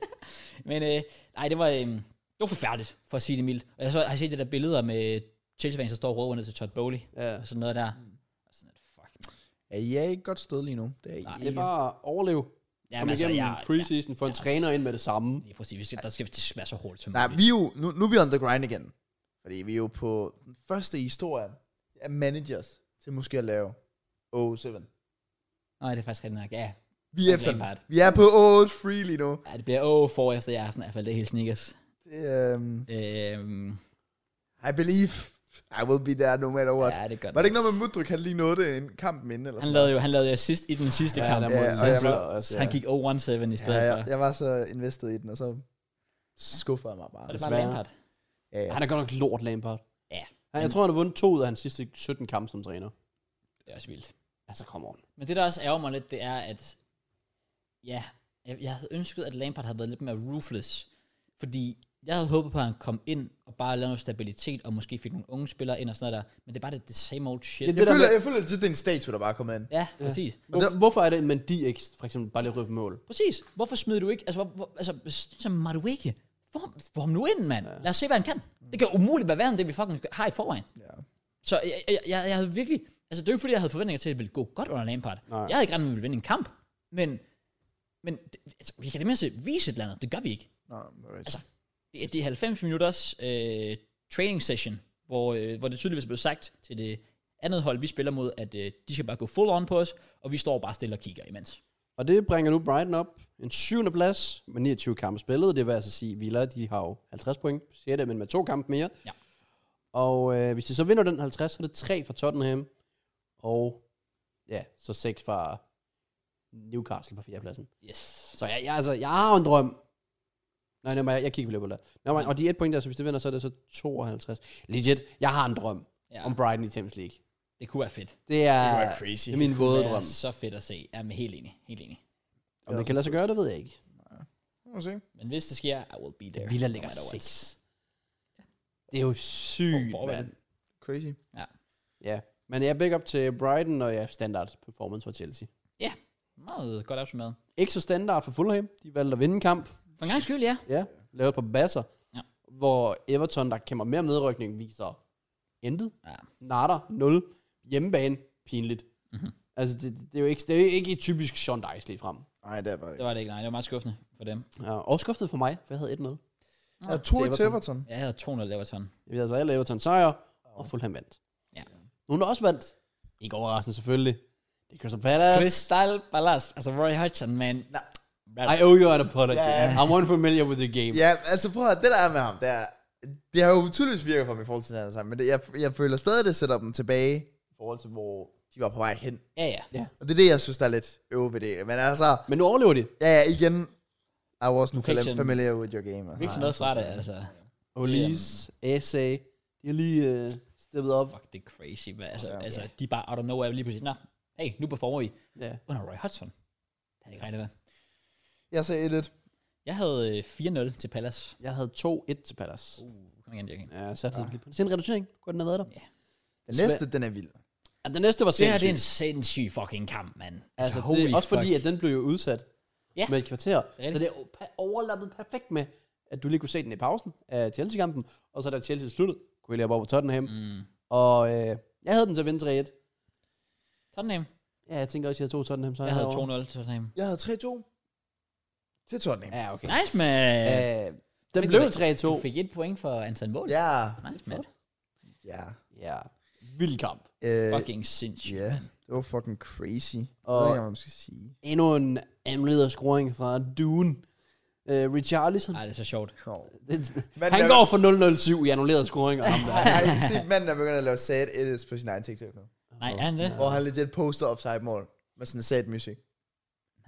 Speaker 1: Men øh, nej, det var, øh, det var forfærdeligt, for at sige det mildt. Og jeg så, har jeg set det der billeder med Chelsea-fans, der står og råber ned til Todd Bowley,
Speaker 2: Ja.
Speaker 1: og sådan noget der. Og sådan et, fuck.
Speaker 3: Ja, I er ikke godt sted lige nu. Det er I
Speaker 1: Nej,
Speaker 2: Det
Speaker 3: ikke.
Speaker 2: er bare at overleve. Kom
Speaker 1: Jamen altså,
Speaker 2: igennem
Speaker 1: jeg, jeg,
Speaker 2: preseason, få en træner ind med det samme.
Speaker 1: lige præcis, vi skal, der skal det være så hurtigt som
Speaker 3: Nej,
Speaker 1: muligt.
Speaker 3: vi er jo, nu, nu er vi on the grind igen. Fordi vi er jo på den første i historien af managers til måske at lave 07.
Speaker 1: Nej, det er faktisk rigtigt nok. Ja,
Speaker 3: Vi er
Speaker 1: Og
Speaker 3: efter den.
Speaker 1: Lampard.
Speaker 3: Vi er på 08 free lige nu.
Speaker 1: ja det bliver åh for efter i aften, i hvert fald det er helt sneakers.
Speaker 3: Det, øhm,
Speaker 1: Øhm,
Speaker 3: I believe I will be there no matter what.
Speaker 1: ja, det er godt.
Speaker 3: Var det ikke noget med Mudryk, han lige nåede det en kamp inden?
Speaker 1: Han
Speaker 3: Eller sådan
Speaker 1: lavede jo han lavede jo assist i den sidste
Speaker 2: Ja,
Speaker 1: kamp.
Speaker 2: der
Speaker 1: Ja,
Speaker 2: må
Speaker 3: Ja,
Speaker 2: den
Speaker 3: og
Speaker 2: selv
Speaker 3: jeg
Speaker 2: slå,
Speaker 3: var-
Speaker 2: altså.
Speaker 1: så han gik 0-1-7 i stedet
Speaker 3: noget? ja,
Speaker 1: for.
Speaker 3: jeg, jeg var så invested i den, og så skuffer jeg mig bare.
Speaker 1: Og det var
Speaker 2: Desværre.
Speaker 1: Lampard.
Speaker 3: Ja, ja.
Speaker 2: Han er godt nok lort, Lampard.
Speaker 1: Ja.
Speaker 2: Han, jeg tror, han har vundet to ud af hans sidste 17 kampe som træner.
Speaker 1: Det er også vildt.
Speaker 2: Altså, kom on.
Speaker 1: Men det, der også ærger mig lidt, det er, at ja, jeg, jeg havde ønsket, at Lampard havde været lidt mere ruthless. Fordi jeg havde håbet på, at han kom ind og bare lavede noget stabilitet, og måske fik nogle unge spillere ind og sådan noget der. Men det er bare det, det same old shit.
Speaker 2: Ja,
Speaker 1: Ja,
Speaker 2: det-
Speaker 3: Jeg
Speaker 2: der
Speaker 3: føler,
Speaker 2: med-
Speaker 3: jeg føler, at det er en statue, der bare kommer ind.
Speaker 1: ja præcis. Ja.
Speaker 2: Hvor, hvorfor er det, at Mendy ikke for eksempel bare lige ryger på mål?
Speaker 1: Præcis. Hvorfor smider du ikke, altså, hvor, hvor, altså sådan som Madueke, få ham, få ham nu ind, mand. Ja. Lad os se, hvad han kan. Det kan umuligt være værre end det, vi fucking har i forvejen.
Speaker 3: Ja.
Speaker 1: Så jeg, jeg, jeg, jeg havde virkelig... Altså, det er jo ikke, fordi jeg havde forventninger til, at det ville gå godt under Lampard.
Speaker 2: Nej.
Speaker 1: Jeg havde ikke regnet med, at vi ville vinde en kamp. Men, men det- altså, vi kan det mindste vise et eller andet. Det gør vi ikke.
Speaker 3: Nå, det er rigtigt.
Speaker 1: Altså, Det er, det er 90 minutters øh, training session, hvor, øh, hvor det tydeligvis er blevet sagt til det andet hold, vi spiller mod, at øh, de skal bare gå full on på os, og vi står bare stille og kigger imens.
Speaker 2: Og det bringer nu Brighton op. En syvende plads med 29 kampe spillet. Det vil altså sige, at Villa de har jo 50 point. Siger det, men med to kampe mere.
Speaker 1: Ja.
Speaker 2: Og øh, hvis de så vinder den 50, så er det tre fra Tottenham. Og ja, så seks fra Newcastle på fjerdepladsen.
Speaker 1: Yes.
Speaker 2: Så jeg, jeg, altså, jeg har jo en drøm. Nej, nej, men jeg, jeg kigger på Liverpool der. Nå, men, og de er et point der, så hvis de vinder, så er det så 52. Legit, jeg har en drøm
Speaker 1: Ja,
Speaker 2: om Brighton i Champions League.
Speaker 1: det kunne være fedt.
Speaker 2: Det er,
Speaker 3: kunne være crazy.
Speaker 2: det er min våde
Speaker 1: Det er
Speaker 2: drøm.
Speaker 1: så fedt at se. Jamen, helt enig. Helt enig.
Speaker 2: Om det kan lade sig gøre, det ved jeg ikke.
Speaker 3: Nu må vi se.
Speaker 1: Men hvis det sker, I will be there.
Speaker 2: Villa
Speaker 1: no
Speaker 2: ligger
Speaker 1: matter what.
Speaker 2: 6. Det er jo sygt,
Speaker 1: Hvor- hvor er
Speaker 2: mand.
Speaker 3: Crazy.
Speaker 2: Ja. Men jeg big up til Brighton, og ja, standard performance for Chelsea.
Speaker 1: Meget godt opsummeret.
Speaker 2: Ikke så standard for Fulham. De valgte at vinde en kamp.
Speaker 1: For en gang skyld, ja.
Speaker 2: Ja. Lavet på basser.
Speaker 1: Ja.
Speaker 2: Hvor Everton, der kæmper mere om nedrykning, viser intet.
Speaker 1: Ja.
Speaker 2: Nader, 0. Hjemmebane, pinligt.
Speaker 1: Mhm.
Speaker 2: Altså, det, det, er jo ikke, det er jo ikke et typisk Sean Dice lige frem.
Speaker 3: Nej, det er bare
Speaker 1: Det var det ikke, nej. Det var meget skuffende for dem.
Speaker 2: Ja, og skuffet for mig, for jeg havde 1-0.
Speaker 3: Jeg er to
Speaker 2: Til
Speaker 3: i til Everton.
Speaker 1: Jeg havde 200 Everton.
Speaker 2: Jeg ved altså alle Everton sejr, og Fulham vandt.
Speaker 1: Ja.
Speaker 2: Nogen har også vandt. Ikke overraskende selvfølgelig. Det er Crystal Palace.
Speaker 1: Crystal Palace. Altså Roy Hodgson, man.
Speaker 3: Nej.
Speaker 1: Hvad-
Speaker 2: I owe you an apology.
Speaker 3: Ja.
Speaker 2: I'm unfamiliar with the game.
Speaker 3: Ja, altså prøv at det der er med ham, det er, det har jo tydeligvis virket for ham i forhold til den anden sammen, men det, jeg, jeg føler stadig, det sætter dem tilbage i forhold til, hvor de var på vej hen.
Speaker 1: Ja, ja.
Speaker 3: Og det er det, jeg synes, der er lidt øve ved det. Men altså,
Speaker 2: Men nu overlever de.
Speaker 3: ja, ja, igen. I wasn't
Speaker 1: kan ikke
Speaker 3: fam-
Speaker 1: sådan-
Speaker 3: familiar with your game.
Speaker 1: Vi er ikke sådan noget fra det, altså.
Speaker 2: Olis, Essay, de har lige øh, steppet op.
Speaker 1: Fuck, det er crazy. Hvad, altså,
Speaker 3: Ja.
Speaker 1: altså, de er bare out of nowhere lige pludselig. Nå, hey, nu performer vi
Speaker 2: Ja.
Speaker 1: under Roy Hodgson. Det havde jeg ikke regnet med.
Speaker 3: Ah. Jeg sagde 1
Speaker 1: Jeg havde øh, 4-0 til Palace.
Speaker 2: Jeg havde 2-1 til Palace.
Speaker 1: Uh, kom igen, Jørgen.
Speaker 2: Ja, jeg satte ja. lige på det. Sen reducering. Kunne den have været der?
Speaker 3: Den
Speaker 2: Svæ-
Speaker 3: næste, den er vild.
Speaker 2: Ja, den næste var
Speaker 1: Det her det
Speaker 2: sindssyg.
Speaker 1: er en sindssyg fucking kamp, mand.
Speaker 2: Altså, det er også fordi, at den blev jo udsat
Speaker 1: Ja.
Speaker 2: ja. med et kvarter.
Speaker 1: er
Speaker 2: Så det er pa- overlappet perfekt med, at du lige kunne se den i pausen af Chelsea-kampen, og så da Chelsea sluttede, kunne jeg lige op på Tottenham. Mm.
Speaker 1: Mm.
Speaker 2: Og øh, jeg havde dem til at vinde 3-1.
Speaker 1: Tottenham.
Speaker 2: Ja, jeg tænker også, at jeg havde to Tottenham sejre
Speaker 1: Jeg havde
Speaker 2: herovre.
Speaker 1: 2-0 til Tottenham.
Speaker 3: Jeg havde 3-2 til Tottenham.
Speaker 2: Ja, okay.
Speaker 1: Nice, man.
Speaker 2: Øh, den
Speaker 1: Fik
Speaker 2: blev
Speaker 1: du det? Du
Speaker 2: 3-2.
Speaker 1: fik et point for antal mål.
Speaker 3: Ja. Øh,
Speaker 1: Nice, man.
Speaker 3: Ja.
Speaker 2: Ja, vild kamp.
Speaker 3: Øh,
Speaker 1: Fucking sindssygt.
Speaker 3: Ja, det var fucking crazy.
Speaker 2: Og-
Speaker 3: Jeg ved ikke, hvad man skal sige.
Speaker 2: Endnu en anmelder scoring fra Dune. Øh, Richarlison.
Speaker 1: Ej, det er så sjovt.
Speaker 3: Kom.
Speaker 2: Det-
Speaker 3: Men
Speaker 2: Han
Speaker 3: der-
Speaker 2: går for 007 i annullerede scoringer. Ham der.
Speaker 3: Jeg kan se, at manden er begyndt at lave sad edits på sin egen TikTok nu.
Speaker 1: Nej, er han det?
Speaker 3: Hvor han legit poster offside mål med sådan sad musik.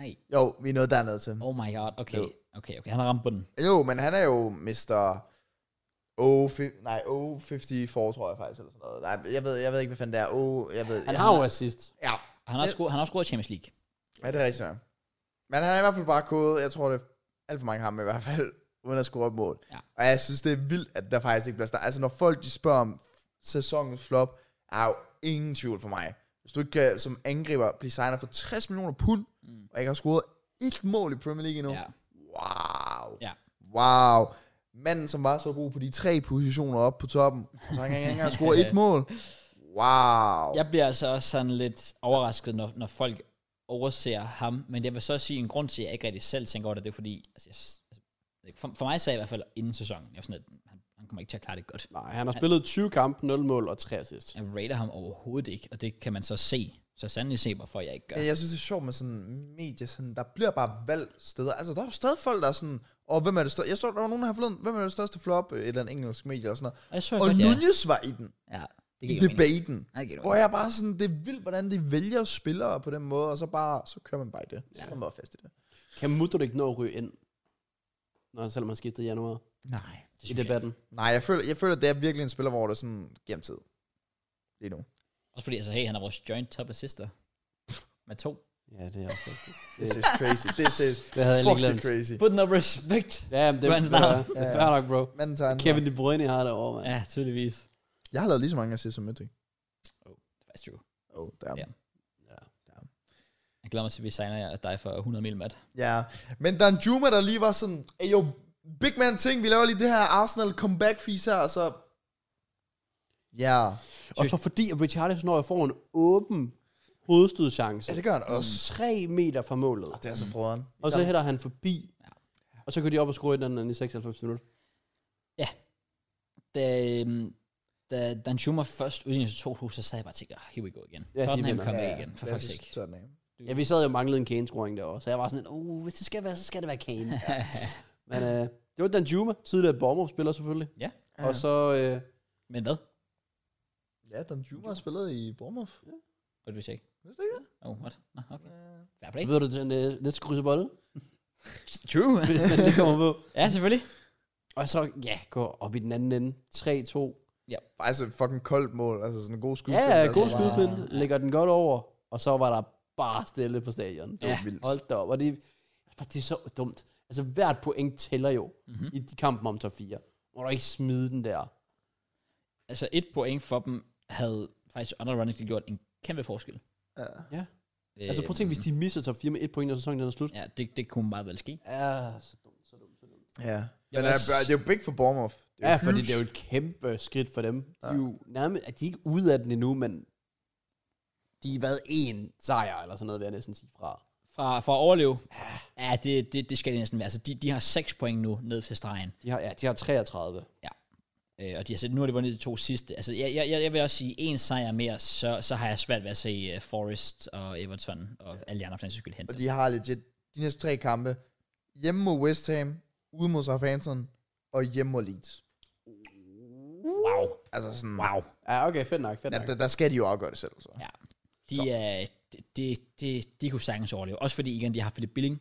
Speaker 1: Nej.
Speaker 3: Jo, vi er nået dernede til.
Speaker 1: Oh my god, okay. Okay, okay, han har ramt bunden.
Speaker 3: Jo, men han er jo Mr. O, nej, O54, tror jeg faktisk, eller sådan noget. Nej, jeg ved, jeg ved ikke, hvad fanden det er. O, jeg ved,
Speaker 2: Han
Speaker 3: jeg,
Speaker 2: har jo assist.
Speaker 3: Ja,
Speaker 1: Han har også scoret, han har også scoret i Champions League.
Speaker 3: ja, det er rigtigt. nok. Men han er i hvert fald bare kodet. Jeg tror, det er alt for mange ham i hvert fald, uden at score et mål.
Speaker 1: Ja.
Speaker 3: Og jeg synes, det er vildt, at der faktisk ikke bliver snakket. Altså, når folk de spørger om sæsonens flop, er jo ingen tvivl for mig. Hvis du ikke kan, som angriber blive signet for 60 millioner pund, mm. og ikke har scoret et mål i Premier League endnu,
Speaker 1: Ja.
Speaker 3: Wow.
Speaker 1: Ja.
Speaker 3: Wow. Manden, som var så god på de tre positioner oppe på toppen, og så han kan ikke engang score et mål. Wow.
Speaker 1: Jeg bliver altså også sådan lidt overrasket, når, når folk overser ham, men jeg vil så sige, en grund til, at jeg ikke rigtig selv tænker over det, det er fordi, altså, jeg, s- altså, for, for mig sagde jeg i hvert fald inden sæsonen, jeg var sådan, at han, han kommer ikke til at klare det godt.
Speaker 2: Nej, han har spillet 20 kampe, 0 mål og 3 assist.
Speaker 1: Jeg rater ham overhovedet ikke, og det kan man så se, så sandelig se, hvorfor jeg ikke gør.
Speaker 3: Ja, Jeg synes, det er sjovt med sådan medier, sådan, der bliver bare valgt steder. Altså, der er jo stadig folk, der er sådan, og hvem er det største? Jeg står, der var nogen, der har forleden, hvem er det største flop? Et eller andet engelsk medie eller sådan
Speaker 1: Og jeg så
Speaker 3: noget. Og
Speaker 1: godt, ja,
Speaker 3: Nunez var i den.
Speaker 1: ja, det
Speaker 3: I
Speaker 1: gik det
Speaker 3: debatten.
Speaker 1: giver
Speaker 3: Hvor jeg bare sådan, det er vildt, hvordan de vælger spillere på den måde, og så bare, så kører man bare i det. Så er man bare fast i det.
Speaker 2: Kan Mudrik nå at ryge ind? Når selvom han skiftede i januar
Speaker 3: Nej.
Speaker 2: i debatten.
Speaker 3: Nej, jeg føler, jeg føler, det er virkelig en spiller, hvor det er sådan, giver ham tid. Lige nu.
Speaker 1: Også fordi, altså, hey, han er vores joint top assister. Med to.
Speaker 2: Ja, det er også rigtigt.
Speaker 3: This is crazy. This is
Speaker 2: Det havde jeg lige
Speaker 3: fucking
Speaker 2: glemt.
Speaker 3: crazy.
Speaker 1: Put no respect.
Speaker 2: Ja, men
Speaker 1: Hvad
Speaker 2: det, det,
Speaker 1: han
Speaker 2: det,
Speaker 1: snakker.
Speaker 2: det er fair nok, bro.
Speaker 3: Manden tager ansvar.
Speaker 2: Kevin De Bruyne har det over, mand.
Speaker 1: Ja, tydeligvis.
Speaker 3: Jeg har lavet lige så mange assists som Mødrik.
Speaker 1: That's true.
Speaker 3: Oh, damn.
Speaker 1: Ja.
Speaker 3: Ja.
Speaker 1: Jeg glæder mig til, at vi signer jer- dig for 100 mil, Matt.
Speaker 3: ja. Men Dan Juma, der lige var sådan, hey, jo, big man ting, vi laver lige det her Arsenal comeback fis her, og så... Ja.
Speaker 2: Og så fordi, at Richarlison når jeg får en åben hovedstødchance.
Speaker 3: Ja, det gør han også.
Speaker 2: 3 meter fra målet.
Speaker 3: Mm. Det er så froderen.
Speaker 2: Og så hætter han forbi. Og så går de op og score et eller andet i 96 minutter.
Speaker 1: Da, øhm, da Dan Schumer først udlignede til 2 så sad jeg bare og tænkte, "Ah, here we go igen.
Speaker 2: de
Speaker 1: Ja, Tottenham
Speaker 2: vinder.
Speaker 1: kom ja, igen, for fuck's sake.
Speaker 2: Ja, vi sad jo og manglede en Kane-scoring derovre, så jeg var sådan lidt, uh, hvis det skal være, så skal det være Kane. Ja. Men øh, det var Dan Juma, tidligere Bournemouth-spiller selvfølgelig.
Speaker 1: Ja.
Speaker 2: Og så, øh,
Speaker 1: Men hvad?
Speaker 3: Ja, Dan Juma har spillet i Bournemouth.
Speaker 1: Hvad du ikke?
Speaker 3: Ved du ikke det?
Speaker 1: Oh, what? Nå, okay. Fair play.
Speaker 2: ved du, den øh, næste krydsebolle,
Speaker 1: True.
Speaker 2: hvis den lige kommer på.
Speaker 1: ja, selvfølgelig.
Speaker 2: Og så, ja, gå op i den anden ende. 3-2.
Speaker 3: Faktisk et fucking koldt mål. Altså sådan en god skud.
Speaker 2: Ja, ja, god
Speaker 1: altså bare-
Speaker 2: skudfint. Lægger den godt over. Og så var der bare stille på stadion.
Speaker 3: Det
Speaker 1: Ja.
Speaker 3: var vildt.
Speaker 2: Hold da op. Og det, det er så dumt. Altså, hvert point tæller jo
Speaker 1: Mm-hmm.
Speaker 2: i de kampen om top 4. Må du ikke smide den der.
Speaker 1: Altså, et point for dem havde faktisk unironically gjort en kæmpe forskel. Øh,
Speaker 3: Ja.
Speaker 2: Altså, prøv at tænke, hvis de misser top 4 med et point, når sæsonen den er slut.
Speaker 1: Ja, det, det kunne meget vel ske.
Speaker 2: Ja, så dumt, så dumt, så dumt.
Speaker 3: Ja.
Speaker 1: Jeg
Speaker 3: Men
Speaker 1: vil
Speaker 3: er,
Speaker 1: også-
Speaker 3: det er jo big for Bournemouth. Det er
Speaker 2: Ja, fordi
Speaker 3: huge.
Speaker 2: det er jo et kæmpe skridt for dem. De er
Speaker 3: Ja.
Speaker 2: jo nærmest, at de er ikke ude af den endnu, men de har været én sejr, eller sådan noget, vil jeg næsten sige fra.
Speaker 1: Fra, for at overleve, ja, det, det, det skal det næsten være. Altså, de, de har 6 point nu ned til stregen.
Speaker 2: De har, ja, de har 33.
Speaker 1: Øh, og de har set, nu har de vundet de to sidste. Altså, jeg, jeg, jeg jeg vil også sige, en sejr mere, så, så har jeg svært ved at se uh, Forest og Everton og ja. alle de andre for den sags skyld hente.
Speaker 3: Og de har legit de næste tre kampe. Hjemme mod West Ham, ude mod Southampton, og hjemme mod Leeds.
Speaker 1: Wow.
Speaker 3: Altså sådan,
Speaker 1: Wow.
Speaker 2: Ja, okay, fedt nok, fedt
Speaker 3: ja,
Speaker 2: nok.
Speaker 3: der, der skal de jo afgøre det selv, så.
Speaker 1: Ja. De,
Speaker 2: Så.
Speaker 1: er, de, de, de, de kunne sagtens overleve. Også fordi, igen, de har haft Philip Billing,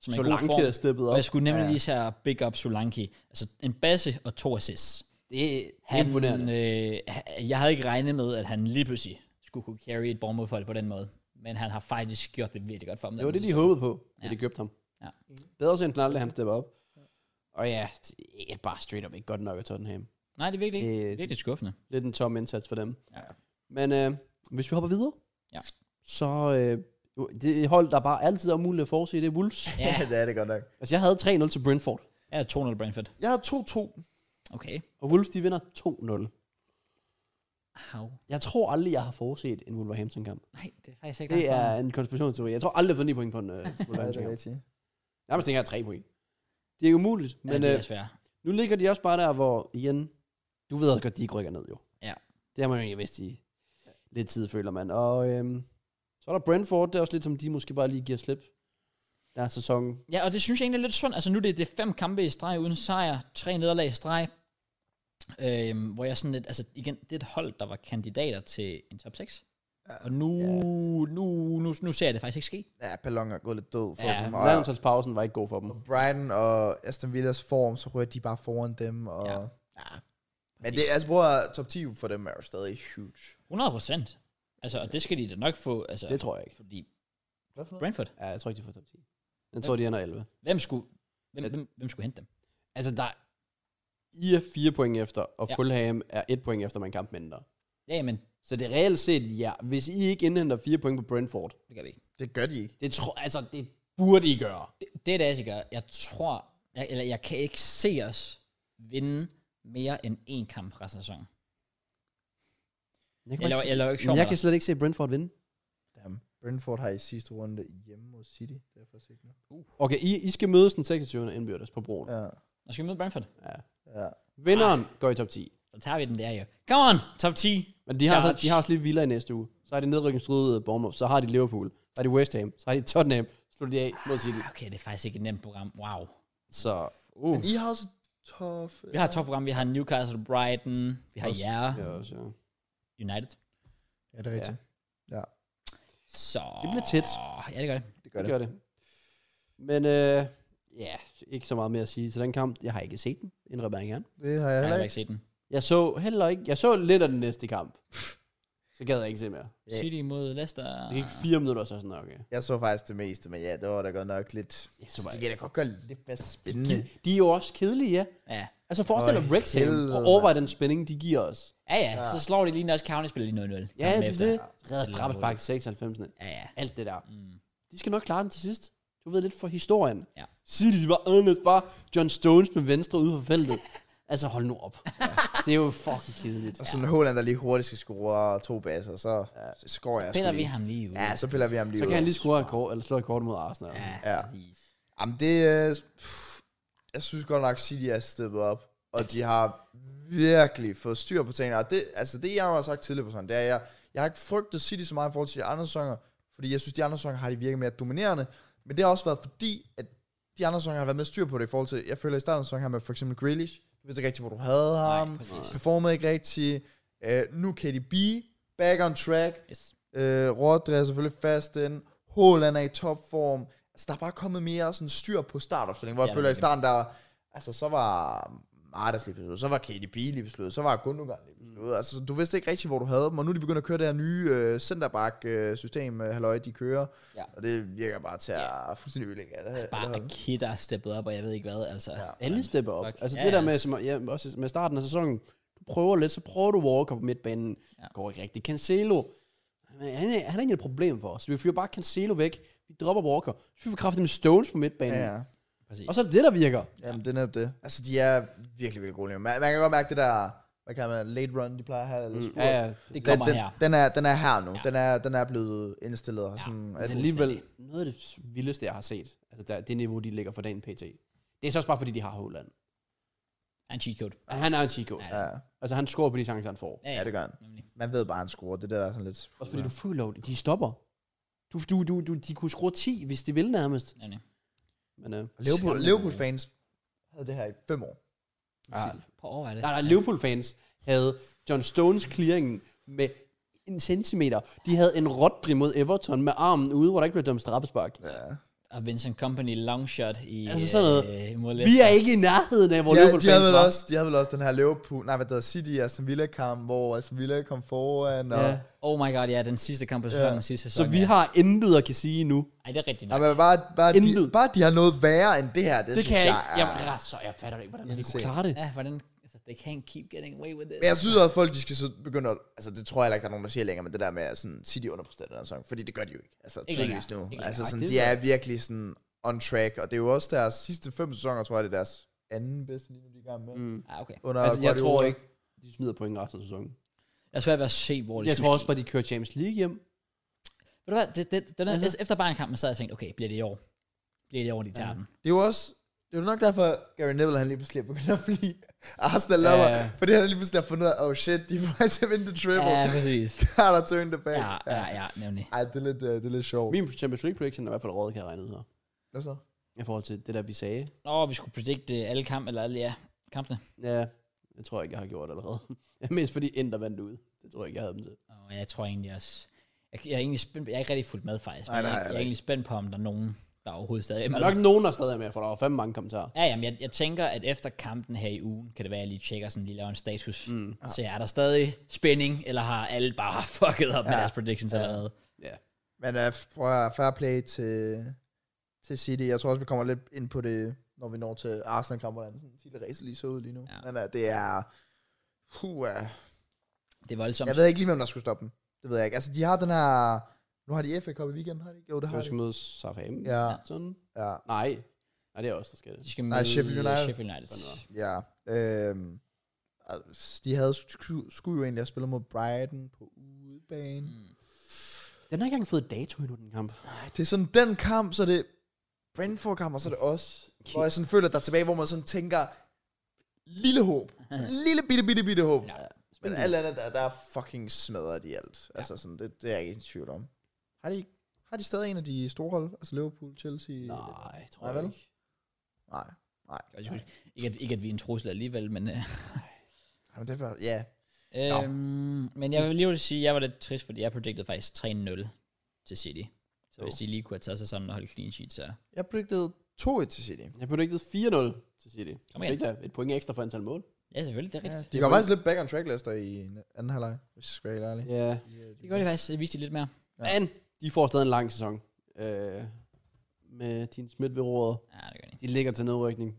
Speaker 1: som er i god
Speaker 2: Solanke
Speaker 1: form.
Speaker 2: er steppet
Speaker 1: Og
Speaker 2: op.
Speaker 1: jeg skulle nemlig
Speaker 3: Ja, ja.
Speaker 1: lige tage big up Solanke. Altså en basse og to assists.
Speaker 2: Det er
Speaker 1: Han,
Speaker 2: imponerende.
Speaker 1: øh, ha- jeg havde ikke regnet med, at han lige pludselig skulle kunne carry et bournemouth på den måde. Men han har faktisk gjort det virkelig godt for dem.
Speaker 2: Det var
Speaker 1: den her
Speaker 2: det, de
Speaker 1: sæson.
Speaker 2: håbede på, da
Speaker 1: Ja.
Speaker 2: de købte ham.
Speaker 1: Ja.
Speaker 2: Bedre sent end aldrig, han stepper op. Og ja, det er bare straight up ikke godt nok af Tottenham.
Speaker 1: Nej, det er virkelig,
Speaker 2: Øh,
Speaker 1: øh, virkelig skuffende.
Speaker 2: Lidt en tom indsats for dem.
Speaker 1: Ja.
Speaker 2: Men øh, hvis vi hopper videre,
Speaker 1: Ja.
Speaker 2: så øh, jo, det er et hold, der bare altid er muligt at forudse, det er Wolves.
Speaker 1: Ja,
Speaker 3: Ja, det er det godt nok.
Speaker 2: Altså, jeg havde 3-0 til Brentford,
Speaker 1: jeg er 2-0 Brentford.
Speaker 3: Jeg har 2-2.
Speaker 1: Okay.
Speaker 2: og Wolves, de vinder 2-0.
Speaker 1: Au.
Speaker 2: Jeg tror aldrig, jeg har forudset en Wolverhampton-kamp.
Speaker 1: Nej, det er faktisk ikke
Speaker 2: Det
Speaker 1: langt fra.
Speaker 2: er en konspirationsteori. Jeg tror aldrig, jeg har fået 9 point på en øh,
Speaker 3: Ja, det er
Speaker 2: Wolverhampton-kamp.
Speaker 3: rigtigt.
Speaker 2: Nærmest ikke jeg har 3 point. Det er ikke umuligt,
Speaker 1: ja,
Speaker 2: men
Speaker 1: det
Speaker 2: øh,
Speaker 1: er svært.
Speaker 2: Nu ligger de også bare der, hvor igen, du ved også godt, de ikke rykker ned jo.
Speaker 1: Ja.
Speaker 2: Det har man jo egentlig vidst i lidt tid, føler man. Og øhm, så er der Brentford, det er også lidt som de måske bare lige giver slip. Der er sæsonen.
Speaker 1: Ja, og det synes jeg egentlig er lidt sundt. Altså nu er det, det er fem kampe i streg uden sejr, tre nederlag i streg. Øhm, hvor jeg sådan lidt, altså igen, det er et hold, der var kandidater til en top 6.
Speaker 3: Ja.
Speaker 1: Og nu, nu, nu, nu ser jeg det faktisk ikke ske.
Speaker 3: Ja, Ballon er gået lidt død for
Speaker 1: Ja,
Speaker 3: dem. Og,
Speaker 2: Landsholdspausen var ikke god for dem.
Speaker 3: og Brighton og Aston Villas form, så rører de bare foran dem. Og,
Speaker 1: Ja.
Speaker 3: ja. Men det, altså, bror, top 10 for dem er jo stadig huge.
Speaker 1: 100 procent. Altså, og det skal de da nok få, altså,
Speaker 2: Det tror jeg ikke.
Speaker 1: fordi
Speaker 3: Hvad for noget?
Speaker 1: Brentford,
Speaker 2: Ja, jeg tror ikke, de får top 10. Jeg tror, de ender 11.
Speaker 1: hvem skulle, hvem, hvem, hvem skulle hente dem?
Speaker 2: Altså, der I er fire point efter, og
Speaker 1: Ja.
Speaker 2: ja. Fulham er et point efter, man kamp mindre.
Speaker 1: Ja, men
Speaker 2: Så det er reelt set, ja. Hvis I ikke indhenter fire point på Brentford,
Speaker 1: det gør vi ikke.
Speaker 3: Det gør de ikke.
Speaker 2: det, tror, altså, det burde I gøre.
Speaker 1: Det, det er det, jeg gør. Jeg tror, jeg, eller jeg kan ikke se os vinde mere end én kamp resten af sæsonen.
Speaker 2: Jeg
Speaker 1: Jeg laver, jeg laver ikke sjov
Speaker 2: men
Speaker 1: med
Speaker 2: jeg kan
Speaker 1: dig.
Speaker 2: slet ikke se Brentford vinde.
Speaker 3: Damn. Brentford har i sidste runde hjemme mod City. Det er jeg faktisk ikke nu.
Speaker 2: Okay, I, I skal mødes den 26. indbyrdes på broen. Ja. Ah.
Speaker 3: Ja,
Speaker 1: Nå, skal vi møde Brentford?
Speaker 2: ja.
Speaker 3: ja.
Speaker 2: Vinderen Ej. går i top 10.
Speaker 1: Så tager vi den der jo. Come on, top 10.
Speaker 2: Men de har,
Speaker 1: Charge.
Speaker 2: så, de har også lige Villa i næste uge. Så har de nedrykningsstrydet Bournemouth. Så har de Liverpool. Så har de West Ham. Så har de Tottenham. Så slutter de af mod City.
Speaker 1: Ah, Okay, det er faktisk ikke et nemt program. Wow.
Speaker 2: Så, uh.
Speaker 3: Men I har også tough... øh,
Speaker 1: Vi har et topprogram. Vi har Newcastle, Brighton, vi har
Speaker 2: Også-
Speaker 1: jer,
Speaker 2: Ja, også, ja.
Speaker 1: United.
Speaker 3: Ja, det er rigtigt.
Speaker 1: Så...
Speaker 2: Det bliver tæt.
Speaker 1: Ja, det gør det.
Speaker 3: Det gør
Speaker 2: Det
Speaker 3: det.
Speaker 2: gør det. Men øh, ja, ikke så meget mere at sige til den kamp. Jeg har ikke set den, indrømmer jeg gerne.
Speaker 3: Det har jeg
Speaker 1: Jeg har
Speaker 3: heller
Speaker 1: heller
Speaker 3: ikke.
Speaker 1: ikke set den.
Speaker 2: Jeg så heller ikke, jeg så lidt af den næste kamp. Så gad jeg ikke se mere.
Speaker 3: Ja.
Speaker 1: City mod Leicester.
Speaker 2: Det gik
Speaker 3: Ah.
Speaker 2: fire minutter, så sådan, okay.
Speaker 3: Jeg så faktisk det meste, men ja, det var da godt nok lidt...
Speaker 2: Jeg så bare-
Speaker 3: det kan da godt gøre lidt mere spændende.
Speaker 2: De, de er jo også kedelige, ja.
Speaker 1: Ja.
Speaker 2: Altså forestil dig
Speaker 3: Øj,
Speaker 2: Wrexham, og
Speaker 3: helvede,
Speaker 2: overvej den spænding, de giver os.
Speaker 1: Ja, ja, ja. Så slår de lige når også County spiller lige 0-0.
Speaker 2: Ja,
Speaker 1: kampen
Speaker 2: det er
Speaker 1: efter.
Speaker 2: det. Redder
Speaker 1: Ja,
Speaker 2: straffespark 96.
Speaker 1: Ja, ja.
Speaker 2: Alt det der.
Speaker 1: Mm.
Speaker 2: De skal nok klare den til sidst. Du ved lidt for historien.
Speaker 1: Ja.
Speaker 2: City var anderledes bare John Stones med venstre ude for feltet. altså hold nu op. Ja. Det er jo fucking kedeligt.
Speaker 3: Og sådan en Håland, der lige hurtigt skal score og to baser, så,
Speaker 2: Ja.
Speaker 3: så scorer jeg
Speaker 1: Piller
Speaker 3: sgu
Speaker 1: vi
Speaker 3: lige.
Speaker 1: ham lige ud.
Speaker 3: Ja, så piller vi ham lige
Speaker 2: Så
Speaker 3: ud.
Speaker 2: kan han lige score et kort, eller slå et kort mod Arsenal.
Speaker 1: ja,
Speaker 3: Ja.
Speaker 1: præcis.
Speaker 3: Jamen det er... Jeg synes godt nok, City er steppet op. Og de har virkelig fået styr på tingene. Og det, altså det, jeg jo har sagt tidligere på sådan, det er, jeg, jeg har ikke frygtet City så meget i forhold til de andre sanger, fordi jeg synes, de andre sanger har de virket mere dominerende. Men det har også været fordi, at de andre sanger har været mere styr på det i forhold til, jeg føler i starten af sæsonen her med for eksempel Grealish, du vidste ikke rigtig, hvor du havde
Speaker 2: Um,
Speaker 3: ham,
Speaker 1: Nej, præcis.
Speaker 3: performede ikke rigtig. Øh, nu kan de be back on track.
Speaker 1: Yes.
Speaker 3: Øh, Rodri er selvfølgelig fast ind. Haaland er i topform. Altså, der er bare kommet mere sådan styr på startopstillingen, hvor jeg
Speaker 1: Ja,
Speaker 3: føler i
Speaker 1: men-
Speaker 3: starten, der altså, så var Martas lige besluttet, så var KDB lige besluttet, så var Gundogan lige besluttet. Altså, du vidste ikke rigtig, hvor du havde dem, og nu er de begyndt at køre det her nye øh, centerback-system, øh, halløj, de kører,
Speaker 1: Ja. Altså,
Speaker 3: og det virker bare til at fuldstændig ødelægge af det her.
Speaker 1: Bare Akita er steppet op, og jeg ved ikke hvad, altså.
Speaker 3: Ja.
Speaker 2: Alle stepper op.
Speaker 1: Fuck.
Speaker 2: Altså
Speaker 1: Ja,
Speaker 2: det der
Speaker 1: ja.
Speaker 2: med, som, ja, også med starten af sæsonen, du prøver lidt, så prøver du Walker på midtbanen.
Speaker 1: Ja.
Speaker 2: Ja. Går ikke rigtigt. Cancelo, han er, han er ikke et problem for os. Vi fyrer bare Cancelo væk. Vi dropper Walker. Så fyrer vi kraftigt med Stones på midtbanen.
Speaker 3: Ja,
Speaker 2: Ja.
Speaker 3: ja.
Speaker 1: Præcis.
Speaker 2: Og så er det det, der virker.
Speaker 3: Jamen, det er netop det. Altså, de er virkelig, virkelig gode lige nu. Man, man kan godt mærke det der, hvad kan man, late run, de plejer at have,
Speaker 1: Mm.
Speaker 3: eller spurt.
Speaker 2: Mm. Ja, ja.
Speaker 1: det
Speaker 3: Den,
Speaker 1: kommer
Speaker 3: den,
Speaker 1: her.
Speaker 3: den, er, den er her nu.
Speaker 1: Ja.
Speaker 3: Ja. Den, er, den er blevet indstillet. Og sådan,
Speaker 2: Det
Speaker 3: at,
Speaker 2: er
Speaker 1: Altså,
Speaker 2: alligevel noget af det vildeste, jeg har set. Altså der, det niveau, de ligger for dagen pt. Det er så også bare, fordi de har Holland.
Speaker 1: Er en cheat code.
Speaker 2: Han er en chico.
Speaker 1: Ja.
Speaker 2: Ja.
Speaker 3: ja,
Speaker 2: Altså han scorer på de chancer, han får.
Speaker 3: ja, det gør han.
Speaker 1: Nemlig.
Speaker 3: Man ved bare, han scorer. Det der der er sådan lidt...
Speaker 2: Også fordi du føler, jo, de stopper. Du, du, du, du, de kunne score 10, hvis de ville nærmest.
Speaker 1: Nemlig.
Speaker 2: Men, øh,
Speaker 3: Liverpool,
Speaker 2: skræmmende.
Speaker 3: Liverpool fans havde det her i fem år.
Speaker 2: Ja,
Speaker 1: Prøv at overveje det.
Speaker 2: Nej, nej, Liverpool-fans havde John Stones clearingen med en centimeter. De havde en Rodri mod Everton med armen ude, hvor der ikke blev dømt straffespark. Ja.
Speaker 1: Og Vincent Company long shot i...
Speaker 2: Altså sådan noget.
Speaker 1: Øh, mod
Speaker 2: Vi
Speaker 1: Leicester.
Speaker 2: er ikke i nærheden af, hvor
Speaker 3: De, havde- de, havde
Speaker 2: Liverpool-fans
Speaker 3: vel
Speaker 2: var.
Speaker 3: også, de havde vel også den her Liverpool, nej, hvad der hedder City og Aston Villa kamp, hvor Aston Villa kom foran, og...
Speaker 2: Ja.
Speaker 3: Ja.
Speaker 1: Oh my god, ja, den sidste kamp på sæsonen. Ja. Sidste sæson,
Speaker 2: Så vi
Speaker 1: ja.
Speaker 2: har intet at kan sige nu.
Speaker 1: Ej, det er rigtigt
Speaker 3: Nej,
Speaker 1: nok.
Speaker 3: men bare, bare,
Speaker 2: Intet.
Speaker 3: de, bare de har noget værre end det her, det,
Speaker 2: Det
Speaker 3: synes
Speaker 2: kan jeg
Speaker 3: jeg,
Speaker 2: ikke.
Speaker 3: er-
Speaker 2: Jeg er ret så, jeg fatter det ikke, hvordan de kunne
Speaker 3: sikkert.
Speaker 2: klare det.
Speaker 1: Ja, hvordan... Altså, they can't keep getting away with this.
Speaker 3: Men jeg synes også, at folk de skal så begynde at... Altså, det tror jeg heller ikke, der er nogen, der siger længere, men det der med at sådan, City underpresterer den her sæson. Fordi det gør de jo ikke. Altså,
Speaker 1: Ikke
Speaker 3: tydeligvis
Speaker 1: længere.
Speaker 3: nu.
Speaker 1: Ikke
Speaker 3: altså,
Speaker 1: længere.
Speaker 3: sådan,
Speaker 1: Ej,
Speaker 3: de
Speaker 1: det
Speaker 3: er virkelig sådan on track, og det er jo også deres sidste fem sæsoner, tror jeg, det er deres anden bedste lige nu, de er i gang med.
Speaker 2: Mm.
Speaker 1: Ah, okay.
Speaker 3: Under
Speaker 2: Altså, jeg
Speaker 3: Guardiola.
Speaker 2: tror ikke, de smider point resten af sæsonen.
Speaker 1: Jeg er svært ved at se, hvor det
Speaker 2: Jeg
Speaker 1: skulle
Speaker 2: tror også bare, de kører Champions League hjem.
Speaker 1: Ved du hvad, det, det, den,
Speaker 2: Altså-
Speaker 1: altså, efter Bayern-kampen, så havde jeg tænkt, okay, bliver det i år? Bliver det i år, de tager ja. den?
Speaker 3: Det er jo også... Det er jo nok derfor, Gary Neville, han lige pludselig er begyndt at blive Arsenal
Speaker 2: Ja.
Speaker 3: lover. Ja. Fordi han lige pludselig har fundet ud af, oh shit, de får faktisk vinde the triple.
Speaker 1: Ja,
Speaker 3: Ja.
Speaker 1: præcis.
Speaker 3: Har der tøjen tilbage.
Speaker 1: Ja, ja, ja, nemlig.
Speaker 3: Ej, det er lidt, øh, det er lidt sjovt.
Speaker 2: Min Champions League prediction er i hvert fald råd, kan jeg regne ud her.
Speaker 3: Hvad så?
Speaker 2: I forhold til det der, vi sagde.
Speaker 1: Nå, vi skulle predikte alle kampe, eller alle, ja, kampene.
Speaker 2: Ja, det tror jeg ikke, jeg har gjort allerede. Mest fordi Inter vandt ud. Det tror jeg ikke, jeg havde dem til.
Speaker 1: Og jeg tror egentlig også, jeg, jeg er egentlig spændt, jeg er ikke rigtig fuldt med faktisk,
Speaker 3: Nej,
Speaker 1: men
Speaker 3: nej,
Speaker 1: jeg, jeg, er
Speaker 3: nej.
Speaker 1: egentlig spændt på, om der er nogen, der overhovedet stadig er
Speaker 2: Der
Speaker 1: med.
Speaker 2: er nok nogen, der stadig er med, for der var fandme mange kommentarer.
Speaker 1: Ja, jamen, jeg, jeg tænker, at efter kampen her i ugen, kan det være, at jeg lige tjekker sådan, lige laver en status. Mm.
Speaker 2: Mm.
Speaker 1: Så er der stadig spænding, eller har alle bare fucket op ja. med
Speaker 3: Ja.
Speaker 1: deres predictions ja. allerede?
Speaker 2: Ja.
Speaker 3: Men uh, prøv at høre, fair play til, til City. Jeg tror også, vi kommer lidt ind på det, når vi når til Arsenal kamp, hvordan sådan City race lige så ud lige nu.
Speaker 1: Ja.
Speaker 3: Ja. Men uh, det er... Puh, uh,
Speaker 1: Det er voldsomt.
Speaker 3: jeg ved ikke lige, hvem der skulle stoppe dem. Det ved jeg ikke. Altså, de har den her... Nu har de FA Cup i weekenden, har de ikke? Jo, det har
Speaker 2: Jeg skal
Speaker 3: de.
Speaker 2: møde Southampton.
Speaker 3: Ja,
Speaker 2: Sådan.
Speaker 3: ja,
Speaker 2: Nej. Nej, det er også, der skal det.
Speaker 1: De skal møde
Speaker 3: Nej, Sheffield United.
Speaker 1: Sheffield United.
Speaker 2: Sådan noget.
Speaker 3: ja. Øhm, altså, de havde sku- skulle jo egentlig have spillet mod Brighton på udebane.
Speaker 1: Mm.
Speaker 2: Den har ikke engang fået dato endnu, den kamp.
Speaker 3: Det er sådan den kamp, så er det Brentford kamp, og så er det os. Okay. Hvor jeg sådan føler, at der er tilbage, hvor man sådan tænker, lille håb. Lille bitte, bitte, bitte håb. Ja. Men alt andet, der, der er fucking smadret i alt. Ja. Altså sådan, det, det er jeg ikke i tvivl om. Har de, har de stadig en af de store hold? Altså Liverpool, Chelsea?
Speaker 2: Nej, tror
Speaker 3: Nej,
Speaker 2: jeg
Speaker 3: vel?
Speaker 2: ikke.
Speaker 3: Nej. Nej.
Speaker 1: Altså, Jeg synes, Ikke at, ikke at vi er en trussel alligevel, men... Øh,
Speaker 3: Jamen, det er bare, ja.
Speaker 1: no. øhm, men jeg vil lige vil sige, at jeg var lidt trist, fordi jeg predicted faktisk 3-0 til City. Så hvis de lige kunne have taget sig sammen og holdt clean sheet, så...
Speaker 3: Jeg predicted 2-1 til City.
Speaker 2: Jeg predicted 4-0 til City.
Speaker 1: Kom
Speaker 2: Kom
Speaker 1: igen.
Speaker 2: igen. Et point ekstra for antal mål.
Speaker 1: Ja, selvfølgelig, det er
Speaker 3: Ja,
Speaker 1: rigtigt.
Speaker 3: de går faktisk lidt back on track, Leicester, i anden halvleg, hvis jeg skal være helt ærlig.
Speaker 2: Ja.
Speaker 1: Det gør de faktisk. Det viste de lidt mere.
Speaker 3: Ja.
Speaker 2: Men de får stadig en lang sæson. Øh, med Team Schmidt ved roret.
Speaker 1: Ja, det gør de.
Speaker 2: De ligger til nedrykning.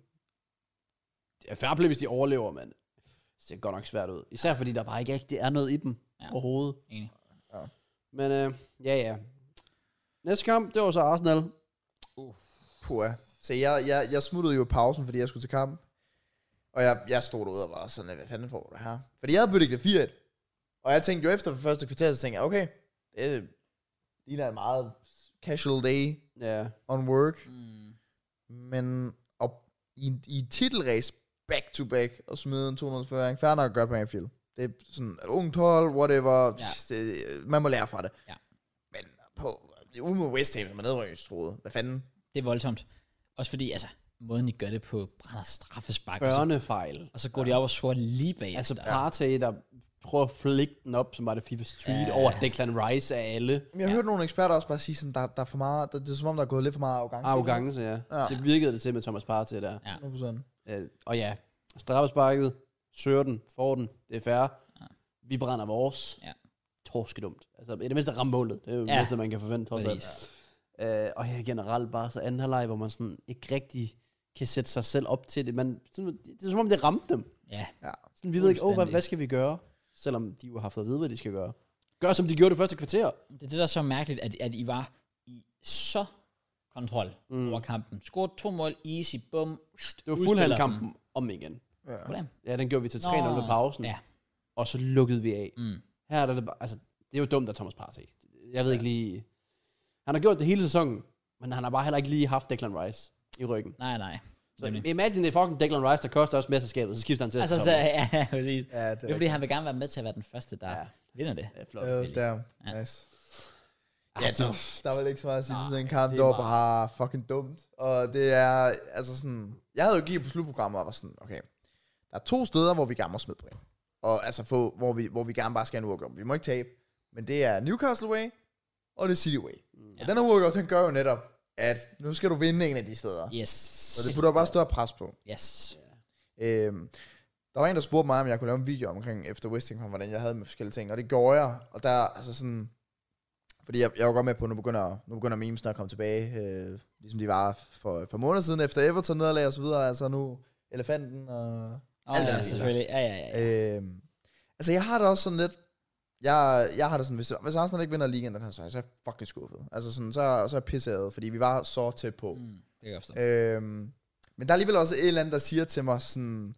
Speaker 2: Det er fair play, hvis de overlever, men det ser godt nok svært ud. Især fordi der bare ikke rigtig er noget i dem
Speaker 1: Ja.
Speaker 2: ja. overhovedet.
Speaker 1: Enig.
Speaker 2: Men øh, ja, ja. Næste kamp, det var så Arsenal.
Speaker 3: Puh, ja. Så jeg, jeg, jeg smuttede jo i pausen, fordi jeg skulle til kamp. Og jeg, jeg stod derude og var sådan, hvad fanden får du her? Fordi jeg havde bedømt det 4-1. Og jeg tænkte jo efter første kvarter, så tænkte jeg, okay, det ligner en meget casual day
Speaker 2: Ja.
Speaker 3: on work.
Speaker 1: Mm.
Speaker 3: Men op, i, i et titelrace back to back og smide en 240, fair nok godt på Anfield. Det er sådan et ungt hold, whatever.
Speaker 1: Ja.
Speaker 3: Ja. Det, man må lære fra det.
Speaker 1: Ja.
Speaker 3: Men på, det er ude mod West Ham, som er nedrykningstroet. Hvad fanden?
Speaker 1: Det er voldsomt. Også fordi, altså, måden I gør det på, brænder straffespark, og så,
Speaker 2: Børnefejl.
Speaker 1: og så går de op og scorer lige bag.
Speaker 2: Altså Partey, der prøver at flikke den op, som var det FIFA Street,
Speaker 1: Ja.
Speaker 2: ja. over Declan Rice af alle.
Speaker 3: Men jeg ja. hørte nogle eksperter også bare sige, sådan, der, der er for meget, der, det er som om, der er gået lidt for meget arrogance.
Speaker 2: Arrogance, ja.
Speaker 3: Ja.
Speaker 2: ja. Det virkede det til med Thomas Partey der.
Speaker 1: Ja.
Speaker 3: 100%.
Speaker 2: Øh, og ja, straffesparket, søger den, får den, det er fair.
Speaker 1: Ja.
Speaker 2: Ja. Vi brænder vores.
Speaker 1: Ja.
Speaker 2: Torskedumt. Altså, i det mindste ramme målet. Det er jo det
Speaker 1: Ja.
Speaker 2: mindste, man kan forvente, trods alt.
Speaker 1: Præcis.
Speaker 2: Øh, og her generelt bare så anden halvleg, hvor man sådan ikke rigtig kan sætte sig selv op til det. Man, sådan, det er som om, det ramte dem.
Speaker 1: Ja,
Speaker 2: Sådan, vi ved ikke, oh, hvad,
Speaker 1: Fuldstændig.
Speaker 2: hvad skal vi gøre? Selvom de jo har fået at vide, hvad de skal gøre. Gør, som de gjorde det første kvarter.
Speaker 1: det er det, der er så mærkeligt, at, at I var i så kontrol mm.
Speaker 2: Mm.
Speaker 1: over kampen. Scorede to mål, easy, bum.
Speaker 2: Det var Fulham-kampen om igen.
Speaker 3: Ja.
Speaker 1: Hvordan?
Speaker 2: Ja, den gjorde vi til 3-0 med pausen.
Speaker 1: Ja.
Speaker 2: Og så lukkede vi af.
Speaker 1: Mm.
Speaker 2: Her er det bare, altså, det er jo dumt af Thomas Partey. Jeg ved ikke lige... Han har gjort det hele sæsonen, men han har bare heller ikke lige haft Declan Rice i ryggen.
Speaker 1: Nej, nej.
Speaker 2: Så
Speaker 1: Nemlig.
Speaker 2: imagine det er fucking Declan Rice, der koster også mesterskabet, så skifter han til
Speaker 1: Altså,
Speaker 2: altså,
Speaker 1: så,
Speaker 2: sæsonen.
Speaker 1: ja, præcis.
Speaker 3: Ja, det
Speaker 1: Det er fordi, han vil gerne være med til at være den første, der ja.
Speaker 2: Ja.
Speaker 1: vinder det.
Speaker 2: Det er flot.
Speaker 3: er øh, damn.
Speaker 1: Ja.
Speaker 3: Nice.
Speaker 2: Ja,
Speaker 3: det, der var vel ikke så meget at sige til
Speaker 1: Nej,
Speaker 3: sådan en kamp,
Speaker 1: det
Speaker 3: det
Speaker 1: er
Speaker 3: var bare fucking dumt. Og det er, altså sådan, jeg havde jo givet på slutprogrammet og var sådan, okay, der er to steder, hvor vi gerne må smide point. Og altså, få, hvor, vi, hvor vi gerne bare skal have en uafgjort. Vi må ikke tabe, Men det er Newcastle Way, og det er City Way.
Speaker 1: Mm.
Speaker 3: Ja. Og den her uafgjort, den gør jo netop, at nu skal du vinde en af de steder.
Speaker 1: Yes.
Speaker 3: Så det putter jo bare større pres på.
Speaker 1: Yes.
Speaker 3: Øhm, der var en, der spurgte mig, om jeg kunne lave en video omkring efter Westingham, hvordan jeg havde med forskellige ting, og det gjorde jeg. Og der, altså sådan, fordi jeg, jeg var godt med på, at nu begynder, nu begynder memesene at komme tilbage, øh, ligesom de var for et par måneder siden, efter Everton nederlag og så videre, altså nu elefanten og...
Speaker 1: Oh,
Speaker 3: Alt
Speaker 1: ja,
Speaker 3: er fint.
Speaker 1: selvfølgelig. Ja, ja, ja. ja.
Speaker 3: Øhm, altså jeg har det også sådan lidt, jeg, jeg har det sådan, hvis, hvis Arsenal ikke vinder ligaen den her sæson, så er jeg fucking skuffet. Altså sådan, så, så er jeg pisset, fordi vi var så tæt på.
Speaker 1: Mm, det kan jeg forstå.
Speaker 3: Øhm, men der er alligevel også et eller andet, der siger til mig sådan,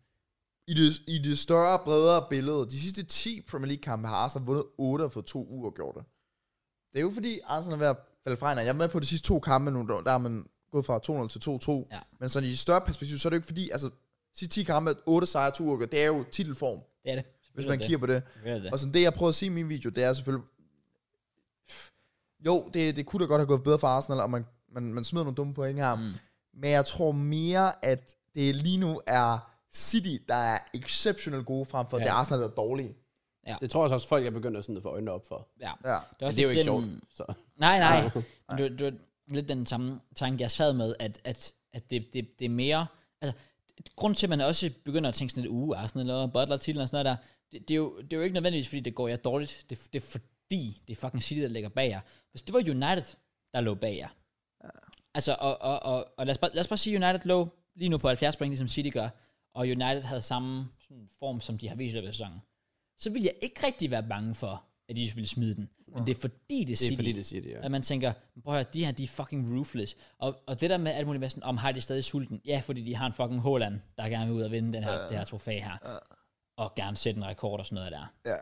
Speaker 3: i det, i det større, bredere billede, de sidste 10 Premier League-kampe har Arsenal vundet 8 og fået to uger gjort det. Det er jo fordi, Arsenal er ved at falde fra hinanden. Jeg er med på de sidste to kampe nu, der der er man gået fra 2-0 til 2-2.
Speaker 1: Ja.
Speaker 3: Men sådan i et større perspektiv, så er det jo ikke fordi, altså, sidste 10 kampe, 8 sejre, 2 uger, gjort, det er jo titelform,
Speaker 1: Det er det.
Speaker 3: hvis
Speaker 1: Selvfølgelig
Speaker 3: man
Speaker 1: er
Speaker 3: kigger på det.
Speaker 1: det. Selvfølgelig er det.
Speaker 3: Og sådan det, jeg prøver at sige i min video, det er selvfølgelig... Jo, det, det kunne da godt have gået bedre for Arsenal, og man, man, man smider nogle dumme point her. Mm. Men jeg tror mere, at det lige nu er City, der er exceptionelt gode, frem for ja.
Speaker 1: Ja.
Speaker 3: det er Arsenal, der er dårlige.
Speaker 2: Det tror jeg også, folk er begyndt at sådan få øjnene op for.
Speaker 1: Ja.
Speaker 3: Ja.
Speaker 1: Det er,
Speaker 2: Men
Speaker 1: også
Speaker 2: det er jo
Speaker 1: lidt
Speaker 2: ikke
Speaker 1: den,
Speaker 2: sjovt. Så.
Speaker 1: Nej, Ah, nej. Men det, var- det var lidt den samme tanke, jeg sad med, at, at, at det, det, det er mere... Altså, grund til, at man også begynder at tænke sådan lidt, uge, Arsenal og Butler titlen og sådan noget der, det, det, er jo, det er jo ikke nødvendigvis, fordi det går jer dårligt. Det, det er fordi, det er fucking City, der ligger bag jer. Hvis det var United, der lå bag jer. Altså, og, og, og, og lad, os bare, lad os bare sige, United lå lige nu på 70 point, ligesom City gør, og United havde samme sådan, form, som de har vist i løbet af sæsonen. Så ville jeg ikke rigtig være bange for, at de ville smide den. Men det er fordi, det er
Speaker 2: Det
Speaker 1: City.
Speaker 2: er fordi, det siger det, ja.
Speaker 1: At man tænker, prøv at høre, de her, de er fucking ruthless. Og, og det der med alt muligt med sådan, om har de stadig sulten? Ja, fordi de har en fucking Holland, der gerne vil ud og vinde den her, uh, det her trofæ her. Uh, og gerne sætte en rekord og sådan noget der.
Speaker 3: Ja.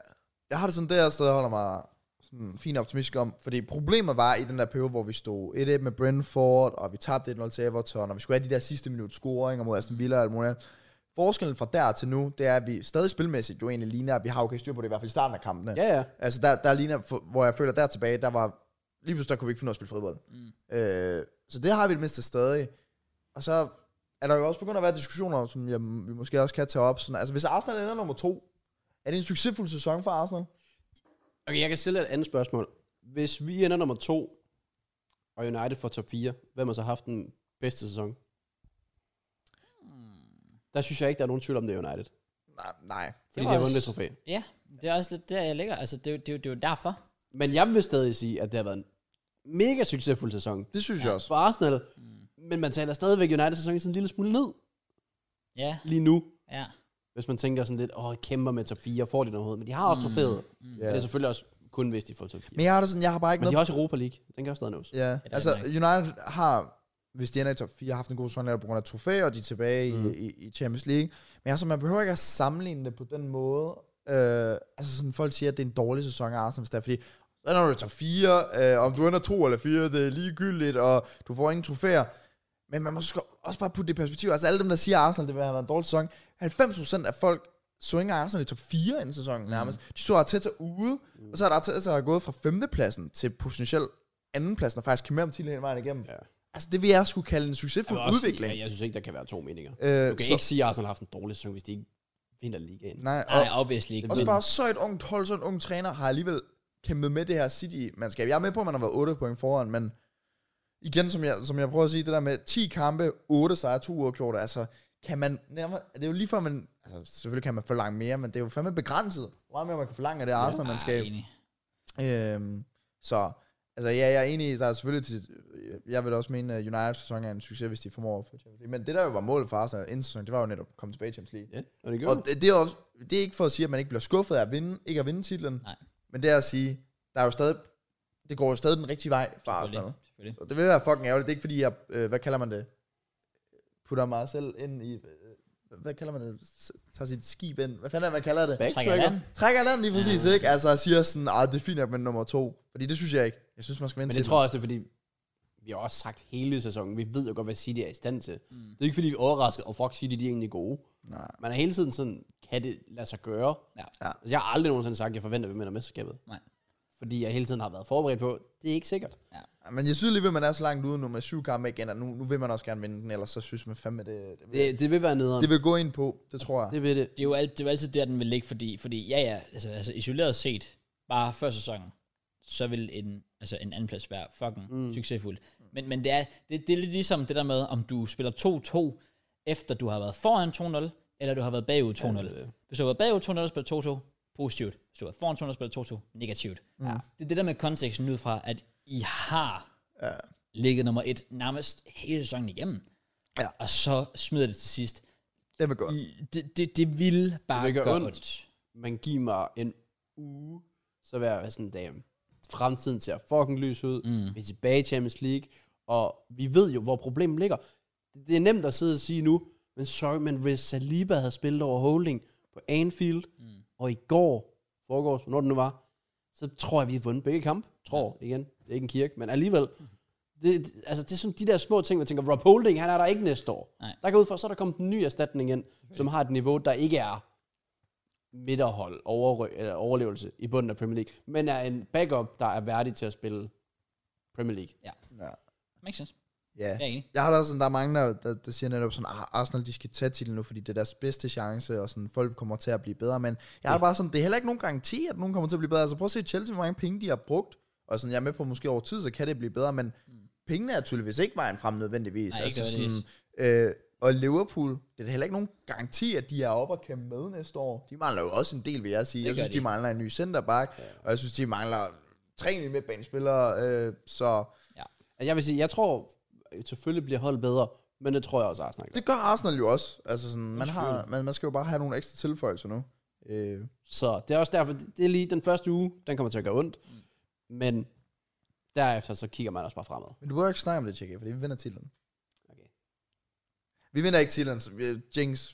Speaker 3: Jeg har det sådan, det her sted, jeg holder mig sådan fint optimistisk om, fordi problemet var i den der periode, hvor vi stod 1-1 med Brentford, og vi tabte 1-0 til Everton, og vi skulle have de der sidste minut scoringer mod Aston Villa og alt muligt. andet. Forskellen fra der til nu, det er, at vi stadig spilmæssigt jo egentlig ligner, at vi har okay styr på det, i hvert fald i starten af kampene.
Speaker 2: Ja, ja.
Speaker 3: Altså, der, der ligner, for- hvor jeg føler, der tilbage, der var... Lige pludselig, der kunne vi ikke finde ud af at spille fodbold. Mm. Øh, så det har vi det mindste stadig. Og så er der jo også begyndt at være diskussioner, som jeg, vi måske også kan tage op. Sådan, altså, hvis Arsenal ender nummer to, er det en succesfuld sæson for Arsenal?
Speaker 2: Okay, jeg kan stille et andet spørgsmål. Hvis vi ender nummer to, og United får top 4, hvem har så haft den bedste sæson? Der synes jeg ikke, der er nogen tvivl om, det er United.
Speaker 3: Nej, nej.
Speaker 2: Fordi
Speaker 1: var
Speaker 2: de har
Speaker 1: også-
Speaker 2: vundet det trofæ.
Speaker 1: Ja, det er også lidt der, jeg ligger. Altså, det, er jo- det, er jo- det er jo derfor.
Speaker 2: Men jeg vil stadig sige, at det har været en mega succesfuld sæson
Speaker 3: Det synes ja. jeg også.
Speaker 2: for Arsenal. Men man taler stadigvæk United-sæsonen sådan en lille smule ned
Speaker 1: Ja,
Speaker 2: lige nu.
Speaker 1: ja.
Speaker 2: Hvis man tænker sådan lidt, åh, kæmper med top 4, får de noget overhovedet. Men de har også trofæet. Mm.
Speaker 3: Ja.
Speaker 2: Og det er selvfølgelig også kun, hvis de får top 4. Men,
Speaker 3: Men jeg har det sådan, jeg har bare ikke
Speaker 2: de
Speaker 3: noget...
Speaker 2: har også Europa League. Den kan også stadig nås.
Speaker 3: Ja,
Speaker 1: er
Speaker 3: altså
Speaker 1: nok.
Speaker 3: United har, hvis de ender i top 4, haft en god sæson netop på grund af trofæer, og de er tilbage mm. i, i, i Champions League. Men altså, man behøver ikke at sammenligne det på den måde. Øh, altså sådan, folk siger, at det er en dårlig sæson af Arsenal, hvis det er, fordi så ender du i top 4, øh, om du ender 2 eller 4, det er ligegyldigt, og du får ingen trofæer. Men man må sgu også bare putte det i perspektiv. Altså alle dem, der siger, at Arsenal det vil have været en dårlig sæson, 90% af folk swinger Arsenal i top 4 inden sæsonen nærmest.
Speaker 2: Mm.
Speaker 3: De så Arteta ude, og så er der Arteta der er gået fra 5. pladsen til potentielt andenpladsen, og faktisk kan med om titlen hele vejen igennem.
Speaker 2: Ja.
Speaker 3: Altså det vil jeg skulle kalde en succesfuld
Speaker 2: Jeg vil også sige,
Speaker 3: udvikling.
Speaker 2: at Jeg synes ikke, der kan være to meninger.
Speaker 3: Øh,
Speaker 2: Du kan
Speaker 3: så-
Speaker 2: ikke sige, at Arsenal har haft en dårlig sæson, hvis de ikke vinder ligaen.
Speaker 3: Nej, og,
Speaker 1: Nej, obviously ikke.
Speaker 3: og så
Speaker 1: men-
Speaker 3: bare så et ungt hold, så en ung træner, har alligevel kæmpet med det her City-mandskab. Jeg er med på, at man har været 8 point foran, men igen, som jeg, som jeg prøver at sige, det der med 10 kampe, 8 sejre, 2 uafgjorte, altså kan man nærmere, det er jo lige før man, altså selvfølgelig kan man forlange mere, men det er jo fandme begrænset, hvor meget mere man kan forlange af det Arsenal-mandskab.
Speaker 1: Ah, enig.
Speaker 3: Øhm, så, altså ja, jeg er enig i, der er selvfølgelig til, jeg vil også mene, at United-sæsonen er en succes, hvis de formår at få Champions League. Men det der jo var målet for Arsenal inden sæsonen, det var jo netop at komme tilbage i Champions League.
Speaker 2: Ja, og det
Speaker 3: Jo.
Speaker 2: gjorde
Speaker 3: Og det, det, er også, det er ikke for at sige, at man ikke bliver skuffet af at vinde, ikke at vinde titlen,
Speaker 1: Nej.
Speaker 3: men det er at sige, der er jo stadig, det går jo stadig den rigtige vej for Arsenal.
Speaker 1: Selvfølgelig. Selvfølgelig.
Speaker 3: Så det vil være fucking ærgerligt. Det er ikke fordi, jeg, øh, hvad kalder man det, putter mig selv ind i, øh, hvad kalder man det, S- tager sit skib ind, hvad fanden er det, man kalder det?
Speaker 1: Trækker i
Speaker 2: Backtracker.
Speaker 1: land.
Speaker 3: Trækker land lige præcis, ja. ikke? Altså siger sådan, ah, det er fint nok med nummer to. Fordi det synes jeg ikke. Jeg synes, man skal vinde
Speaker 2: Men
Speaker 3: til
Speaker 2: det tror jeg også, det er fordi, vi har også sagt hele sæsonen, vi ved jo godt, hvad City er i stand til. Mm. Det er ikke fordi, vi er overrasket, og fuck City, de er egentlig gode.
Speaker 3: Nej.
Speaker 2: Man er hele tiden sådan, kan det lade sig gøre?
Speaker 1: Ja.
Speaker 3: Ja.
Speaker 2: Altså, jeg har aldrig nogensinde sagt, at jeg forventer, at vi vinder mesterskabet.
Speaker 1: Nej.
Speaker 2: Fordi jeg hele tiden har været forberedt på, det er ikke sikkert.
Speaker 3: den. Men jeg synes alligevel, man er så langt ude nu med syv kampe igen, og nu, nu vil man også gerne vinde den, ellers så synes man fandme, det, det, vil,
Speaker 2: Det, det vil være nederen.
Speaker 3: det vil gå ind på, det tror jeg.
Speaker 2: det vil det.
Speaker 1: Det er jo, alt, det er jo altid der, den vil ligge, fordi, fordi ja, ja, altså, altså isoleret set, bare før sæsonen, så vil en, altså en anden plads være fucking mm.
Speaker 2: Mm.
Speaker 1: succesfuld. Men, men det, er, det, det er lidt ligesom det der med, om du spiller 2-2, efter du har været foran 2-0, eller du har været bagud 2-0.
Speaker 2: det er det.
Speaker 1: Hvis du har været bagud 2-0 og spiller 2-2, positivt. Hvis du har været foran 2-0 og spiller 2-2, negativt. Mm. Ja. Det er det der med konteksten ud fra, at I har
Speaker 3: Ja.
Speaker 1: ligget nummer et nærmest hele sæsonen igennem.
Speaker 3: Ja.
Speaker 1: Og så smider det til sidst.
Speaker 3: Det er godt.
Speaker 1: I, det, det, det vil bare
Speaker 2: Det vil gøre
Speaker 1: gøre ondt.
Speaker 2: ondt.
Speaker 1: ondt.
Speaker 2: man giver mig en uge, så vil jeg være sådan, damn, fremtiden ser fucking lys ud, mm. vi er tilbage i Champions League, og vi ved jo, hvor problemet ligger. Det er nemt at sidde og sige nu, men sorry, men hvis Saliba havde spillet over Holding på Anfield, mm. og i går, foregårs, hvornår det nu var, så tror jeg, vi har vundet begge kampe. Tror, igen. Det er ikke en kirke, men alligevel. Det, det- altså, det er sådan de der små ting, man tænker, Rob Holding, han er der ikke næste år.
Speaker 1: Nej.
Speaker 2: Der kan ud fra, så er der kommet en ny erstatning ind, som har et niveau, der ikke er midterhold, over, eller overlevelse i bunden af Premier League, men er en backup, der er værdig til at spille Premier League.
Speaker 3: Ja.
Speaker 1: Makes sense.
Speaker 3: ja.
Speaker 1: Jeg er enig.
Speaker 3: Jeg har da også sådan, der er mange, der, der, der siger netop sådan, at Arsenal de skal tage titlen nu, fordi det er deres bedste chance, og sådan, folk kommer til at blive bedre. Men jeg har det bare sådan, det er heller ikke nogen garanti, at nogen kommer til at blive bedre. Altså prøv at se Chelsea, hvor mange penge de har brugt. Og sådan, jeg er med på, at måske over tid, så kan det blive bedre, men pengene er tydeligvis ikke vejen frem nødvendigvis.
Speaker 1: Mm. Nej, ikke
Speaker 3: altså, sådan, øh, og Liverpool, det er da heller ikke nogen garanti, at de er oppe og kæmpe med næste år. De mangler jo også en del, vil jeg sige. Jeg
Speaker 1: gør
Speaker 3: synes, de.
Speaker 1: de.
Speaker 3: mangler en ny centerback, ja. og jeg synes, de mangler tre nye midtbanespillere, øh, så...
Speaker 2: Altså, jeg vil sige, jeg tror, selvfølgelig bliver holdet bedre, men det tror jeg også, Arsenal gør.
Speaker 3: Det gør Arsenal jo også. Altså sådan, man, har, man, man skal jo bare have nogle ekstra tilføjelser nu. Øh,
Speaker 2: Så det er også derfor, det er lige den første uge, den kommer til at gøre ondt, men derefter så kigger man også bare fremad.
Speaker 3: men du behøver ikke snakke om det, Tjekke, fordi vi vinder titlen.
Speaker 2: Okay.
Speaker 3: Vi vinder ikke titlen, så vi
Speaker 2: Ah,
Speaker 3: Jinx.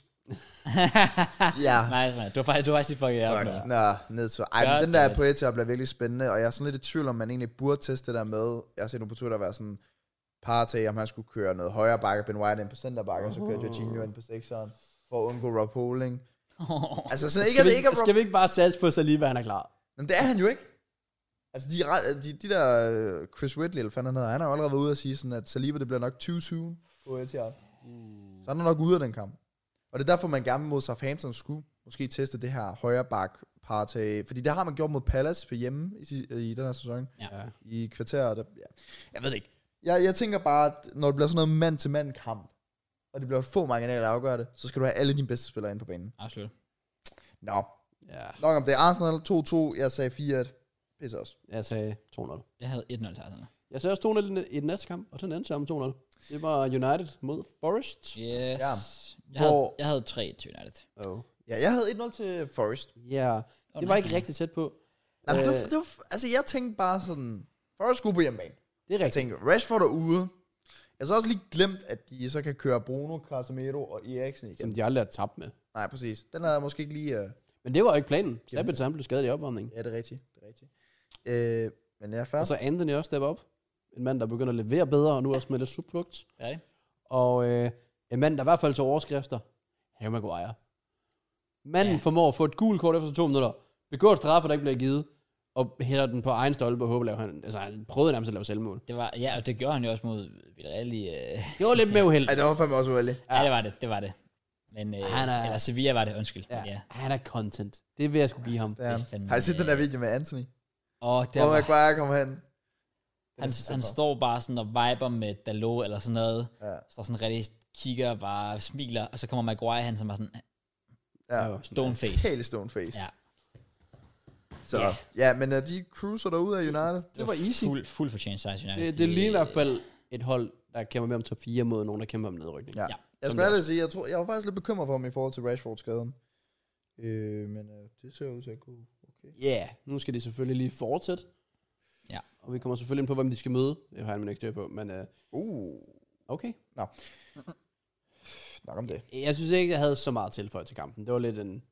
Speaker 3: Ja.
Speaker 1: Nej, nej, du var faktisk, du var faktisk lige fucking
Speaker 3: Fuck.
Speaker 1: ærlig. med.
Speaker 3: Nå, ned til. Ej,
Speaker 1: Ja,
Speaker 3: men den der
Speaker 1: det-
Speaker 3: på Etia bliver virkelig spændende, og jeg er sådan lidt i tvivl, om man egentlig burde teste det der med, jeg har set nogle på Twitter være sådan, Partey, om han skulle køre noget højere bakke, Ben White ind på centerbakke, og så kører Jorginho ind på sekseren, for at undgå Rob Holding. Altså sådan, ikke
Speaker 2: Skal
Speaker 3: at
Speaker 2: vi,
Speaker 3: det ikke er Rob
Speaker 2: skal vi ikke bare satse på Saliba, han er klar?
Speaker 3: Men det er han jo ikke. Altså, de, er ret- de, de der øh, Chris Whitley, eller hvad fanden han hedder, han er jo allerede ude og sige sådan, at Saliba, det bliver nok too soon på Etihad. Så han er nok ude af den kamp. Og det er derfor, man gerne mod Southampton skulle måske teste det her højre bak partag. Fordi det har man gjort mod Palace på hjemme i, si- i den her sæson.
Speaker 1: Ja.
Speaker 3: I kvarteret. der- Ja.
Speaker 1: Jeg ved det ikke.
Speaker 3: Jeg, jeg tænker bare, at når det bliver sådan noget mand-til-mand kamp, og det bliver få marginaler, der afgør det, så skal du have alle dine bedste spillere ind på banen.
Speaker 1: Absolut.
Speaker 3: Nå,
Speaker 2: Ja,
Speaker 3: nok om det. Arsenal 2-2, jeg sagde 4-1. Pisse os.
Speaker 2: jeg sagde 2-0.
Speaker 1: Jeg havde 1-0 til Arsenal.
Speaker 2: Jeg sagde også 2-0 i den- i den næste kamp, og den endte sammen 2-0. Det var United mod Forest.
Speaker 1: Yes.
Speaker 3: Ja.
Speaker 1: Jeg, havde,
Speaker 2: Hvor-
Speaker 1: jeg havde 3 til United.
Speaker 2: Oh.
Speaker 3: Ja, jeg havde 1-0 til Forest.
Speaker 2: Ja,
Speaker 1: Oh,
Speaker 2: det var
Speaker 1: nej.
Speaker 2: ikke rigtig tæt på.
Speaker 3: Jamen, det, var,
Speaker 2: Øh,
Speaker 3: det var, altså, jeg tænkte bare sådan, Forrest skulle på hjemmebane.
Speaker 2: Det er
Speaker 3: Jeg
Speaker 2: rigtigt.
Speaker 3: tænkte, Rashford er ude. Jeg har så også lige glemt, at de så kan køre Bruno, Casemiro og Eriksen igen.
Speaker 2: Som de aldrig har tabt med.
Speaker 3: Nej, præcis. Den havde jeg måske ikke lige... Øh,
Speaker 2: Men det var jo ikke planen. Sabitzer, han blev skadet i opvarmningen.
Speaker 3: ja, det er rigtigt. Det er rigtigt. Øh, men jeg er
Speaker 2: Og
Speaker 3: færdig.
Speaker 2: så Anthony også step op. En mand, der begynder at levere bedre, og nu også med lidt subflugt.
Speaker 1: Hvad er det?
Speaker 2: Og øh, en mand, der i hvert fald til overskrifter. Harry Maguire. Manden
Speaker 1: Ja.
Speaker 2: ja. formår at få et gult kort efter to minutter. Begår et straffe, der ikke bliver givet. Og hælder den på egen stolpe og håber, at han... Altså, han prøvede nærmest at lave selvmål.
Speaker 1: Det var, ja, og det gjorde han jo også mod Villarreal i... Øh,
Speaker 2: Det var lidt mere uheldigt.
Speaker 3: Ej, det var fandme også uheldigt.
Speaker 1: ja. det var det, det var det. Men, øh,
Speaker 2: Han er-
Speaker 1: eller Sevilla var det, undskyld. Ja.
Speaker 2: Ja,
Speaker 1: Men ja.
Speaker 2: han er content. Det vil jeg skulle give ham.
Speaker 3: Det er
Speaker 1: Det er
Speaker 3: han.
Speaker 1: fandme-
Speaker 3: Har I set den der video med Anthony?
Speaker 1: Og der
Speaker 3: Hvor
Speaker 1: var,
Speaker 3: Maguire kommer hen.
Speaker 1: han,
Speaker 3: Det er
Speaker 1: han
Speaker 3: super.
Speaker 1: står bare sådan og viber med Dalot eller sådan noget.
Speaker 3: Ja.
Speaker 1: Står sådan rigtig kigger og bare smiler. Og så kommer Maguire, han som er sådan
Speaker 3: Ja.
Speaker 2: Ja.
Speaker 1: stone face.
Speaker 3: Totally stone face.
Speaker 1: Ja.
Speaker 3: Så,
Speaker 1: Ja.
Speaker 3: ja, men øh, de cruiser derude af United.
Speaker 2: Det var easy.
Speaker 1: Fuld, fuld fortjent sejr, til United.
Speaker 2: Det, det ligner i hvert fald et hold, der kæmper med om top 4 mod nogen, der kæmper om nedrykning.
Speaker 3: Ja.
Speaker 1: Ja,
Speaker 3: ja. Jeg
Speaker 2: som
Speaker 3: skulle
Speaker 2: det
Speaker 3: ærligt sige, jeg, tror, jeg var faktisk lidt bekymret for ham i forhold til Rashford-skaden. Øh, men øh, det ser ud til at gå okay.
Speaker 2: Yeah. Nu skal de selvfølgelig lige fortsætte.
Speaker 1: Ja.
Speaker 2: Og vi kommer selvfølgelig ind på, hvem de skal møde. Det har jeg nemlig ikke styr på, men øh,
Speaker 3: Uh,
Speaker 2: okay.
Speaker 3: nok om det.
Speaker 2: Jeg synes ikke, jeg havde så meget tilføjet til kampen. Det var lidt en...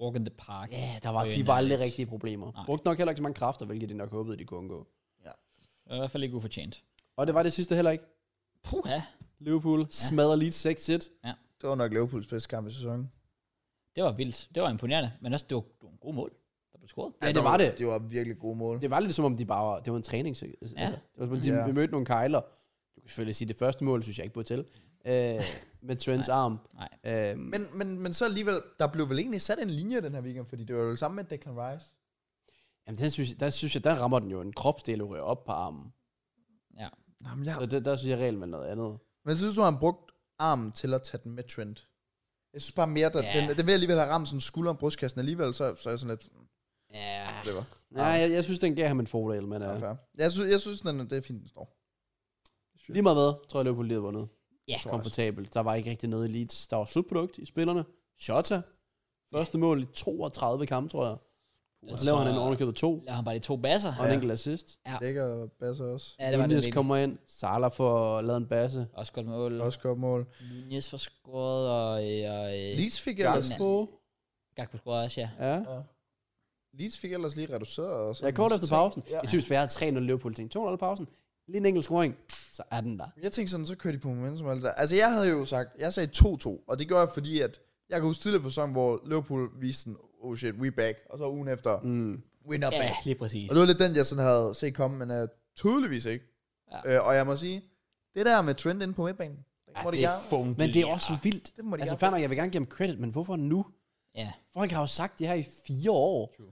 Speaker 1: Walk in the park.
Speaker 2: Ja, yeah, der var,
Speaker 1: Øh,
Speaker 2: de var aldrig
Speaker 1: nice.
Speaker 2: rigtige problemer.
Speaker 1: Nej.
Speaker 2: Nej. Brugte nok heller ikke så mange kræfter, hvilket de nok håbede, de kunne undgå.
Speaker 1: Det var I hvert fald ikke ufortjent.
Speaker 2: Og det var det sidste heller ikke.
Speaker 1: Puha.
Speaker 2: Liverpool ja. smadrer Leeds 6-1.
Speaker 3: Det var nok Liverpools bedste kamp i sæsonen.
Speaker 1: Det var vildt. Det var imponerende. Men også, det var, det var en god mål, der blev scoret.
Speaker 2: Ja, det var det.
Speaker 3: Det var virkelig gode mål.
Speaker 2: Det var lidt som om, de bare var, det var en træning. Ja. Altså, det var, som om, de
Speaker 3: Ja.
Speaker 2: ja. mødte nogle kejler. Du kan selvfølgelig sige, det første mål, synes jeg ikke burde til. Øh, med Trents arm.
Speaker 1: Nej.
Speaker 2: Øh,
Speaker 3: Men, men, men så alligevel, der blev vel egentlig sat en linje den her weekend, fordi det var jo det samme med Declan Rice.
Speaker 2: Jamen, den synes, der synes jeg, der rammer den jo en kropsdel, der ryger op på armen.
Speaker 3: Jamen,
Speaker 2: Så det, der synes jeg reelt med noget andet.
Speaker 3: Men synes du, han brugt armen til at tage den med Trent? Jeg synes bare mere, at
Speaker 1: Ja.
Speaker 3: den, den vil alligevel have ramt sådan skulder og brystkassen alligevel, så, så er jeg sådan lidt,
Speaker 2: Ja.
Speaker 3: det var
Speaker 2: Nej, jeg, jeg synes, den gav ham en fordel, men
Speaker 3: ja.
Speaker 2: uh,
Speaker 3: fair. Jeg synes, jeg synes den, det er fint, den står.
Speaker 2: lige meget hvad, tror jeg, Liverpool lige havde
Speaker 1: Ja.
Speaker 2: vundet.
Speaker 3: Tror jeg også.
Speaker 2: Komfortabelt. Der var ikke rigtig noget i Leeds. Der var slutprodukt i spillerne. Shota. Første mål i 32 kampe, tror jeg. Og så laver han en ovenikøbet to,
Speaker 1: Laver han bare de to basser.
Speaker 2: og en
Speaker 3: Ja.
Speaker 2: enkelt assist.
Speaker 1: Ja.
Speaker 3: Lækker og basser også.
Speaker 1: Ja, det var
Speaker 2: Nunes
Speaker 1: det kom.
Speaker 2: kommer ind. Salah får lavet en basse.
Speaker 1: Også godt mål.
Speaker 3: Også godt mål.
Speaker 1: Nunez for scoret, og, øh, og øh,
Speaker 3: Leeds fik ellers,
Speaker 1: mand.
Speaker 2: Gakpo.
Speaker 1: Gakpo scorede også, ja.
Speaker 2: Ja.
Speaker 3: Leeds fik ellers lige reduceret. Og
Speaker 2: Ja, kort efter pausen.
Speaker 3: Ja.
Speaker 2: Jeg synes, vi har 3-0 Liverpool ting. 2-0 pausen. Lige en enkelt scoring, så er den der.
Speaker 3: Jeg tænkte sådan, så kører de på momentum og alt det der. Altså, jeg havde jo sagt, jeg sagde 2-2, og det gør jeg, fordi at jeg kan huske tidligere på sæsonen, hvor Liverpool viste den, oh shit, we back, og så ugen efter,
Speaker 2: Mm.
Speaker 3: winner back.
Speaker 1: Ja, lige præcis.
Speaker 3: Og det var lidt den, jeg sådan havde set komme, men uh, tydeligvis ikke.
Speaker 1: Ja.
Speaker 3: Ja. Uh, og jeg må sige, det der med trend inde på midtbanen, det må de gerne.
Speaker 1: funky.
Speaker 2: Men det er også vildt.
Speaker 3: Det må de
Speaker 2: Altså,
Speaker 3: gerne.
Speaker 2: fair nok, jeg vil gerne give ham credit, men hvorfor nu?
Speaker 1: Ja.
Speaker 2: Folk har jo sagt det her i fire år.
Speaker 3: True.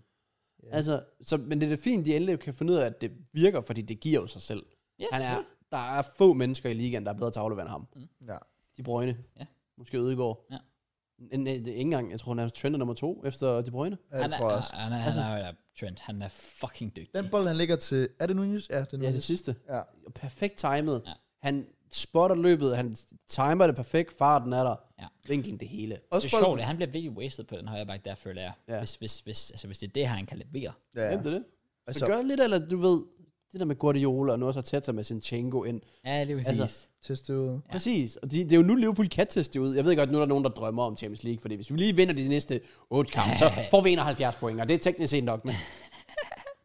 Speaker 3: Ja.
Speaker 2: Yeah. Altså, så, men det er da fint, de endelig kan finde ud af, at det virker, fordi det giver jo sig selv.
Speaker 1: Ja,
Speaker 2: Han er, der er få mennesker i ligaen, der er bedre til at aflevere end ham.
Speaker 3: Ja.
Speaker 2: De Bruyne.
Speaker 1: Ja.
Speaker 2: Måske Ødegaard.
Speaker 1: Ja.
Speaker 2: N- n- det er ikke engang, jeg tror, han er trender nummer to efter De Bruyne.
Speaker 3: ja, det
Speaker 1: han
Speaker 3: tror
Speaker 1: er,
Speaker 3: jeg også.
Speaker 1: Han er, han
Speaker 2: Altså-
Speaker 1: er, han er Trent, han er fucking dygtig.
Speaker 3: Den bold, han ligger til, er det Nunez? Ja, det er
Speaker 2: Ja, det
Speaker 3: Nunez.
Speaker 2: sidste.
Speaker 3: Mm. Ja.
Speaker 2: Perfekt timet.
Speaker 1: Ja.
Speaker 2: Han spotter løbet, han timer det perfekt, farten er der.
Speaker 1: Ja.
Speaker 2: Vinklen, det hele.
Speaker 1: Det
Speaker 3: Også
Speaker 1: er sjovt,
Speaker 3: bolden-
Speaker 1: at han bliver virkelig wasted på den højre back, der føler jeg.
Speaker 2: Ja.
Speaker 1: Hvis, hvis, hvis, altså, hvis det er det her, han kan levere.
Speaker 3: Ja,
Speaker 2: Ja.
Speaker 3: ja.
Speaker 2: Hvem det det?
Speaker 3: Altså,
Speaker 2: Altså, gør lidt, eller du ved, det der med Guardiola, og nu også Arteta med Sinchenko ind.
Speaker 1: Ja, det er præcis.
Speaker 2: Altså,
Speaker 1: Altså,
Speaker 3: teste ud.
Speaker 2: Ja. Præcis, og de, det er jo nu Liverpool kan teste det ud. Jeg ved godt, nu er der nogen, der drømmer om Champions League, fordi hvis vi lige vinder de næste 8 kampe, så får vi 71 point, og det er teknisk set nok, men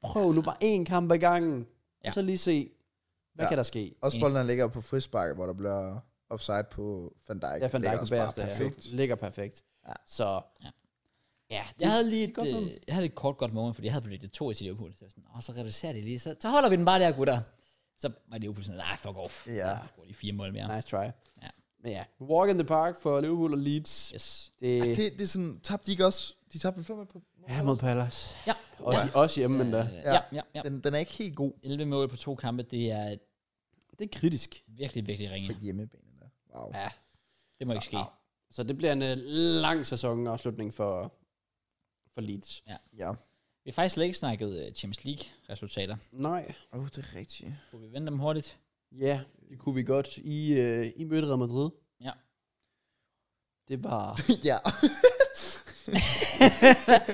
Speaker 2: prøv nu bare én kamp ad gangen, ja.
Speaker 1: Ja.
Speaker 2: og så lige se, hvad
Speaker 3: Ja.
Speaker 2: ja. kan der ske?
Speaker 3: Også bolden, han ligger på frisbakke, hvor der bliver offside på Van Dijk.
Speaker 2: Jeg fandt
Speaker 3: Ligger
Speaker 2: dig på
Speaker 3: også bare
Speaker 2: bagerste her.
Speaker 3: Perfekt.
Speaker 2: Ligger perfekt.
Speaker 3: Ja.
Speaker 2: Ja. Så,
Speaker 1: Ja.
Speaker 2: ja, ja det,
Speaker 1: jeg havde lige et,
Speaker 2: godt
Speaker 1: øh,
Speaker 2: nok.
Speaker 1: jeg havde et kort godt moment, fordi jeg havde predicted 2 til Liverpool. Så jeg var sådan, Åh, så reducerer de lige, så, så holder vi den bare der, gutter. Så var Liverpool sådan, nej, fuck off.
Speaker 3: Ja.
Speaker 1: Går lige fire mål mere.
Speaker 2: Nice try.
Speaker 1: Ja.
Speaker 2: Ja. Men ja, walk in the park for Liverpool og Leeds.
Speaker 1: Yes.
Speaker 2: Det,
Speaker 3: Ej, det, det er sådan, tabte de ikke også? De tabte en femmer på.
Speaker 2: ja, mod Palace.
Speaker 1: Ja.
Speaker 2: Også, ja. også hjemme, men da.
Speaker 1: Øh, ja, ja, ja.
Speaker 3: Den, den er ikke helt god
Speaker 1: 11 mål på to kampe, det er
Speaker 2: Det er kritisk.
Speaker 1: virkelig, virkelig ringe.
Speaker 3: på hjemmebane. Der. Wow.
Speaker 2: Ja.
Speaker 1: Det må ikke ske.
Speaker 2: Au. Så det bliver en øh, lang sæsonafslutning for, for Leeds.
Speaker 3: Ja.
Speaker 1: Vi har faktisk slet ikke snakket øh, Champions League-resultater.
Speaker 2: Nej.
Speaker 3: Åh, oh, det er rigtigt.
Speaker 1: Kunne vi vende dem hurtigt?
Speaker 2: Ja, det kunne vi godt. I, øh, I mødte Real Madrid.
Speaker 1: Ja.
Speaker 2: Det var...
Speaker 3: ja.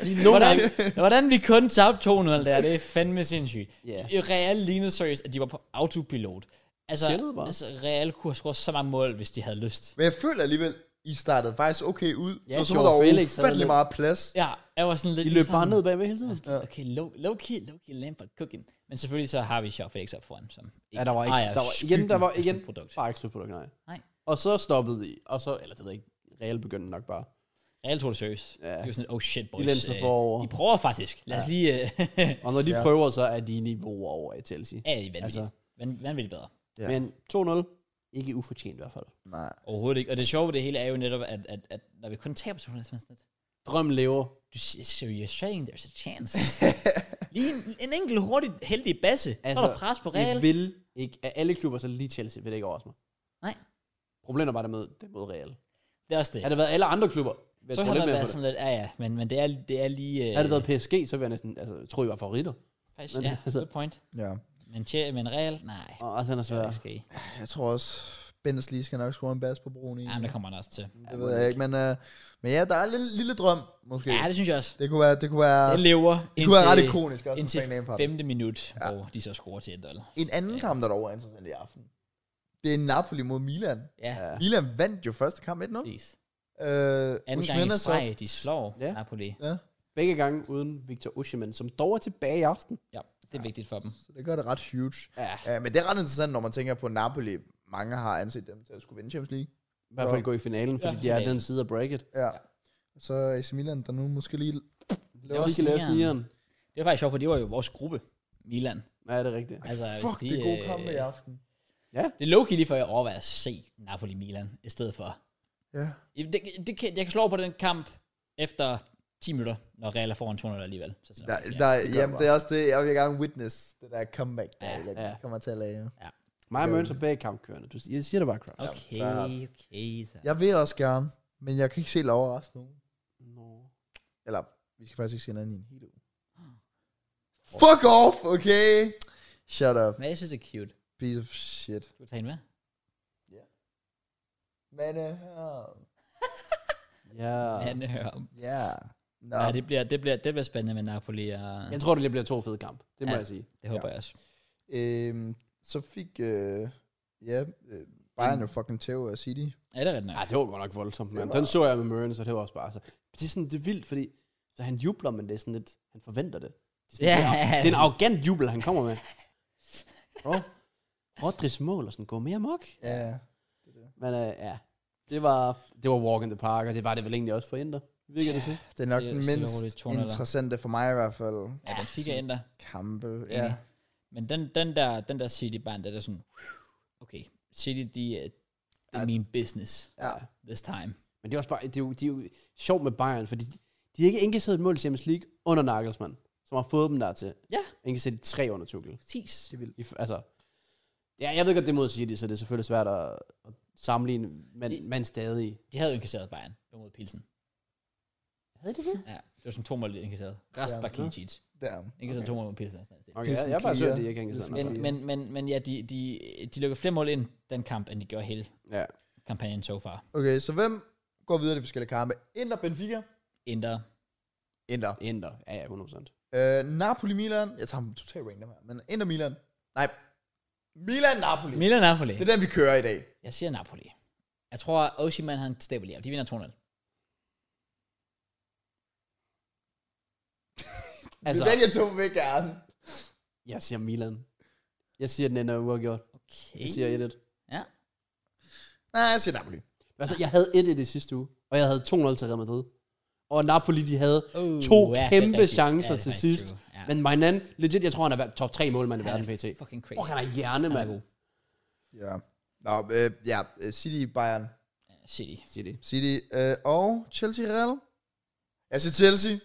Speaker 2: Lige nogle
Speaker 1: Hvordan,
Speaker 2: gange...
Speaker 1: hvordan vi kun tabte 200 der, det er fandme sindssygt.
Speaker 2: Ja.
Speaker 1: Real lignede seriøst, at de var på autopilot. Altså,
Speaker 2: Chillede bare.
Speaker 1: altså Real kunne have scoret så mange mål, hvis de havde lyst.
Speaker 3: Men jeg føler alligevel, I startede faktisk okay ud.
Speaker 2: Ja,
Speaker 3: og så
Speaker 2: Joao
Speaker 3: var der jo
Speaker 2: Felix havde
Speaker 3: ufattelig
Speaker 2: lidt-
Speaker 3: meget plads.
Speaker 1: Ja, jeg var sådan lidt...
Speaker 2: I løb bare ned bagved hele tiden.
Speaker 1: Ja. Okay, low, low key, low key Lampard cooking. Men selvfølgelig så har vi Shaw Felix op foran, som ikke
Speaker 2: Ja, der var ikke...
Speaker 1: ejer
Speaker 2: der var, igen,
Speaker 1: skyggen
Speaker 2: der var
Speaker 1: af sådan
Speaker 2: igen
Speaker 1: et Produkt.
Speaker 2: bare ikke slutprodukt, nej.
Speaker 1: Nej.
Speaker 2: Og så stoppede vi. Og så... Eller det ved jeg ikke. Real begyndte nok bare.
Speaker 1: Real tog det seriøst.
Speaker 2: Ja.
Speaker 1: Det var sådan, oh shit, boys.
Speaker 2: De lænede sig
Speaker 1: øh,
Speaker 2: forover.
Speaker 1: de prøver faktisk. Lad os lige... øh,
Speaker 2: Og når de
Speaker 3: Ja.
Speaker 2: ja. prøver, så er de niveauer over i Chelsea.
Speaker 1: ja, de er vanvittigt. Altså.
Speaker 2: Altså.
Speaker 1: Vanvittigt bedre.
Speaker 3: Ja.
Speaker 2: Ja. Men 2-0. Ikke ufortjent i hvert fald.
Speaker 3: Nej.
Speaker 1: Overhovedet ikke. Og det sjove ved det hele er jo netop, at, at, at når vi kun taber 200 mennesker,
Speaker 2: Drøm lever.
Speaker 1: du siger, so you're saying there's a chance. lige en, en enkelt hurtigt heldig basse, altså, så er der pres på Real.
Speaker 2: Det vil ikke. Af alle klubber, så lige Chelsea vil det ikke overraske mig.
Speaker 1: Nej.
Speaker 2: Problemet er bare, det med, det er mod Real.
Speaker 1: Det er også det.
Speaker 2: Havde det været alle andre klubber, vil jeg
Speaker 1: så
Speaker 2: tro
Speaker 1: har
Speaker 2: lidt
Speaker 1: der
Speaker 2: mere
Speaker 1: været
Speaker 2: på det.
Speaker 1: sådan lidt, ja ja, men, men det, er, det er lige... Øh,
Speaker 2: Havde det været PSG, så ville jeg næsten, altså, jeg tror, I var favoritter.
Speaker 1: Faktisk,
Speaker 2: men
Speaker 1: ja,
Speaker 2: altså-
Speaker 1: good point.
Speaker 3: Ja.
Speaker 1: Men, tje, men Real, nej.
Speaker 2: Og den er
Speaker 1: Det
Speaker 2: svær.
Speaker 1: altså, er ikke ske.
Speaker 3: Jeg tror også, Benz lige skal nok score en bas på broen i.
Speaker 1: Ja, men det kommer han også til.
Speaker 3: det ved jeg ikke, men, uh, men ja, der er en lille, lille drøm, måske.
Speaker 1: Ja,
Speaker 3: Ja, det,
Speaker 1: det synes jeg også.
Speaker 3: det kunne være, det kunne være,
Speaker 1: Det lever
Speaker 3: det kunne være ret ikonisk også.
Speaker 1: indtil
Speaker 3: Indtil Lampard.
Speaker 1: femte minut, ja. hvor de så scorer til et dollar.
Speaker 3: En anden kamp, der dog er interessant i aften, det er Napoli mod Milan.
Speaker 1: Ja,
Speaker 2: Ja.
Speaker 3: Milan vandt jo første kamp 1-0.
Speaker 1: præcis.
Speaker 3: Øh,
Speaker 1: Anden gang
Speaker 3: Osimhen
Speaker 1: i
Speaker 3: er så-
Speaker 1: streg, de slår
Speaker 2: Ja.
Speaker 1: Napoli.
Speaker 3: Ja,
Speaker 2: Begge gange uden Victor Osimhen, som dog er tilbage i aften.
Speaker 1: Ja, det er vigtigt for dem.
Speaker 3: så det gør det ret huge.
Speaker 2: Ja.
Speaker 3: Uh, men det er ret interessant, når man tænker på Napoli. Mange har anset dem til at skulle vinde Champions League.
Speaker 2: I hvert fald gå i finalen, fordi
Speaker 1: Ja,
Speaker 2: de er
Speaker 1: finalen.
Speaker 2: den side af bracket.
Speaker 3: Ja. Så AC Milan, der nu måske lige...
Speaker 2: Det var
Speaker 1: også
Speaker 2: lige lave
Speaker 1: snigeren.
Speaker 2: snigeren.
Speaker 1: Det var faktisk sjovt, for det var jo vores gruppe, Milan.
Speaker 2: Ja, det er rigtigt.
Speaker 1: Altså, hvis
Speaker 3: Fuck, det er gode
Speaker 1: øh,
Speaker 3: kampe i aften.
Speaker 1: Det er low-key lige før jeg overvejer at se Napoli-Milan i stedet for.
Speaker 3: Ja.
Speaker 1: Det, det, kan, jeg kan slå over på den kamp efter 10 minutter, når Real er foran 200 alligevel. Så, så,
Speaker 3: Der,
Speaker 1: ja.
Speaker 3: der,
Speaker 2: det
Speaker 3: det
Speaker 2: gør
Speaker 3: jamen,
Speaker 2: det
Speaker 3: det er også det, jeg vil gerne witness, det der comeback, der
Speaker 1: Ja,
Speaker 3: ja, jeg
Speaker 2: ja.
Speaker 3: ja. kommer til at lave.
Speaker 2: Mig og
Speaker 3: Ja.
Speaker 2: Møns er begge kampkørende. Du jeg siger det bare, Kraus.
Speaker 1: Okay,
Speaker 3: så-
Speaker 1: okay. Så.
Speaker 3: Jeg vil også gerne, men jeg kan ikke selv overraske nogen.
Speaker 2: Nå.
Speaker 3: Eller, vi skal faktisk ikke se hinanden i en hel uge. Fuck off, okay? Shut up,
Speaker 1: Men jeg synes, det er cute.
Speaker 3: piece of shit.
Speaker 1: Du tager hende med.
Speaker 3: Men, uh,
Speaker 2: Ja.
Speaker 1: Ja, det hører om.
Speaker 3: ja. Nå,
Speaker 1: Ja, det bliver, det, bliver, det bliver spændende med Napoli, og
Speaker 2: Jeg tror, det bliver to fede kamp. Det må
Speaker 1: Ja.
Speaker 2: jeg sige.
Speaker 1: det håber jeg også.
Speaker 3: øhm, så fik, øh, ja, øh, Bayern jo fucking tæv af City.
Speaker 1: Ja, det er ret nok.
Speaker 2: Ja, det var godt nok voldsomt, men
Speaker 3: Det
Speaker 2: var...
Speaker 3: var-
Speaker 2: den så jeg med Møren, så det var også bare så. Det er sådan, det er vildt, fordi så han jubler, men det er sådan lidt, han forventer det. Det er, sådan,
Speaker 1: Ja.
Speaker 2: det er, det er en arrogant jubel, han kommer med. Bro, Rodris mål og sådan, gå mere mok.
Speaker 3: Ja,
Speaker 2: Men øh, ja, det var, det var walk in the park, og det var det vel egentlig også for Inter, virker det til.
Speaker 3: det er nok
Speaker 1: Det er
Speaker 3: den
Speaker 1: stille og roligt,
Speaker 3: mindst
Speaker 1: 200.
Speaker 3: interessante for mig i hvert fald.
Speaker 1: Ja, den fik jeg ændre.
Speaker 3: Kampe,
Speaker 1: Ja.
Speaker 3: ja.
Speaker 1: Men den, den der, den der City band, der er sådan, okay, City, de, er- det er
Speaker 3: Ja.
Speaker 1: min business
Speaker 3: Ja,
Speaker 1: this time.
Speaker 2: Men det er også bare, det er jo, de er jo sjovt med Bayern, fordi de, de har ikke indkasseret et mål til Champions League under Nagelsmann, som har fået dem der til.
Speaker 1: Ja.
Speaker 2: Indkasseret i tre under Tuchel.
Speaker 1: Præcis.
Speaker 3: det vil.
Speaker 2: I, f- altså, ja, jeg ved godt, det er mod City, så det er selvfølgelig svært at, at sammenligne, men, men stadig.
Speaker 1: De havde jo inkasseret Bayern mod Pilsen.
Speaker 2: Havde det det?
Speaker 1: Ja, det var sådan to mål, de indkasseret. Resten
Speaker 3: Ja.
Speaker 1: var clean sheets.
Speaker 3: Der.
Speaker 1: Indkasseret
Speaker 2: Okay.
Speaker 1: to mål mod Pilsen. og sådan noget.
Speaker 2: Okay, jeg,
Speaker 3: Pilsen
Speaker 2: jeg er bare sødt,
Speaker 3: clear.
Speaker 2: at de ikke hænger
Speaker 3: Pilsen
Speaker 2: sådan.
Speaker 1: Men,
Speaker 2: Men,
Speaker 3: clear.
Speaker 1: men, men, men ja, de, de, de lukker flere mål ind den kamp, end de gjorde hele
Speaker 2: ja.
Speaker 1: kampagnen so far.
Speaker 3: Okay, så hvem går videre i de forskellige kampe? Inter, Benfica?
Speaker 1: Inter.
Speaker 3: Inter.
Speaker 2: Inter, ja, ja, 100%.
Speaker 3: Øh, Napoli, Milan. Jeg tager dem totalt random her, men Inter, Milan. Nej, Milan, Napoli. Mil-
Speaker 1: Milan Napoli.
Speaker 3: det er den, vi kører i dag.
Speaker 1: Jeg siger Napoli. Jeg tror, at Oshiman han stabiliserer. De vinder 2-0.
Speaker 3: Altså,
Speaker 2: Altså,
Speaker 3: vi vælger to væk gerne.
Speaker 2: jeg siger Milan. Jeg siger, den ender uafgjort.
Speaker 1: Okay.
Speaker 2: Jeg siger 1-1.
Speaker 3: Nej, jeg siger Napoli.
Speaker 2: Altså, jeg havde 1-1 i sidste uge, og jeg havde 2-0 til Real Madrid. Og Napoli, de havde
Speaker 1: Oh,
Speaker 2: to
Speaker 1: ja, det er
Speaker 2: kæmpe
Speaker 1: rigtigt.
Speaker 2: chancer
Speaker 1: Ja, det er
Speaker 2: til
Speaker 1: faktisk
Speaker 2: sidst.
Speaker 1: true. Ja.
Speaker 2: Men Mainan, legit, jeg tror, han er hver- top 3 målmand i
Speaker 1: Han
Speaker 2: verden,
Speaker 1: er
Speaker 2: PT.
Speaker 1: Fucking crazy.
Speaker 2: Fuck, han er hjerne,
Speaker 1: Han er
Speaker 2: mand.
Speaker 1: god.
Speaker 3: Ja. Nå, øh, ja, øh, City, Bayern.
Speaker 1: City.
Speaker 2: Siger det.
Speaker 3: City øh, og Chelsea, Real. Jeg siger Chelsea.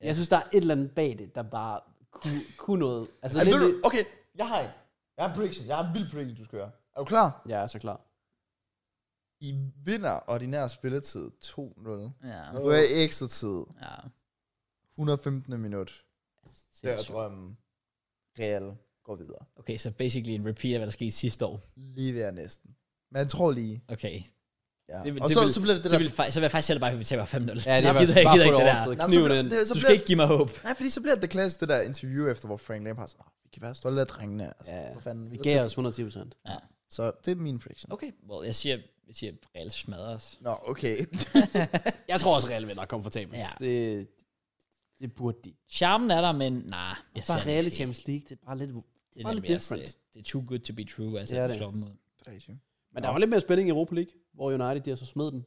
Speaker 2: Jeg synes, der er et eller andet bag det, der bare kunne, kunne noget. Altså,
Speaker 3: Ej,
Speaker 2: lidt,
Speaker 3: ved du, okay, jeg har en. Jeg har en prediction. Jeg har en vild prediction, du skal gøre. Er du klar?
Speaker 2: Jeg er så klar.
Speaker 3: I vinder ordinær spilletid 2-0.
Speaker 1: Ja.
Speaker 3: Du er i ekstra tid.
Speaker 1: ja.
Speaker 3: 115. minut. Det er
Speaker 2: Sindssygt.
Speaker 3: drømmen. Real går videre.
Speaker 1: Okay, så basically en repeat af, hvad der skete sidste år.
Speaker 3: Lige ved at næsten. Man tror lige.
Speaker 1: Okay.
Speaker 3: Ja.
Speaker 1: Det vil-
Speaker 3: og
Speaker 1: det
Speaker 3: så,
Speaker 1: vil-
Speaker 3: så bliver det det,
Speaker 1: Det
Speaker 3: der...
Speaker 1: vil, fa- så vil jeg faktisk selv bare, at vi taber 5-0.
Speaker 2: Ja, det er
Speaker 1: Jeg gider-
Speaker 2: bare,
Speaker 1: jeg gider
Speaker 2: bare få det
Speaker 1: ikke det der.
Speaker 2: overstået.
Speaker 3: Nå, men så
Speaker 2: Kniven
Speaker 3: bliver-
Speaker 2: ind.
Speaker 3: det- så
Speaker 1: Du skal
Speaker 3: bliver-
Speaker 1: ikke give mig håb.
Speaker 3: Nej, fordi så bliver det det klassiske, det der interview efter, hvor Frank Lampard siger, "Åh, vi kan være stolte af drengene. Altså,
Speaker 2: Ja.
Speaker 3: Hvor fanden,
Speaker 2: Vi gav os 110 procent.
Speaker 3: Så det er min prediction.
Speaker 1: Okay, well, jeg siger, jeg siger Real smadrer os.
Speaker 3: Nå, okay.
Speaker 2: Jeg tror også, Real vinder komfortabelt.
Speaker 1: Ja.
Speaker 2: Det, det burde de.
Speaker 1: Charmen er der, men nej. Jeg
Speaker 2: Bare
Speaker 1: ser
Speaker 2: Real i
Speaker 1: ikke.
Speaker 2: Champions League, det er bare lidt...
Speaker 1: Det er
Speaker 2: bare
Speaker 1: nemlig
Speaker 2: lidt
Speaker 1: også
Speaker 2: different.
Speaker 1: Det, det er too good to be true, altså,
Speaker 2: Det er
Speaker 1: at du
Speaker 2: det.
Speaker 1: slår dem ud.
Speaker 2: Men der var lidt mere spænding i Europa League, hvor United de har så smed den.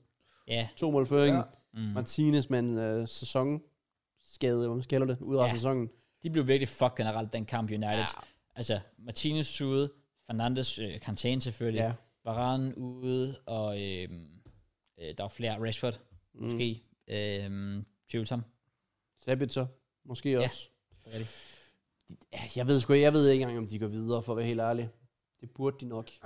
Speaker 1: Ja.
Speaker 2: To mål føring.
Speaker 3: Ja.
Speaker 2: Ja.
Speaker 1: Mm.
Speaker 2: Martinez med en øh, sæsonskade, hvor man skal kalder det, ud af
Speaker 1: Ja.
Speaker 2: sæsonen.
Speaker 1: De blev virkelig fuck generelt, den kamp United. Ja. Altså, Martinez ude, Fernandes, øh, Kanté selvfølgelig,
Speaker 2: Ja.
Speaker 1: ja. Varane ude, og øh, øh, der var flere, Rashford mm. måske, øh, tvivlsom.
Speaker 2: Sabitzer, måske ja.
Speaker 1: Ja.
Speaker 2: også.
Speaker 1: Det er det.
Speaker 2: Ja, Jeg ved sgu ikke, jeg ved ikke engang, om de går videre, for at være helt ærlig. Det burde de nok. Det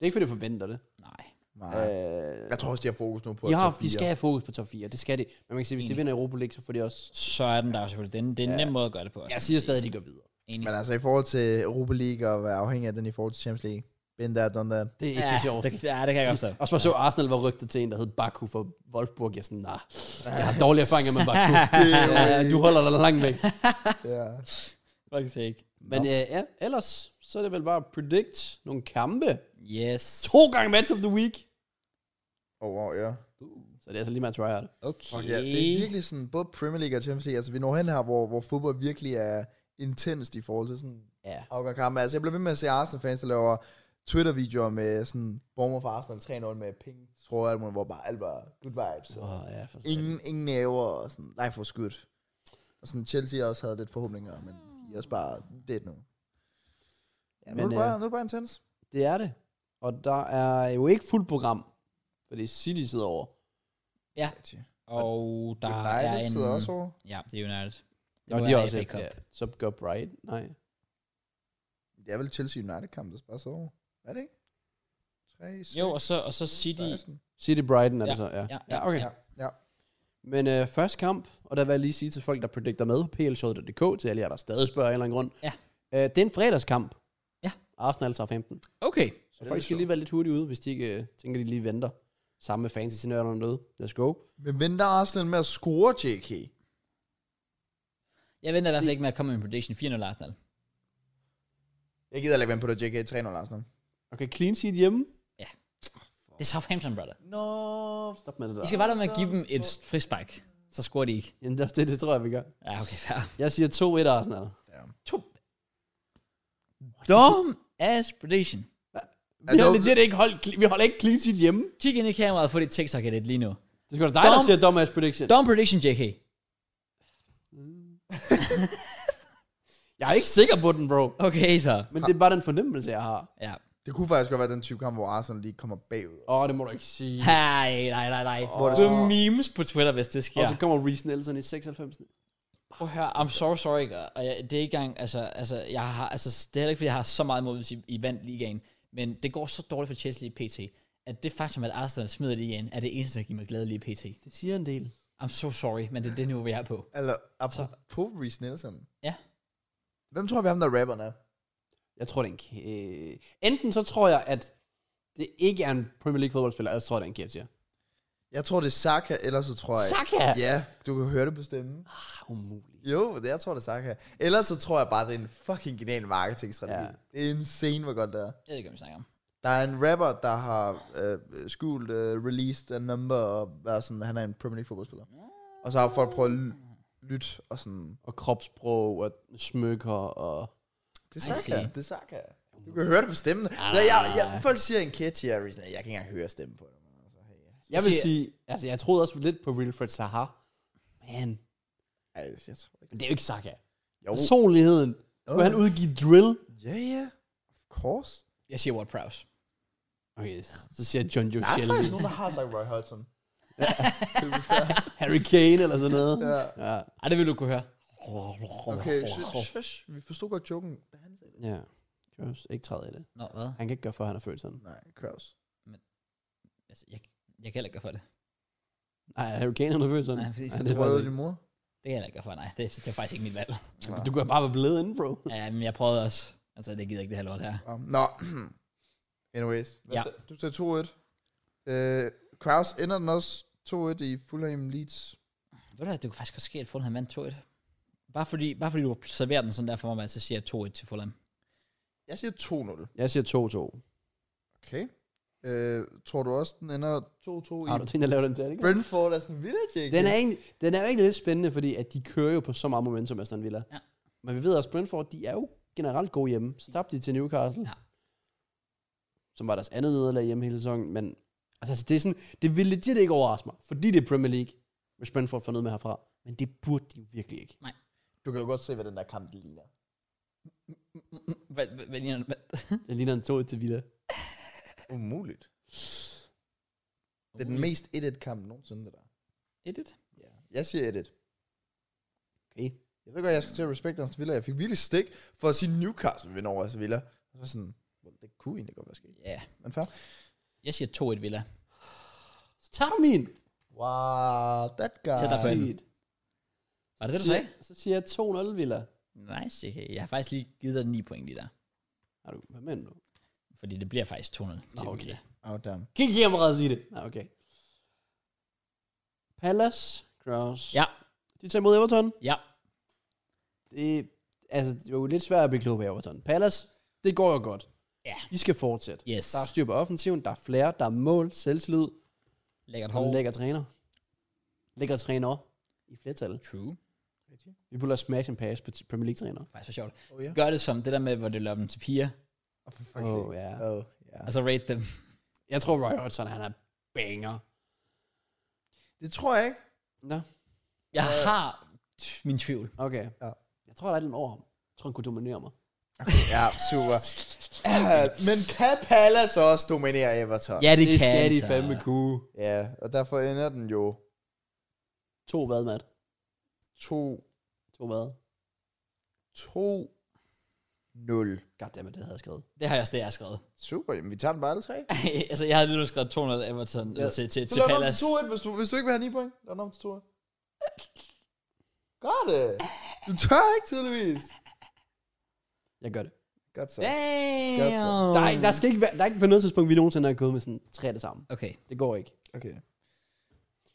Speaker 2: er ikke, fordi de forventer det.
Speaker 1: Nej.
Speaker 3: Ah. Nej.
Speaker 2: Øh,
Speaker 3: Jeg tror også, de har fokus nu på
Speaker 2: de, har,
Speaker 3: top
Speaker 2: de
Speaker 3: fire.
Speaker 2: skal have fokus på top 4, det skal de. Men man kan sige, hvis de
Speaker 1: Enig.
Speaker 2: vinder Europa League, så får de også...
Speaker 1: Så er den der jo selvfølgelig. Den, det er en nem måde at gøre det på. også,
Speaker 2: Jeg
Speaker 1: kan
Speaker 2: siger
Speaker 1: man
Speaker 2: stadig,
Speaker 1: sige.
Speaker 2: at de går videre.
Speaker 1: Enig.
Speaker 3: Men altså, i forhold til Europa League og være afhængig af den i forhold til Champions League. Been there, done that.
Speaker 2: Det er ikke
Speaker 1: Ja,
Speaker 2: det sjoveste.
Speaker 1: det, ja, det kan jeg godt forstå.
Speaker 2: Og så så Arsenal var rygtet til en, der hed Baku for Wolfsburg. Jeg er sådan, nej, jeg har dårlige erfaringer med Baku.
Speaker 3: Det er jo
Speaker 2: Ja,
Speaker 3: ikke-
Speaker 2: du holder dig langt væk.
Speaker 3: Ja.
Speaker 1: Faktisk ikke.
Speaker 2: Men øh, ja, ellers, så er det vel bare predict nogle kampe.
Speaker 1: Yes.
Speaker 2: To gange match of the week.
Speaker 3: Oh, wow, ja.
Speaker 2: Så det er altså lige med at try out.
Speaker 1: Okay.
Speaker 3: Fuck, ja. Det er virkelig sådan, både Premier League og Champions League, altså vi når hen her, hvor, hvor fodbold virkelig er intenst i forhold til sådan
Speaker 2: Ja.
Speaker 3: afgørende kampe. Altså jeg bliver ved med at se Arsenal-fans, der laver Twitter-videoer med sådan Bournemouth for Arsenal 3-0 med ping, tror jeg, alt muligt, hvor bare alt var good vibes.
Speaker 2: Åh,
Speaker 3: Og
Speaker 2: ja, for satan.
Speaker 3: ingen, ingen næver og sådan, nej for skud. Og sådan Chelsea også havde lidt forhåbninger, men de er også bare dead nu. Ja, men,
Speaker 2: Men,
Speaker 3: nu, er det
Speaker 2: øh,
Speaker 3: bare, nu er det bare intens.
Speaker 2: Det er det. Og der er jo ikke fuldt program, fordi City sidder over.
Speaker 3: Rigtigt.
Speaker 1: Og der er
Speaker 3: United
Speaker 1: en...
Speaker 3: sidder også over.
Speaker 1: Ja, det er United. Det
Speaker 2: Nå,
Speaker 1: må
Speaker 2: de er
Speaker 1: være
Speaker 2: også
Speaker 1: FA
Speaker 2: ikke.
Speaker 1: Cup.
Speaker 2: Ja. Så gør Bright. Nej.
Speaker 3: Det er vel Chelsea United-kamp, der bare sidder over. Er det ikke? 3, 6,
Speaker 1: Jo, og så, og så City...
Speaker 3: 16.
Speaker 2: City Brighton er det
Speaker 1: Ja,
Speaker 2: så, ja.
Speaker 1: ja,
Speaker 2: ja okay.
Speaker 1: ja.
Speaker 3: Ja.
Speaker 2: Men øh, første kamp, og der vil jeg lige sige til folk, der predikter med, plshowet.dk, til alle jer, der stadig spørger af en eller anden grund.
Speaker 1: Ja.
Speaker 2: Øh, det er en fredagskamp.
Speaker 1: Ja.
Speaker 2: Arsenal tager 15.
Speaker 1: Okay.
Speaker 2: Så folk skal lige være lidt hurtigt ude, hvis de ikke øh, tænker, de lige venter. Samme med fantasy-nørderne derude. Let's go.
Speaker 3: Men venter Arsenal med at score, JK?
Speaker 1: Jeg venter i hvert fald ikke med at komme med en prediction. 4-0 Arsenal.
Speaker 3: Jeg gider ikke være med på det, JK. 3-0 Arsenal.
Speaker 2: Okay, clean sheet hjemme.
Speaker 1: Det er Southampton, brother.
Speaker 3: Nå,
Speaker 2: Stop med det
Speaker 1: I
Speaker 2: der.
Speaker 1: skal bare der med at give dem et frispark. Så scorer de ikke.
Speaker 2: Jamen, det, er også det, det tror jeg, vi gør.
Speaker 1: Ja, okay, fair.
Speaker 2: Jeg siger 2-1 Arsenal.
Speaker 1: To. Dumb ass prediction.
Speaker 2: Vi har
Speaker 3: dog-
Speaker 2: legit ikke holdt, cl- vi holder ikke clean sheet hjemme.
Speaker 1: Kig ind i kameraet og få dit tiktok edit lige nu.
Speaker 2: Det er sgu da dig, der
Speaker 1: Dom-
Speaker 2: siger dumbass prediction.
Speaker 1: Dumb prediction, JK.
Speaker 2: Jeg er ikke sikker på den, bro.
Speaker 1: Okay, så.
Speaker 2: Men det er bare den fornemmelse, jeg har.
Speaker 1: Ja.
Speaker 3: Det kunne faktisk godt være den type kamp, hvor Arsenal lige kommer bagud.
Speaker 2: Åh, oh, det må du ikke sige.
Speaker 1: Nej, nej, nej, nej.
Speaker 3: Hvor det
Speaker 1: The
Speaker 3: sådan-
Speaker 1: memes på Twitter, hvis det
Speaker 2: Og
Speaker 1: sker.
Speaker 2: så kommer Reece Nelson i 96.
Speaker 1: Prøv at høre, I'm so sorry, og jeg, det er ikke engang, altså, altså, jeg har, altså, det er heller ikke, fordi jeg har så meget imod, hvis I, I vandt ligaen, men det går så dårligt for Chelsea i PT, at det faktum, at Arsenal smider det igen, er det eneste, der giver mig glæde lige i PT.
Speaker 2: Det siger en del.
Speaker 1: I'm so sorry, men det er det nu, vi er på.
Speaker 3: Eller, apropos Reece Nelson.
Speaker 1: Ja.
Speaker 3: Hvem tror vi ham, der rapperen er?
Speaker 2: Jeg tror, det er en... k- Øh... Enten så tror jeg, at det ikke er en Premier League fodboldspiller, eller så tror jeg, det er en kære
Speaker 3: Jeg tror, det er Saka, ellers så tror jeg...
Speaker 2: Saka!
Speaker 3: Ja, du kan høre det på stemmen.
Speaker 2: Ah, umuligt.
Speaker 3: Jo, det jeg tror, det er Saka. Ellers så tror jeg bare, det er en fucking genial marketingstrategi.
Speaker 2: Ja.
Speaker 3: Ja. Det er insane, hvor godt det er.
Speaker 1: Jeg ved ikke, hvad vi snakker om.
Speaker 3: Der er en rapper, der har øh, skjult øh, released a number, og været sådan, han er en Premier League fodboldspiller. Og så har folk prøvet at ly- lytte, og sådan,
Speaker 2: Og kropsprog og smykker og...
Speaker 3: det er
Speaker 1: I
Speaker 3: Saka,
Speaker 1: see.
Speaker 3: det er Saka. Du kan høre det på stemmen. Ja, jeg,
Speaker 2: Ah.
Speaker 3: jeg, folk siger en catchy, og jeg er sådan, jeg kan ikke engang høre stemmen på det. Altså, hey,
Speaker 2: Jeg vil
Speaker 1: siger-
Speaker 2: sige... Altså, jeg troede også lidt på Wilfred Zaha. Man,
Speaker 3: Ej, jeg tror ikke.
Speaker 2: men det er jo ikke Saka.
Speaker 3: Jo.
Speaker 2: Personligheden. Skulle han udgive drill?
Speaker 3: Ja, ja. Of course.
Speaker 1: Jeg siger Ward Prowse.
Speaker 2: Okay, så siger jeg John Joe
Speaker 3: Der er faktisk
Speaker 2: Shelley.
Speaker 3: nogen, der har sagt Roy Hodgson.
Speaker 2: Harry Kane eller sådan noget.
Speaker 3: Ja.
Speaker 2: ja.
Speaker 1: Ej, det vil du kunne høre.
Speaker 3: Okay, shush, shush. vi forstod godt joken. Da han sagde det.
Speaker 2: Ja. Kraus, ikke træde i det.
Speaker 1: Nå, hvad?
Speaker 2: Han kan ikke gøre for, at han har følt sådan.
Speaker 3: Nej, Kraus.
Speaker 1: Altså, jeg, jeg kan heller ikke gøre for det.
Speaker 2: Nej, Harry Kane han har følt sådan.
Speaker 1: Nej, præcis.
Speaker 2: Ej, det
Speaker 3: Det
Speaker 2: er
Speaker 3: var
Speaker 2: faktisk
Speaker 3: jo
Speaker 2: ikke.
Speaker 3: din mor.
Speaker 1: Det kan jeg heller ikke gøre for, nej. Det, det er faktisk ikke mit valg.
Speaker 2: Du kunne bare være blevet inde, bro.
Speaker 1: Ja, men jeg prøvede også. Altså, det gider ikke det her lort her.
Speaker 3: Um, Nå. Anyways. Hvad
Speaker 1: Ja.
Speaker 3: sag- Du sagde 2-1. Øh, Kraus ender den også 2-1 i Fulham Leeds.
Speaker 1: Ved du hvad, det kunne faktisk godt ske, at Fulham vandt 2-1. Bare fordi, bare fordi du serverer den sådan der for mig, så siger jeg 2-1 til Fulham.
Speaker 3: Jeg siger 2-0.
Speaker 2: Jeg siger 2-2.
Speaker 3: Okay. Øh, tror du også, den ender 2-2
Speaker 2: Har du
Speaker 3: i
Speaker 2: tænkt at lave den til, ikke?
Speaker 3: Brentford Aston Villa, Jake?
Speaker 2: Den er, egentlig, den er jo egentlig lidt spændende, fordi at de kører jo på så meget momentum, Aston Villa.
Speaker 1: Ja.
Speaker 2: Men vi ved også, at Brentford, de er jo generelt gode hjemme. Så tabte de til Newcastle.
Speaker 1: Ja.
Speaker 2: Som var deres andet nederlag hjemme hele sæsonen. Men altså, altså, det, er sådan, det ville legit ikke overraske mig, fordi det er Premier League, hvis Brentford får noget med herfra. Men det burde de jo virkelig ikke.
Speaker 3: Du kan jo godt se, hvad den der kamp det ligner.
Speaker 1: Hvad, hvad, hvad, ligner- hvad,
Speaker 2: Den ligner en 2 til Villa.
Speaker 3: Umuligt. Det er den mest 1-1 kamp nogensinde, det der.
Speaker 1: Edit?
Speaker 3: Ja. Jeg siger 1-1.
Speaker 2: Okay.
Speaker 3: Jeg ved godt, jeg skal til at respekte Aston Villa. Jeg fik virkelig stik for at sige Newcastle vinder over Aston Villa. Og så sådan, well, det kunne egentlig godt være sket.
Speaker 1: Ja.
Speaker 3: Men fair.
Speaker 1: Jeg siger 2-1 Villa.
Speaker 2: Så tager du min.
Speaker 3: Wow, Ah, that guy.
Speaker 1: Tæt på.
Speaker 2: Sygt.
Speaker 1: Var det det, du
Speaker 2: Siger-
Speaker 1: sagde?
Speaker 2: Så siger jeg 2-0, Villa.
Speaker 1: Nice, JK. Jeg har faktisk lige givet dig 9 point lige der.
Speaker 2: Har du, hvad mener du?
Speaker 1: Fordi det bliver faktisk 2-0 til
Speaker 2: okay.
Speaker 1: Villa.
Speaker 3: Oh, damn.
Speaker 2: Kan ikke hjemme sige det. Nå, okay. Palace, Cross.
Speaker 1: Ja.
Speaker 2: De tager imod Everton.
Speaker 1: Ja.
Speaker 2: Det, altså, det er jo lidt svært at blive klog på Everton. Palace, det går jo godt.
Speaker 1: Ja.
Speaker 2: De skal fortsætte.
Speaker 1: Yes.
Speaker 2: Der er styr på offensiven, der er flere, der er mål, selvtillid.
Speaker 1: Lækkert
Speaker 2: Og
Speaker 1: hår.
Speaker 2: en lækker træner. Lækker træner i flertal.
Speaker 1: True.
Speaker 2: Vi puller smash and pass på t- Premier League-træner.
Speaker 1: Faktisk så sjovt.
Speaker 3: Oh, ja.
Speaker 1: Gør det som det der med, hvor det løber dem til piger,
Speaker 3: Oh, for fuck's
Speaker 2: Åh,
Speaker 3: sake.
Speaker 2: ja.
Speaker 3: Oh, ja.
Speaker 1: og så rate dem.
Speaker 2: Jeg tror, Roy Hodgson, han er banger.
Speaker 3: Det tror jeg ikke.
Speaker 2: Nå,
Speaker 1: Jeg har t- min tvivl.
Speaker 2: okay.
Speaker 3: Ja.
Speaker 2: Jeg tror, der er lidt over ham. Jeg tror, han kunne dominere mig.
Speaker 3: Ja, super. Ah, Men kan Palace også dominere Everton?
Speaker 1: Ja, det,
Speaker 2: det
Speaker 1: kan
Speaker 2: skal de
Speaker 1: så.
Speaker 2: fandme kunne.
Speaker 3: Ja, og derfor ender den jo
Speaker 2: To hvad, Matt?
Speaker 3: to,
Speaker 2: To hvad?
Speaker 3: to, nul.
Speaker 2: Goddammit, det havde jeg skrevet.
Speaker 1: Det har jeg også det, jeg har skrevet.
Speaker 3: Super, jamen vi tager den bare alle tre.
Speaker 1: altså, jeg havde lige nu skrevet 200 Everton ja.
Speaker 2: Ja.
Speaker 1: til, til,
Speaker 3: Så
Speaker 1: til
Speaker 3: lav den om til
Speaker 1: Palace.
Speaker 3: 2-1, hvis du, hvis du ikke vil have 9 point. Lav den om til 2-1. Gør det. Du tør ikke, tydeligvis.
Speaker 2: Jeg gør det.
Speaker 3: Godt så.
Speaker 1: Damn!
Speaker 3: Godt så.
Speaker 2: Der, er, der, skal ikke være, der er ikke på noget tidspunkt, vi nogensinde har gået med sådan tre af det samme.
Speaker 1: Okay.
Speaker 2: Det går ikke.
Speaker 3: Okay.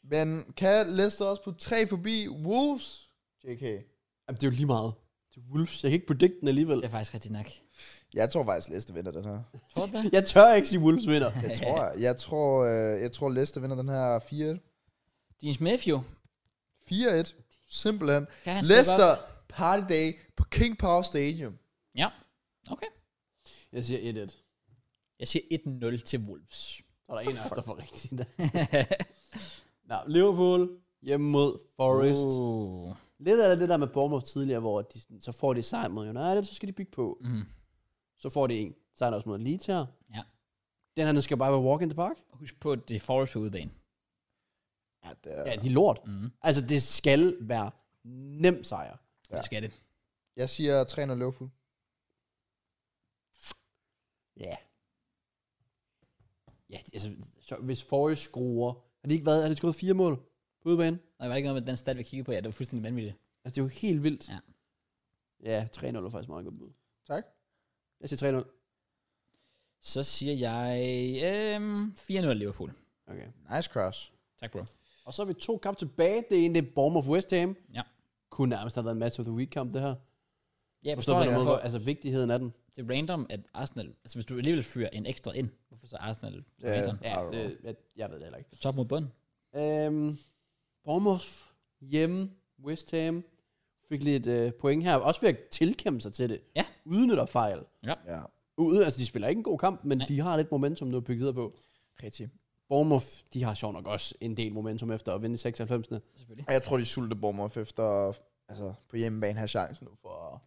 Speaker 3: Men kan Leicester også på 3 forbi Wolves? JK.
Speaker 2: Jamen, det er jo lige meget. Det er Wolves. Jeg kan ikke predikte den alligevel.
Speaker 1: Det er faktisk rigtigt nok.
Speaker 3: Jeg tror faktisk, Leicester vinder den her.
Speaker 1: Tror du det?
Speaker 2: Jeg tør ikke sige Wolves vinder.
Speaker 3: Jeg tror, jeg, jeg tror, øh, jeg tror Leicester vinder den her 4-1.
Speaker 1: Dean Smith jo.
Speaker 3: 4-1. Simpelthen.
Speaker 1: Kan han steppe
Speaker 3: Leicester Party Day på King Power Stadium.
Speaker 1: op? Ja. Okay.
Speaker 2: Jeg siger 1-1.
Speaker 1: Jeg siger 1-0 til Wolves.
Speaker 2: Så er der en af os, der får rigtigt. Nå, Liverpool hjemme mod Forest. Uh.
Speaker 1: Uh.
Speaker 2: Lidt af det der med Bournemouth tidligere, hvor de, sådan- så får de sejr mod United, så skal de bygge på.
Speaker 1: Mm.
Speaker 2: Så får de en sejr også mod Leeds her.
Speaker 1: Ja.
Speaker 2: Den her, den skal bare være walk in the park.
Speaker 1: Husk på, at det er Forest på udebane.
Speaker 3: Ja, det er,
Speaker 2: Ja, de er lort.
Speaker 1: Mm.
Speaker 2: Altså, det skal være nem sejr.
Speaker 1: Ja. Det skal det.
Speaker 3: Jeg siger 3-0 Liverpool.
Speaker 2: Ja. Ja, det- altså, så hvis Forrest skruer... Har de ikke været... Har de skruet fire mål på udebane?
Speaker 1: Og jeg var ikke noget med den stat, vi kiggede på. Ja, det var fuldstændig vanvittigt.
Speaker 2: Altså, det er jo helt vildt.
Speaker 1: Ja.
Speaker 2: Ja, 3-0 er faktisk meget godt bud.
Speaker 3: Tak.
Speaker 2: Jeg siger 3-0.
Speaker 1: Så siger jeg øhm, 4-0 Liverpool.
Speaker 2: Okay.
Speaker 3: Nice cross.
Speaker 1: Tak, bro.
Speaker 2: Og så er vi to kampe tilbage. Det ene, det er Bournemouth West Ham.
Speaker 1: Ja.
Speaker 2: Kunne nærmest have været en match of the week kamp, det her.
Speaker 1: Ja, jeg
Speaker 2: Forstår
Speaker 1: forstår
Speaker 2: på
Speaker 1: det.
Speaker 2: den måde,
Speaker 1: Hvorfor,
Speaker 2: hvor- altså vigtigheden af den.
Speaker 1: det er random, at Arsenal... Altså, hvis du alligevel fyrer en ekstra ind, hvorfor så Arsenal? Så
Speaker 3: Ja.
Speaker 1: random.
Speaker 2: Ja,
Speaker 3: I don't
Speaker 2: det, jeg, jeg ved det heller ikke.
Speaker 1: Top mod bund.
Speaker 2: Øhm, Bournemouth hjemme, West Ham fik lidt øh, point her. Også ved at tilkæmpe sig til det.
Speaker 1: Ja.
Speaker 2: Udnytter fejl.
Speaker 3: Ja,
Speaker 2: Ude, altså de spiller ikke en god kamp, men
Speaker 1: Nej.
Speaker 2: Nej. de har lidt momentum nu at bygge videre på.
Speaker 3: rigtig.
Speaker 2: Bournemouth, de har sjovt nok også en del momentum efter at vinde i 96'erne.
Speaker 1: Selvfølgelig.
Speaker 3: Og jeg tror, de sulte Bournemouth efter altså, på hjemmebane have chancen nu for at...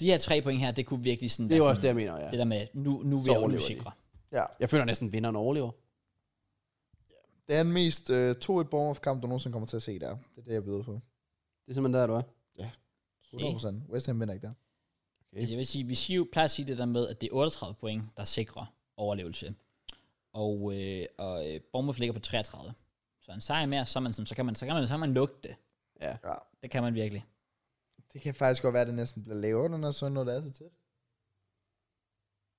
Speaker 1: De her tre point her, det kunne virkelig sådan...
Speaker 2: Det er jo
Speaker 1: være
Speaker 2: også det,
Speaker 1: sådan,
Speaker 2: jeg mener, ja.
Speaker 1: det der med, nu, nu vil
Speaker 2: Så
Speaker 1: jeg
Speaker 2: overlever de.
Speaker 1: sikre.
Speaker 3: Ja.
Speaker 2: Jeg føler næsten, at vinderen overlever.
Speaker 3: Det er den mest øh, 2-1 Bournemouth-kamp, du nogensinde kommer til at se der. Det er det, jeg byder på.
Speaker 2: Det er simpelthen der, du er.
Speaker 3: 100%. West Ham vinder ikke der.
Speaker 1: Altså, jeg vil sige, vi siger jo, plejer at sige det der med, at det er 38 point, der sikrer overlevelse. Og, øh, og øh, Bournemouth ligger på 33. Så en sejr mere, så, er man, sådan, så kan man, så kan man, så kan man lugte det.
Speaker 2: Ja.
Speaker 3: Ja.
Speaker 1: Det kan man virkelig.
Speaker 3: Det kan faktisk godt være, at det næsten bliver lavere, når sådan noget der er så tæt.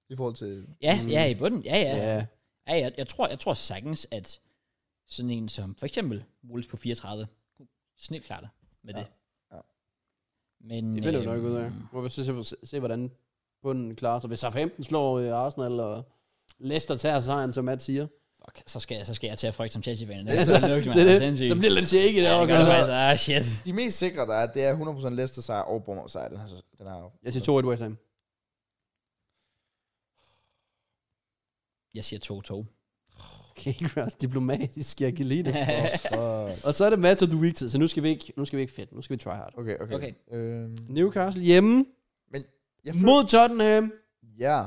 Speaker 3: I forhold til...
Speaker 1: Ja, mm.
Speaker 2: Mm.
Speaker 1: ja, i bunden. Ja, ja.
Speaker 2: ja.
Speaker 1: ja jeg, jeg, tror, jeg tror sagtens, at sådan en som for eksempel Wolves på 34, kunne snit klare det med
Speaker 3: Ja.
Speaker 1: det.
Speaker 3: Ja.
Speaker 1: Men,
Speaker 2: Det finder vi nok
Speaker 1: øhm,
Speaker 2: ud af. Må vi se, se, se hvordan bunden klarer sig. Hvis Southampton slår øh, Arsenal, og Leicester tager sejren, som Matt siger.
Speaker 1: Fuck, så skal, jeg, så skal jeg til at frygte som Chelsea-fan. Det
Speaker 2: Ja,
Speaker 1: er så lugte, man.
Speaker 2: det,
Speaker 1: Det
Speaker 2: er
Speaker 1: er
Speaker 2: det.
Speaker 1: sindssygt.
Speaker 2: Så bliver det lidt shaky
Speaker 1: Ja,
Speaker 2: der.
Speaker 1: det
Speaker 2: okay.
Speaker 1: gør det faktisk. Ah, shit.
Speaker 3: De mest sikre, der er, det er 100% Leicester sejr og Bournemouth sejr. Den her, sæson- den her.
Speaker 2: Jeg siger 2-1 West Ham.
Speaker 1: Jeg siger 2-2.
Speaker 2: Okay, Kraus, diplomatisk. Jeg kan lide det.
Speaker 3: Åh, fuck.
Speaker 2: og så er det match of the week tid, så nu skal vi ikke, nu skal vi ikke fedt. Nu skal vi try hard.
Speaker 3: Okay, okay.
Speaker 1: Okay.
Speaker 3: Øhm,
Speaker 2: Newcastle hjemme
Speaker 3: jeg føler,
Speaker 2: mod Tottenham.
Speaker 3: ja,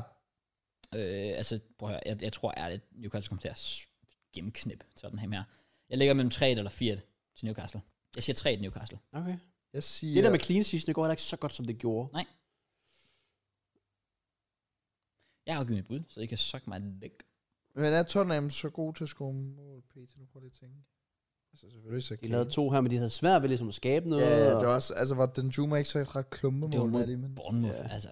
Speaker 1: Øh, altså, prøv at høre, jeg, jeg tror ærligt, Newcastle kommer til at s- gennemknip Tottenham her. Jeg ligger mellem 3 eller 4 til Newcastle. Jeg siger 3 til Newcastle.
Speaker 2: Okay.
Speaker 3: jeg siger...
Speaker 2: Det der med clean sheets, det går heller ikke så godt, som det gjorde.
Speaker 1: Jeg har jo givet mit bud, så I kan suck mig læk.
Speaker 3: Men er Tottenham så god til at score mål, Peter? Nu prøver jeg lige at tænke. Altså, selvfølgelig så
Speaker 2: De
Speaker 3: Kane.
Speaker 2: lavede to her, men de havde svært ved ligesom at skabe noget.
Speaker 3: Ja, det
Speaker 2: og-
Speaker 3: var også, altså var den Juma ikke så et ret klumpe
Speaker 1: Det var
Speaker 3: mål,
Speaker 1: mod
Speaker 3: var det, men...
Speaker 1: Bournemouth,
Speaker 2: Ja.
Speaker 1: altså.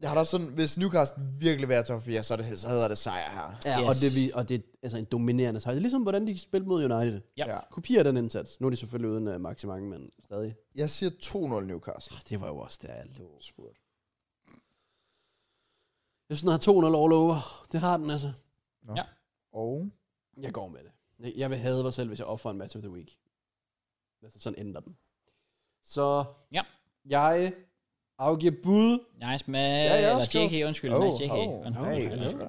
Speaker 3: Jeg har da også sådan, hvis Newcastle virkelig var top 4, så, er det, så hedder det sejr her.
Speaker 2: Ja,
Speaker 1: Yes.
Speaker 2: yes. og, det, vi- og det er altså en dominerende sejr. Det er ligesom, hvordan de spillede mod United.
Speaker 1: Ja.
Speaker 3: Ja.
Speaker 2: Kopier den indsats. Nu er de selvfølgelig uden uh, maximang, men stadig.
Speaker 3: Jeg siger 2-0 Newcastle.
Speaker 2: Oh, det var jo også der, jeg lå.
Speaker 3: Spurgt.
Speaker 2: Jeg synes, den har 2-0 all over. Det har den altså.
Speaker 3: Og
Speaker 2: Jeg går med det. Jeg- Jeg vil have mig selv, hvis jeg offrer en match of the week. Altså sådan ændrer den. Så
Speaker 1: Ja.
Speaker 2: jeg afgiver bud,
Speaker 1: Nice, med
Speaker 3: Ja, jeg er
Speaker 1: eller
Speaker 3: også
Speaker 1: JK, undskyld. Oh, nej, JK. Oh,
Speaker 3: hey,
Speaker 1: undskyld.
Speaker 2: hey.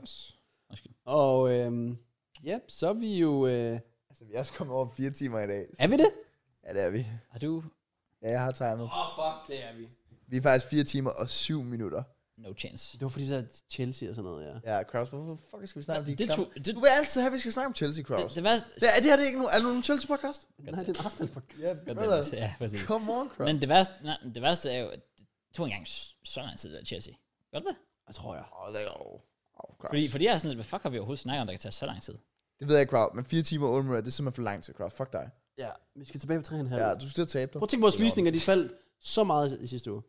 Speaker 1: undskyld.
Speaker 2: og øhm, ja, så er vi jo... Øh,
Speaker 3: Altså, vi er også kommet over fire timer i dag.
Speaker 2: er vi det?
Speaker 3: Ja, det er vi.
Speaker 1: Har du...
Speaker 3: Ja, jeg har timet.
Speaker 2: Åh, oh, fuck, det er vi.
Speaker 3: Vi er faktisk fire timer og syv minutter.
Speaker 1: No chance.
Speaker 2: Det var fordi, der er Chelsea og sådan noget, ja.
Speaker 3: Ja, Kraus, hvorfor fuck skal vi snakke om de
Speaker 1: det,
Speaker 3: klamme-
Speaker 1: tog, det,
Speaker 3: Du vil altid have, at vi skal snakke om Chelsea, Kraus.
Speaker 1: det, det værste...
Speaker 3: Det, er det her det er ikke nogen, er det nogen Chelsea-podcast?
Speaker 2: Nej, det er en Arsenal-podcast.
Speaker 3: Ja, brother.
Speaker 1: Goddammit. Ja, præcis.
Speaker 3: Come on, Kraus.
Speaker 1: Men det værste, nej, men det værste er jo, at det tog engang s- så lang tid, der Chelsea. Gør det det?
Speaker 2: Jeg tror jeg.
Speaker 3: Åh, det er jo... Åh, Kraus.
Speaker 1: Fordi, fordi jeg er sådan lidt, hvad fuck har vi overhovedet snakket om, der kan tage så lang tid?
Speaker 3: Det ved jeg ikke, Kraus, men fire timer og 8 minutter, det er simpelthen for lang tid, Kraus. Fuck dig.
Speaker 2: Ja, vi skal tilbage på 3,5.
Speaker 3: Ja, du skal til at tabe dig.
Speaker 2: Prøv at tænke, vores visninger, de faldt så meget i sidste uge.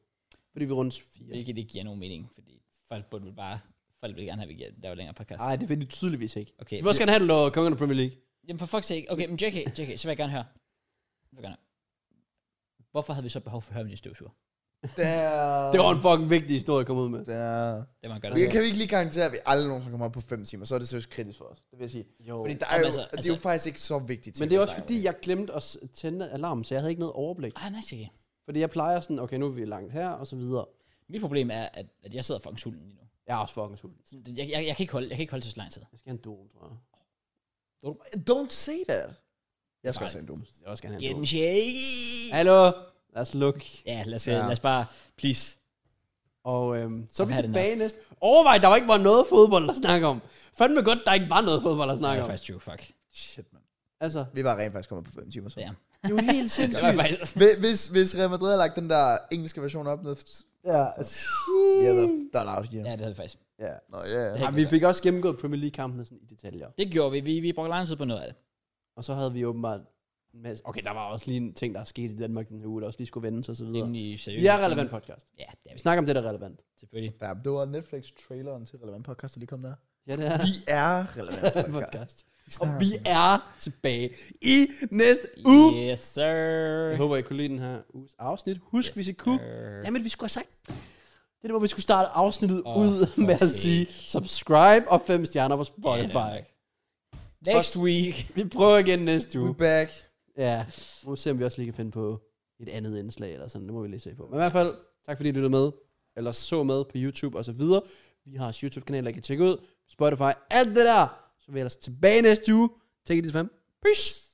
Speaker 2: Fordi vi rundt fire.
Speaker 1: Hvilket ikke giver nogen mening, fordi folk burde vel bare, folk vil gerne have, at vi giver- laver længere podcast.
Speaker 2: Nej, det vil de tydeligvis ikke.
Speaker 1: Okay,
Speaker 2: Vi vil også gerne have, at du laver Kongen af Premier League.
Speaker 1: jamen for fuck's sake, okay, men JK, JK, så vil jeg gerne høre. Jeg vil gerne høre. Hvorfor havde vi så behov for at høre om din støvsuger?
Speaker 3: Det er...
Speaker 2: Det var en fucking vigtig historie at komme ud med.
Speaker 3: Det er...
Speaker 1: Det var en godt
Speaker 3: Vi, kan vi ikke lige garantere, at vi aldrig nogensinde kommer op på 5 timer, så er det seriøst kritisk for os. Det vil jeg sige.
Speaker 2: Jo.
Speaker 3: Fordi der er
Speaker 1: Jamen
Speaker 3: jo,
Speaker 1: altså-
Speaker 3: det er jo
Speaker 1: altså-
Speaker 3: faktisk ikke så vigtigt.
Speaker 2: Men det er også fordi, jeg glemte at s- tænde alarmen, så jeg havde ikke noget overblik.
Speaker 1: Ej, Ah, nej, JK.
Speaker 2: Fordi jeg plejer sådan, okay, nu er vi langt her, og så videre.
Speaker 1: Mit problem er, at, at jeg sidder fucking sulten lige nu.
Speaker 2: Jeg er også fucking sulten.
Speaker 1: Sådan, det- Jeg, jeg, jeg, kan ikke holde, jeg kan ikke holde til så lang tid.
Speaker 2: Jeg skal have en dom, tror jeg.
Speaker 3: Don't say that. Jeg skal
Speaker 1: Nej.
Speaker 3: også have en dum.
Speaker 2: Jeg vil også gerne have
Speaker 1: Get
Speaker 2: en dom.
Speaker 1: den, JK!
Speaker 2: Hallo! Lad os lukke.
Speaker 1: Ja, lad os,
Speaker 3: Ja.
Speaker 1: ja. lad os bare, please.
Speaker 2: Og øhm, så er vi
Speaker 1: I've had
Speaker 2: tilbage næste. Overvej, der var ikke var noget fodbold at snakke om. Fandme godt, der ikke var noget fodbold at
Speaker 1: Nej,
Speaker 2: snakke
Speaker 1: det
Speaker 2: om.
Speaker 1: er faktisk true, fuck.
Speaker 3: Shit, man.
Speaker 2: Altså,
Speaker 3: Vi var rent faktisk kommet på 5 timer så.
Speaker 1: Damn.
Speaker 2: det er jo helt
Speaker 1: Det
Speaker 2: sindssygt.
Speaker 1: var faktisk...
Speaker 3: Hvis- Hvis, hvis Real Madrid har lagt den der engelske version op ned...
Speaker 2: Ja,
Speaker 3: Ja, der, der er en out here.
Speaker 1: Ja, det havde vi faktisk.
Speaker 2: ja.
Speaker 3: Nå, ja, ja.
Speaker 1: Ja.
Speaker 2: Ej, vi fik også gennemgået Premier League-kampene sådan i detaljer.
Speaker 1: Det gjorde vi. Vi, vi brugte lang tid på noget af det.
Speaker 2: Og så havde vi åbenbart en masse... Okay, der var også lige en ting, der er sket i Danmark den her uge, der også lige skulle vendes og så videre.
Speaker 1: Rimelig seriøst.
Speaker 2: Vi er relevant podcast.
Speaker 1: Ja, det er
Speaker 2: Vi
Speaker 1: vi.
Speaker 2: snakker om det, der er relevant.
Speaker 1: Selvfølgelig.
Speaker 3: Ja, det var Netflix-traileren til Relevant Podcast, der lige kom der.
Speaker 2: Ja, det er
Speaker 3: Vi er Relevant Podcast.
Speaker 2: podcast.
Speaker 3: Vi
Speaker 2: Og
Speaker 3: snakker
Speaker 2: vi
Speaker 3: om det.
Speaker 2: er tilbage i næste uge.
Speaker 1: Yes, sir.
Speaker 2: Jeg håber, I kunne lide den her uges afsnit. Husk, yes, hvis I kunne.
Speaker 1: Sir.
Speaker 2: Jamen, vi skulle have sagt. Det er der, hvor vi skulle starte afsnittet
Speaker 1: Åh,
Speaker 2: oh, ud
Speaker 1: for
Speaker 2: med at
Speaker 1: sake.
Speaker 2: sige subscribe og fem stjerner på Spotify.
Speaker 1: Ja, Next week.
Speaker 2: vi prøver igen næste
Speaker 3: We
Speaker 2: uge.
Speaker 3: back.
Speaker 2: Ja, nu se, om vi også lige kan finde på et andet indslag eller sådan. Det må vi lige se på. Men i hvert fald, tak fordi I lyttede med, eller så med på YouTube og så videre. Vi har vores YouTube-kanal, der I kan tjekke ud. Spotify, alt det der. Så er vi ellers tilbage næste uge. Take it easy, fam. Peace.